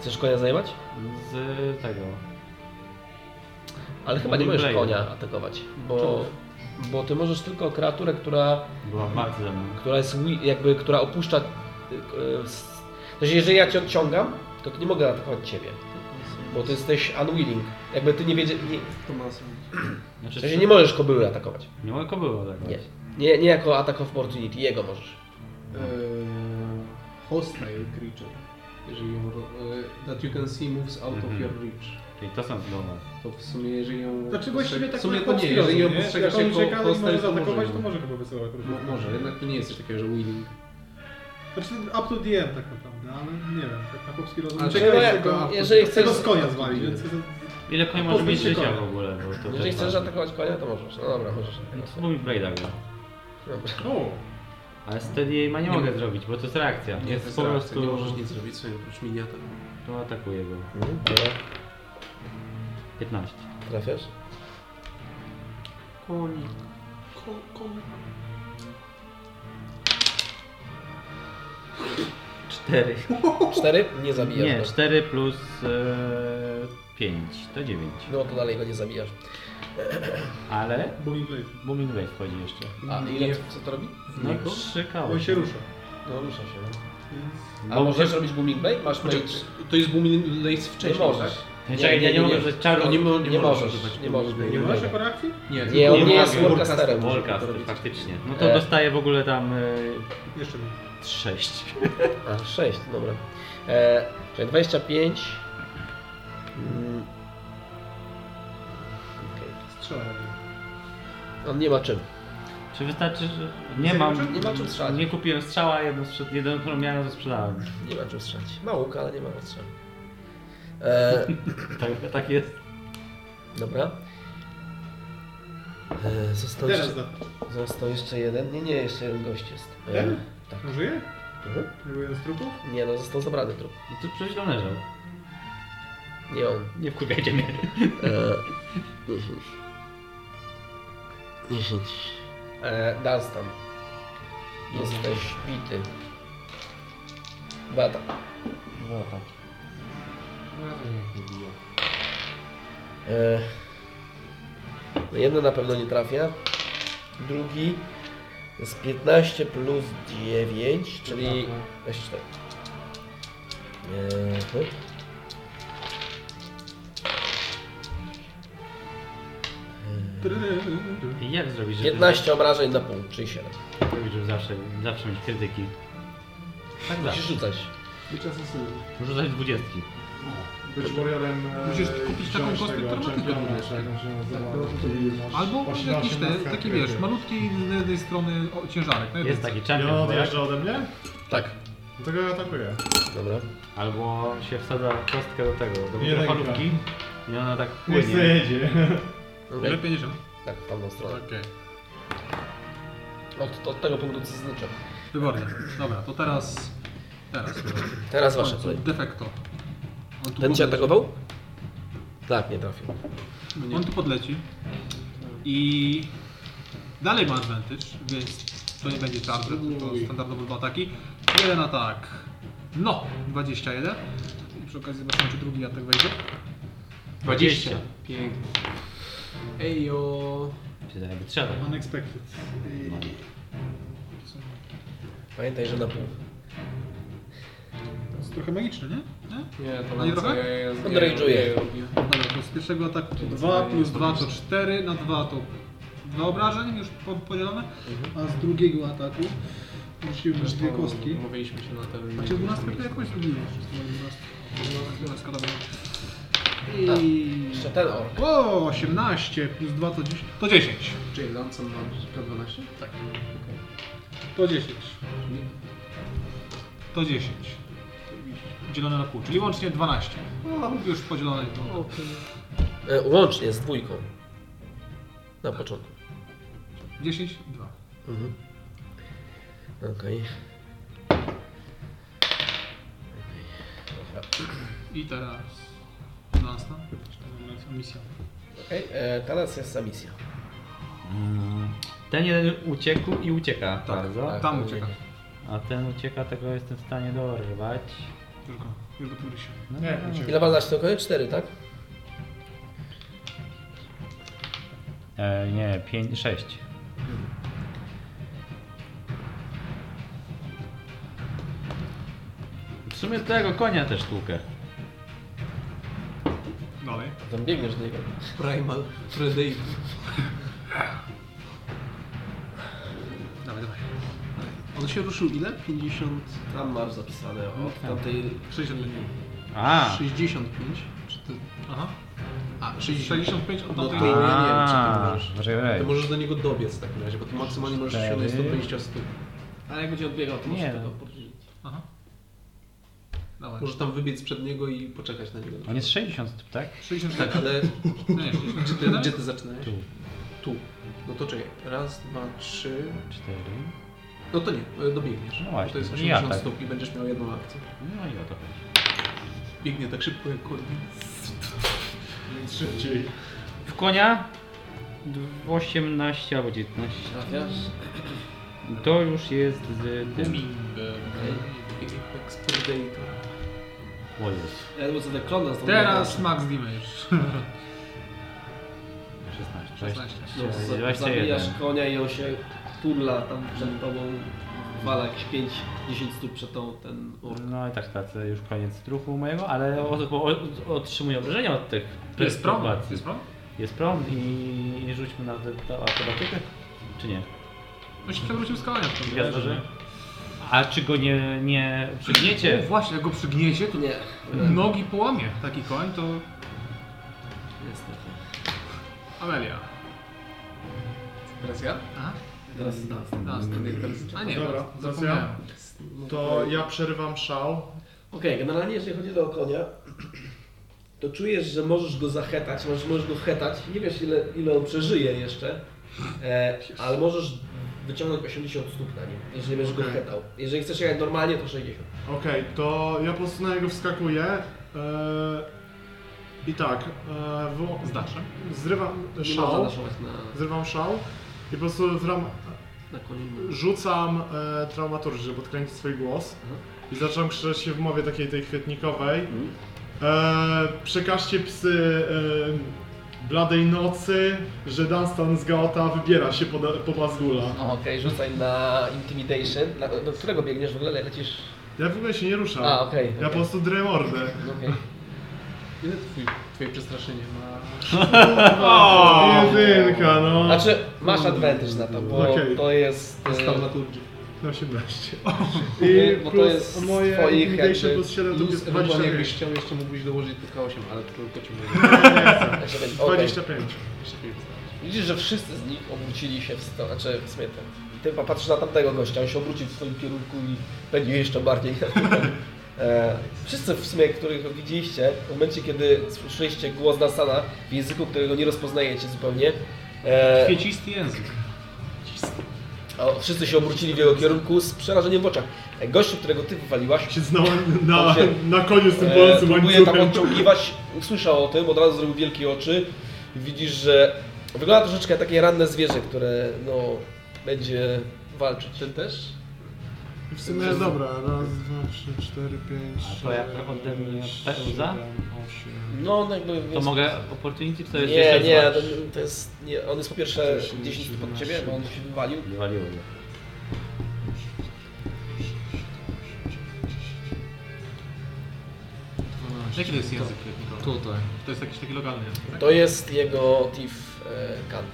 S8: Chcesz konia zajmować?
S5: z tego.
S8: Ale chyba nie
S5: Moonblade.
S8: możesz konia atakować, bo,
S5: Czemu?
S8: bo ty możesz tylko kreaturę, która,
S5: Była w walce ze mną.
S8: która jest wi- jakby, która opuszcza... y, y, s- Znaczy, jeżeli ja cię odciągam, to ty nie mogę atakować ciebie, bo ty jesteś unwilling. Jakby ty nie wiedzie... Nie, w
S5: Znaczy,
S8: sensie nie możesz kobyły atakować.
S5: nie mogę tak kobyła tego.
S8: Nie. Nie, nie jako atak of opportunity, jego możesz.
S3: hostile creature. Jeżeli ją, ro- e, that you can see moves out of
S5: Mhm.
S3: your reach.
S5: Czyli to są znowu.
S3: To w sumie jeżeli ją...
S2: Znaczy
S3: postrzeg-
S2: właściwie tak
S3: W sumie
S2: na
S3: to nie,
S2: konspiracji,
S4: no
S3: jeżeli ją
S2: nie?
S3: postrzegasz
S2: Jak on
S3: jako
S2: ucieka i
S3: hostile,
S2: może
S3: to może
S2: zaatakować,
S3: ją.
S2: to może chyba wysyłać. jakąś
S3: Mo- Może, jednak to nie jest coś takiego, że willing.
S2: Znaczy up to the end tak naprawdę, ale nie wiem, tak na chłopski rozum.
S3: Ale
S2: Czekaj,
S8: jak-
S2: tego-
S8: jeżeli chcesz-
S2: Tego z konia zwali, więc...
S5: Ile koń może
S2: Pozbyć
S5: mieć
S2: się
S5: życia
S2: konia.
S5: w ogóle? Bo to
S8: Jeżeli
S5: też
S8: chcesz
S5: ważne.
S8: atakować konia, to możesz. No dobra, możesz.
S5: No to mówi Blade'a gra.
S8: Dobra.
S4: O,
S5: Ale wtedy jej ma nie,
S3: Nie
S5: mogę
S3: mo-
S5: zrobić, bo to jest reakcja.
S3: Nie,
S5: Więc
S3: to jest
S5: po
S3: reakcja,
S5: prostu
S3: nie możesz nic zrobić sobie oprócz miniatur.
S5: To atakuje go.
S8: Mhm, dobra.
S5: 15.
S8: Trafiasz?
S3: Konik. Konik.
S5: 4.
S8: Cztery? Nie zabijasz
S5: Nie,
S8: go.
S5: 4 plus e, 5 to 9.
S8: No to dalej go nie zabijasz.
S5: Ale
S2: Booming blade.
S5: Booming Wave wchodzi jeszcze.
S8: A ile co to robi?
S5: No
S3: Niego?
S5: 3
S2: On się rusza.
S8: No rusza się. no. A
S5: Bo
S8: możesz robić booming blade? Masz mage?
S3: To jest Booming Lace wcześniej,
S8: możesz.
S3: tak?
S5: Czekaj, ja nie mogę użyć
S3: To
S5: czaru.
S3: nie, mo-
S8: Nie
S3: nie,
S8: możesz,
S3: możesz używać
S8: nie możesz.
S3: Booming
S2: Nie
S3: Blade.
S2: masz jako reakcji?
S3: Nie,
S8: Nie,
S3: tylko
S8: on nie jest
S5: mogę.
S8: warcasterem.
S5: Wolcaster, faktycznie. No
S8: E.
S5: to dostaję w ogóle tam
S2: Jeszcze nie.
S5: 6.
S8: A, sześć, dobra. E, czyli 25. Mm. Okej.
S2: Strzela. na niego.
S8: On no nie ma czym.
S5: Czy wystarczy, że... Nie
S2: Nie
S5: mam...
S8: Nie ma czym strzelać.
S5: Nie kupiłem strzała, jedną, sprze- jedną którą miałem, to sprzedałem.
S8: Nie ma czym strzelać. Ma łuk, ale nie ma strzał. E,
S5: Tak, tak jest.
S8: dobra. E, został
S2: Teraz
S8: jeszcze,
S2: da.
S8: został jeszcze jeden. Nie, nie, jeszcze jeden gość jest. E,
S2: Ten?
S8: tak.
S2: On żyje?
S8: Mhm.
S2: Nie był jeden z trupów?
S8: Nie no, został zabrany trup.
S5: No to przecież tam leżał.
S8: Nie on.
S5: Nie wkurwiajcie mnie.
S8: E, 10. 10. E, Dunstan. Jesteś bity. tak. Bata.
S5: No tak.
S8: E, no jeden na pewno nie trafia. Drugi z 15 plus 9, czyli 24. E, hy.
S5: I jak zrobić, żeby...
S8: 15 obrażeń na pół, czyli 7.
S1: Tak,
S5: Jak zrobić, żeby zawsze, zawsze mieć krytyki? Tak
S8: Musisz
S5: zawsze.
S8: rzucać.
S9: Być asesynem.
S5: Rzucać dwudziestki.
S9: Być warriorem. e,
S2: Musisz kupić taką
S9: wziąć
S2: kostkę,
S9: tego
S2: która ma tylko
S9: czempiona,
S2: jeden
S9: czy jak on się nazywa,
S2: Tak, no,
S9: który masz
S2: Albo
S9: 8
S2: jakiś ten,
S9: 18
S2: taki wiesz,
S9: kryty.
S2: malutki z jednej strony o, ciężarek. no na jedynce.
S5: Jest taki
S9: I on
S5: champion, tak?
S9: odjeżdża ode mnie?
S8: Tak.
S4: No
S9: Dlatego ja atakuję.
S8: Dobra.
S5: Albo się wsadza kostkę do tego,
S4: tak,
S5: do
S9: Nie
S5: mikrofalówki i tak, ona tak
S9: Niech
S5: płynie.
S9: zajedzie.
S8: Okej.
S2: Lepiej niż on.
S8: Tak, w tamtą stronę.
S2: Okej.
S8: Od, od tego punktu co znaczy.
S2: Wybornie. Dobra, to teraz... Teraz.
S1: Tak.
S8: Teraz wasza kolej.
S2: Defekto. On tu
S8: Ten cię
S2: podleci.
S8: atakował? Tak, nie trafił.
S2: On tu podleci. I... Dalej ma advantage, więc to nie będzie charger, to standardowe dwa ataki. Jeden atak. No, 21. I przy okazji zobaczymy, czy drugi atak wejdzie.
S5: 20.
S3: Pięknie. Ejo.
S5: Czy tak jakby trzeba.
S2: Unexpected.
S8: No. Pamiętaj, że na pół.
S2: To jest trochę magiczne, nie? nie?
S3: Nie, to
S2: Nie
S3: lecę,
S2: trochę?
S3: ja- ja- ja-
S8: Odrage'uje.
S3: ja- ja- ja-
S2: Dobra, to z pierwszego ataku to 2 plus 2 to 4, na 2 to 2 obrażeń już po- podzielone, a z drugiego ataku rzuciłem już dwie kostki.
S3: Mówiliśmy się na ten...
S2: Macie 12 to jakąś zrobiłem. 12 dobra. I...
S8: Tak. Jeszcze ten ork.
S2: O, 18 plus 2 to 10. To 10.
S3: Czyli Lanson ma K12? Tak.
S2: To 10. To 10. Dzielone na pół, czyli łącznie 12. No, już podzielone. To...
S8: E, łącznie z dwójką. Na początku.
S2: 10, 2.
S8: Mhm. Okej.
S2: I teraz... Lansta. Misja.
S8: Okej, e, teraz jest ta misja.
S5: Mm, Ten jeden uciekł i ucieka bardzo.
S3: tak.
S2: Tam ucieka.
S5: A ten ucieka, tego jestem w stanie dorwać.
S2: Już go, już go turysie.
S5: No,
S4: Nie,
S5: no.
S4: uciekł.
S8: Ile masz dać tylko? Cztery, tak?
S5: E, nie, 5, 6. W sumie tego konia też tłukę.
S2: Dalej.
S8: Tam biegniesz do niego.
S3: Primal Predator.
S2: Dawaj, dawaj.
S3: On się ruszył ile? 50...
S1: Tam masz zapisane od tamtej
S2: 60 minut.
S5: A!
S3: 65? Czy ty...
S2: Aha.
S3: A, 60.
S2: 65 od
S3: No to
S2: tamtej.
S3: nie, nie wiem, czy ty
S5: A,
S3: możesz.
S5: Poczekaj, poczekaj.
S3: Ty możesz do niego dobiec w takim razie, bo ty maksymalnie możesz
S5: Cztery.
S3: osiągnąć 120 stóp.
S1: Ale jak będzie odbiegał, to
S5: Nie.
S1: może tego podrzucić.
S2: Aha. Dawaj.
S3: Możesz tam wybiec przed niego i poczekać na niego.
S5: On jest 60, tak?
S2: 64.
S3: Tak, ale
S2: Nie,
S3: gdzie
S2: 64.
S3: ty, gdzie ty zaczynałeś?
S5: Tu.
S3: Tu. No to czekaj. Raz, dwa, trzy.
S5: 4.
S3: No to nie, e, dobiegniesz.
S5: No właśnie,
S3: To jest
S5: i ja
S3: 80
S5: tak.
S3: stóp i będziesz miał jedną akcję.
S5: No i o to chodzi.
S3: Biegnie tak szybko jak kurwa.
S4: Więc szybciej.
S5: W konia? Dw- 18 albo 19.
S1: Trafiasz?
S5: To już jest z tym.
S3: Apex Predator.
S5: O Jezus,
S1: Edward sobie klona zdobył.
S2: Teraz max damage.
S5: 16.
S2: 16.
S1: No, z-
S5: 21.
S1: zabijasz konia i on się turla tam przed tobą, wala jakieś 5-10 stóp przed tą ten ork.
S5: No i tak, tak, to już koniec truchu mojego, ale o- o- o- otrzymuję obrażenia od tych
S2: Jest prom?
S5: perturbacji.
S2: Jest prom?
S5: Jest prom i, i rzućmy na tę tę akrobatykę, czy nie?
S2: On się przewrócił z kamienia w tym
S5: Ja zdążę. A czy go nie, nie przygniecie?
S2: No Właśnie, jak go przygniecie, to
S1: Nie,
S2: nogi połamie. Taki koń to
S1: niestety.
S2: Amelia.
S3: Teraz ja?
S2: Aha.
S1: Teraz
S3: Mm,
S1: jest nas.
S3: Następny teraz.
S2: A nie,
S4: Dobra,
S2: to
S4: teraz
S2: zapomniałem.
S4: To ja przerywam szał.
S1: Okej, generalnie jeżeli chodzi o konia, to czujesz, że możesz go zahetać, możesz, możesz go hetać. Nie wiesz ile, ile on przeżyje jeszcze, e, ale możesz wyciągnąć 80 stóp na nim, jeżeli będziesz go
S4: Okej.
S1: hetał. Jeżeli chcesz jechać normalnie, to 60.
S4: Okej, to ja po prostu na niego wskakuję. e, I tak, e, wo-
S2: Zdaszę.
S4: zrywam
S1: Nie można
S4: szał.
S1: daszować na,
S4: Zrywam szał i po prostu wram,
S1: na koniu.
S4: rzucam e, traumaturgię, żeby odkręcić swój głos. I zacząłem krzyczeć się w mowie takiej tej chwytnikowej. E, przekażcie psy e, bladej nocy, że Dunstan z Gaota wybiera się pod, pod Azgula.
S1: Okej, rzucaj na Intimidation. Na, do którego biegniesz w ogóle? Le- Lecisz?
S4: Ja w ogóle się nie ruszam.
S1: A, okej,
S4: Ja
S1: okej.
S4: po prostu drę mordę.
S1: No, okej.
S3: Ile twój, twoje przestraszenie ma?
S4: Jedynka, no.
S1: Znaczy, masz advantage na to, bo
S4: Okej.
S1: to jest... e,
S3: Staumaturgii.
S4: 18.
S1: Okej,
S4: I
S1: bo to
S4: plus
S1: jest
S4: moje
S1: twoich
S4: intimidation
S1: jakby
S4: plus 7 to
S3: Plus,
S4: jest
S3: ewentualnie jakbyś
S4: 25.
S3: chciał, jeszcze mógłbyś dołożyć tylko 8, ale to tylko ci mówię.
S1: znaczy, będzie- okej.
S4: 25.
S3: Jeszcze pięć wystarczy.
S1: Widzisz, że wszyscy z nich obrócili się w stronę, znaczy w sumie ten. Ty patrzysz na tamtego gościa, on się obrócił w swoim kierunku i będzie jeszcze bardziej. e, wszyscy w sumie, których widzieliście, w momencie kiedy słyszeliście głos Nasana w języku, którego nie rozpoznajecie zupełnie, e,
S2: Kwiecisty język.
S1: o, wszyscy się obrócili w jego kierunku z przerażeniem w oczach. E, gościu, którego ty wywaliłaś,
S4: Się znałem na,
S1: On się-
S4: na koniu z tym
S1: E,
S4: bolesnym
S1: próbuje
S3: tak
S1: tam
S4: łańcuchem.
S1: odciągiwać, usłyszał o tym, od razu zrobił wielkie oczy. Widzisz, że wygląda troszeczkę jak takie ranne zwierzę, które no, będzie walczyć.
S3: Ten też?
S4: W sumie dobra, raz, dwa, trzy, cztery, pięć,
S5: A to jak
S4: sześć,
S5: ode mnie
S4: siedem,
S5: pełza?
S4: osiem.
S1: No, no jakby...
S5: To
S1: więc-
S5: mogę opportunity, to jest
S1: Nie,
S5: jeszcze
S1: nie,
S5: dwa.
S1: to, to jest... Nie, on jest po pierwsze
S4: 10,
S1: 10 pod ciebie,
S4: 17.
S1: bo on się wywalił.
S5: Wywaliło mnie.
S2: Jaki to jest język letnikowy?
S3: Tutaj.
S2: To jest jakiś taki lokalny język, tak?
S1: To jest jego thief e, kant.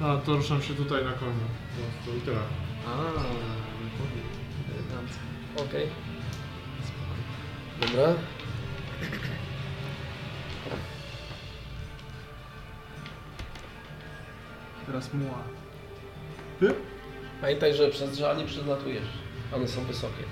S3: A,
S4: A to ruszam się tutaj na koniu. Po prostu i tyle.
S3: a, dokładnie. Elegancko.
S1: Okej. Dobra.
S14: Teraz muła.
S1: Pamiętaj, że przez drzewa nie przelatujesz. One są wysokie.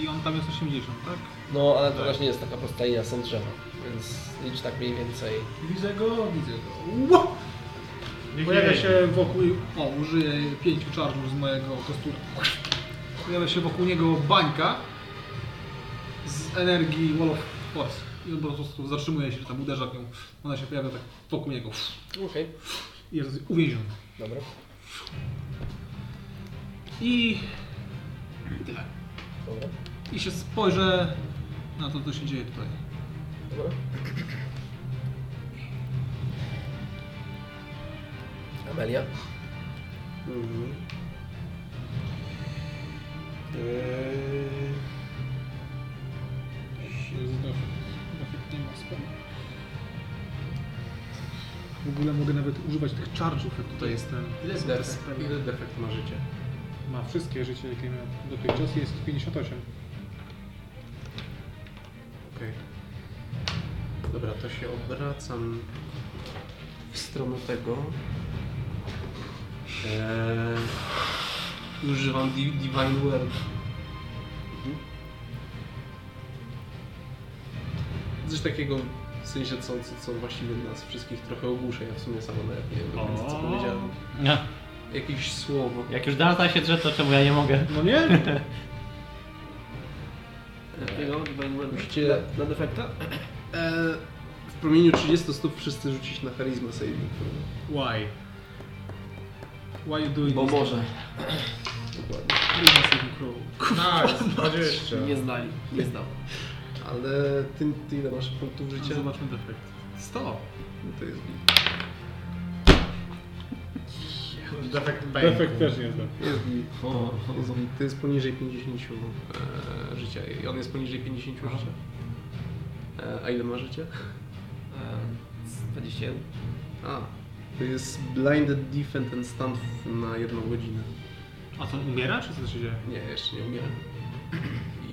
S14: I on tam jest 80, tak?
S1: No, ale to też nie jest taka prosta linia, są drzewa. Więc licz tak mniej więcej.
S2: Widzę go, widzę go. Ło! Pojawia się wokół... O, użyję pięciu czarów z mojego kostura. Pojawia się wokół niego bańka z energii Wall of Force. I on po prostu zatrzymuje się, tam uderza w nią. Ona się pojawia tak wokół niego.
S1: tak. Okej,
S2: I jest uwięziony.
S1: dobra.
S2: I... I tyle.
S1: Dobra.
S2: I się spojrzę na to, co się dzieje tutaj.
S1: Dobra. Amelia?
S3: Mhm. Eee,
S2: się zdarzy. Nawet e, nie ma sprawy. W ogóle mogę nawet używać tych charge'ów, jak tutaj jestem.
S3: ile,
S2: Są
S3: defekt,
S2: te sprawy.
S3: ile defekt ma życie?
S2: Ma wszystkie życie, jakie miał dotychczas. Jest 58.
S3: Okej. Dobra, to się obracam w stronę tego. Eee, i używam Di- Divine Word.
S1: Mhm.
S3: Coś takiego w sensie, co, co, co właściwie nas wszystkich trochę ogłusza. Ja w sumie sama nawet nie wiem, do końca, co powiedziałem.
S5: No,
S3: Jakieś słowo.
S5: jak już Danata się drze, to czemu ja nie mogę?
S2: No nie?
S1: Jakiego?
S3: Musicie
S1: Na defekta?
S3: Eee, w promieniu 30 stóp wszyscy rzucić na charizmę saving. throw.
S2: Why? Why you doing
S1: Bo
S2: this?
S1: może.
S3: Dokładnie.
S2: Charisma saving throw.
S14: Nice, 20.
S1: Nie znali, nie znał.
S3: Ale ty, ty ile masz punktów życia?
S2: Zobaczmy defekt. 100.
S3: No to jest git.
S14: Defekt Defekt też nie znam.
S3: Jest git. To jest poniżej 50 e, życia. I on jest poniżej 50 życia. E, a ile ma życia?
S1: Ehm, 21.
S3: A. To jest blinded, defend and stun na jedną godzinę.
S2: A to umiera, czy co się dzieje?
S3: Nie, jeszcze nie umieram.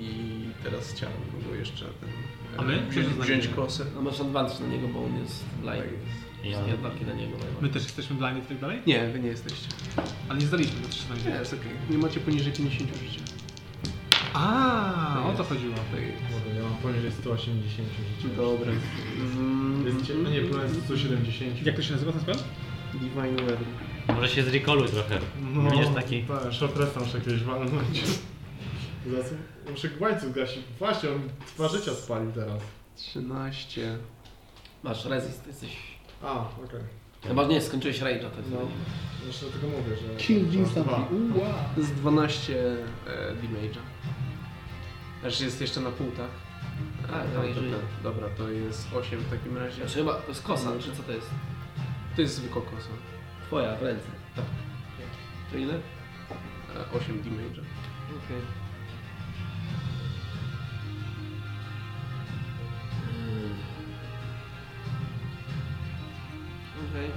S3: I teraz chciałem go jeszcze ten...
S2: A my?
S3: Wziąć,
S2: Przecież
S3: wziąć
S2: znajdziemy.
S3: kosę.
S1: No masz advantage na niego, bo on jest
S3: Tak
S1: blind.
S3: jest.
S1: Ja. Nie ataki na niego. mają.
S2: My też jesteśmy blinded i tak dalej?
S3: Nie, wy nie jesteście.
S2: Ale nie zdaliśmy, to się
S3: Nie,
S2: znajdzie.
S3: jest okej. Nie macie poniżej 50 życia.
S2: A, o to
S3: Jest.
S2: chodziło.
S3: Tak jest.
S9: Kurde, ja mam poniżej 180 życia.
S3: Dobra.
S9: Jest, cie- no nie, bo jest 170.
S2: Jak to się nazywa ten spell?
S3: Divine Weapon.
S5: Może się zrikoluj trochę.
S9: No,
S5: Będziesz taki.
S9: Tak, short rest tam muszę jakiegoś walnąć. Zaraz muszę łańcuch gasić. Właśnie, on dwa życia spalił teraz.
S3: 13.
S1: Masz resist, jesteś...
S9: A, okej.
S1: Chyba nie, skończyłeś rage'a, to jest...
S9: No. Jeszcze tylko mówię, że...
S2: Kill Jin
S9: Dwa.
S2: Ua.
S3: To jest 12 e, damage'a. Znaczy jest jeszcze na pół, tak?
S1: Tak,
S3: no
S1: dalej
S3: to
S1: żyje.
S3: tak. Dobra, to jest 8 w takim razie.
S1: Znaczy chyba, to jest kosa, czy co to jest?
S3: To jest zwykła kosa.
S1: Twoja, w ręce.
S3: Tak.
S1: To ile?
S3: E, 8 damage'a.
S1: Okej. Okej.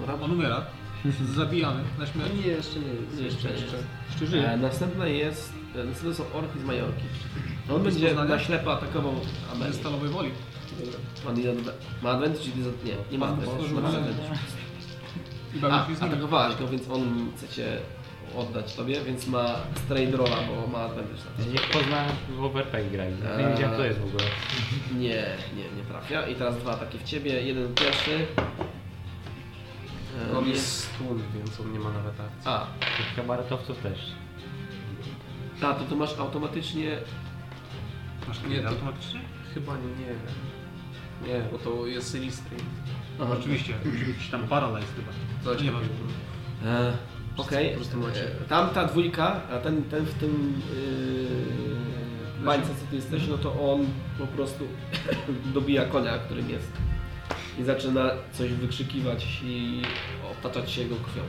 S1: Dobra,
S2: On umiera. Zabijamy na śmierć.
S3: Nie, jeszcze nie jest.
S1: Nie, jeszcze nie jest.
S2: Jeszcze
S1: e,
S2: żyje.
S1: następna jest, e, następne są orki z Majorki. On
S2: Z
S1: będzie
S2: Poznania?
S1: na ślepo atakował
S2: Ze
S1: Amelię.
S2: stalowej woli.
S1: On nie ma- ma adwenty, czy nie, nie, nie ma
S2: Pan
S1: adwenty.
S2: otworzył
S1: ma
S2: lewę.
S1: adwenty.
S2: I bawię
S1: A,
S2: się z nim.
S1: atakowałaś go, więc on chce cię oddać tobie, więc ma straight rolla, bo ma advantage na to.
S5: Niech pozna w overpay grali.
S1: Eee.
S5: Nie wiedziałem, kto jest w ogóle.
S1: Nie, nie, nie trafia. I teraz dwa ataki w ciebie. Jeden pierwszy. Eee, E,
S3: On jest stun, więc on nie ma nawet akcji.
S1: A,
S5: Tych kabaretowców też.
S1: ta, Tak, to, to masz automatycznie.
S2: Masz
S3: Nie,
S2: nie,
S3: to-
S2: automatycznie?
S3: Chyba nie. Nie, bo to jest restraint.
S1: Aha.
S2: Oczywiście, musi być tam paralyzed chyba.
S3: Coś
S2: Nie ma.
S3: takiego.
S1: E, Okej.
S3: Po prostu macie.
S1: E, Tamta dwójka, a ten, ten w tym yy, bańce, co ty jesteś, no to on po prostu dobija konia, którym jest. I zaczyna coś wykrzykiwać i otaczać się jego krwią.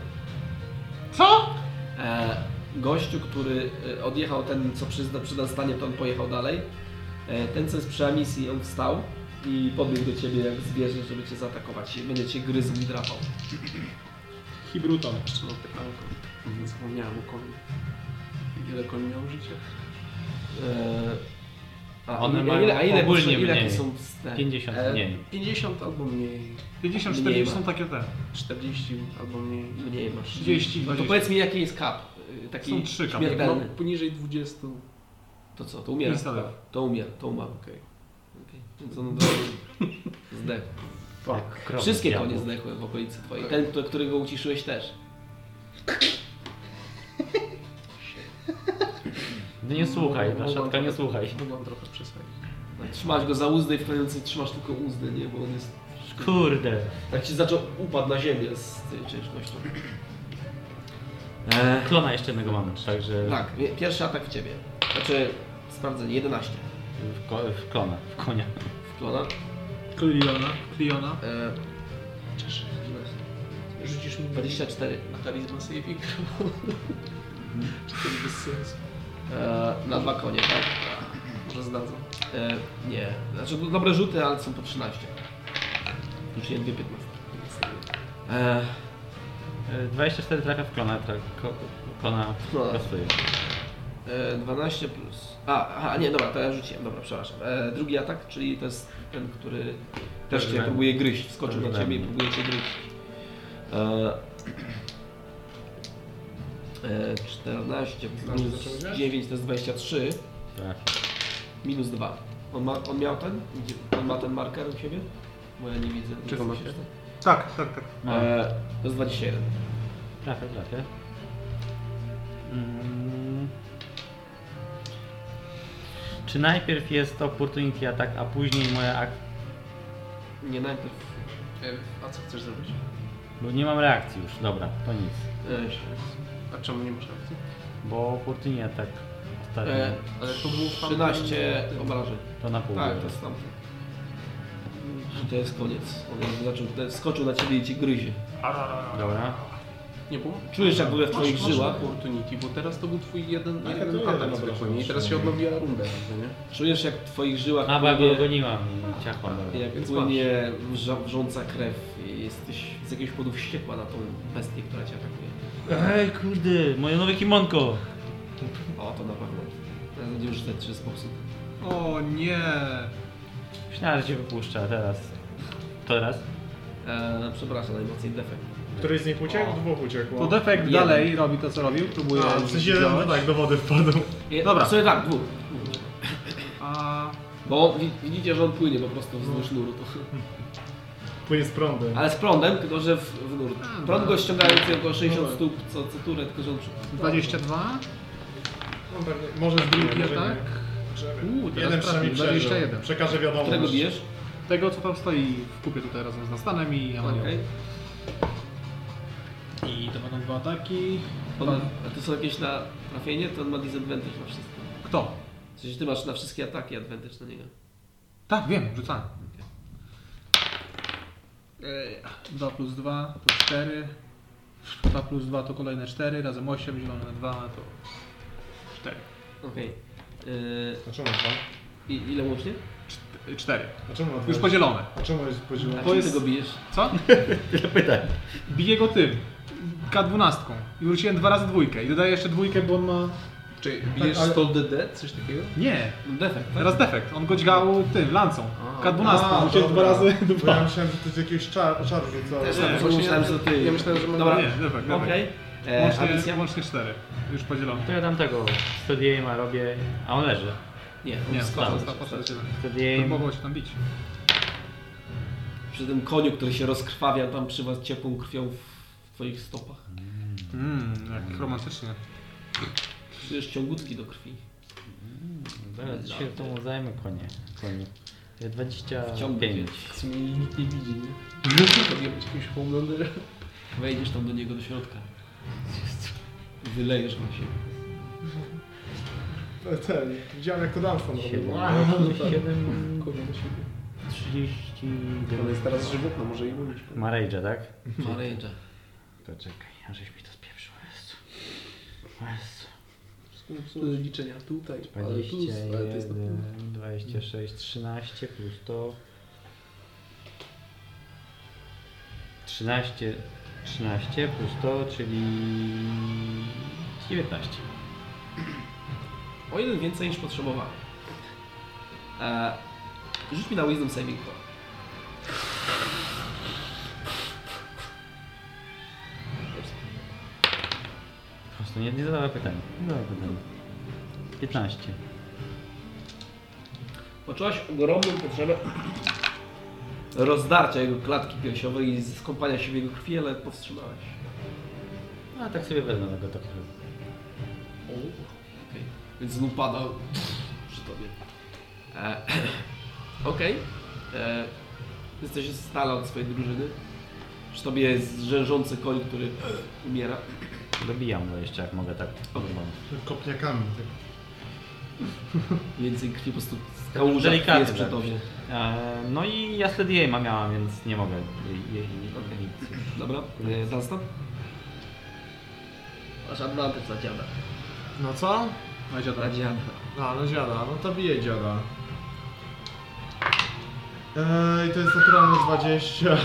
S2: Co?
S1: E, gościu, który e, odjechał, ten co przy, przy stanie, to on pojechał dalej. E, ten, co jest przy misji, on wstał i podbiegł do ciebie jak zwierzę, żeby cię zaatakować. Będzie cię gryzł i drapał.
S2: Hibruton.
S3: No, pytanko.
S1: Mhm.
S3: Zapomniałem o koniu. Ile koń miał życia?
S1: Eee, a,
S5: One
S1: i-
S5: mają ogólnie
S1: ile
S5: mniej.
S1: są wstępy?
S5: 50
S1: E,
S5: mniej.
S3: 50 albo mniej.
S2: 50,
S1: Mniej
S2: 40
S1: ma.
S2: są takie te.
S3: 40 albo mniej.
S1: Mniej masz.
S2: 30,
S1: No to
S2: 20.
S1: powiedz mi jaki jest kap. y, Taki
S2: Są trzy kapy.
S3: Jak mam
S1: śmiertelny.
S3: poniżej 20,
S1: To co, to umiera?
S2: Instalew.
S1: To umiera, to umarł. Okay. Więc on do... zdechł.
S5: Jak krowy
S1: Wszystkie
S5: zjadł.
S1: konie zdechły w okolicy twojej. Ten, kto- którego uciszyłeś też.
S5: No nie słuchaj,
S3: Mogą-
S5: ta szatka nie słuchaj.
S3: mogłam trochę przesadzić.
S1: Trzymałeś go za uzdę i w końcu trzymasz tylko uzdę, nie? Bo on jest...
S5: Kurde.
S1: Tak ci zaczął, upadł na ziemię z tej ciężkością.
S5: E, Klona jeszcze jednego mamy, także
S1: Tak, wie- pierwszy atak w ciebie. Znaczy, sprawdzenie, 11
S5: w, ko- w klona, w konia.
S1: w klona.
S2: Kliona. Kliona.
S1: E,
S3: Cieszę. Rzucisz mi
S1: 24
S3: na charisma saving. to jest bez sensu.
S1: e, na dwa konie, tak?
S3: Może zdadzą.
S1: E, nie, znaczy no, dobre rzuty, ale są po 13. Rzuciłem dwie 15. E,
S5: E, 24 trafia w klona, tra- ko- klona
S1: Klona.
S5: rosuje.
S1: e, 12 plus. A, aha, nie, dobra, to ja rzuciłem, dobra, przepraszam. E, drugi atak, czyli to jest ten, który też cię
S5: Ten-
S1: próbuje gryźć. Wskoczył
S5: ten
S1: na ciebie i
S5: we mnie.
S1: próbuje cię gryźć. E, e, 14
S2: Znaczy,
S1: plus 9 to jest 23
S5: Trafia.
S1: minus 2. On, ma, on miał ten? Gdzie- On ma ten marker u siebie? Bo ja nie widzę.
S3: Czego
S1: macie?
S3: marker?
S2: Tak, tak, tak.
S5: No,
S1: E, to jest 21.
S5: trafia, trafia. Mm. Czy najpierw jest opportunity atak, a później moja ak...
S1: Nie najpierw.
S3: E, A co chcesz zrobić?
S5: Bo nie mam reakcji już, dobra, to nic.
S1: E,
S3: A czemu nie masz akcji?
S5: Bo opportunity atak ostatni,
S1: e,
S3: Ale to było w tamtym-
S1: 13 obrażeń.
S5: to na pół.
S1: Tak,
S5: było.
S1: to jest tam. I to jest koniec. On jakby zaczął, te- skoczył na ciebie i cię gryzie.
S5: Dobra.
S3: Nie było?
S1: Czujesz jak w ogóle w
S3: Masz-
S1: twoich
S3: masz Tak,
S1: żyłach.
S3: opportunity, bo teraz to był twój jeden,
S14: Nie,
S3: jeden
S14: to
S3: atak
S14: jeden
S3: zwykły,
S14: obraz.
S3: nie? I teraz się odnowiła runda, jakby, nie?
S1: Czujesz jak w twoich żyłach
S5: A, bo ja go
S1: płynie-
S5: goniłam i ciachłam. dobra.
S1: jak
S3: Więc
S1: płynie wrza, wrząca krew i jesteś z jakiegoś powodu wściekła na tą bestię, która cię atakuje.
S5: Ej, kurde, moje nowe kimonko!
S1: O, to na pewno. Teraz będziemy rzucać trzy sposób.
S2: No, O nie.
S5: Myślałem, że cię wypuszcza, teraz. Teraz?
S1: E, przepraszam, najmocniej defekt.
S4: Który z nich uciekł?
S1: O.
S4: Dwóch uciekło.
S2: To defekt
S1: Jeden.
S2: dalej robi to, co robił. Próbuje
S4: A, w sensie
S2: działać.
S4: jeden, tak, do wody wpadł.
S1: Je,
S2: Dobra.
S1: Sobie tak, dwóch.
S2: A
S1: Bo wi- widzicie, że on płynie po prostu wzdłuż nuru. To,
S4: Płynie z prądem.
S1: ale z prądem, tylko że w, w nurt. Prąd go ściągający około 60 stóp co, co turę, tylko że on przy...
S2: 22.
S4: On pewnie-
S2: Może drugi
S4: Nie, może
S2: atak.
S4: Drzemy.
S2: Uuu, teraz
S4: Jeden
S2: prawie
S4: przynajmniej przeżył.
S2: 21.
S4: Przekaże wiadomość.
S1: Którego bijesz?
S2: Tego, co tam stoi w kupie tutaj razem z Nastanem i Amanią.
S1: Okej.
S2: I to będą dwa ataki.
S1: On- A to są jakieś na trafienie, to on ma disadvantage na wszystko.
S2: Kto?
S1: W sensie ty masz na wszystkie ataki advantage na niego.
S2: Tak, wiem, rzucałem. 2 plus 2 to 4. 2 plus 2 to kolejne 4, razem 8, zielone na 2 to 4.
S1: Okej. Yy,
S4: A czemu pan?
S1: i- ile łącznie?
S2: 4.
S4: A czemu on
S2: Już
S4: podzielony.
S2: podzielone.
S4: A czemu jest
S1: A
S4: podzielony?
S1: czym
S2: jest-
S1: ty go bijesz?
S2: Co? Bije go tym. K12. I wróciłem dwa razy dwójkę. I dodaję jeszcze dwójkę, bo on ma.
S3: Czy bijesz
S4: ale-
S3: 100 DD, coś takiego?
S2: Nie,
S1: No defekt, tak?
S2: teraz defekt. On go dźgał tym, lancą. K12.
S4: A,
S2: Wróciłem dwa
S4: dobra.
S2: razy
S4: Bo ja
S2: dwa.
S4: myślałem, że to jest jakiś czar, czar rzucony.
S1: Też
S2: Nie,
S1: tak,
S3: właśnie
S1: myślałem,
S3: ja-
S1: że ty...
S3: ja myślałem, że mam-
S1: Dobra,
S2: Nie, defekt, defekt.
S1: okej. E, a
S2: Łącznie,
S1: misja?
S2: łącznie 4. Już podzielone.
S5: To ja dam tego. Studiuję, a robię. A on leży.
S1: Nie,
S2: Nie,
S1: on skoczył.
S2: skończył, skończył.
S5: Studiuję.
S2: Próbował się tam bić.
S1: Przy tym koniu, który się rozkrwawia tam przy was ciepłą krwią w twoich stopach.
S2: Mmm, jak romantycznie.
S1: Czujesz ciągutki do krwi.
S5: Zaraz się tą zajmę konie. Koniu.
S1: Wciągnięć.
S5: 25.
S3: W sumie nikt nie widzi, nie? Powinien być jakimś homelanderem.
S1: Wejdziesz tam do niego do środka. Wylejesz na siebie.
S4: E, Ten, widziałem jak to Dunstan robił.
S5: 7.
S4: Wow.
S5: 7.
S3: Kurwa, do siebie.
S5: 30.
S3: On no jest teraz żywotny, może i mówić.
S5: Ma rage'a, tak?
S1: Ma rage'a.
S5: Poczekaj, a żeś mi to spieprzył. Jezu. Jezu.
S3: Liczenia tutaj, ale tu, ale to jest na
S5: 21, 26, 13 plus to 13, 13 plus to, czyli 19.
S1: O jeden więcej niż potrzebowałem. E, rzuć mi na Wisdom Saving Throw.
S5: Po prostu nie, nie zadała pytania. Nie zadała pytania. 15.
S1: Poczułaś ogromną potrzebę rozdarcia jego klatki piersiowej i skąpania się w jego krwi, ale powstrzymałeś.
S5: No, a tak sobie wezmę tego takiego.
S1: O, okej. Więc znów pada przy tobie. E, Okej. E, Jesteś z dala od swojej drużyny. Przy tobie jest rzężący koń, który umiera.
S5: Dobijam go jeszcze jak mogę tak. normalnie.
S4: Kopniakami. tak.
S1: Więcej krwi po prostu z kałuża krwi
S5: Delikatny
S1: jest przy
S5: tak.
S1: tobie.
S5: E, no i ja wtedy jej miałam, więc nie mogę jej, jej, jej
S1: Okej.
S5: nic.
S1: Dobra, e, Dunstan? Masz advantage na dziada.
S4: No co?
S2: Na dziada.
S1: Na dziada.
S4: A, no dziada, no to bije dziada. Eee, i to jest naturalne 20.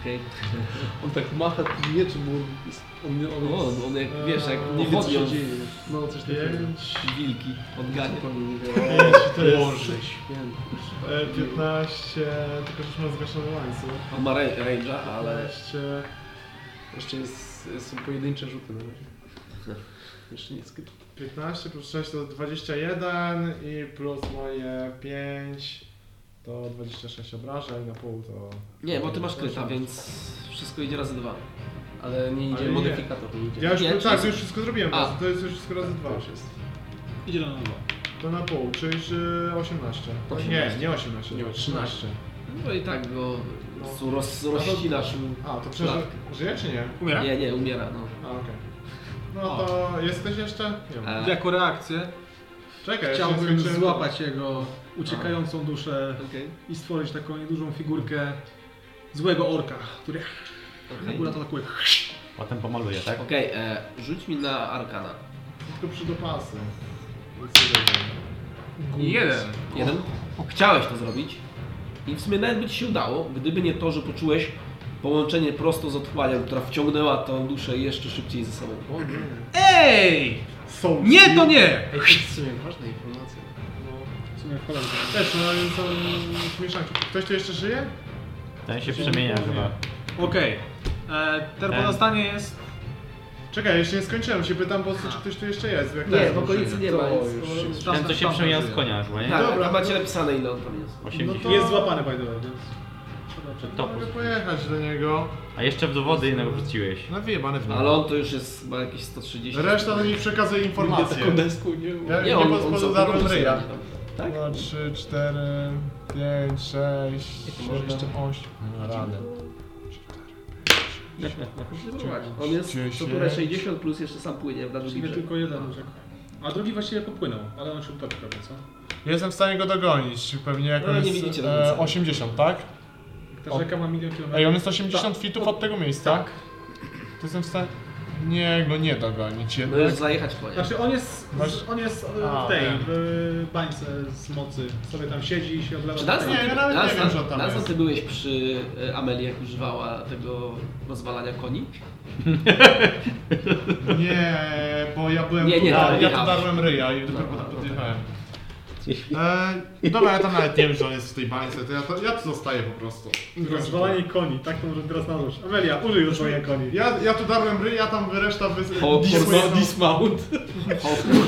S1: Okej.
S3: On tak macha tym mieczem, bo on jest... On, nie- on
S1: O,
S3: jest...
S1: on jak, wiesz, jak
S3: nie wie co
S1: pochodnią
S3: się dzieje. No coś takiego.
S4: 5,
S1: wilki odgania.
S3: Zupełnie nie wiem.
S4: 5 to jest
S3: Święty.
S4: e, 15, tylko że już mam zgaszony łańcuch.
S1: On ma ra- range'a, ale...
S4: 15,
S3: Jeszcze jest, są pojedyncze rzuty na razie. Jeszcze nie skrypt.
S4: 15 plus 6 to 21 i plus moje 5 to 26 obrażeń, na pół to...
S1: Nie, bo ty masz kryta, więc wszystko idzie razy dwa.
S3: Ale nie
S4: Ale
S3: idzie
S4: nie.
S3: modyfikator, nie idzie.
S4: Ja już,
S1: Nie,
S4: tak,
S1: czy-
S4: już wszystko zrobiłem,
S1: A.
S4: to jest już wszystko razy dwa.
S3: To już jest.
S2: Idzie na dwa.
S4: To na pół, czyli że 18. No Nie, nie 18,
S3: Nie,
S4: nie, 13.
S1: No i tak go po prostu roz, rozcinasz. mu.
S4: A, to przecież żyje czy nie?
S3: Umiera?
S1: Nie, nie, umiera, no.
S4: A, okej. No to jesteś jeszcze? Nie ma.
S1: E,
S2: Jako reakcję
S4: Czekaj, jeszcze nie
S2: chciałbym
S4: skończyłem.
S2: złapać jego uciekającą duszę
S1: Okej,
S2: i stworzyć taką niedużą figurkę złego orka, który
S1: okej.
S2: akurat atakuje.
S5: Potem pomaluję, tak?
S1: Okej, e, rzuć mi na Arkana.
S4: Tylko przy dopasy. Nic nie będzie.
S18: Jeden.
S1: Jeden. Chciałeś to zrobić i w sumie nawet by ci się udało, gdyby nie to, że poczułeś połączenie prosto z otchłanią, która wciągnęła tą duszę jeszcze szybciej ze sobą.
S18: Ej!
S4: Są.
S18: Nie, to nie!
S3: Ej, to jest w sumie ważna informacja.
S2: W sumie cholera.
S4: Też, no i są mieszanki. Ktoś tu jeszcze żyje?
S5: Ten się przemienia chyba.
S2: Okej. Okay. Teraz stanie jest.
S4: Czekaj, jeszcze nie skończyłem, się pytam po prostu, czy ktoś tu jeszcze jest. bo Jak
S1: Nie,
S4: teraz
S1: w okolicy
S4: ruszyłem.
S1: nie ma.
S3: To
S1: więc-
S3: już jest.
S5: Ten co się
S2: Tam-
S5: przemienia
S2: tam
S5: z konia chyba, nie?
S1: Tak,
S4: Dobra.
S1: a macie napisane ile on tam jest.
S5: 80.
S4: No
S2: Jest złapany by the way, więc...
S5: Czy
S4: To
S5: to
S4: mogę pojechać do niego.
S5: A jeszcze w dowody jednego wrzuciłeś.
S4: No wyjebane w
S1: Ale
S4: niego.
S1: on to już jest chyba jakieś 130.
S4: Reszta do nich przekazuje informacje.
S3: Taką deską nie
S4: Ja
S1: Nie,
S4: nie
S1: on, on, on
S4: podarłem ryja.
S1: Tak?
S4: 2, 3, 4, 5, 6, 7, 8.
S1: No,
S4: Radę.
S1: On jest to które 60 plus jeszcze sam płynie w danym
S2: Właściwie
S1: liczbie.
S2: tylko jeden rzekł. A drugi właściwie popłynął, ale on się utopił prawie, co?
S4: Jestem w stanie go dogonić. Pewnie jak
S1: No,
S4: on
S1: nie
S4: jest
S1: widzicie do
S4: e,
S1: końca.
S4: 80, tak?
S2: Ta rzeka ma milion kilometrów.
S4: Ej, on jest 80 fitów od tego miejsca. Tak. To jestem w stanie... Nie, go nie dogonić
S1: No już
S4: jednak.
S1: zajechać konia.
S2: Znaczy on jest,
S4: Masz-
S2: on jest e,
S4: A,
S2: w tej,
S4: wiem.
S2: w bańce z mocy. Sobie tam siedzi i się odlewa.
S1: Czy Dunstan,
S4: Nie, ja
S1: ty,
S4: nawet nie wiem, że on
S1: Dunstan,
S4: tam
S1: Dunstan
S4: jest.
S1: ty byłeś przy e, Amelii, jak używała tego rozwalania koni?
S4: Nie, bo ja byłem
S1: Nie, No, nie,
S4: tutaj,
S1: tam
S4: ja
S1: jechałeś.
S4: tu darłem ryja i dopiero potem podjechałem. E, dobra, ja tam nawet nie wiem, że on jest w tej bańce, to ja, to, ja tu zostaję po prostu.
S2: Rozwalanie koni, tak to może teraz narzuć. Amelia, użyj rozwalania koni.
S4: Ja, ja tu darłem ryja, tam wy- reszta wy...
S1: O,
S4: disuje-
S1: kurwa.
S3: Dismount.
S1: Horse-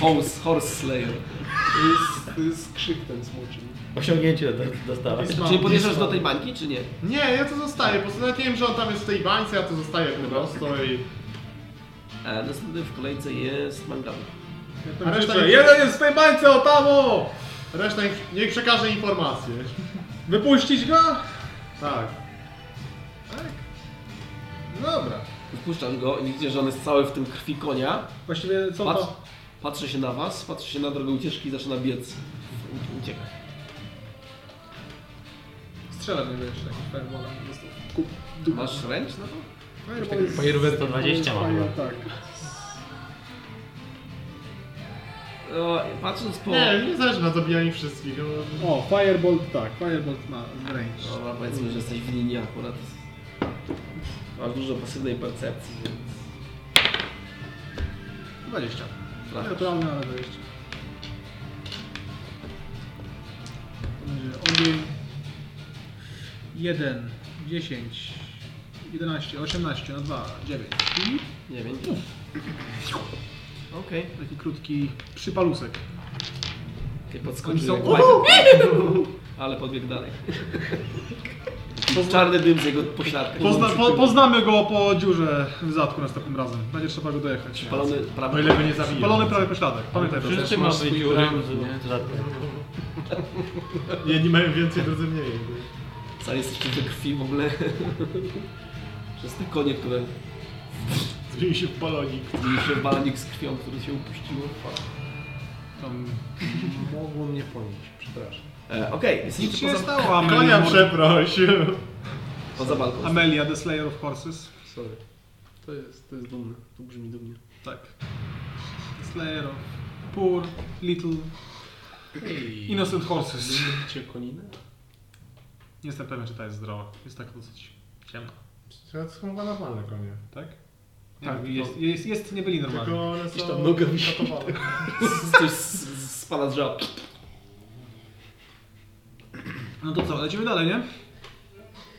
S1: Horse, horse Slayer.
S3: To jest, to jest krzyk ten smoczy.
S5: Osiągnięcie dostała.
S1: Czyli podjeżdżasz do tej bańki, czy nie?
S4: Nie, ja tu zostaję, po prostu nawet nie wiem, że on tam jest w tej bańce, ja tu zostaję po prostu i...
S1: E, następny w kolejce jest Mangabu.
S4: A reszta nie,
S2: Jeden jest w tej bańce, o tamo!
S4: reszta niech, niech przekaże informacje.
S2: Wypuścić go?
S4: Tak. Tak?
S2: No
S4: Dobra.
S1: Wpuszczasz go i widzisz, że on jest cały w tym krwi konia.
S2: Właściwie co
S1: Patrz,
S2: to?
S1: patrzy się na was, patrzy się na drogę ucieczki i zaczyna biec. Uciekać.
S2: Strzela mnie wiesz, tak, fireballem po prostu.
S1: Masz ręcz na to?
S2: Fireball jest-
S18: Fajerwerk
S5: 120 ma chyba.
S2: Tak.
S1: O, patrząc po...
S4: Nie, nie zależy na zabijaniu wszystkich. no.
S2: O, Firebolt tak, Firebolt ma range.
S1: Dobra, powiedzmy, że jesteś w linii akurat. Masz dużo pasywnej percepcji, więc...
S2: 20. Tak.
S1: Trafisz.
S2: Naturalne, ale 20. To będzie ogień. 1, 10, 11, 18, na 2, 9. I
S1: 9. Okej.
S2: taki krótki przypalusek.
S1: Okay. podskoczył
S2: Oni
S1: jak
S2: są-
S1: Michael. Ale podbiegł dalej. Czarny dym z jego pośladka.
S2: Pozna, po, poznamy go po dziurze w zadku następnym razem. Będzie trzeba go dojechać.
S1: Palony
S2: no
S1: prawo.
S19: O ile go nie zabiję.
S2: Palony prawie pośladek. Pamiętaj proszę.
S5: Wszyscy mamy dziury. Hmm?
S4: Jedni mają więcej, drudzy mniej. jakby.
S1: Cały jesteście we krwi w ogóle. Przez te konie, które
S4: Zmieni się w balonik.
S1: zmieniły się w balonik z krwią, które się upuściło.
S2: Tam
S20: Mogło mnie ponieść, przepraszam.
S1: E, Okej, jesteście
S2: nic się nie
S1: poza,
S2: stało.
S4: Konia
S2: Amelia,
S4: przeprosił.
S1: poza balką.
S2: Amelia, the slayer of horses.
S20: Sorry. To jest, to jest dumne. To brzmi dumnie.
S2: Tak. The slayer of poor, little, innocent horses.
S20: Cię koninę?
S2: Nie jestem pewien, czy ta jest zdrowa. Jest taka dosyć ciemna.
S4: To są chyba normalne konie.
S2: Tak? Nie
S4: Tak,
S2: wiem,
S4: to-
S2: jest, jest, jest, nie byli normalni.
S4: Tylko one
S1: Gdzieś
S4: są
S1: tam nogę wisi.
S4: katowane.
S1: Coś z- z- spada z żab.
S2: No to co, lecimy dalej, nie?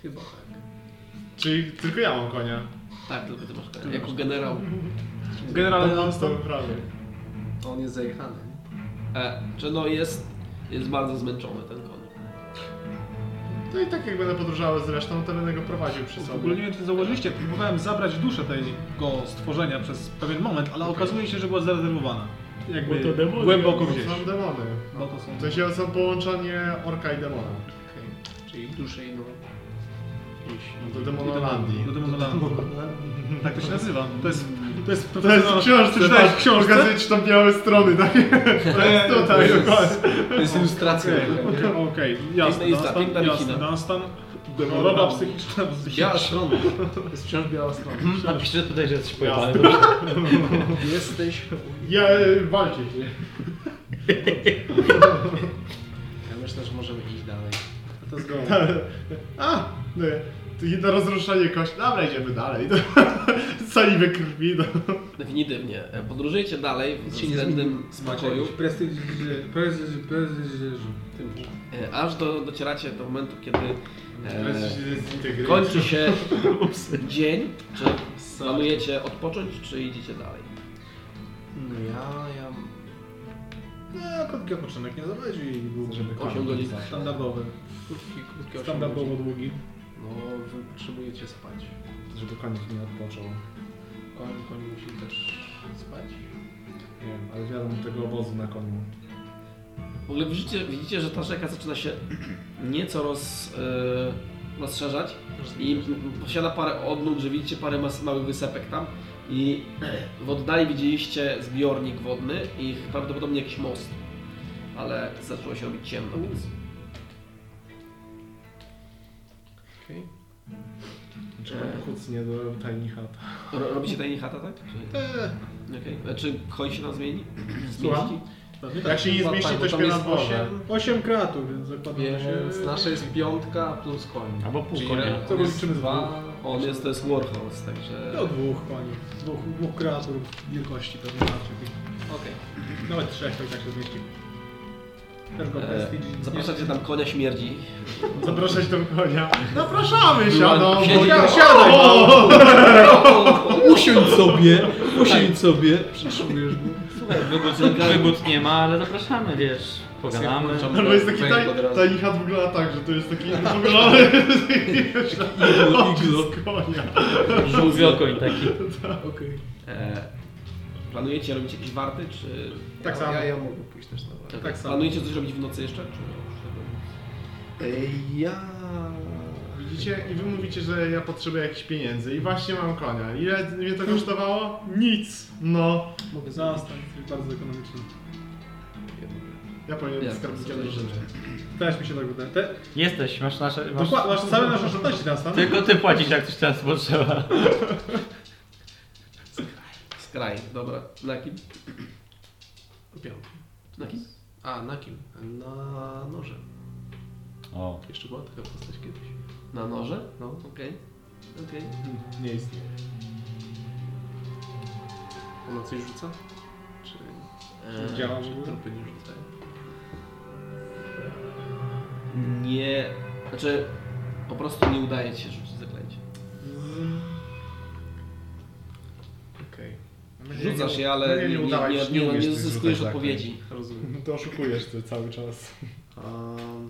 S1: Chyba tak.
S4: Czyli tylko ja mam konia.
S1: Tak, tylko ty masz tak. Jako generał.
S2: Generalnie no,
S4: mam
S2: non
S4: z tobą prawie.
S20: On jest zajechany.
S1: E, czy no jest, jest bardzo zmęczony ten koń.
S4: No i tak jak będę podróżował zresztą, to będę go prowadził przy
S2: W
S4: sobie.
S2: ogóle nie wiem, czy zauważyliście, próbowałem zabrać duszę tego stworzenia przez pewien moment, ale okazuje się, że była zarezerwowana. Jakby głęboko gdzieś.
S4: To są demony.
S2: Bo to są...
S4: W sensie są połączenie orka i demona.
S20: Czyli duszę i no.
S4: Do demonolandii.
S2: Do demonolandii. Tak no to się nazywa. To jest... To jest...
S4: To jest w książce,
S2: Przeczytałeś
S4: tak,
S2: w książce?
S4: Pokazuję ci tą białe strony, tak? To jest tutaj, dokładnie.
S20: To jest ilustracja.
S2: Okej, Okej,
S1: Piękna
S4: no,
S2: jasne,
S1: lista,
S2: Dunstan,
S1: piękna
S2: jasne,
S1: wikina.
S2: Dunstan.
S4: Demonolandii.
S2: Choroba psychiczna.
S20: Biała strona.
S21: Jest wciąż biała strona.
S5: Napiszcie tutaj, że jesteś pojebany.
S20: Jesteś...
S4: Ja e, walczę się.
S20: Ja myślę, że możemy iść dalej.
S2: To jest go.
S4: A, no, to jedno rozruszenie kości. Dobra, idziemy dalej. Sali we krwi, no.
S1: Definitywnie. E, Podróżujcie dalej w
S2: się nie
S1: względnym spokoju.
S2: Prestiż... Prestiż... Prestiż...
S20: Tym
S1: E, Aż do, docieracie do momentu, kiedy
S4: Teraz
S1: e,
S4: się zintegruje.
S1: kończy się dzień. Czy planujecie odpocząć, czy idziecie dalej?
S20: No ja, ja...
S2: No, krótki odpoczynek nie zawadzi i byłby
S1: 8 godzin.
S2: standardowy.
S20: Krótki, krótki osiem
S2: Standardowo
S20: godzin.
S2: długi.
S20: No, wy potrzebujecie spać.
S4: Żeby koń nie odpoczął.
S20: Koń, koń musi też spać.
S4: Nie wiem, ale wiadomo tego obozu na koniu.
S1: W ogóle widzicie, widzicie że ta rzeka zaczyna się nieco roz, e, rozszerzać i posiada parę odnóg, że widzicie parę mas, małych wysepek tam i w oddali widzieliście zbiornik wodny i prawdopodobnie jakiś most, ale zaczęło się robić ciemno, więc
S20: Okej.
S4: Trzeba kucnie do tajni chat.
S1: No Ro- robicie tajnie chata, tak? Czy... Okej. Czy koń się tam zmieni?
S4: Słucham?
S1: Zmieści? tak,
S4: Jak się nie zmieści, to śpię na dworze.
S2: 8 kreatur, więc zakładam, że
S20: Więc
S2: się...
S20: nasza jest piątka plus koń.
S5: Albo pół
S20: Czyli
S5: konia.
S20: re-
S2: To
S20: jest
S2: liczymy z
S20: dwa. No,
S1: On jest, to jest Warhorse, także...
S2: Do dwóch pani. Dwóch, dwóch kreatur wielkości pewnie macie.
S1: Okej.
S2: Nawet trzech to i tak się zmieści. Też go
S1: E,
S2: prestige. nie-
S1: Zapraszacie tam konia śmierdzi.
S4: Zapraszać do konia. Zapraszamy, siadą.
S1: Siedzi-
S4: bo-
S1: no. siadaj,
S4: O!
S20: Usiądź sobie,
S1: Tak.
S20: usiądź sobie. Przeszukujesz mu.
S5: Wybót nie ma, ale zapraszamy, wiesz, pogadamy.
S4: Albo No, jest taki
S20: Węg
S4: taj,
S20: od razu.
S4: tajni chat wygląda tak, że to jest taki ogolony
S20: iglo.
S4: z konia.
S5: Żółwiokoń taki.
S20: Okej.
S1: E, planujecie robić jakieś warty, czy...
S2: Tak
S20: Ja-
S2: samo.
S20: Ja, ja mogę pójść też na bar.
S1: Tak
S2: samo.
S1: Planujecie coś robić w nocy jeszcze? Czy już tego?
S20: Ej, Ja...
S4: Widzicie? I wy mówicie, że ja potrzebuję jakichś pieniędzy. I właśnie mam konia. Ile mnie to kosztowało? Nic. No.
S20: Mogę zaraz.
S2: Zastan, jest bardzo ekonomiczny.
S4: Ja powinienem
S1: Nie,
S4: być skarbnikiem
S1: to
S4: do
S1: jest-
S4: rzeczy.
S2: Też mi się tak wydaje. Te,
S5: Jesteś, masz nasze... Masz...
S2: dokładnie, masz całe nasze oszczędności na stan.
S5: Tylko ty płacisz, jak coś teraz potrzeba.
S1: Skraj, dobra. Na kim?
S20: Piątka.
S1: Na kim?
S20: A, na kim? Na noże.
S5: O.
S20: Jeszcze była taka postać kiedyś.
S1: Na noże?
S20: No.
S1: Okej.
S3: Okej.
S2: Nie istnieje.
S3: Ona coś rzuca? Czy,
S8: E,
S2: Działa w
S3: czy
S2: ogóle?
S3: trupy nie rzucają?
S1: Nie. Znaczy, po prostu nie udaje ci się rzucić zaklęcie.
S3: Okej.
S1: Rzucasz je, ale
S4: nie,
S1: No nie, nie,
S4: udało
S1: nie,
S4: się,
S1: nie, nie,
S4: umiesz tych
S1: uzyskujesz
S4: rzutek
S1: odpowiedzi.
S3: Rozumiem.
S4: zaklęć. To oszukujesz ty cały czas.
S3: Um,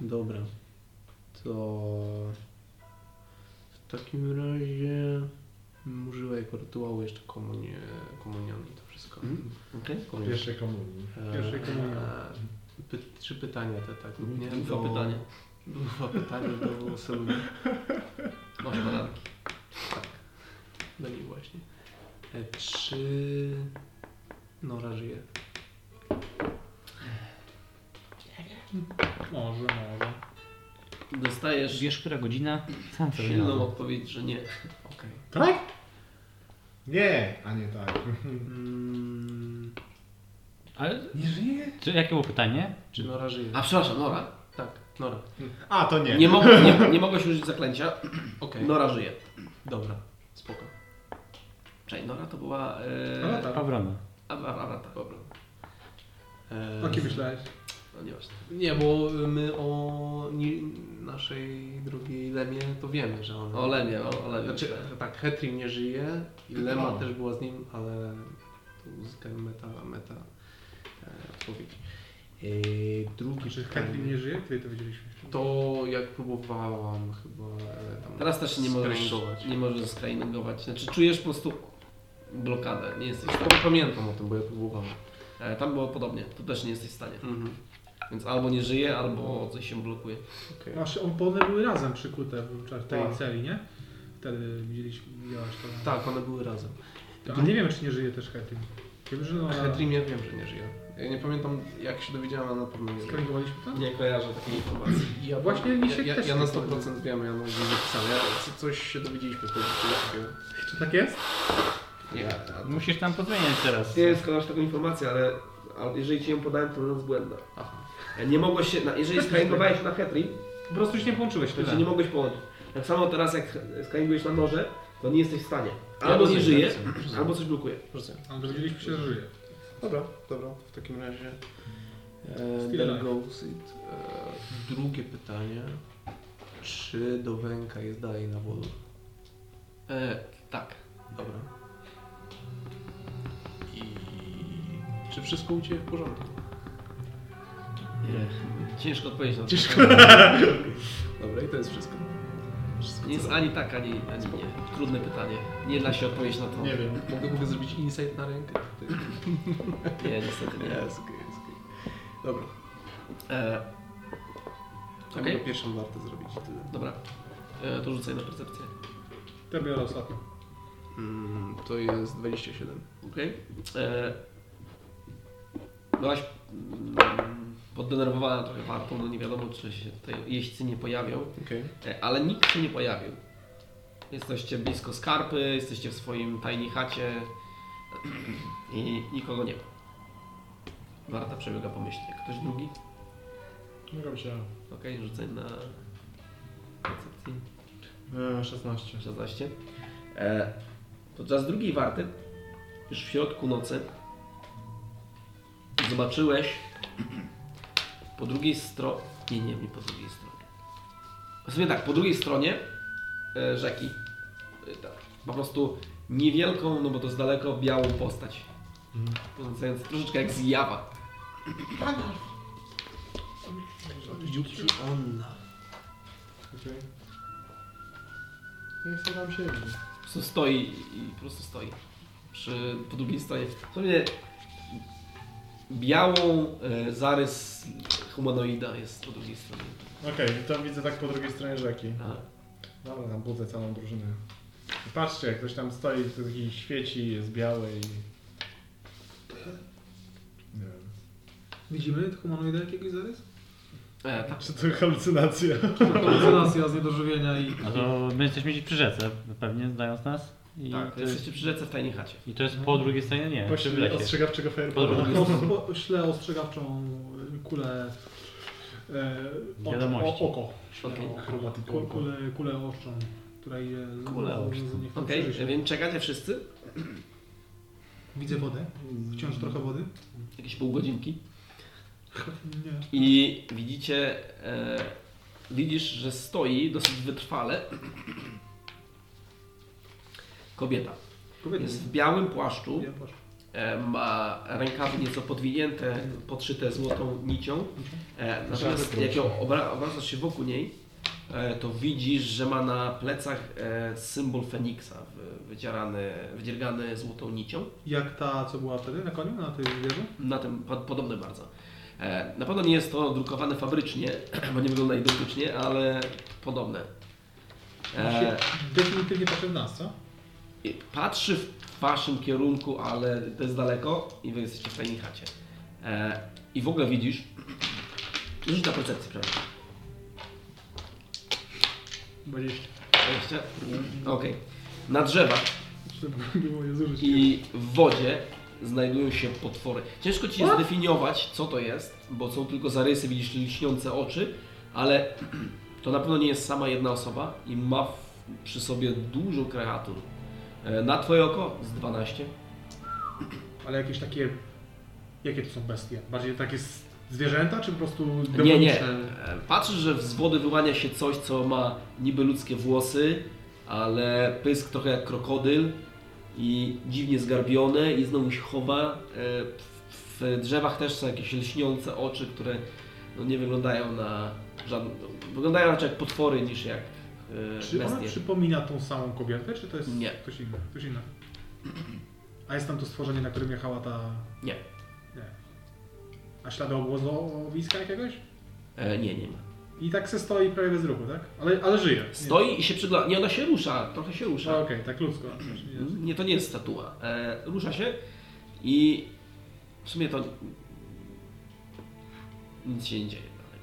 S3: dobra. To w takim razie używaj jako rytuału jeszcze komunie, komunion i to wszystko.
S1: Mhm. Okej.
S3: Komunion.
S4: Pierwszej komunii.
S3: E,
S2: pierwszej komunion.
S3: e, Py, trzy pytania te tak. Nie,
S1: Mhm, Dwa pytania.
S3: Dwa pytania do Seluni.
S1: Masz baranki.
S3: Do niej Tak. No właśnie. E, czy Nora żyje?
S2: Może, może.
S1: Dostajesz
S5: Wiesz, która godzina? Sam sobie nie
S1: silną
S5: mam.
S1: odpowiedź, że nie.
S3: Okej.
S4: Tak? Nie, a nie tak.
S3: Mm,
S5: Ale
S4: Nie żyje?
S5: czy, jakie było pytanie?
S3: czy Nora żyje?
S1: A przepraszam, Nora.
S3: Tak, Nora.
S4: A, to nie.
S1: Nie, mog nie, nie mogłeś użyć zaklęcia.
S3: Okej,
S1: Nora żyje.
S3: dobra, spoko.
S1: Czekaj, Nora to była.
S2: No
S1: E...
S2: tak.
S5: Awrona.
S1: Awarata.
S3: Dobra. Eee,
S2: O kim
S1: E,
S2: myślałeś?
S1: No nieważne.
S3: Nie, bo my o ni- naszej drugiej Lemie to wiemy, że ona...
S1: O Lemie, o- o Lemie.
S3: Znaczy, tak, Hetri nie żyje i Lema
S4: No.
S3: też była z nim, ale tu uzyskałem meta, meta e, odpowiedź. Eee, drugi
S2: Czy
S3: pytanie.
S2: Katlin nie żyje? Kiedy to wiedzieliśmy?
S3: To jak próbowałam chyba e, tam...
S1: Teraz też nie możesz,
S3: skręgować.
S1: nie możesz skrajningować. Znaczy, czujesz po prostu blokadę. Nie jesteś w
S3: To
S1: stanie.
S3: pamiętam o tym, bo ja próbowałam.
S1: E, Tam było podobnie. Tu też nie jesteś w stanie.
S3: Mhm.
S1: Więc albo nie żyje, albo coś się blokuje.
S3: okej.
S2: Aż on, bo one były razem przykute w w tej
S3: Tak.
S2: celi, nie? Wtedy widzieliśmy, widziałaś to.
S3: Tak, one były razem. Tak.
S2: To- A nie wiem, czy nie żyje też Katlin. Wiem, że no...
S3: Hetrim ja wiem, że nie żyje. Ja nie pamiętam jak się dowiedziałem, ale na pewno nie żyje.
S2: Skręgowaliśmy to?
S1: Nie kojarzę takiej informacji.
S3: Ja
S2: Właśnie mi się
S3: ja, ja,
S2: też
S3: ja
S2: nie
S3: na
S2: podoba.
S3: 100% wiem, ja no nie zapisałem. Ja, co- coś się dowiedzieliśmy po prostu. takiego.
S2: Czy tak jest?
S1: Nie,
S5: Musisz tam pozmieniać teraz.
S1: nie skojarz taką informację, ale, ale jeżeli ci ją podałem, to ona jest błędna.
S3: Aha.
S1: Nie mogłeś się, na, jeżeli skrajningowałeś się na Hetri,
S2: Po prostu się nie połączyłeś,
S1: to się nie mogłeś połączyć. Tak samo teraz, jak skrajningujesz na noże, to nie jesteś w stanie.
S3: Ja
S1: Albo nie
S3: rozumiem,
S1: żyje,
S3: rozumiem, rozumiem.
S1: albo coś blokuje.
S3: Rozumiem.
S2: Ale dowiedzieliśmy się, że żyje.
S3: Dobra, dobra, w takim razie. E,
S2: Still
S3: there
S2: alive.
S3: goes it. E, drugie pytanie. Czy do węka jest dalej na wodu?
S1: E, tak.
S3: Dobra. I czy wszystko u Ciebie w porządku?
S1: E, ciężko odpowiedzieć na to.
S3: Dobra, i to jest wszystko. Wszystko,
S1: Nie
S3: co
S1: jest ani tak, ani, ani nie. Trudne pytanie. Nie da się odpowiedzieć na to.
S4: Nie wiem.
S3: Mogę, mogę zrobić insight na rękę?
S1: Nie, niestety
S3: Nie,
S1: nie.
S3: jest okej, jest okej. Dobra.
S1: E,
S3: Ja
S1: Okej.
S3: okay. pierwszą warto zrobić i tyle.
S1: dobra. E, to rzucaj na percepcję.
S2: To biorę ostatnio.
S3: Mm, to jest 27.
S1: Okej. E, Byłaś mm, poddenerwowana trochę wartą, no nie wiadomo czy się tutaj jeźdźcy nie pojawią,
S3: Okej.
S1: e, ale nikt się nie pojawił. Jesteście blisko skarpy, jesteście w swoim tajnej chacie i nikogo nie ma. Warta przebiega pomyślnie. Ktoś drugi?
S4: Mogę się.
S1: Okej, rzucaj na recepcji.
S4: E, 16.
S1: 16. E, podczas drugiej warty, już w środku nocy, zobaczyłeś po drugiej stronie. Nie, nie, nie po drugiej stronie. W sumie tak, po drugiej stronie e, rzeki. E, tak, po prostu niewielką, no bo to z daleko, białą postać. Wyglądającą troszeczkę jak zjawa.
S3: Jutro ona.
S4: Okej. Nie chcę tam siedzieć.
S1: Po prostu stoi i po prostu stoi. Przy, po drugiej stronie. W sumie białą e, zarys humanoida jest po drugiej stronie.
S4: Okej, to widzę tak po drugiej stronie rzeki.
S1: A,
S4: Dobra, tam budzę całą drużynę. I Patrzcie, jak ktoś tam stoi, to taki świeci, jest biały i... Nie wiem.
S2: Widzimy humanoida jakiegoś zarys?
S1: e, tak.
S4: Czy to halucynacja?
S2: Halucynacja z niedożywienia i...
S5: No to my jesteśmy ci przy rzece, pewnie znając nas. I,
S1: tak
S5: to, jest,
S1: jesteście przy rzece w tajnej chacie.
S5: I to jest po drugiej stronie, nie. Przy
S4: Właśnie
S5: lecie.
S4: ostrzegawczego
S5: Po
S4: fireballa.
S5: drugiej
S2: Pośle ostrzegawczą y, kulę e, o,
S5: Wiadomości.
S2: o, oko.
S1: Okej.
S2: Ku- Kulę, kulę oczną, której... e,
S5: Kulę oczną.
S2: z- niech
S1: Okej, e,
S2: przeżyje.
S1: więc czekacie wszyscy?
S2: Widzę wodę. Wciąż trochę wody.
S1: Jakieś pół godzinki.
S2: Nie.
S1: I widzicie, e, widzisz, że stoi dosyć wytrwale kobieta.
S2: Kobieta.
S1: Jest w białym płaszczu,
S2: Ja patrzę.
S1: e, ma rękawy nieco podwinięte, podszyte złotą nicią. E, natomiast jak ją obra- obracasz się wokół niej, e, to widzisz, że ma na plecach e, symbol Feniksa, wy- wydzierany, wydziergany złotą nicią.
S2: Jak ta, co była wtedy na koniu, na tej wieży?
S1: Na tym po- podobne bardzo. E, Na pewno nie jest to drukowane fabrycznie, bo nie wygląda identycznie, ale podobne. E,
S2: Definitywnie patrzę w nas, co?
S1: i patrzy w waszym kierunku, ale to jest daleko i wy jesteście w tajnej chacie. E, I w ogóle widzisz. Rzuć na percepcję, przepraszam.
S2: 20.
S1: Wejście? Mhm. Okej. Na drzewach
S2: Nie moje zużycie.
S1: i w wodzie znajdują się potwory. Ciężko ci jest zdefiniować, co to jest, bo są tylko zarysy, widzisz lśniące oczy, ale to na pewno nie jest sama jedna osoba i ma w, przy sobie dużo kreatur. E, Na twoje oko z 12.
S2: Ale jakieś takie... Jakie to są bestie? Bardziej takie s- zwierzęta, czy po prostu
S1: Nie, nie.
S2: demoniczne?
S1: E, Patrzysz, że z wody wyłania się coś, co ma niby ludzkie włosy, ale pysk trochę jak krokodyl i dziwnie zgarbione i znowu się chowa. E, W, w drzewach też są jakieś lśniące oczy, które no, nie wyglądają na żadne... Wyglądają raczej jak potwory niż jak e,
S2: Czy ona
S1: bestie.
S2: przypomina tą samą kobietę, czy to jest
S1: Nie.
S2: ktoś inny? Ktoś inny. A jest tam to stworzenie, na którym jechała ta...
S1: Nie.
S2: Nie. A ślady obozowiska jakiegoś?
S1: E, nie, nie ma.
S2: I tak se stoi prawie bez ruchu, tak? Ale, ale żyje. Nie.
S1: Stoi i się przygląda. Nie, ona się rusza, trochę się
S2: A,
S1: rusza.
S2: Okej, tak ludzko.
S1: Mhm.
S2: Nie.
S1: Nie, to nie jest statua. E, rusza się i w sumie to nic się nie dzieje dalej.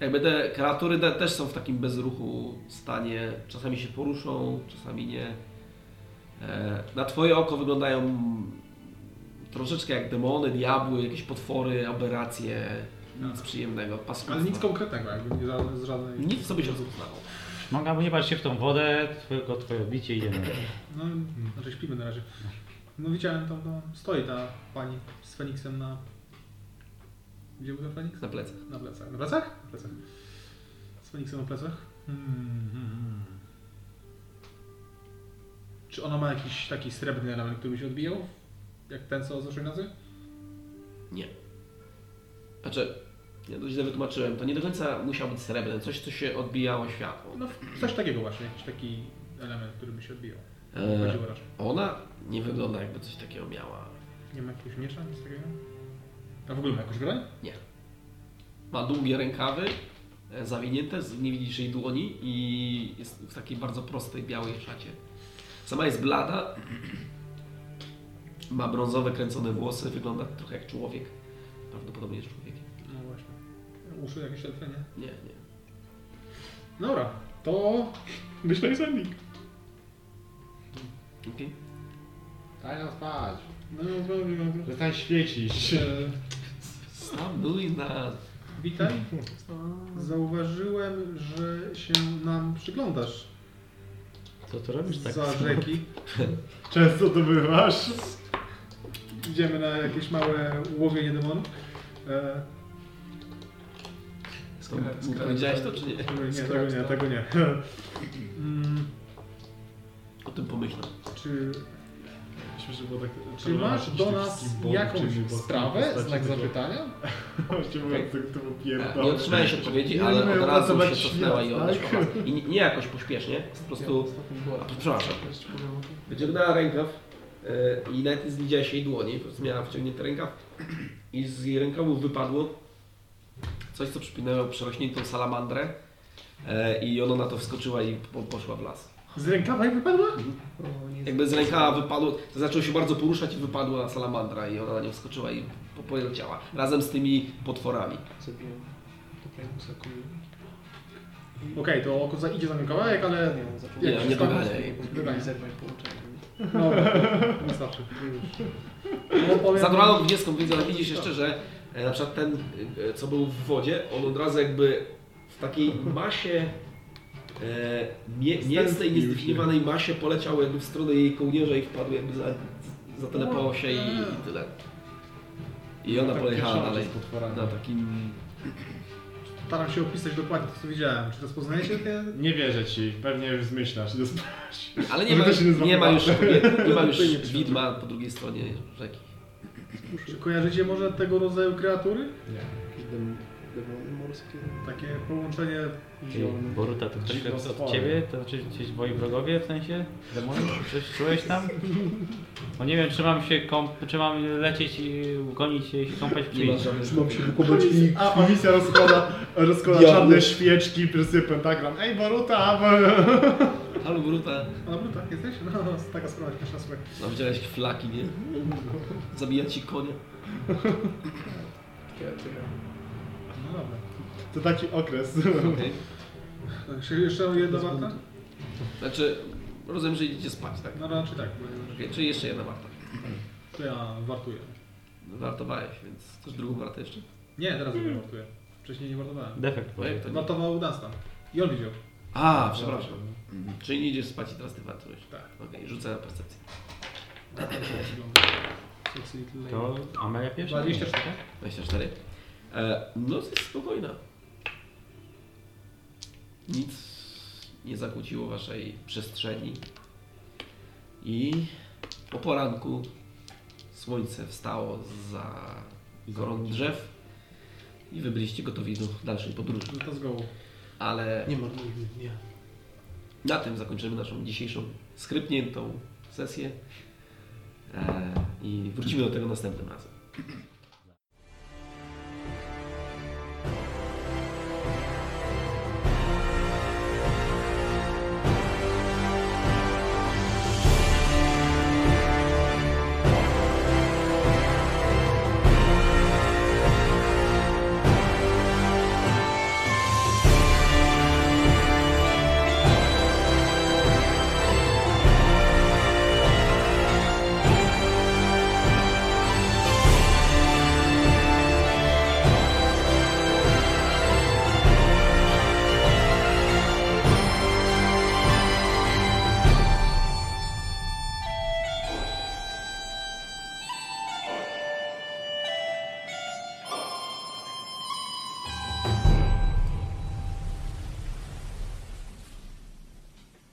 S1: Jakby te kreatury te, też są w takim bezruchu stanie. Czasami się poruszą, czasami nie. E, na twoje oko wyglądają troszeczkę jak demony, diabły, jakieś potwory, aberracje. Nic przyjemnego. Pasuje.
S2: znaczy. Ale nic konkretnego, jakby nie za- z żadnej...
S1: Nic sobie się rozpoznało.
S5: Mogę, bo nie patrz się w tą wodę, tylko twoje odbicie idziemy.
S2: No, znaczy śpimy na razie. No widziałem tam, tam stoi ta pani z Feniksem na... Gdzie był ten Feniks?
S1: Na plecach.
S2: Na plecach. Na plecach? Na plecach. Z Feniksem na plecach. Hmm, hmm, hmm. Czy ona ma jakiś taki srebrny element, który by się odbijał? Jak ten, co z zeszłej nocy?
S1: Znaczy, ja to źle wytłumaczyłem. To nie do końca musiał być srebrny. Coś, co się odbijało światło.
S2: No, coś takiego właśnie, jakiś taki element, który by się odbijał.
S1: E,
S2: Chodziło raczej.
S1: Ona nie wygląda jakby coś takiego miała.
S2: Nie ma jakiegoś miecza, nic takiego? A w ogóle ma jakąś broń?
S1: Ma długie rękawy, e, zawinięte, z- nie widzisz jej dłoni i jest w takiej bardzo prostej białej szacie. Sama jest blada, ma brązowe kręcone włosy, wygląda trochę jak człowiek. Prawdopodobnie jest człowiekiem.
S2: No właśnie. Uszy jakieś elfy, nie?
S1: Nie, nie.
S2: Dobra, to... Myślę, że
S1: Okay.
S14: Daj nam spać.
S2: No, prawie mam.
S14: Przestań świecić.
S1: Stanuj na...
S2: Witaj. Zauważyłem, że się nam przyglądasz
S5: Co ty robisz tak?
S2: za rzeki.
S9: Często to bywasz.
S2: Idziemy na jakieś małe łowienie demonów. E,
S1: Skąd powiedziałeś to, czy nie?
S2: no nie, tego nie, tego nie. Mm,
S1: O tym pomyślę.
S2: czy,
S9: Myślę, że było tak...
S2: czy masz do nas jakąś sprawę? Znak zapytania?
S9: Właściwie mówiąc, to było
S4: Tak,
S1: E, Tak. Nie
S9: pierdolę.
S1: otrzymałeś odpowiedzi,
S9: Nie
S1: ale
S9: umiem
S1: od razu się
S9: ratować
S1: cofnęła i
S9: świat,
S1: odeszła.
S9: tak?
S1: I nie- nie jakoś pośpiesznie, po prostu... A, przepraszam. Wyciągnęła rękaw e, i nawet nie zwidziałaś jej dłoni, po prostu miała wciągnięty rękaw i z jej rękawu wypadło coś, co przypominało przerośniętą salamandrę e, i ona na to wskoczyła i po, poszła w las.
S2: Z rękawa jak wypadła?
S1: Jakby z rękawa wypadło, to zaczęło się bardzo poruszać i wypadła salamandra i ona na nią wskoczyła i po- poleciała. Razem z tymi potworami.
S14: Zabiłem. Dobra, ja muszę kupić.
S2: Okej, to oko za, idzie za nim kawałek, ale...
S14: Nie, zapomniałem.
S1: Nie, nie
S2: wstawia-
S1: dogania jej.
S14: Wybrać, zerwać połączenie.
S2: Dobra, wystarczy. No, powiem-
S1: Za 20 widzę, ale widzisz jeszcze, że E, Na przykład ten, e, co był w wodzie, on od razu jakby w takiej masie, e, mie, mięsnej, niezdefiniowanej masie poleciał jakby w stronę jej kołnierza i wpadł jakby za, zatelepało się i, i tyle. I ona
S2: Tak
S1: pojechała
S2: pieszała
S1: dalej
S2: przez potworami.
S1: na takim...
S2: Staram się opisać dokładnie to, co widziałem. Czy rozpoznajecie te...
S1: No.
S4: Nie wierzę ci, pewnie zmyślasz. Dostałeś.
S1: Ale nie ma,
S4: To się nazywa
S1: nie ma już, nie, nie ma już
S2: Zupełnie
S1: widma po drugiej stronie rzeki.
S2: Czy kojarzycie może tego rodzaju kreatury?
S14: Demony morskie.
S2: Takie połączenie...
S5: Ty, Boruta, to ktoś
S4: Dziwne
S5: od
S4: stwory.
S5: ciebie? To czy gdzieś moi wrogowie w sensie? Demony? Coś czułeś tam? Bo nie wiem, czy mam się kąp- czy mam lecieć i gonić się i się kąpać czy iść.
S14: Mam się wykopać i...
S4: A komisja rozkłada, rozkłada
S14: Diabły.
S4: czarne świeczki, prysy pentagram. Ej, Boruta! Bo...
S1: Halo Bruta,
S2: A no tak, jesteś? No, taka sprawa, pierwsza słuchaj.
S1: no widziałeś flaki, nie? Zabija ci konie.
S2: No dobra.
S4: To taki okres.
S1: Okay. Tak.
S2: Także Jeszcze jedna warta?
S1: Znaczy, rozumiem, że idziecie spać, tak?
S2: No raczej tak, bo
S1: Okay, czyli jeszcze jedna warta.
S2: to ja wartuję.
S1: Wartowałeś, więc też drugą wartę jeszcze.
S2: Nie, teraz nie wartuję. Wcześniej nie wartowałem.
S5: Defekt powiem.
S1: to nie.
S2: Wartował Dunstan. I on widział.
S1: A, przepraszam. Czyli nie idziesz spać i teraz ty wartujesz.
S2: Tak.
S1: Okej, rzucę na percepcję.
S2: Succeed lane.
S5: To Amelia pierwsza?
S2: 24.
S1: 24. E, noc jest spokojna. Nic nie zakłóciło waszej przestrzeni. I po poranku słońce wstało za koron drzew i wybyliście gotowi do dalszej podróży.
S2: No to z gołu.
S1: Ale
S14: Nie marnujmy dnia.
S1: Na tym zakończymy naszą dzisiejszą skrypniętą sesję e, i wrócimy do tego następnym razem.